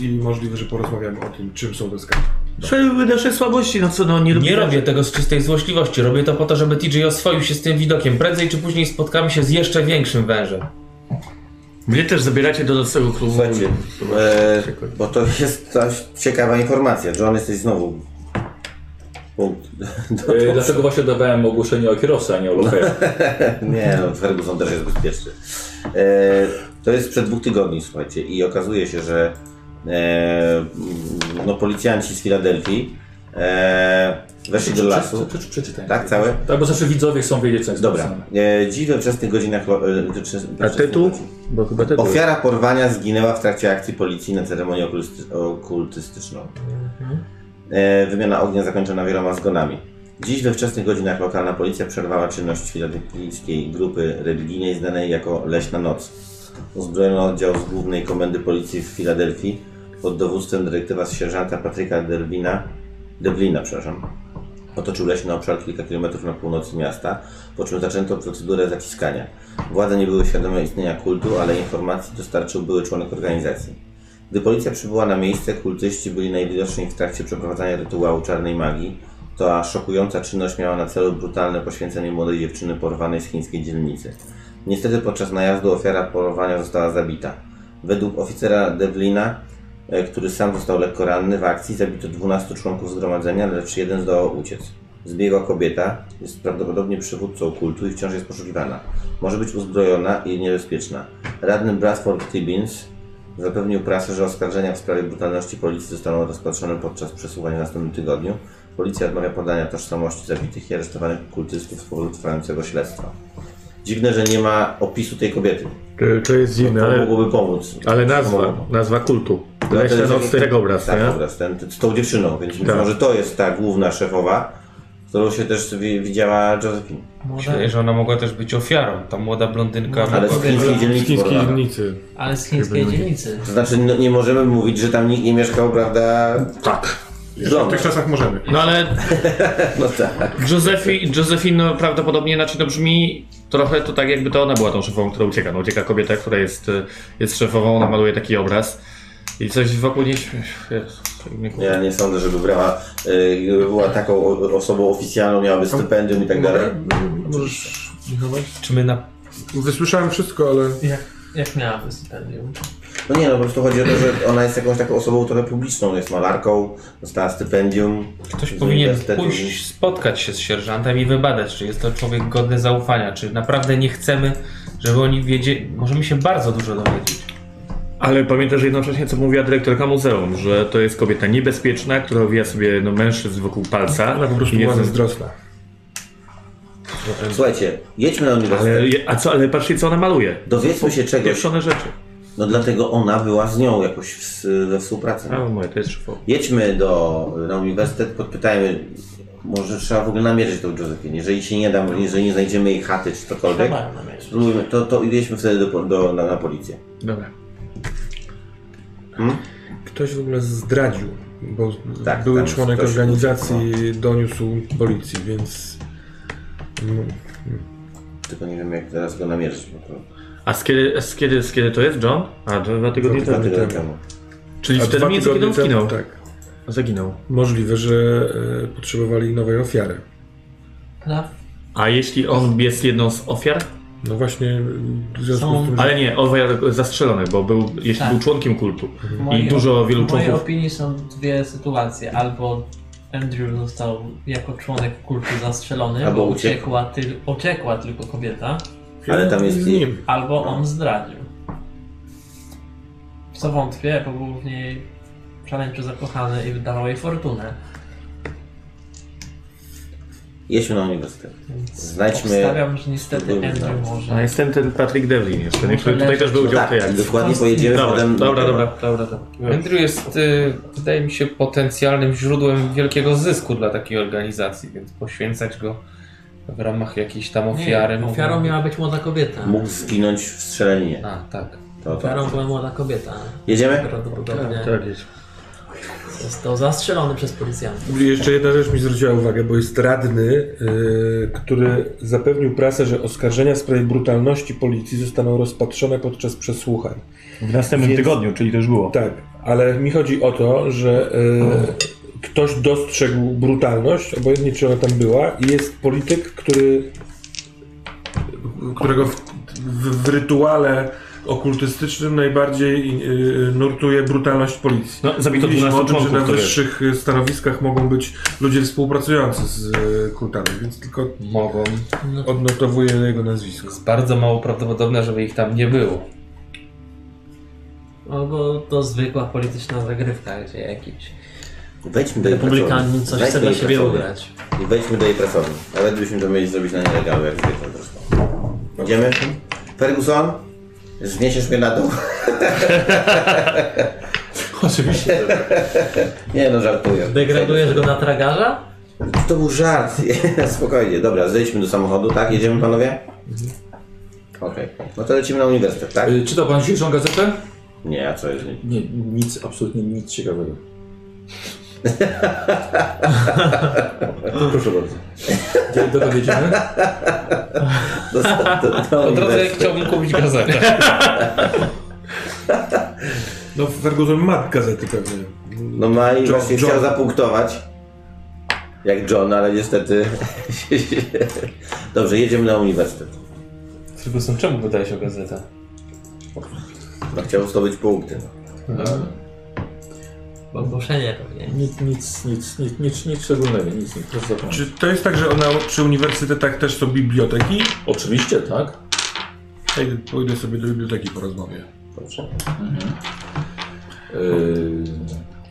S6: yy, i możliwe, że porozmawiamy o tym, czym są te skarby.
S10: Były nasze słabości, no co, no nie
S5: Nie
S10: lubię-
S5: robię tego z czystej złośliwości, robię to po to, żeby TJ oswoił się z tym widokiem. Prędzej czy później spotkamy się z jeszcze większym wężem.
S10: Mnie też zabieracie do tego klubu.
S3: Słuchajcie, e, bo to jest coś ciekawa informacja. John, jesteś znowu. Punkt.
S2: E, dlatego właśnie dawałem ogłoszenie o kierowcy, a nie o *laughs* lokalu.
S3: Nie, no, Ferguson też jest bezpieczny. E, to jest sprzed dwóch tygodni, słuchajcie, i okazuje się, że e, m, no, policjanci z Filadelfii e, weszli do lasu.
S2: Przeczytaj.
S3: Tak, całe?
S2: Tak, bo zawsze widzowie chcą wiedzieć, co jest
S3: Dobra.
S2: napisane.
S3: E, dziś we wczesnych godzinach. lo- E, wczes- wczesnych
S10: tytuł?
S3: godzin.
S10: Bo chyba tego.
S3: Ofiara porwania zginęła w trakcie akcji policji na ceremonię okulisty- okultystyczną.
S10: Mhm.
S3: E, wymiana ognia zakończona wieloma zgonami. Dziś we wczesnych godzinach lokalna policja przerwała czynność filadelfijskiej grupy religijnej znanej jako Leśna Noc. Uzbrojony oddział z Głównej Komendy Policji w Filadelfii pod dowództwem dyrektywa sierżanta Patryka Derwina, Deblina, przepraszam, otoczył leśny obszar kilka kilometrów na północy miasta, po czym zaczęto procedurę zaciskania. Władze nie były świadome istnienia kultu, ale informacji dostarczył były członek organizacji. Gdy policja przybyła na miejsce, kultyści byli najwidoczniej w trakcie przeprowadzania rytuału czarnej magii. Ta szokująca czynność miała na celu brutalne poświęcenie młodej dziewczyny porwanej z chińskiej dzielnicy. Niestety podczas najazdu ofiara polowania została zabita. Według oficera Devlina, e, który sam został lekko ranny w akcji, zabito 12 członków zgromadzenia, lecz jeden zdołał uciec. Zbiegła kobieta jest prawdopodobnie przywódcą kultu i wciąż jest poszukiwana. Może być uzbrojona i niebezpieczna. Radny Bradford Tibbins zapewnił prasę, że oskarżenia w sprawie brutalności policji zostaną rozpatrzone podczas przesłuchania w następnym tygodniu. Policja odmawia podania tożsamości zabitych i aresztowanych kultystów z powodu trwającego śledztwa. Dziwne, że nie ma opisu tej kobiety.
S4: To, to jest dziwne,
S3: No To
S4: no ale,
S3: mogłoby pomóc.
S4: ale
S3: Pomogło.
S4: nazwa, nazwa kultu.
S3: No, to
S4: Leśna
S3: jest
S4: noc
S3: jakiś-
S4: tego obraz,
S3: tak,
S4: nie?
S3: obraz ten, z tą dziewczyną, więc być
S4: Tak.
S3: może to jest ta główna szefowa, którą się też wi- widziała Josephine.
S5: Śmieję, że ona No, mogła też być ofiarą. Ta młoda blondynka.
S3: Ale z
S5: mogła-
S3: chińskiej
S6: Z
S3: dzielnicy
S6: chińskiej
S3: porwana.
S6: dzielnicy.
S7: Ale z chińskiej dzielnicy.
S3: To znaczy no, nie możemy mówić, że tam nikt nie mieszkał, prawda?
S10: Tak.
S6: Jeszcze w tych czasach możemy.
S10: No ale
S3: No tak.
S10: Josefi, Josefino prawdopodobnie inaczej to brzmi trochę to tak jakby to ona była tą szefową, która ucieka. No ucieka kobieta, która jest, y, jest szefową, ona maluje taki obraz. I coś wokół niej... Jezus, tak mnie kur-
S3: Ja nie sądzę, żeby brała, y, gdyby była taką o- osobą oficjalną, miałaby stypendium i tak dalej.
S6: Mogę? Możesz Michałek?
S5: Czy my na...
S6: Wysłyszałem wszystko, ale
S7: Jak, jak miałaby stypendium?
S3: No nie, no po prostu chodzi o to, że ona jest jakąś taką osobą trochę publiczną, jest malarką, dostała stypendium.
S5: Ktoś
S3: Z
S5: powinien
S3: uniwersytetu.
S5: pójść, spotkać się z sierżantem i wybadać, czy jest to człowiek godny zaufania, czy naprawdę nie chcemy, żeby oni wiedzieli. Możemy się bardzo dużo dowiedzieć.
S4: Ale pamiętasz jednocześnie, co mówiła dyrektorka muzeum, że to jest kobieta niebezpieczna, która owija sobie no, mężczyzn wokół palca.
S6: ona po prostu
S4: I
S6: była
S4: jest-
S6: zazdrosna.
S3: Słuchajcie, jedźmy na
S4: ale,
S3: uniwersytet.
S4: A co, ale patrzcie, co ona maluje.
S3: Dowiedzmy się czegoś.
S4: Pieprzone rzeczy.
S3: No dlatego ona była z nią jakoś w, we współpracy.
S4: A moje, to jest szefowa.
S3: Jedźmy do, na uniwersytet, podpytajmy, może trzeba w ogóle namierzyć tą Josephine. Jeżeli się nie da, jeżeli nie znajdziemy jej chaty czy cokolwiek,
S7: Trzeba ją namierzyć.
S3: spróbujmy, to, to jedźmy wtedy do, do, na, na policję.
S4: Dobra.
S6: Ktoś w ogóle zdradził, bo
S3: Tak,
S6: były
S3: tam
S6: członek
S3: ktoś no.
S6: organizacji doniósł policji, więc mm,
S3: Tylko nie wiem, jak teraz go namierzyć. Bo to,
S4: A z kiedy, z kiedy, z kiedy to jest, John? A, to dwa tygodnie
S3: dwa
S4: temu.
S3: tygodnie
S6: temu.
S3: temu.
S4: Czyli
S6: A
S4: wtedy
S6: dwa
S4: mniej więcej kiedy on
S6: tygodnie temu,
S4: zginął.
S6: Tak.
S4: Zaginął.
S6: Możliwe, że e, potrzebowali nowej ofiary.
S7: Prawda?
S4: A jeśli on jest jedną z ofiar?
S6: No właśnie, m, w związku
S7: Są-
S6: z tym, że
S4: Ale nie, ofiar zastrzelony, bo był, jeśli
S7: Tak.
S4: był członkiem kultu.
S7: W mojej
S4: dużo
S7: op-
S4: wielu
S7: W mojej
S4: członków.
S7: opinii są dwie sytuacje. Albo Andrew został jako członek kultu zastrzelony,
S3: Albo
S7: bo
S3: uciekł.
S7: uciekła, tyl- uciekła tylko kobieta,
S3: Ale tam jest
S6: z
S3: i-
S6: nim.
S7: albo on zdradził. W co wątpię, bo był w niej szaleńczo zakochany i wydawał jej fortunę.
S3: Jedźmy na uniwersytet. Znajdźmy...
S7: Obstawiam, że niestety
S3: spróbujmy
S7: Andrew
S3: znaleźć.
S4: A
S7: może.
S4: jestem ten Patrick Devlin jeszcze, nie? który tutaj
S7: leżeć.
S4: też był udział w
S3: Tak,
S4: tej akcji.
S3: dokładnie pojedziemy
S4: Dobra,
S3: potem...
S4: dobra,
S6: No
S4: dobra, dobra.
S5: Andrew jest, y, wydaje mi się, potencjalnym źródłem wielkiego zysku dla takiej organizacji, więc poświęcać go w ramach jakiejś tam ofiary.
S7: Nie,
S5: mogłoby-
S7: ofiarą miała być młoda kobieta.
S3: Mógł zginąć w strzelaninie.
S5: A, tak.
S3: To, to.
S7: Ofiarą była młoda kobieta.
S3: Jedziemy?
S7: Prawdopodobnie
S6: Tak jest.
S7: został zastrzelony przez policjantów.
S6: Jeszcze jedna rzecz mi zwróciła uwagę, bo jest radny, y, który zapewnił prasę, że oskarżenia w sprawie brutalności policji zostaną rozpatrzone podczas przesłuchań.
S8: W następnym
S6: Więc-
S8: tygodniu, czyli to już było.
S6: Tak, ale mi chodzi o to, że y, ktoś dostrzegł brutalność, obojętnie czy ona tam była, i jest polityk, który, którego w, w, w rytuale okultystycznym najbardziej y, nurtuje brutalność policji.
S8: No, zabito
S6: Mówiliśmy
S8: 12
S6: o tym, że
S8: członków,
S6: na
S8: to wiesz.
S6: wyższych y, stanowiskach mogą być ludzie współpracujący z y, kultami, więc tylko
S5: Mogą.
S6: odnotowuję jego nazwisko.
S5: Jest bardzo mało prawdopodobne, żeby ich tam nie było.
S7: No bo to zwykła polityczna zagrywka, gdzie jakiś
S3: Wejdźmy do jej
S7: republikanin
S3: pracowni.
S7: coś
S3: Wejdźmy do
S7: chce dla
S3: jej
S7: siebie
S3: pracowni.
S7: ugrać.
S3: I wejdźmy do jej pracowni. Nawet byśmy to mieli zrobić na nielegalu, jak zwykle zresztą. Idziemy? Ferguson? Zniesiesz mnie na dół? *laughs*
S9: Oczywiście.
S3: Nie no, żartuję.
S7: Degradujesz go na tragarza?
S3: To był żart. *laughs* Spokojnie, dobra, zejdźmy do samochodu, tak? Jedziemy panowie?
S5: Mhm.
S3: Okej. No to lecimy na uniwersytet, tak?
S2: Y, Czytał pan dzisiejszą gazetę?
S3: Nie, a co jest? nie?
S2: Nie, nic, absolutnie nic ciekawego.
S3: Proszę bardzo.
S2: Gdzie dokąd jedziemy?
S3: Do, do, do,
S5: Po drodze
S3: uniwersytetu.
S5: chciałbym kupić gazetę.
S6: No Ferguson ma gazety pewnie.
S3: No ma i
S6: John-
S3: właśnie
S6: John.
S3: chciał zapunktować. Jak John, ale niestety... Dobrze, jedziemy na uniwersytet.
S5: Ferguson, czemu pytałeś o gazetę?
S3: No, chciał zdobyć punkty. No.
S7: Ogłoszenie pewnie.
S9: Nic, nic, nic, nic, nic, nic szczególnego, nic, nic, proszę zapomnij.
S6: Czy to jest tak, że ona, przy uniwersytetach też są biblioteki?
S2: Oczywiście, tak.
S6: Ej, Pójdę sobie do biblioteki po rozmowie.
S3: Dobrze.
S2: Y,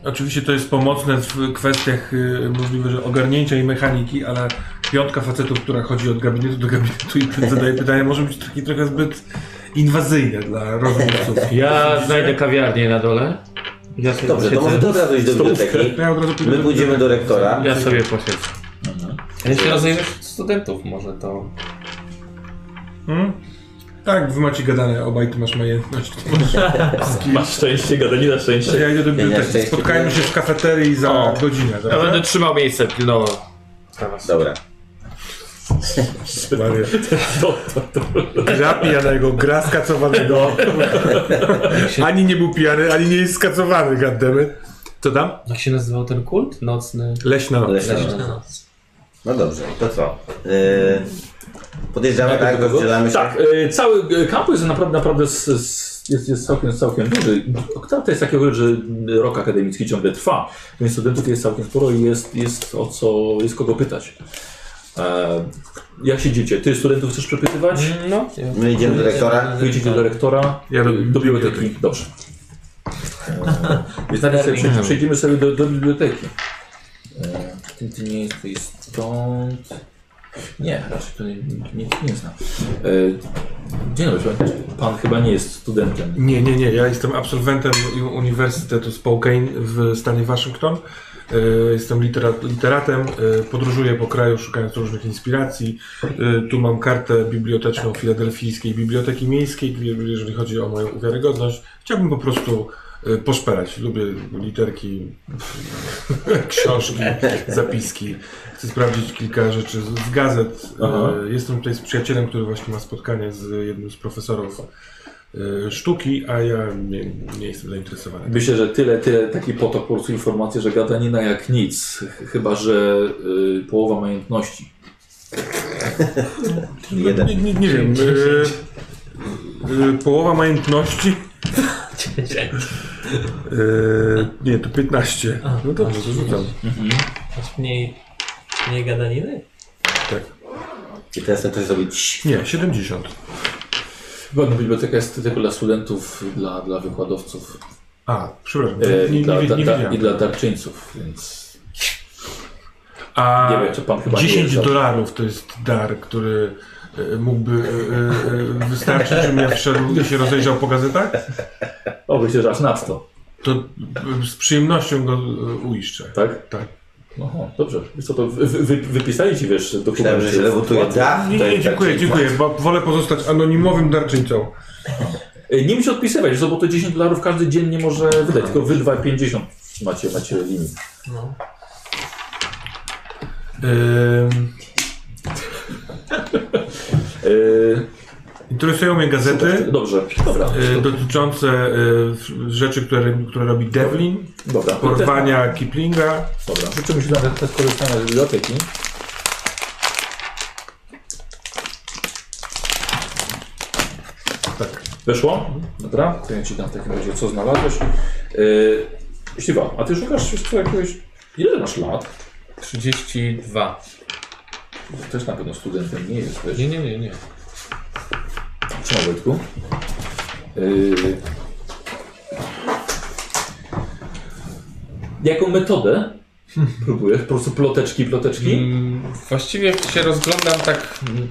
S6: Oczywiście to jest pomocne w kwestiach y, możliwe, że ogarnięcia i mechaniki, ale piątka facetów, która chodzi od gabinetu do gabinetu i zadaje pytania, może być taki trochę zbyt inwazyjne dla rozmówców.
S10: *laughs* Ja znajdę kawiarnię na dole. Ja sobie
S3: Dobrze, to może
S10: posiedzę.
S3: ty od razu iść do biblioteki.
S6: Ja od razu pójdę
S3: My pójdziemy do rektora.
S10: Ja sobie posiedzę.
S5: Ale się rozumiesz studentów może to.
S6: Hmm? Tak, wy macie gadane, obaj ty
S3: *laughs*
S6: masz majętność. Ty masz...
S9: Masz szczęście, gadanina szczęście.
S6: Ja idę do biblioteki.
S3: szczęście.
S6: Spotkajmy się w kafeterii za
S10: O.
S6: godzinę.
S10: Ja
S6: Dobra?
S10: będę trzymał miejsce pilnowo.
S3: Dobra.
S6: Maria. Gra pijanego, gra skacowanego. ani nie był pijany, ani nie jest skacowany, gaddemy. Co tam?
S5: Jak się nazywał ten kult? Nocny.
S6: Leśna.
S3: Leśna.
S5: Leśna noc.
S6: *laughs*
S3: No dobrze, to co? Yy, podjeżdżamy,
S2: Jak
S3: tak?
S2: do kogo?
S3: Rozdzielamy się.
S2: Tak, y, cały y, kampus jest naprawdę, naprawdę s- s- jest, jest całkiem, całkiem duży. To jest takiego, że rok akademicki ciągle trwa, więc studentów jest całkiem sporo i jest, jest o co, jest kogo pytać. E, jak się dzieje? Ty studentów chcesz przepytywać?
S5: No.
S3: My idziemy do rektora.
S2: Wyjdziecie do rektora,
S6: Tak. Ja do-
S2: y, do biblioteki. Dobrze. E, Więc najpierw sobie przejdziemy, przejdziemy sobie do, do biblioteki. E, Ty, ty nie jesteś stąd. Nie, raczej to nie, nie, nie znam. E, Dzień dobry, pan- pan chyba nie jest studentem.
S6: Nie, nie, nie. Ja jestem absolwentem uni- Uniwersytetu Spokane w stanie Waszyngton. E, Jestem literat, literatem, e, podróżuję po kraju szukając różnych inspiracji. E, Tu mam kartę biblioteczną Filadelfijskiej Biblioteki Miejskiej, gdzie- jeżeli chodzi o moją wiarygodność. Chciałbym po prostu e, poszperać. Lubię literki, *laughs* książki, zapiski. Chcę sprawdzić kilka rzeczy z, z gazet. E,
S2: Aha.
S6: Jestem tutaj z przyjacielem, który właśnie ma spotkanie z jednym z profesorów y, sztuki, a ja nie, nie jestem zainteresowany.
S2: Myślę, że tyle, tyle, taki potok po prostu informacji, że gadanina jak nic. Ch- Chyba, że y, połowa majątności.
S3: Jeden.
S6: Nie, nie, nie wiem. Y, y, połowa majątności? Y, nie, to 15. No dobrze, to rzucam.
S7: Masz mniej, mniej gadaniny?
S6: Tak.
S3: I teraz chcę coś zrobić.
S6: Nie, 70.
S2: Chyba no, biblioteka jest tylko dla studentów, dla, dla wykładowców
S6: A, przepraszam,
S2: e,
S6: nie, nie,
S2: i, dla,
S6: nie, nie
S2: da, da, i
S6: wiedziałem.
S2: dla darczyńców, więc...
S6: A
S2: Nie wiem, czy pan chyba nie
S6: 10
S2: jest za-
S6: dolarów to jest dar, który y, mógłby y, y, y, wystarczyć, żebym ja wszedł i się rozejrzał po gazetach?
S2: Oby się aż nadto,
S6: To y, z przyjemnością go y, uiszczę.
S2: tak?
S6: Tak.
S2: Oho, dobrze. Wiesz co, to wy, wy, wypisali ci, wiesz,
S3: Myślałem, że się
S2: dokumenty. tak,
S3: rewutuje dach.
S6: Nie,
S3: to
S6: nie,
S3: jest
S6: dziękuję,
S3: darczyńca.
S6: dziękuję, bo wolę pozostać anonimowym darczyńcą.
S2: E, Nie musisz odpisywać, wiesz co, bo to 10 dolarów każdy dziennie może wydać, tylko wy 2,50 macie, macie limit. E,
S6: Interesują mnie gazety
S2: dobrze, dobra,
S6: y, dotyczące y, f- rzeczy, które, które robi Devlin,
S2: dobra.
S6: Tak, porwania Kiplinga.
S2: Dobra, życzymy się nawet też korzystania z biblioteki.
S6: Tak.
S2: Weszło? Dobra, to ja ci dam w takim razie, co znalazłeś. Yy, Śliwa, a ty szukasz wiesz co, jakiegoś... Ile masz lat?
S5: 32.
S2: Też na pewno studentem nie jest.
S5: Nie, nie, nie, nie.
S2: Trzymaj Wojtku. Yy, jaką metodę próbujesz? Po prostu ploteczki, ploteczki?
S5: Mm, Właściwie się rozglądam tak mm,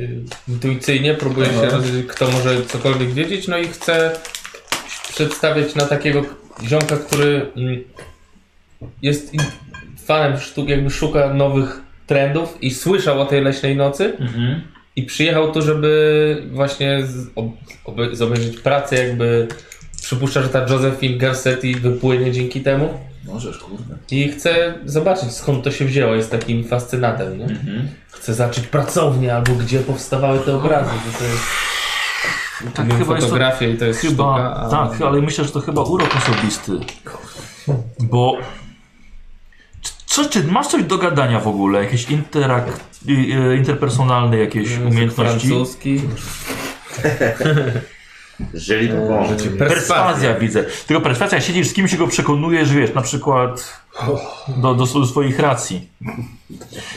S5: y, intuicyjnie, próbuję się, roz... kto może cokolwiek wiedzieć, no i chcę przedstawiać na takiego ziomka, który mm, jest in- fanem sztuk, jakby szuka nowych trendów i słyszał o tej leśnej nocy
S2: Mhm.
S5: i przyjechał tu, żeby właśnie z, ob, obe- zobejrzeć pracę, jakby przypuszcza, że ta Josephine Garcetti wypłynie dzięki temu
S2: Możesz, kurde.
S5: i chce zobaczyć skąd to się wzięło, jest takim fascynatem, nie?
S2: Mhm.
S5: Chcę zacząć pracownię, albo gdzie powstawały te obrazy, bo to jest
S9: Tak
S5: mówią
S9: chyba jest to
S5: fotografia i to jest
S9: Chyba,
S5: sztuka, a
S9: tak, ale myślę, że to chyba urok osobisty. Bo... C- Co, czy masz coś do gadania w ogóle? Jakieś interak... i- i- interpersonalne jakieś
S5: język
S9: umiejętności?
S5: francuski.
S3: Żyli po
S9: Perswazja widzę. Tylko perswazja, siedzisz z kimś i go przekonujesz, wiesz, na przykład do, do swoich racji.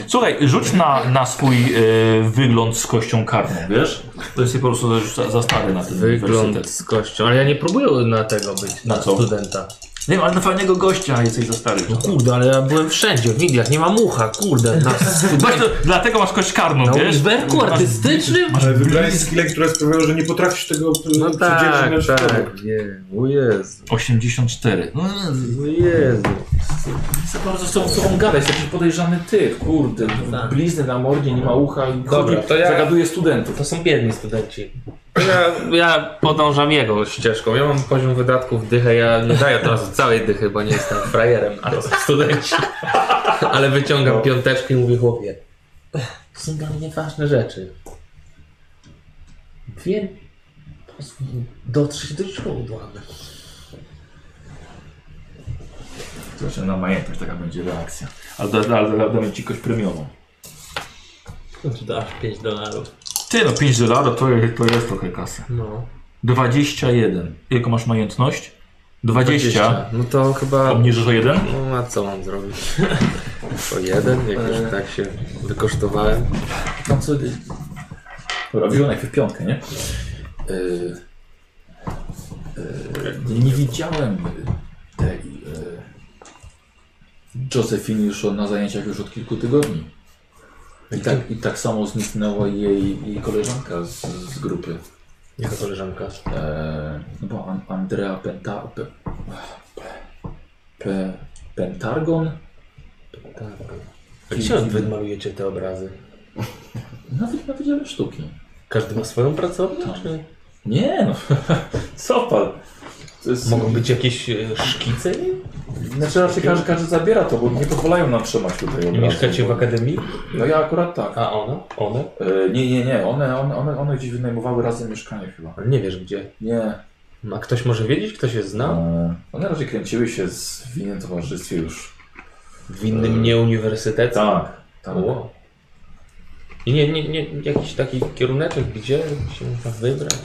S9: Słuchaj, rzuć na, na swój e, wygląd z kością karną, wiesz? To jest po prostu już za, za stary na ten
S5: Wygląd
S9: uniwersytet.
S5: z kością, ale ja nie próbuję na tego być,
S9: Na
S5: na,
S9: co?
S5: studenta. No
S9: Nie wiem, ale na fajnego gościa jesteś za stary.
S5: Kurde, ale ja byłem wszędzie, w Indiach, nie ma mucha, kurde, na
S9: Masz to, dlatego masz kość karną,
S5: No
S7: Na
S9: wiesz?
S7: uniwerku artystycznym?
S6: Ale wybrali skille, które sprawiają, że nie potrafisz tego
S5: No
S6: no
S5: tak,
S6: na cztery.
S5: tak, nie, o Jezu,
S9: 84. No,
S5: o Jezu.
S2: Za bardzo z tą osobą gadać, jakiś podejrzany typ, kurde. Tak. Blizny na mordzie, nie ma ucha i
S5: Dobra,
S2: chodzi,
S5: to ja-
S2: zagaduje studentów.
S5: To są biedni studenci. Ja, ja podążam jego ścieżką, ja mam poziom wydatków dychę, ja nie daję teraz całej dychy, bo nie jestem frajerem, a to są studenci. Ale wyciągam piąteczkę i mówię chłopie, to są dla mnie ważne rzeczy. Wiem, pozwól mi dotrzeć do źródła.
S9: Zobaczę na majętność, taka będzie reakcja. Ale da- ale da- damy ci kość premiową.
S7: Czy to aż 5 dolarów?
S9: Ty no, 5 dolarów to, to jest trochę kasy.
S7: No.
S9: 21. Jaką masz majętność? 20.
S5: No to chyba...
S9: Obniżysz o 1?
S5: No a co mam zrobić? O jeden, jak już tak się wykosztowałem.
S2: Tam co... Dobra, wziął najpierw piątkę, nie? Yy, yy, nie widziałem tej yy, Josephine już na zajęciach już od kilku tygodni. I tak, I tak samo zniknęła jej, jej koleżanka z, z grupy.
S5: Jaka koleżanka?
S2: E, no bo An- Andrea Penta, Pe, Pe, Pentargon?
S5: Tak. Gdzie odmalujecie te obrazy?
S2: Nawet na Wydziale Sztuki.
S5: Każdy ma swoją pracownię?
S2: Tak.
S5: Czy
S2: Nie no, *laughs* co pan? To jest-
S5: mogą być jakieś e, szkice?
S2: Znaczy raczej każdy, każdy zabiera to, bo nie pozwalają nam trzymać tutaj
S5: Nie
S2: obrazu.
S5: mieszkacie w akademii?
S2: No ja akurat tak.
S5: A ona? One?
S2: E, nie, nie, nie, one, one, one, one gdzieś wynajmowały razem mieszkanie chyba.
S5: Ale nie wiesz gdzie.
S2: Nie.
S5: A ktoś może wiedzieć? Kto się zna?
S2: E, one raczej kręciły się z- w innym towarzystwie już.
S5: W innym nieuniwersytecie?
S2: Tak. tak.
S5: O. I nie, nie, nie, jakiś taki kieruneczek, gdzie się można wybrać?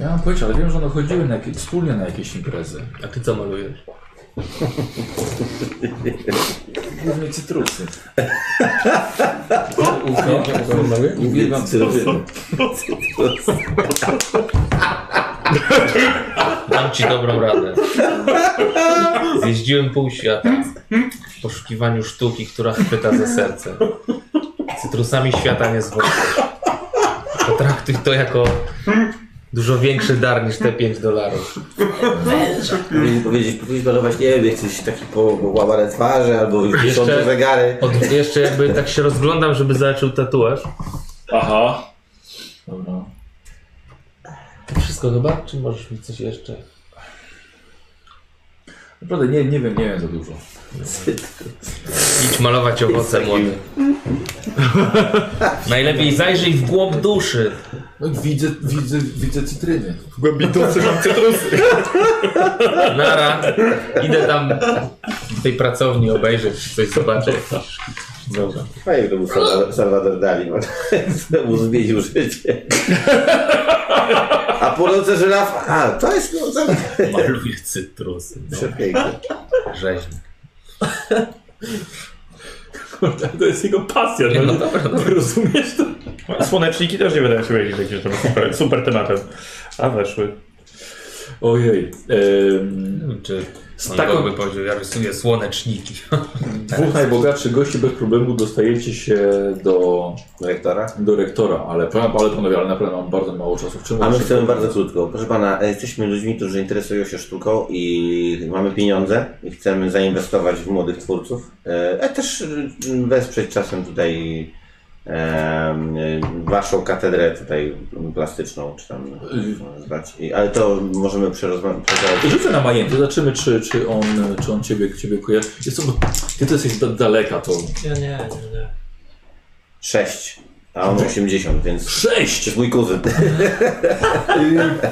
S2: Ja mam pojęcie, ale wiem, że one chodziły na jakieś, wspólnie na jakieś imprezy.
S5: A ty co malujesz?
S2: Głównie
S5: *laughs*
S2: cytrusy.
S5: Uwielbiam,
S2: Uwielbiam cytrusy.
S5: Dam ci dobrą radę. Zjeździłem pół świata w poszukiwaniu sztuki, która chwyta za serce. Cytrusami świata nie zwolnisz. Potraktuj to jako dużo większy dar niż te 5 dolarów.
S3: Powinien powiedzieć, powinien malować, nie wiem, jakieś takie po- połamane twarze albo wiszące zegary.
S5: Od, jeszcze jakby tak się rozglądam, żeby zobaczył tatuaż.
S2: Aha. Dobra.
S5: To wszystko chyba? Czy możesz mi coś jeszcze?
S2: Naprawdę nie, nie wiem, nie wiem za dużo.
S5: Idź malować owoce młody. Najlepiej zajrzyj w głąb duszy.
S2: No widzę, widzę, widzę cytryny.
S6: Głębitoce mam cytrusy.
S5: Nara, idę tam w tej pracowni obejrzeć, coś zobaczę.
S2: Dobra.
S3: Fajnie, gdyby był Salwa- Salvador Dali, bo *laughs* mu zmienił życie. A płonące żyrafa, a to jest no, za-
S5: Maluję cytrusy. No,
S3: przepiękne.
S5: rzeźnik.
S9: To jest jego pasja,
S5: Nie,
S9: no,
S5: no dobra, no.
S9: rozumiesz to?
S4: Słoneczniki też nie wydają się jakimś takim super, super tematem. A weszły.
S2: Ojej. Em,
S5: Nie wiem, Czy
S2: z
S5: on
S2: taką
S5: by powiedział, ja rysuję słoneczniki.
S2: dwóch najbogatszych gości bez problemu dostajecie się do,
S3: Rektora?
S2: do rektora, ale, ale panowie, ale naprawdę mam bardzo mało czasu. W czym
S3: A my
S2: właśnie-
S3: chcemy bardzo krótko. Proszę pana, e, jesteśmy ludźmi, którzy interesują się sztuką i mamy pieniądze i chcemy zainwestować w młodych twórców, e, a też e, wesprzeć czasem tutaj e, e, waszą katedrę tutaj plastyczną, czy tam e, zwać. I- Ale to możemy przerozmawiać.
S2: Rzucę na majęty, zobaczymy, czy, czy, on, czy on ciebie, ciebie kojarzy. Jest to, bo ty to jesteś da, daleka, to
S7: Ja nie, nie, nie.
S3: 6, a on 80, więc to
S2: sześć!
S3: jest mój kuzyn.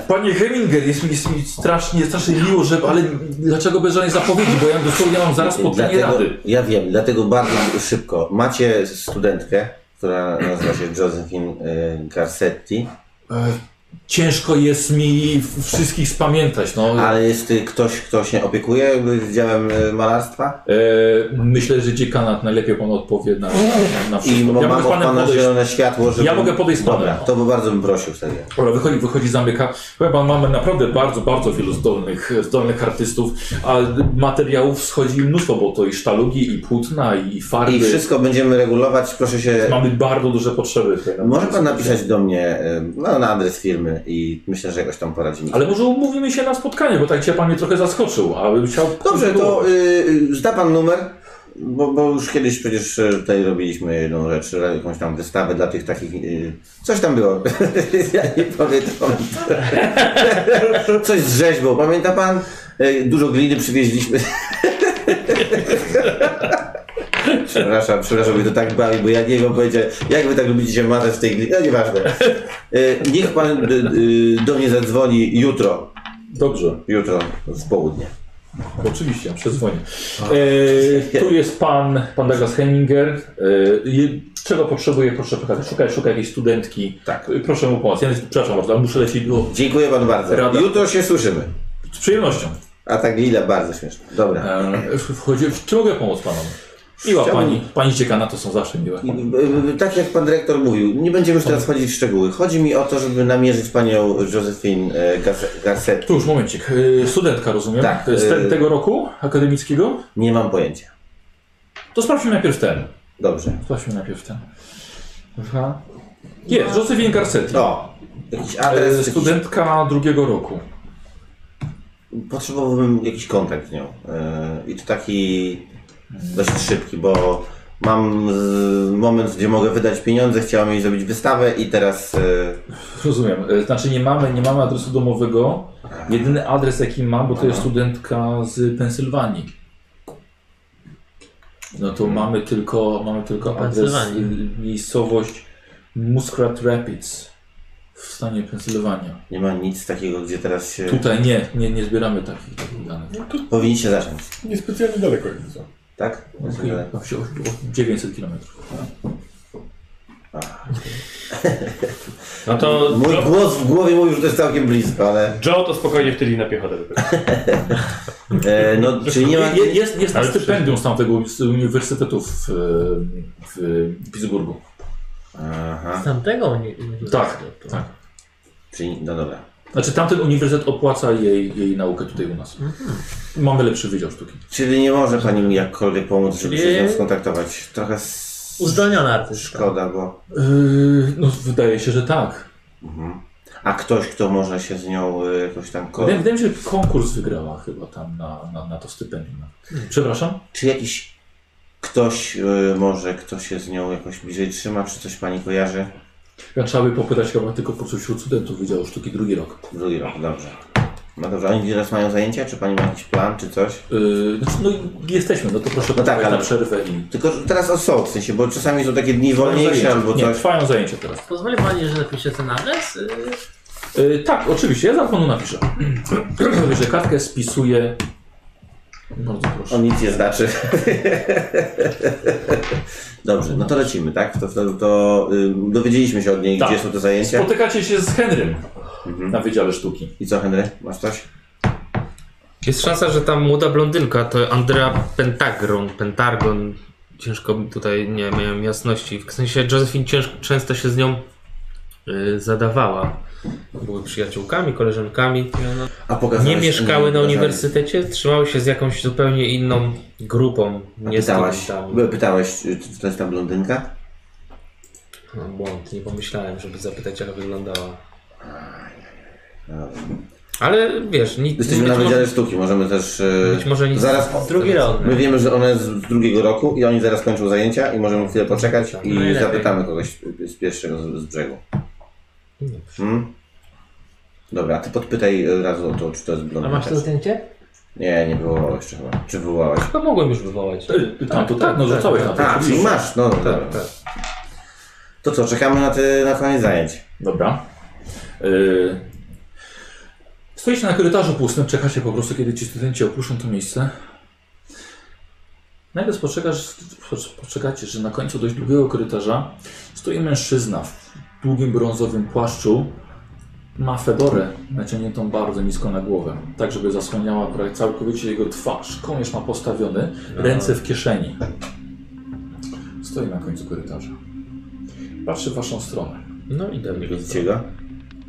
S2: Panie Heminger, jest mi, jest mi strasznie, strasznie miło, że, ale dlaczego bez żadnej zapowiedzi, bo ja dosłownie mam zaraz spotkanie
S3: Dlatego,
S2: rady.
S3: ja wiem, dlatego bardzo szybko. Macie studentkę, która nazywa się Josephine e, Garcetti.
S2: Ciężko jest mi wszystkich spamiętać, no.
S3: Ale jest y, ktoś, kto się opiekuje jakby działem y, malarstwa?
S2: E, myślę, że dziekanat najlepiej pan odpowie na, na, na
S3: I
S2: wszystko.
S3: mam
S2: ja mogę
S3: od
S2: z panem
S3: pana
S2: podejść.
S3: zielone światło, żeby...
S2: Ja mogę podejść z panem.
S3: Dobra, to by bardzo bym prosił wtedy.
S2: Dobra, wychodzi, wychodzi, zamyka. Powiem pan, mamy naprawdę bardzo, bardzo wielu zdolnych, zdolnych artystów, a materiałów schodzi mnóstwo, bo to i sztalugi, i płótna, i farby.
S3: I wszystko będziemy regulować, proszę się...
S2: Mamy bardzo duże potrzeby. tutaj na
S3: Może
S2: tym
S3: pan
S2: sektorze.
S3: napisać do mnie y, no, na adres firmy i myślę, że jakoś tam poradzimy.
S2: Ale może umówimy się na spotkanie, bo tak cię pan mnie trochę zaskoczył, a bym chciał...
S3: Dobrze, to y, y, zda pan numer, bo, bo już kiedyś przecież y, tutaj robiliśmy jedną rzecz, y, jakąś tam wystawę dla tych takich... Y, coś tam było. *laughs* ja nie pamiętam. *laughs* coś z rzeźbą, pamięta pan? Y, dużo gliny przywieźliśmy. *laughs* Przepraszam, przepraszam, mnie to tak bawi, bo ja nie wiem powiedzieć, jak wy tak lubicie się mazać w tej gliny, no nieważne. Y, niech pan y, y, do mnie zadzwoni jutro,
S2: Dobrze,
S3: jutro w południe.
S2: oczywiście, przedzwonię. E, tu jest pan, pan Douglas Heminger. E, je- czego potrzebuje, proszę przekazać. Szukaj, szukaj jakiejś studentki.
S3: Tak.
S2: E, Proszę mu pomóc. Ja, przepraszam bardzo, ale muszę lecieć do...
S3: Dziękuję panu bardzo.
S2: Rada.
S3: Jutro się słyszymy.
S2: Z przyjemnością.
S3: A tak Lila bardzo śmieszna. Dobra.
S2: E, wchodzi, w- czy mogę pomóc panom? Miła
S3: Chciałbym-
S2: pani, pani ciekana to są zawsze miłe.
S3: I, y, y, Tak jak pan dyrektor mówił, nie będziemy już teraz wchodzić w szczegóły. Chodzi mi o to, żeby namierzyć panią Josephine e, Garce- Garcetti.
S2: Tu już momencik. E, Studentka rozumiem?
S3: Tak,
S2: Z te,
S3: e-
S2: tego roku akademickiego?
S3: Nie mam pojęcia.
S2: To sprawdźmy najpierw ten.
S3: Dobrze.
S2: Sprawdźmy najpierw ten. Aha. No, Jest, Josephine Garcetti.
S3: O, jakiś
S2: E,
S3: adres. Jakiś...
S2: Studentka drugiego roku.
S3: Potrzebowałbym jakiś kontakt z nią. E, I to taki dość szybki, bo mam z, moment, gdzie mogę wydać pieniądze, chciałem jej zrobić wystawę i teraz... E,
S2: Rozumiem. E, Znaczy nie mamy, nie mamy adresu domowego. Jedyny adres jaki mam, bo to jest studentka z Pensylwanii. No
S3: Mhm.
S2: to mamy tylko, mamy tylko adres,
S7: Pensylwanii.
S2: y, miejscowość Muskrat Rapids w stanie Pensylwania.
S3: nie ma nic takiego, gdzie teraz się...
S2: Tutaj nie, nie, nie zbieramy takich, takich danych.
S3: No Powinniście zacząć,
S6: Niespecjalnie daleko jest co?
S3: tak?
S2: Okej, tam się o- o 900 km.
S4: No to
S3: Mój głos w głowie mówił, że to jest całkiem blisko, ale...
S4: Joe to spokojnie wtyli na piechotę.
S3: E, no, czyli nie ma...
S2: Je- Jest, jest na
S4: Ale
S2: stypendium z tamtego z uniwersytetu w, w Pittsburghu.
S3: Aha,
S7: Z tamtego uni- uniwersytetu.
S2: Tak, tak.
S3: czyli no dobra.
S2: Znaczy tamten uniwersytet opłaca jej, jej naukę tutaj u nas. Mamy lepszy wydział sztuki.
S3: Czyli nie może pani mi jakkolwiek pomóc, żeby się
S7: Czyli-
S3: z nią skontaktować. Trochę s-
S7: Uzdolniony artysta.
S3: szkoda, bo...
S2: Yy, no wydaje się, że tak.
S3: Mhm. A ktoś, kto może się z nią y, jakoś tam... Ko-
S2: Wydaje, wydaje mi się, że konkurs wygrała chyba tam na, na, na to stypendium. Przepraszam?
S3: Czy jakiś e, ktoś y, może, kto się z nią jakoś bliżej trzyma, czy coś pani kojarzy?
S2: Ja trzeba by popytać chyba tylko po prostu wśród studentów Wydziału Sztuki drugi rok.
S3: Drugi rok, dobrze. No dobrze, oni teraz mają zajęcia? Czy pani ma jakiś plan, czy coś?
S2: Yy, znaczy, no i jesteśmy, no to proszę
S3: No tak,
S2: poczekać
S3: ale-
S2: na przerwę i...
S3: Tylko że teraz o sok, w sensie, bo czasami są takie dni wolniejsze albo
S2: nie,
S3: coś.
S2: trwają zajęcia teraz.
S7: Pozwoli pani, że napiszę ten adres? Yy,
S2: Y, tak, oczywiście, ja zaraz panu napiszę. Że kartkę spisuję. Bardzo
S3: On
S2: proszę.
S3: nic nie znaczy. *laughs* dobrze, no to lecimy, tak? To, to, to ym, dowiedzieliśmy się od niej,
S2: Tak.
S3: gdzie są te zajęcia.
S2: Spotykacie się z Henrym
S3: Mhm.
S2: na Wydziale Sztuki.
S3: I co, Henry? Masz coś?
S5: Jest szansa, że ta młoda blondynka to Andrea Pentagron, Pentagon. Ciężko mi tutaj nie miałem jasności. W sensie Josephine cięż, często się z nią y, zadawała. Były przyjaciółkami, koleżankami.
S3: A pokazałeś
S5: Nie mieszkały na
S3: pokazałeś-
S5: uniwersytecie, trzymały się z jakąś zupełnie inną grupą.
S3: A
S5: Nie z
S3: Pytałaś,
S5: tą
S3: by-
S5: tam.
S3: pytałaś, czy czy to jest ta blondynka?
S5: No, błąd, nie pomyślałem, żeby zapytać, jak wyglądała. Ale wiesz, nic
S3: Jesteśmy
S5: być
S3: na
S5: może-
S3: Wydziale Sztuki, możemy też... e,
S5: Być może nic.
S3: Zaraz po,
S7: drugi rok.
S3: My wiemy, że ona jest z drugiego roku i oni zaraz kończą zajęcia i możemy chwilę poczekać i
S7: Najlepiej.
S3: zapytamy kogoś z pierwszego z, z brzegu. Hmm? Dobra, a ty podpytaj e, raz o to, czy to jest
S7: A
S3: blondynka.
S7: masz to
S3: czy-
S7: zdjęcie?
S3: Nie, nie wywołałeś jeszcze chyba. Czy wywołałeś?
S5: Chyba mogłem już wywołać.
S2: Y, Tam to tak, no rzucałeś na to.
S3: A, czyli
S2: oczywiście.
S3: masz, no dobra. To co, czekamy na, te, na koniec zajęć.
S2: Dobra. Y... Stoicie na korytarzu pustym, czekacie po prostu, kiedy ci studenci opuszczą to miejsce. Nagle spostrzegasz, poczekacie, że na końcu dość długiego korytarza stoi mężczyzna w długim brązowym płaszczu. Ma fedorę naciągniętą bardzo nisko na głowę, tak żeby zasłaniała prawie całkowicie jego twarz. Kołnierz ma postawiony, ręce w kieszeni. Stoi na końcu korytarza. Patrzy w waszą stronę.
S5: No i dalej.
S3: Widzicie go?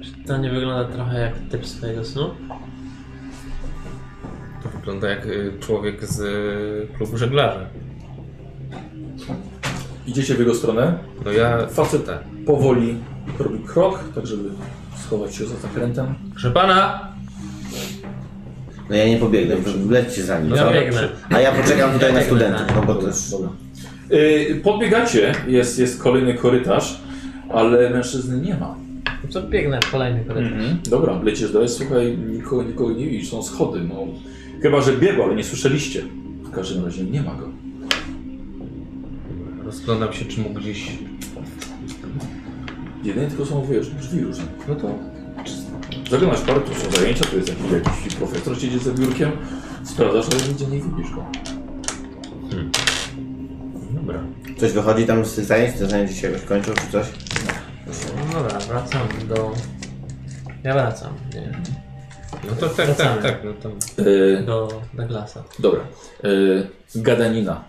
S7: Czy to nie wygląda trochę jak typ swojego snu?
S5: To wygląda jak y, człowiek z y, klubu żeglarzy.
S2: Idziecie w jego stronę.
S5: No ja...
S2: Facet
S5: Tak.
S2: powoli robi krok, tak żeby schować się za zakrętem.
S5: Proszę pana!
S3: No ja nie pobiegnę, wlećcie za nim.
S7: Ja
S3: co?
S7: biegnę.
S3: A ja poczekam tutaj na
S7: Ja biegnę
S3: studentów,
S7: za
S3: no
S7: nim.
S3: bo też...
S2: Yy, podbiegacie, jest, jest kolejny korytarz, ale mężczyzny nie ma.
S7: No To biegnę w kolejny korytarz.
S2: Mhm. Dobra, lecisz dalej, słuchaj, nikogo, nikogo nie widzisz, są schody. No. Chyba, że biegł, ale nie słyszeliście. W każdym razie nie ma go.
S5: Rozglądam się, czy mógł gdzieś...
S2: Jedynie tylko są, wiesz, drzwi różne. No to... Zaglądasz parę, tu są zajęcia, tu jest jakiś, jakiś profesor, siedzie za biurkiem. Sprawdzasz, ale nigdzie nie widzisz go.
S5: Dobra.
S3: Coś wychodzi tam z tych zajęć? Te zajęcia się jakoś kończą czy coś?
S7: No dobra, wracam do... Ja wracam, nie?
S5: No to tak,
S7: Wracamy.
S5: tak, tak. No tam.
S2: Yy,
S7: Do Douglasa.
S2: Dobra. Y, gadanina.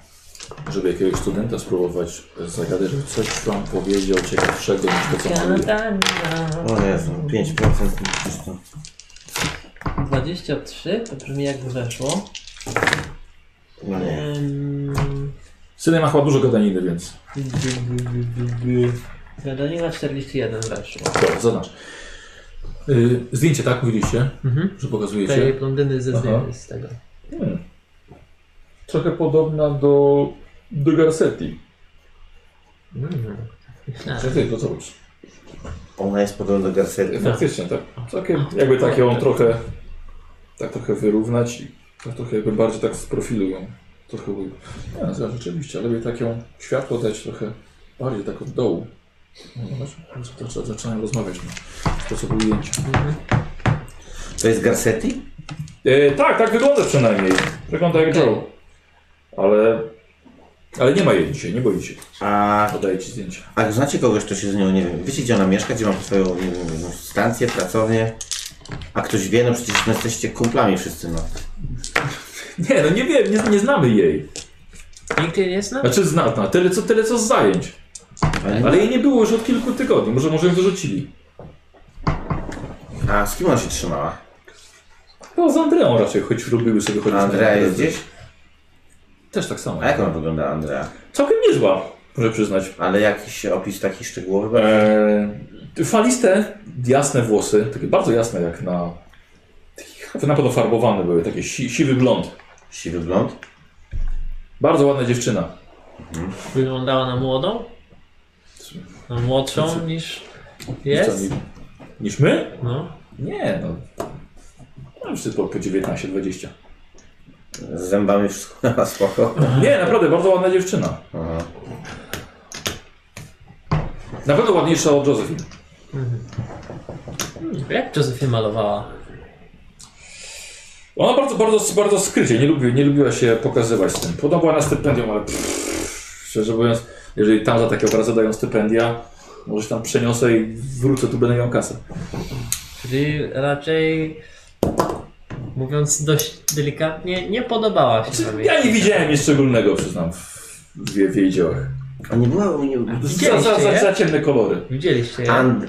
S2: Żeby jakiegoś studenta spróbować zagadać, żeby coś wam powiedział ciekawszego niż to, co mówi.
S7: Tak.
S3: O Jezu, 5% czy to...
S7: 23, to brzmi jakby weszło.
S3: No nie.
S7: Em,
S2: Syny ma chyba dużo gadaniny, więc
S7: Gadanina 41 weszło.
S2: dobra, zaznacz. Y, zdjęcie, tak? Mówiliście,
S7: Mhm.
S2: że
S7: Tej
S2: pokazujecie.
S7: blondyny ze
S2: Aha.
S7: zdjęć z tego.
S2: Hmm. Trochę podobna do, do Garcetti.
S7: Tak.
S2: Ty, to co robisz?
S3: Ona jest podobna do Garcetti.
S2: Faktycznie, tak. Takie, jakby tak ją trochę, tak trochę wyrównać i tak trochę jakby bardziej tak z profilu ją trochę ujmę. Nie, no, zaraz, rzeczywiście, ale by tak ją światło dać trochę bardziej tak od dołu. No, zobacz, zac- zac- Zaczynają rozmawiać no. na sposób ujęcia.
S3: To jest Garcetti?
S2: E, tak, tak wygląda przynajmniej. Wygląda jak Joe. Ale, ale nie ma jej dzisiaj, nie boicie.
S3: A,
S2: Podaję ci zdjęcia.
S3: a znacie kogoś, kto się z nią, nie wiem, wiecie gdzie ona mieszka, gdzie ma swoją, nie wiem, jakąś stację, pracownię? A ktoś wie, no przecież no jesteście kumplami wszyscy, no.
S2: Nie, no nie wiem, nie, nie znamy jej.
S7: Nikt jej nie zna?
S2: Znaczy zna, zna. Tyle, co, tyle co z zajęć.
S3: Ale,
S2: Ale jej nie było już od kilku tygodni, może, może ją wyrzucili.
S3: a z kim ona się trzymała?
S2: No z Andreą raczej, choć lubiły sobie chodzić.
S3: A
S2: na
S3: Andrea jest
S2: imprezy.
S3: gdzieś? E?
S2: Też tak samo.
S3: A jak ona wygląda, Andrea?
S2: Całkiem niezła, muszę przyznać.
S3: Ale jakiś opis taki szczegółowy? bardzo?
S2: Eee, faliste, jasne włosy, takie bardzo jasne jak na... Takie, na pewno farbowane były, takie si, siwy blond.
S3: Siwy blond?
S2: Bardzo ładna dziewczyna.
S7: Wyglądała na młodą? Na młodszą niż Jest?
S2: Niż my?
S7: No.
S2: Nie, no. Mam wszyscy po, po 19, 20.
S3: Z zębami wszystko *laughs* na spoko.
S2: Nie, naprawdę, bardzo ładna dziewczyna.
S3: Aha.
S2: Na pewno ładniejsza od Josephine.
S7: Jak Josephine malowała?
S2: Ona bardzo, bardzo, bardzo skrycie, nie, lubi, nie lubiła się pokazywać z tym. Podobała na stypendium, ale pff, szczerze mówiąc, jeżeli tam za takie obrazy dają stypendia, może się tam przeniosę i wrócę, tu będę miał kasę.
S7: Czyli raczej, mówiąc dość delikatnie, nie podobała się tobie.
S2: Znaczy, Ja nie widziałem nic szczególnego, przyznam, w, w, jej- w jej dziełach.
S3: A nie była u mnie...
S2: Za, za, za, za ciemne kolory.
S7: Widzieliście je?
S3: And...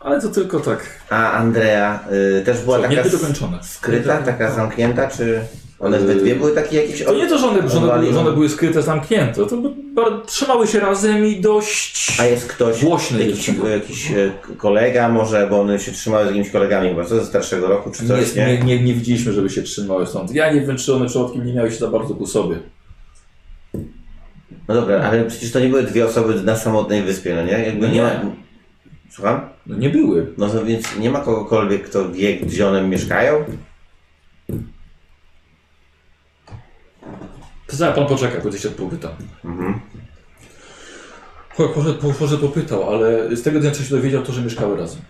S2: Ale to tylko tak,
S3: A Andrea y, też była
S2: co,
S3: taka s-
S2: niedokończone.
S3: skryta, taka zamknięta, czy one we dwie były takie jakieś...
S2: Tak. Y, To nie to, że one, że one, były,
S3: Odwaliło.
S2: że one były skryte, zamknięte. To by- bar- trzymały się razem i dość...
S3: A jest ktoś,
S2: Głośny
S3: jakiś,
S2: jest.
S3: jakiś e, k- kolega może, bo one się trzymały z jakimiś kolegami chyba, co ze starszego roku czy coś,
S2: nie,
S3: nie?
S2: nie, nie, nie widzieliśmy, żeby się trzymały stąd. Ja nie wiem, czy one przypadkiem nie miały się za bardzo ku sobie.
S3: No dobra, ale przecież to nie były dwie osoby na samotnej wyspie, no nie? Jakby nie,
S2: Nie.
S3: ma... Słucham?
S2: No nie były.
S3: No to więc nie ma kogokolwiek, kto wie, gdzie one mieszkają?
S2: Zaraz pan poczeka, kiedyś odpowytam.
S3: Mhm.
S2: Chłop może, po- może popytał, ale z tego dnia, co się dowiedział, to, że mieszkały razem.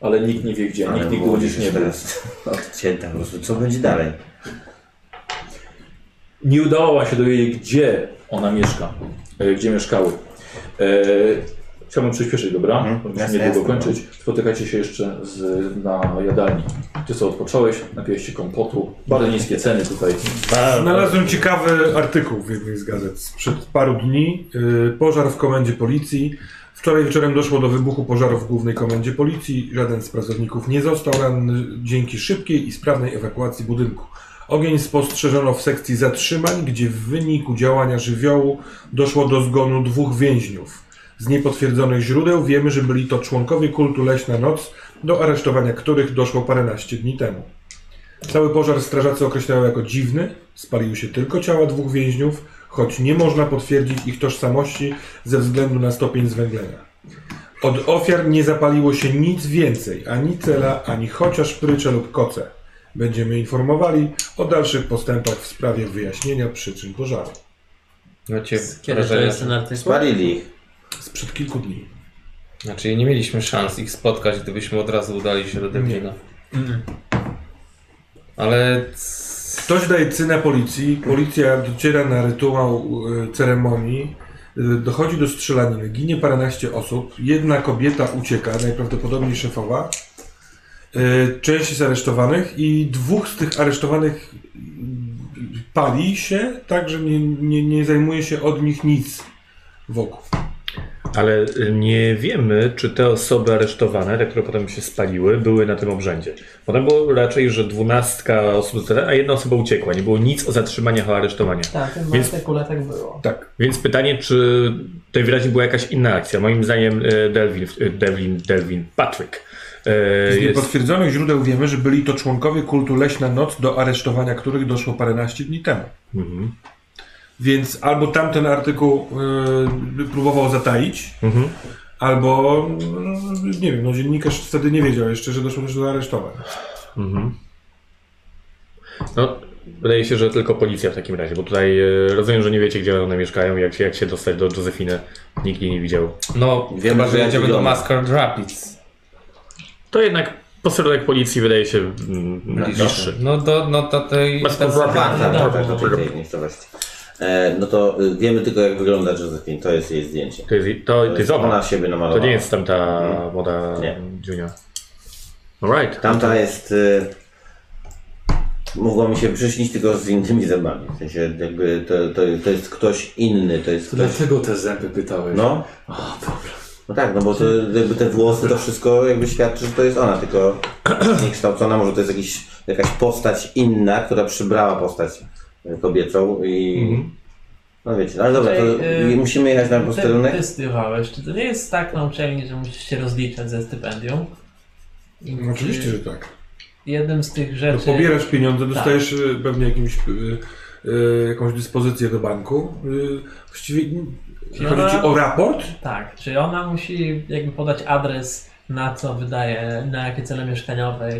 S2: Ale nikt nie wie gdzie,
S3: Ale
S2: nikt nigdy
S3: było
S2: gdzieś nie był.
S3: teraz *laughs* odcięta po prostu. Co będzie dalej?
S2: Nie udało wam się dowiedzieć, gdzie ona mieszka, e, gdzie mieszkały. E, chciałbym przyspieszyć, dobra?
S3: Mhm,
S2: Musimy
S3: jasne,
S2: niedługo
S3: jasne.
S2: kończyć. Spotykajcie się jeszcze z, na jadalni. Ty co odpocząłeś, napijesz się kompotu. Bardzo niskie ceny tutaj.
S6: Znalazłem ciekawy artykuł w jednej z gazet sprzed paru dni. Y, Pożar w komendzie policji. Wczoraj wieczorem doszło do wybuchu pożaru w głównej komendzie policji. Żaden z pracowników nie został ranny dzięki szybkiej i sprawnej ewakuacji budynku. Ogień spostrzeżono w sekcji zatrzymań, gdzie w wyniku działania żywiołu doszło do zgonu dwóch więźniów. Z niepotwierdzonych źródeł wiemy, że byli to członkowie kultu Leśna Noc, do aresztowania których doszło paręnaście dni temu. Cały pożar strażacy określają jako dziwny, spaliły się tylko ciała dwóch więźniów, choć nie można potwierdzić ich tożsamości ze względu na stopień zwęglenia. Od ofiar nie zapaliło się nic więcej, ani cela, ani chociaż prycze lub koce. Będziemy informowali o dalszych postępach w sprawie wyjaśnienia przyczyn pożaru.
S5: Macie
S7: Kiedy to
S5: wrażenie,
S7: jest
S5: że-
S7: ten artykuł?
S3: Spalili ich.
S6: Sprzed kilku dni.
S5: Znaczy nie mieliśmy szans ich spotkać, gdybyśmy od razu udali się do Dublina. Ale c-
S6: Ktoś daje cynę policji, policja dociera na rytuał y, ceremonii, y, dochodzi do strzelaniny, ginie paręnaście osób, jedna kobieta ucieka, najprawdopodobniej szefowa, y, część jest aresztowanych i dwóch z tych aresztowanych y, pali się, tak że nie, nie, nie zajmuje się od nich nic wokół.
S4: Ale y, nie wiemy, czy te osoby aresztowane, te, które potem się spaliły, były na tym obrzędzie. Potem było raczej, że dwunastka osób, z terenu, a jedna osoba uciekła. Nie było nic o zatrzymaniach, o aresztowaniach.
S11: Tak, w tym
S4: Więc-
S11: artykule tak było.
S6: Tak.
S4: Więc pytanie, czy tutaj wyraźnie była jakaś inna akcja. Moim zdaniem y, Delvin, y, Delvin, Delvin, Patrick y,
S6: Z
S4: jest...
S6: niepotwierdzonych źródeł wiemy, że byli to członkowie kultu Leśna Noc, do aresztowania których doszło paręnaście dni temu.
S4: Mhm.
S6: Więc albo tamten artykuł y, próbował zataić,
S4: Mhm.
S6: albo y, nie wiem, no dziennikarz wtedy nie wiedział jeszcze, że doszło też do aresztowań.
S4: No, wydaje się, że tylko policja w takim razie, bo tutaj e, rozumiem, że nie wiecie, gdzie one mieszkają, jak, się- jak się dostać do Józefiny. Nikt jej nie widział.
S5: no,
S3: Wiemy,
S5: chyba,
S3: że
S5: że
S3: jak
S5: jedziemy do
S3: wygląda.
S5: Mascard Rapids.
S4: To jednak posterunek policji wydaje się mm, bliższy.
S5: No do, no do tej...
S4: Mascard
S5: do-
S3: Tak, tak, tak, tak, do tej- tej miejscowości. E, no to y, wiemy tylko jak wygląda Josephine, to jest jej zdjęcie.
S4: To jest, to, to jest
S3: Ona
S4: ona. Mm.
S3: siebie
S4: To
S3: namalowała.
S4: nie jest tamta moda
S3: Nie.
S4: Junior. Alright.
S3: Tamta jest... Y, mogła mi się przyśnić tylko z innymi zębami. W sensie jakby to, to, to jest ktoś inny, to jest ktoś...
S2: Dlatego te zęby pytałeś.
S3: No. No tak, no bo to, jakby te włosy, to wszystko jakby świadczy, że to jest ona, tylko *clears throat* niekształcona, może to jest jakiś, jakaś postać inna, która przybrała postać e, kobiecą i...
S7: Mhm.
S3: No wiecie, no ale dobra, to
S11: Tutaj,
S7: e,
S11: y,
S3: musimy jechać na
S11: Ty,
S3: posterunek.
S11: ty studiowałeś, czy to nie jest tak na uczelni, że musisz się rozliczać ze stypendium? I
S6: No, oczywiście,
S11: czy
S6: że tak.
S11: Jednym z tych
S6: No,
S7: Znaczy,
S11: rzeczy...
S6: pobierasz pieniądze, dostajesz y, pewnie jakimś, y, y, jakąś dyspozycję do banku. Y, właściwie mm, Jeśli chodzi ci o raport,
S7: Tak, czy ona musi jakby podać adres, na co wydaje, na jakie cele mieszkaniowe,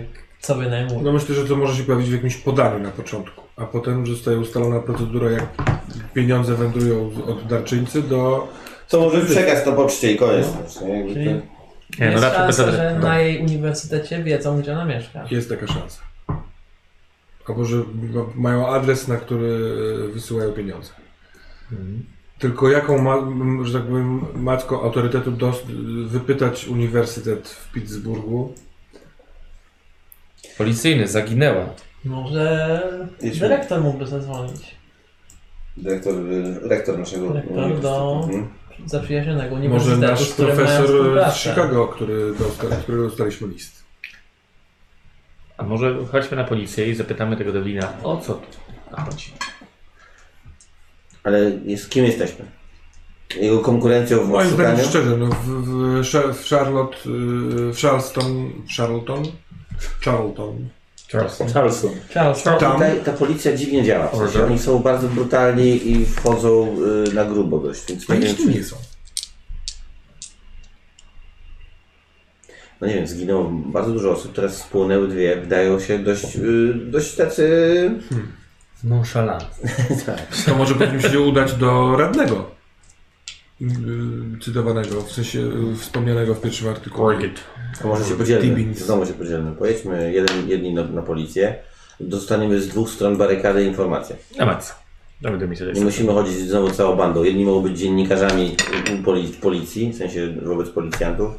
S7: co wynajmuje.
S6: no myślę, że to może się pojawić w jakimś podaniu na początku, a potem zostaje ustalona procedura, jak pieniądze wędrują z- od darczyńcy do...
S3: To może przekaz to poczcie i koniec. Znaczy, nie? Jakby
S7: No, Czyli
S3: ten-
S8: Nie, no
S7: jest
S8: raczej bez
S7: szansa,
S8: adresu.
S7: że na jej uniwersytecie wiedzą, gdzie ona mieszka.
S6: Jest taka szansa. Albo że ma- mają adres, na który e, wysyłają pieniądze. Tylko jaką, ma, m, że tak powiem, matką autorytetu dos, wypytać uniwersytet w Pittsburghu?
S5: Policyjny, zaginęła.
S7: Może
S3: Jedźmy.
S7: dyrektor mógłby zadzwonić.
S3: Dyrektor, y, rektor naszego
S7: Rektor no.
S3: uniwersytetu.
S7: do-
S3: Mhm.
S7: Zaprzyjaźnionego
S6: Może
S7: uniwersytetu,
S6: nasz
S7: z którym mają
S6: profesor z
S7: współpracę.
S6: Chicago, który dostał, z którego dostaliśmy list.
S8: A może chodźmy na policję i zapytamy tego Devlina, o co tu chodzi?
S3: Ale jest, kim jesteśmy? Jego konkurencją w
S6: Moim zdaniem
S3: szukaniu?
S6: szczerze, no, w, w, Sze- w Charlotte, y, w Charleston, Charlton, Charlton,
S12: Charleston.
S7: Charles,
S6: tam,
S3: Tutaj ta policja dziwnie działa. W sensie
S8: Order.
S3: oni są bardzo brutalni i wchodzą y, na grubo dość, więc
S6: no
S3: nie wiem,
S6: nic
S3: czy,
S6: nie są.
S3: no nie wiem, zginęło bardzo dużo osób, teraz spłonęły dwie, wydają się dość, y, dość tacy...
S8: Nonchalant.
S3: tak.
S6: To może powinniśmy się udać do radnego. y, Cytowanego, w sensie y, wspomnianego w pierwszym artykule.
S3: To No, może się podzielmy,
S6: Tibbins.
S3: znowu się podzielmy. Pojedźmy jeden, jedni na, na policję, dostaniemy z dwóch stron barykady informacje.
S4: No
S8: Na matce. Damy do mi sobie.
S4: tak
S3: Nie musimy chodzić znowu całą bandą. Jedni mogą być dziennikarzami u poli- policji, w sensie wobec policjantów,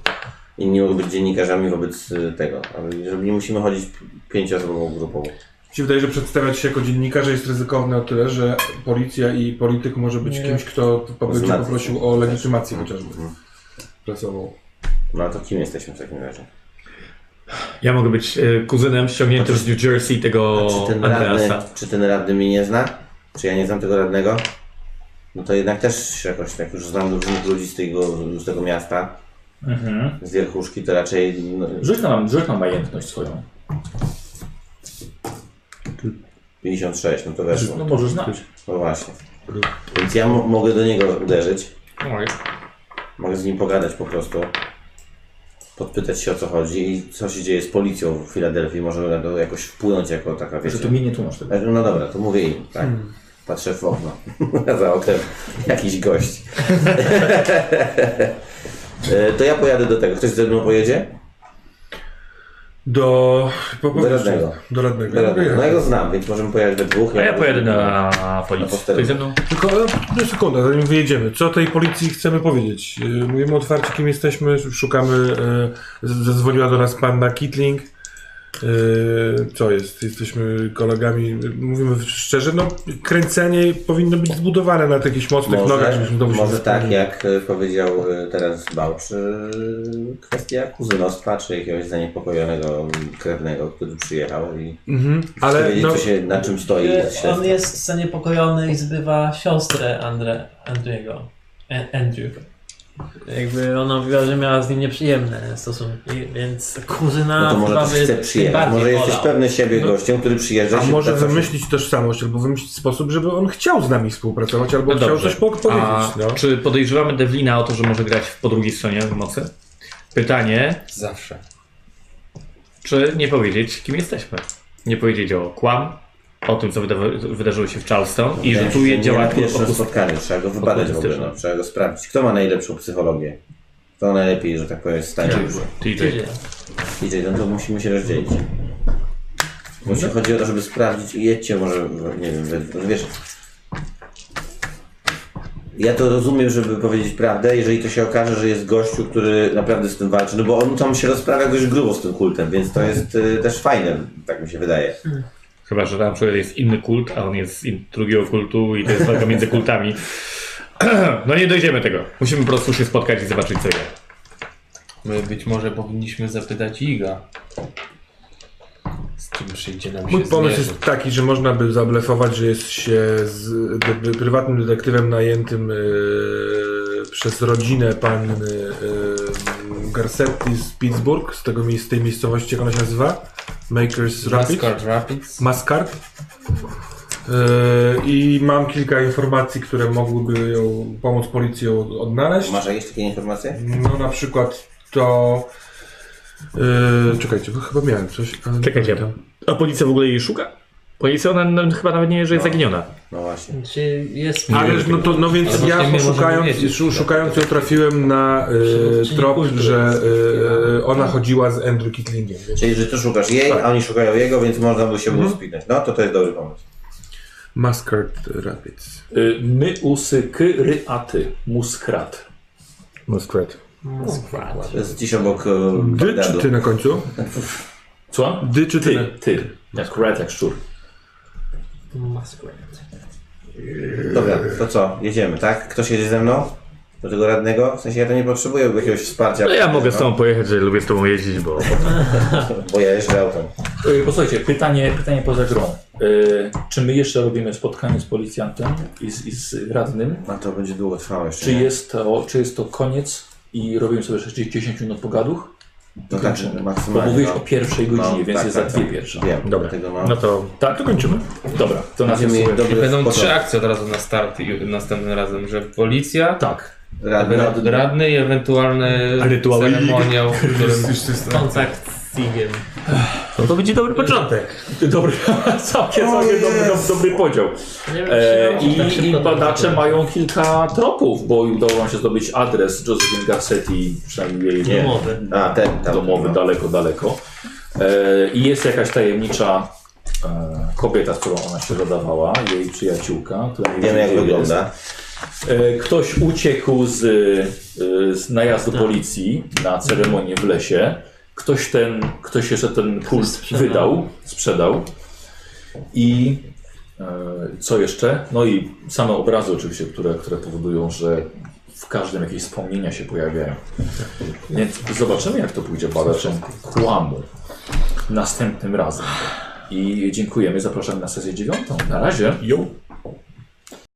S3: inni mogą być dziennikarzami wobec y, tego. Ale Żeby nie musimy chodzić p- pięcioosobową grupą.
S6: Mi się wydaje, że przedstawiać się jako dziennikarze jest ryzykowne o tyle, że policja i polityk może być
S7: Nie.
S6: kimś, kto po- będzie
S3: Znaczy.
S6: poprosił o legitymację chociażby
S3: Mhm.
S6: prasową.
S3: No a to kim jesteśmy w takim razie?
S13: Ja mogę być e, kuzynem ściągniętym z New Jersey tego
S3: Czy ten, radny,
S13: Andreasa.
S3: czy ten radny mnie nie zna? Czy ja nie znam tego radnego? No to jednak też się jakoś tak już znam różnych ludzi z tego, z tego miasta,
S12: Mhm.
S3: z Wierchuszki, to raczej... No,
S12: Rzuć nam, rzuć nam majętność swoją.
S3: 56, no to weszło.
S12: No możesz znać.
S3: No właśnie. Więc ja mo- mogę do niego uderzyć.
S8: Oj.
S3: Mogę z nim pogadać po prostu. Podpytać się o co chodzi i co się dzieje z policją w Filadelfii. Może na to jakoś wpłynąć jako taka
S12: Że
S3: wiecie.
S12: to mnie nie tłumacz tego. Hmm.
S3: No dobra, to mówię im, tak. Patrzę w okno. *laughs* Za oknem
S12: *laughs*
S3: jakiś gość. E, to ja pojadę do tego. Ktoś ze mną pojedzie?
S6: Do, po, po,
S3: Do radnego.
S6: Do
S3: No,
S6: radnego.
S3: no ja
S6: ja
S3: go znam, więc możemy pojechać we dwóch.
S8: A ja pojadę na
S3: Na
S8: policję.
S3: posterunek.
S8: Ktoś ze mną?
S6: Tylko e, no, sekunda, zanim wyjedziemy. Co tej policji chcemy powiedzieć? E, Mówimy otwarcie, kim jesteśmy, szukamy. e, z- Zadzwoniła do nas panna Kitling. E, Co jest? Jesteśmy kolegami. Mówimy szczerze, no kręcenie powinno być zbudowane na takich mocnych nogach,
S3: Może,
S6: żebyśmy dobrze
S3: może tak, jak e, powiedział e, teraz Bałcz, e, kwestia kuzynostwa, czy jakiegoś zaniepokojonego mm, krewnego, który przyjechał i
S6: Mhm, ale
S3: Ale wiedzieć,
S6: no,
S3: co się, na czym stoi.
S7: On jest zaniepokojony i zbywa siostrę Andre, Andrego. E- Andrew. Jakby ona mówiła, że miała z nim nieprzyjemne stosunki, więc kuzyna
S3: no to może
S7: chyba
S3: też
S7: by
S3: chce
S7: tym
S3: przyjechać.
S7: bardziej
S3: Może jesteś
S7: wolał.
S3: pewny siebie gościem, który przyjeżdża
S6: No, a
S3: się
S6: może
S3: pracuje.
S6: wymyślić tożsamość, albo wymyślić sposób, żeby on chciał z nami współpracować, albo
S8: No
S6: chciał
S8: dobrze.
S6: coś po- powiedzieć.
S8: A
S6: no.
S8: czy podejrzewamy Devlina o to, że może grać po drugiej stronie w mocy? Pytanie,
S5: Zawsze.
S8: czy nie powiedzieć, kim jesteśmy? Nie powiedzieć o kłam, o tym, co wyda- wydarzyło się w Charleston i że
S3: Nie,
S8: tu
S3: nie na
S8: jest działa
S3: pierwszym spotkaniu, trzeba go wybadać w ogóle, no. trzeba go sprawdzić. Kto ma najlepszą psychologię? Kto najlepiej, że tak powiem, jest w stanie
S6: Znaczy,
S3: już.
S8: TJ.
S3: DJ, no to musimy się rozdzielić. Bo jeśli chodzi o to, żeby sprawdzić i jedźcie może, w- nie wiem, we- no wiesz... Ja to rozumiem, żeby powiedzieć prawdę, jeżeli to się okaże, że jest gościu, który naprawdę z tym walczy, no bo on tam się rozprawia dość grubo z tym kultem, więc to jest y, też fajne, tak mi się wydaje.
S8: Chyba, że tam przykład jest inny kult, a on jest z in- drugiego kultu i to jest walka między kultami. *clears throat* No nie dojdziemy tego. Musimy po prostu się spotkać i zobaczyć co jest.
S5: My być może powinniśmy zapytać Iga. Z czym przyjdzie nam się
S6: Mój pomysł
S5: zmierzyć.
S6: jest taki, że można by zablefować, że jest się z de, de, prywatnym detektywem najętym e, przez rodzinę panny e, Garcetti z Pittsburgh, z, tego, mi- z tej miejscowości, jak ona się nazywa? Makers Rapids?
S5: Rapids.
S6: Mascard. Yy, I mam kilka informacji, które mogłyby ją pomóc policji ją odnaleźć.
S3: Masz jakieś takie informacje?
S6: No na przykład to... Yy, czekajcie, bo chyba miałem coś. ale-
S4: Czekajcie. A policja w ogóle jej szuka? Policja ona n- chyba nawet nie wie, że jest zaginiona.
S3: No właśnie.
S7: Czy jest...
S2: Tak,
S6: Ależ no to no więc
S5: właśnie
S6: ja
S5: my możemy
S6: szukając,
S5: wiedzieć,
S6: szu- szukając ją trafiłem na y,
S7: Przywódczyni
S6: trop,
S7: kultury.
S6: że y, ona chodziła z Andrew Kitlingiem. więc-
S3: Czyli, że ty szukasz jej, a oni szukają jego, więc można by się było spinać. No to to jest dobry pomysł.
S6: Muscat Rapids.
S2: Y, My usy kryaty, muskrat.
S4: Muskrat.
S3: To jest gdzieś obok e,
S6: Dy czy
S3: Bagdadu.
S6: ty na końcu?
S2: Co?
S6: Dy czy ty?
S2: Ty, ty. Jak rat, jak szczur.
S3: Dobra, to co? Jedziemy, tak? Ktoś jedzie ze mną? Do tego radnego? W sensie ja to nie potrzebuję jakiegoś wsparcia.
S4: No ja mogę z tobą pojechać, że lubię z tobą jeździć, bo...
S8: No.
S3: Bo ja jeżdżę autem.
S2: Y, Posłuchajcie, pytanie, pytanie poza grą. Y, Czy my jeszcze robimy spotkanie z policjantem i z, i z radnym?
S3: No to będzie długo trwało jeszcze.
S2: Czy
S3: nie?
S2: jest, to, czy jest to koniec i robimy sobie 60 minut pogaduch?
S3: No tak,
S2: Bo
S3: maksymalnie.
S2: mówiłeś
S3: no.
S2: o pierwszej godzinie,
S3: No,
S2: więc
S3: tak,
S2: jest
S3: tak,
S2: za dwie
S3: tak.
S2: pierwsze.
S3: Wiem,
S4: Dobra.
S3: Tego
S4: No
S3: mam.
S4: to... Tak, to kończymy.
S2: Dobra, to nas jest
S3: Będziemy mieli dobry
S5: Będą
S3: początek.
S5: trzy akcje od razu na start i następnym razem, że policja,
S2: Tak.
S3: Radny.
S5: radny i ewentualny
S4: Rytuały i-
S5: ceremoniał, w
S4: *laughs*
S5: którym
S7: Kontakt z Sigiem.
S4: No to będzie dobry początek.
S2: Dobry, *laughs* całkiem, całkiem dobry, dobry, dobry podział.
S7: Nie wiem,
S2: E,
S7: czy
S2: i,
S7: tak szybko
S2: I badacze
S7: to-
S2: mają kilka tropów, bo im udało nam się zdobyć adres Josephine Garcetti, przynajmniej jej nie,
S7: Domowy.
S3: A, ten tam.
S2: domowy,
S3: no.
S2: daleko, daleko. E, I jest jakaś tajemnicza e, kobieta, z którą ona się zadawała, jej przyjaciółka. która nie
S3: Wiemy
S2: wie,
S3: jak
S2: gdzie jest.
S3: wygląda.
S2: E, Ktoś uciekł z, e, z najazdu policji na ceremonię w lesie. Ktoś ten, ktoś jeszcze ten kult wydał, sprzedał. I e, co jeszcze? No i same obrazy oczywiście, które, które powodują, że w każdym jakieś wspomnienia się pojawiają. Więc zobaczymy jak to pójdzie badaczom kłamu następnym razem. I dziękujemy, zapraszamy na sesję dziewiątą. Na razie.
S4: Jo.